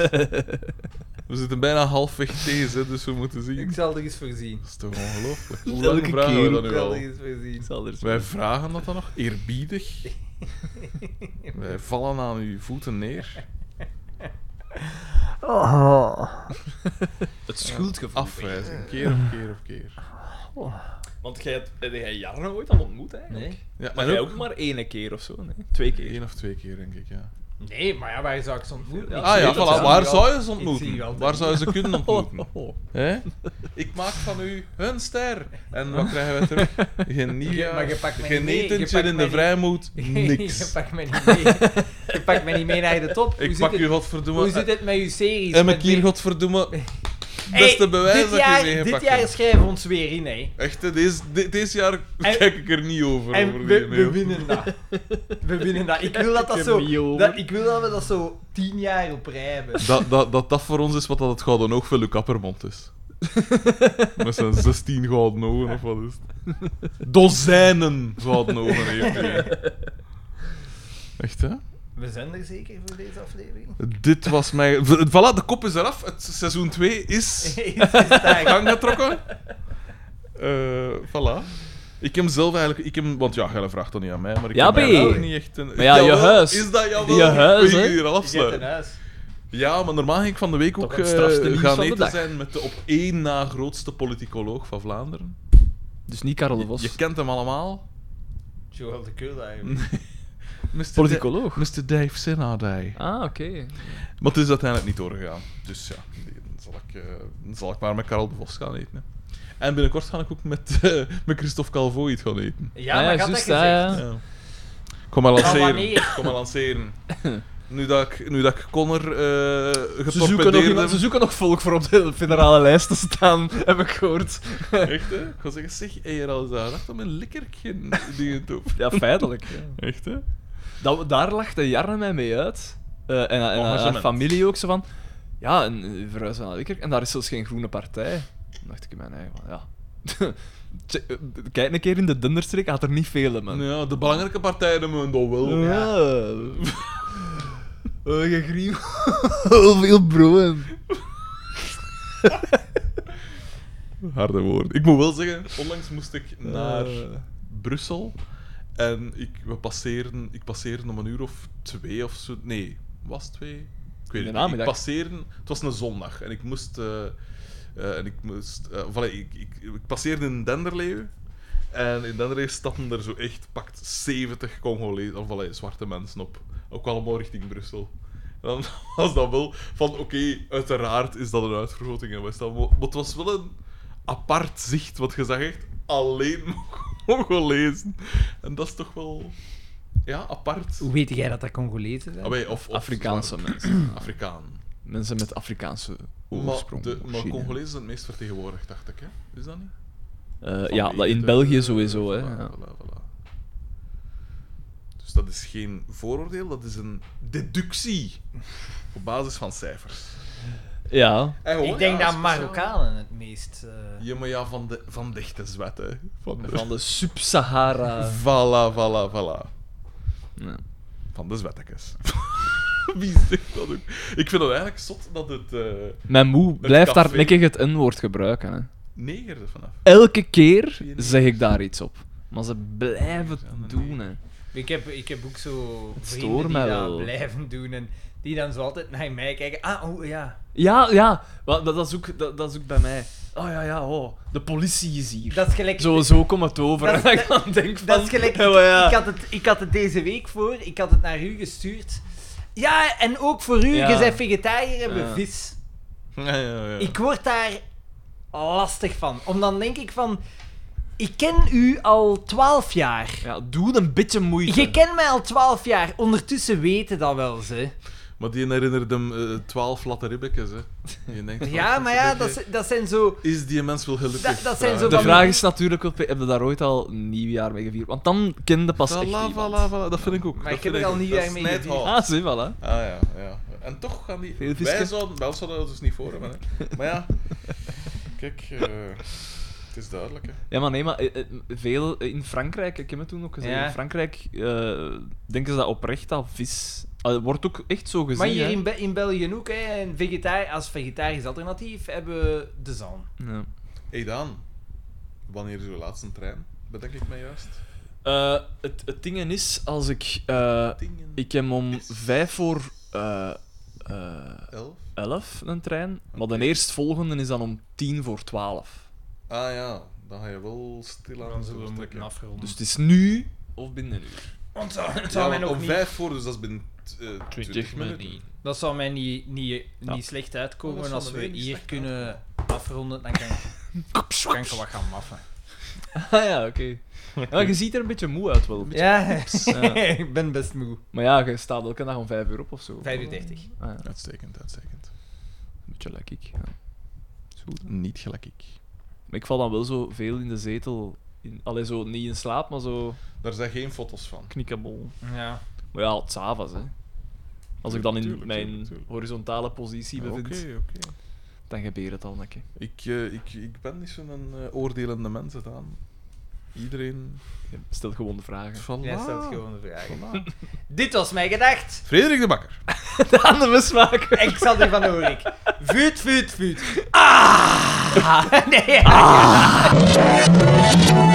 B: we zitten bijna halfweg deze, dus we moeten zien.
A: Ik zal er eens voorzien.
B: Dat is toch
C: <laughs>
B: ongelooflijk? Hoe
C: Elke
B: lang vragen we
A: Ik
B: dat nu
C: keer
A: zal
B: al?
A: er eens voorzien.
C: Ik zal er eens-
B: Wij vragen dat dan nog, eerbiedig. Wij vallen aan uw voeten neer.
C: Het schuldgevoel.
B: Afwijzing, keer op keer op keer.
C: Want jij hebt heb jij Jarno ooit al ontmoet, hè?
A: Nee.
B: Ja,
C: Maar
B: en
C: jij
B: ook
C: ook maar éene keer of zo, nee? Twee keer.
B: één of twee keer, denk ik, ja.
A: Nee, maar ja, waar zou ik ze ontmoeten?
C: Ja.
A: Ik
B: Ah
A: zie
B: ja,
A: dat
B: voilà.
A: ze al-
B: Waar zou je ze
A: ik zie wel
B: ontmoeten?
A: dat-
B: Waar zou je ze
A: <laughs>
B: kunnen ontmoeten?
C: Oh.
B: Hè? Ik maak van u een ster. En wat krijgen we terug?
A: <laughs>
B: Geen
A: Je-
B: nieuwjaar,
A: Maar je pakt mij
B: geen
A: niet mee. Je
B: etentje
A: pakt
B: in
A: mij
B: de
A: niet- <laughs>
B: vrijmoed,
A: <laughs> je
B: niks.
A: pakt mij niet mee. Je pakt mij niet mee naar de top. hoe
B: <laughs> Ik
A: zit
B: pak
A: het-
B: u
A: Hoe zit
B: godverdomme...
A: het met uw series?
B: En ik
A: Met
B: hier
A: die-
B: godverdomme...
A: Hey,
B: Beste bewijs
A: dit
B: dat je
A: jaar,
B: meegepakt
A: Dit jaar
B: hebt.
A: schrijven we ons weer in, hè.
B: Echt, hè, deze, de- deze jaar
A: En-
B: kijk ik er niet over. over
A: En
B: die
A: we, we
B: mail.
A: winnen dat. We winnen dat. Ik wil dat, dat,
C: heb niet
A: zo,
C: over.
A: dat, ik wil dat we dat zo tien jaar op rij hebben.
B: dat, dat, dat dat voor ons is wat dat het gouden oog van Luc Appermond
A: <laughs>
B: is. Met zijn 16 gouden ogen, of wat is het? Dozijnen gouden ogen heeft hij. Echt, hè?
A: We zijn er zeker voor deze aflevering. <laughs>
B: Dit was mijn... V- Voilà, de kop is eraf. Het seizoen 2 is <laughs> gang getrokken. Eh voilà. Ik heb zelf eigenlijk... Ik heb, want ja, jij vraagt dat niet aan mij, maar ik
C: Ja,
B: heb
C: P.
B: eigenlijk niet echt een...
C: Maar ja, je
B: Jawel,
C: huis.
B: Is dat jouw wel?
C: Je huis,
B: Moet je
C: hè?
B: hier al
A: Je hebt een
B: afsluiten?
A: huis.
B: Ja, maar normaal ging ik van de week ook
C: Toch het
B: eh,
C: strafste nieuws
B: gaan
C: van de
B: eten
C: dag.
B: zijn met de op één na grootste politicoloog van Vlaanderen.
C: Dus niet Karel de Vos.
B: Je kent hem allemaal. <laughs>
A: Joel de Keul
B: Mm.
A: eigenlijk.
B: Mr.
C: Politicoloog.
B: Da- Mr. Dave Sinadij.
C: Ah, oké.
B: Maar het is uiteindelijk niet doorgegaan. Dus ja, nee, dan zal ik, eh, dan zal ik maar met Karel de Vos gaan eten. hè. En binnenkort ga ik ook met, eh, met Christophe Calvo iets gaan eten.
A: Ja,
C: Ah,
A: maar gaat dat
C: juist,
A: gezegd?
C: ah, ja.
B: Ja. Kom maar lanceren.
A: wanneer?
B: Kom maar lanceren. Nu dat ik, nu dat ik Connor eh
C: Ze zoeken, nog,
B: getorpedeerd
C: iemand-
B: heb...
C: ze zoeken nog volk voor op de federale lijst te staan, <laughs> heb ik gehoord.
B: Echt, hè? Ik ga zeggen, zeg, hey, er al is daar achter mijn likkerkin dingen toe.
C: Ja, feitelijk. ja.
B: Echt, hè?
C: Dat, daar lachte Jarne mij mee uit. Eh, en en haar
B: Engagement.
C: familie ook zo van. Ja, en eh, verhuizen naar Likkerk. En daar is zelfs geen groene partij. Dan dacht ik in mijn eigen van, ja. <laughs> Tje, eh, Kijk een keer in de dunderstreek, had er niet veel, man.
B: Ja, de belangrijke partijen hebben we dan wel.
C: Ja. <laughs> Oh, je griem. <laughs> Oh, veel broen.
B: Harde woorden. Ik moet wel zeggen, onlangs moest ik naar Brussel. En ik, we passeerden, ik passeerde om een uur of twee of zo. Nee, was het twee? Ik weet
C: In de
B: het niet. Ik
C: namiddag.
B: passeerde, het was een zondag. En ik moest... eh, eh, en ik moest... eh, of allee, ik, ik, ik passeerde in Denderleeuw. En in Denderleeuw stappen er zo echt pakt 70 Congolezen, of allee, zwarte mensen op. Ook allemaal richting Brussel. En <laughs> dan was dat wel van, oké, uiteraard is dat een uitvergroting in West-Ham. Maar maar het was wel een apart zicht, want je zag echt alleen <laughs> Congolezen. En dat is toch wel... Ja, apart.
A: Hoe weet jij dat dat Congolezen zijn?
B: Allee, of, of
C: Afrikaanse mensen.
B: zwart- <clears throat> Afrikaan.
C: Mensen met Afrikaanse
B: Maar,
C: oorsprong.
B: de,
C: of
B: maar
C: China.
B: Congolezen zijn het meest vertegenwoordigd, dacht ik. Hè? Is dat niet?
C: Eh,
B: Van eh,
C: ja,
B: wie
C: dat in
B: de-
C: België sowieso, hè.
B: Voilà,
C: ja.
B: voilà, voilà. Dus dat is geen vooroordeel, dat is een deductie op basis van cijfers.
C: Ja.
B: En gewoon,
A: Ik denk
B: ja,
A: dat
B: speciaal.
A: Marokkanen het meest... eh,
B: Ja, maar ja, van, de, van dichte zwet, hè. Van de...
C: Van
A: <laughs>
C: de eh, Sub-Sahara.
B: Voilà, voilà, voilà.
C: Ja.
B: Van de zwettekes. <laughs> Wie zegt dat ook? Ik vind het eigenlijk zot dat het eh
C: Mijn moe blijft
B: café.
C: hardnekkig het N-woord gebruiken. Hè.
B: neger er vanaf.
C: Elke keer
B: Zie je niet?
C: zeg ik daar iets op. Maar ze blijven het
B: Ja, nee.
C: doen. Hè.
A: Ik heb, ik heb ook zo
C: Het
A: vrienden
C: stoort
A: die
C: mij
A: dat
C: wel.
A: blijven doen en die dan zo altijd naar mij kijken. Ah, oh ja.
C: Ja, ja. Wel, dat, dat, is ook, dat, dat is ook bij mij. Oh ja, ja, oh. De politie is hier.
A: Dat is gelijk...
C: Zo, zo komt het over.
A: Dat is-
C: <laughs> en ik dan denk van...
A: Dat is gelijk.
C: oh, <laughs> ja.
A: Ik, had het, ik had het deze week voor, ik had het naar u gestuurd. Ja, en ook voor u,
C: Ja.
A: je bent vegetariër en we
C: Ja.
A: vis.
B: Ja, ja, ja.
A: Ik word daar lastig van. Om dan denk ik van... Ik ken u al twaalf jaar.
C: Ja, doe een beetje moeite.
A: Je kent mij al twaalf jaar. Ondertussen weten dat wel ze.
B: Maar die herinnert hem eh, 12 latte ribbekjes, hè. Je denkt, van,
A: Ja, maar ja,
B: een
A: dat,
B: beetje,
A: is- dat zijn zo...
B: Is die mens wel gelukkig?
A: Dat- dat zijn
B: vraag.
A: zo
C: De
A: van-
C: vraag is natuurlijk, wel, heb je daar ooit al nieuwjaar mee gevierd? Want dan kende pas echt
B: Voilà,
C: iemand.
B: voilà, voilà, dat vind ik ook.
A: Maar
B: dat
A: ik heb
B: vind
A: er al
B: ook.
A: niet
B: Dat
A: erg mee
B: snijdt
A: gevierd.
B: hout.
C: Ah, zie, voilà.
B: Ah ja, ja. En toch gaan die...
C: Veel
B: wij
C: visken.
B: zouden... Wel zouden dat dus niet voor hebben, hè. Maar
C: <laughs>
B: ja... Kijk, eh, het is duidelijk, hè.
C: Ja, maar nee, maar eh, eh, veel in Frankrijk, ik heb het toen ook gezegd,
A: Ja.
C: in Frankrijk eh, denken ze dat oprecht dat vis... Ah, dat wordt ook echt zo gezien,
A: Maar hier
C: hè.
A: in, Be- in België ook, hè, en vegetari als vegetarisch alternatief hebben we de zalm.
C: Ja.
B: Hey Daan, wanneer is uw laatste trein? Bedenk ik mij juist.
C: Eh, het, het ding is, als ik... eh,
B: Dingen.
C: ik heb om vijf voor eh, eh,
B: Elf?
C: elf een trein, maar
B: Oké.
C: de eerstvolgende is dan om tien voor twaalf.
B: Ah ja, dan ga je wel stil aan
A: Dan zullen we
B: doortrekken.
A: moeten afgerond.
C: Dus het is nu of binnen een uur.
A: Want dat, dat
B: Ja,
A: zou mij
B: want
A: nog
B: om
A: niet...
B: vijf voor, dus dat is binnen t- eh, 20, minuten.
A: Dat zou mij niet, niet,
C: Ja.
A: niet slecht uitkomen.
B: Oh, dat zou
A: als
B: mij
A: we
B: niet
A: hier
B: slecht
A: kunnen afronden, dan <laughs> kan, kan ik wat gaan maffen.
C: Ah <laughs> ja, oké. Ja, je ziet er een beetje moe uit wel.
A: Ja, <laughs>
C: Ja.
A: ik ben best moe.
C: Maar ja, je staat elke dag om 5 uur op of zo.
A: 5 uur 30.
C: Ah, ja.
B: Uitstekend, uitstekend.
C: Een beetje lekker. Ja. Is goed.
B: Niet gelijk ik.
C: Maar ik val dan wel zo veel in de zetel. In, allee, zo niet in slaap, maar zo
B: Daar zijn geen foto's van.
C: knikkenbol.
A: Ja.
C: Maar ja, het is avonds, hè. Als ik dan in
B: Tuurlijk,
C: mijn
B: tuurlijk, tuurlijk.
C: horizontale positie
B: Oké,
C: bevind,
B: oké.
C: dan gebeurt het al een keer.
B: Ik, eh, ik, ik ben niet zo'n eh, oordelende mens, Daan. Iedereen...
C: Je stelt gewoon de vragen.
B: Voilà.
A: Jij stelt gewoon de vraag.
B: Voilà.
A: <laughs> Dit was mijn gedacht.
B: Frederik de Bakker.
C: Aan de mismaken!
A: Ik zal die van Orik.
D: <laughs>
A: <laughs> Vuut, vuut, vuut. Ah! Nee.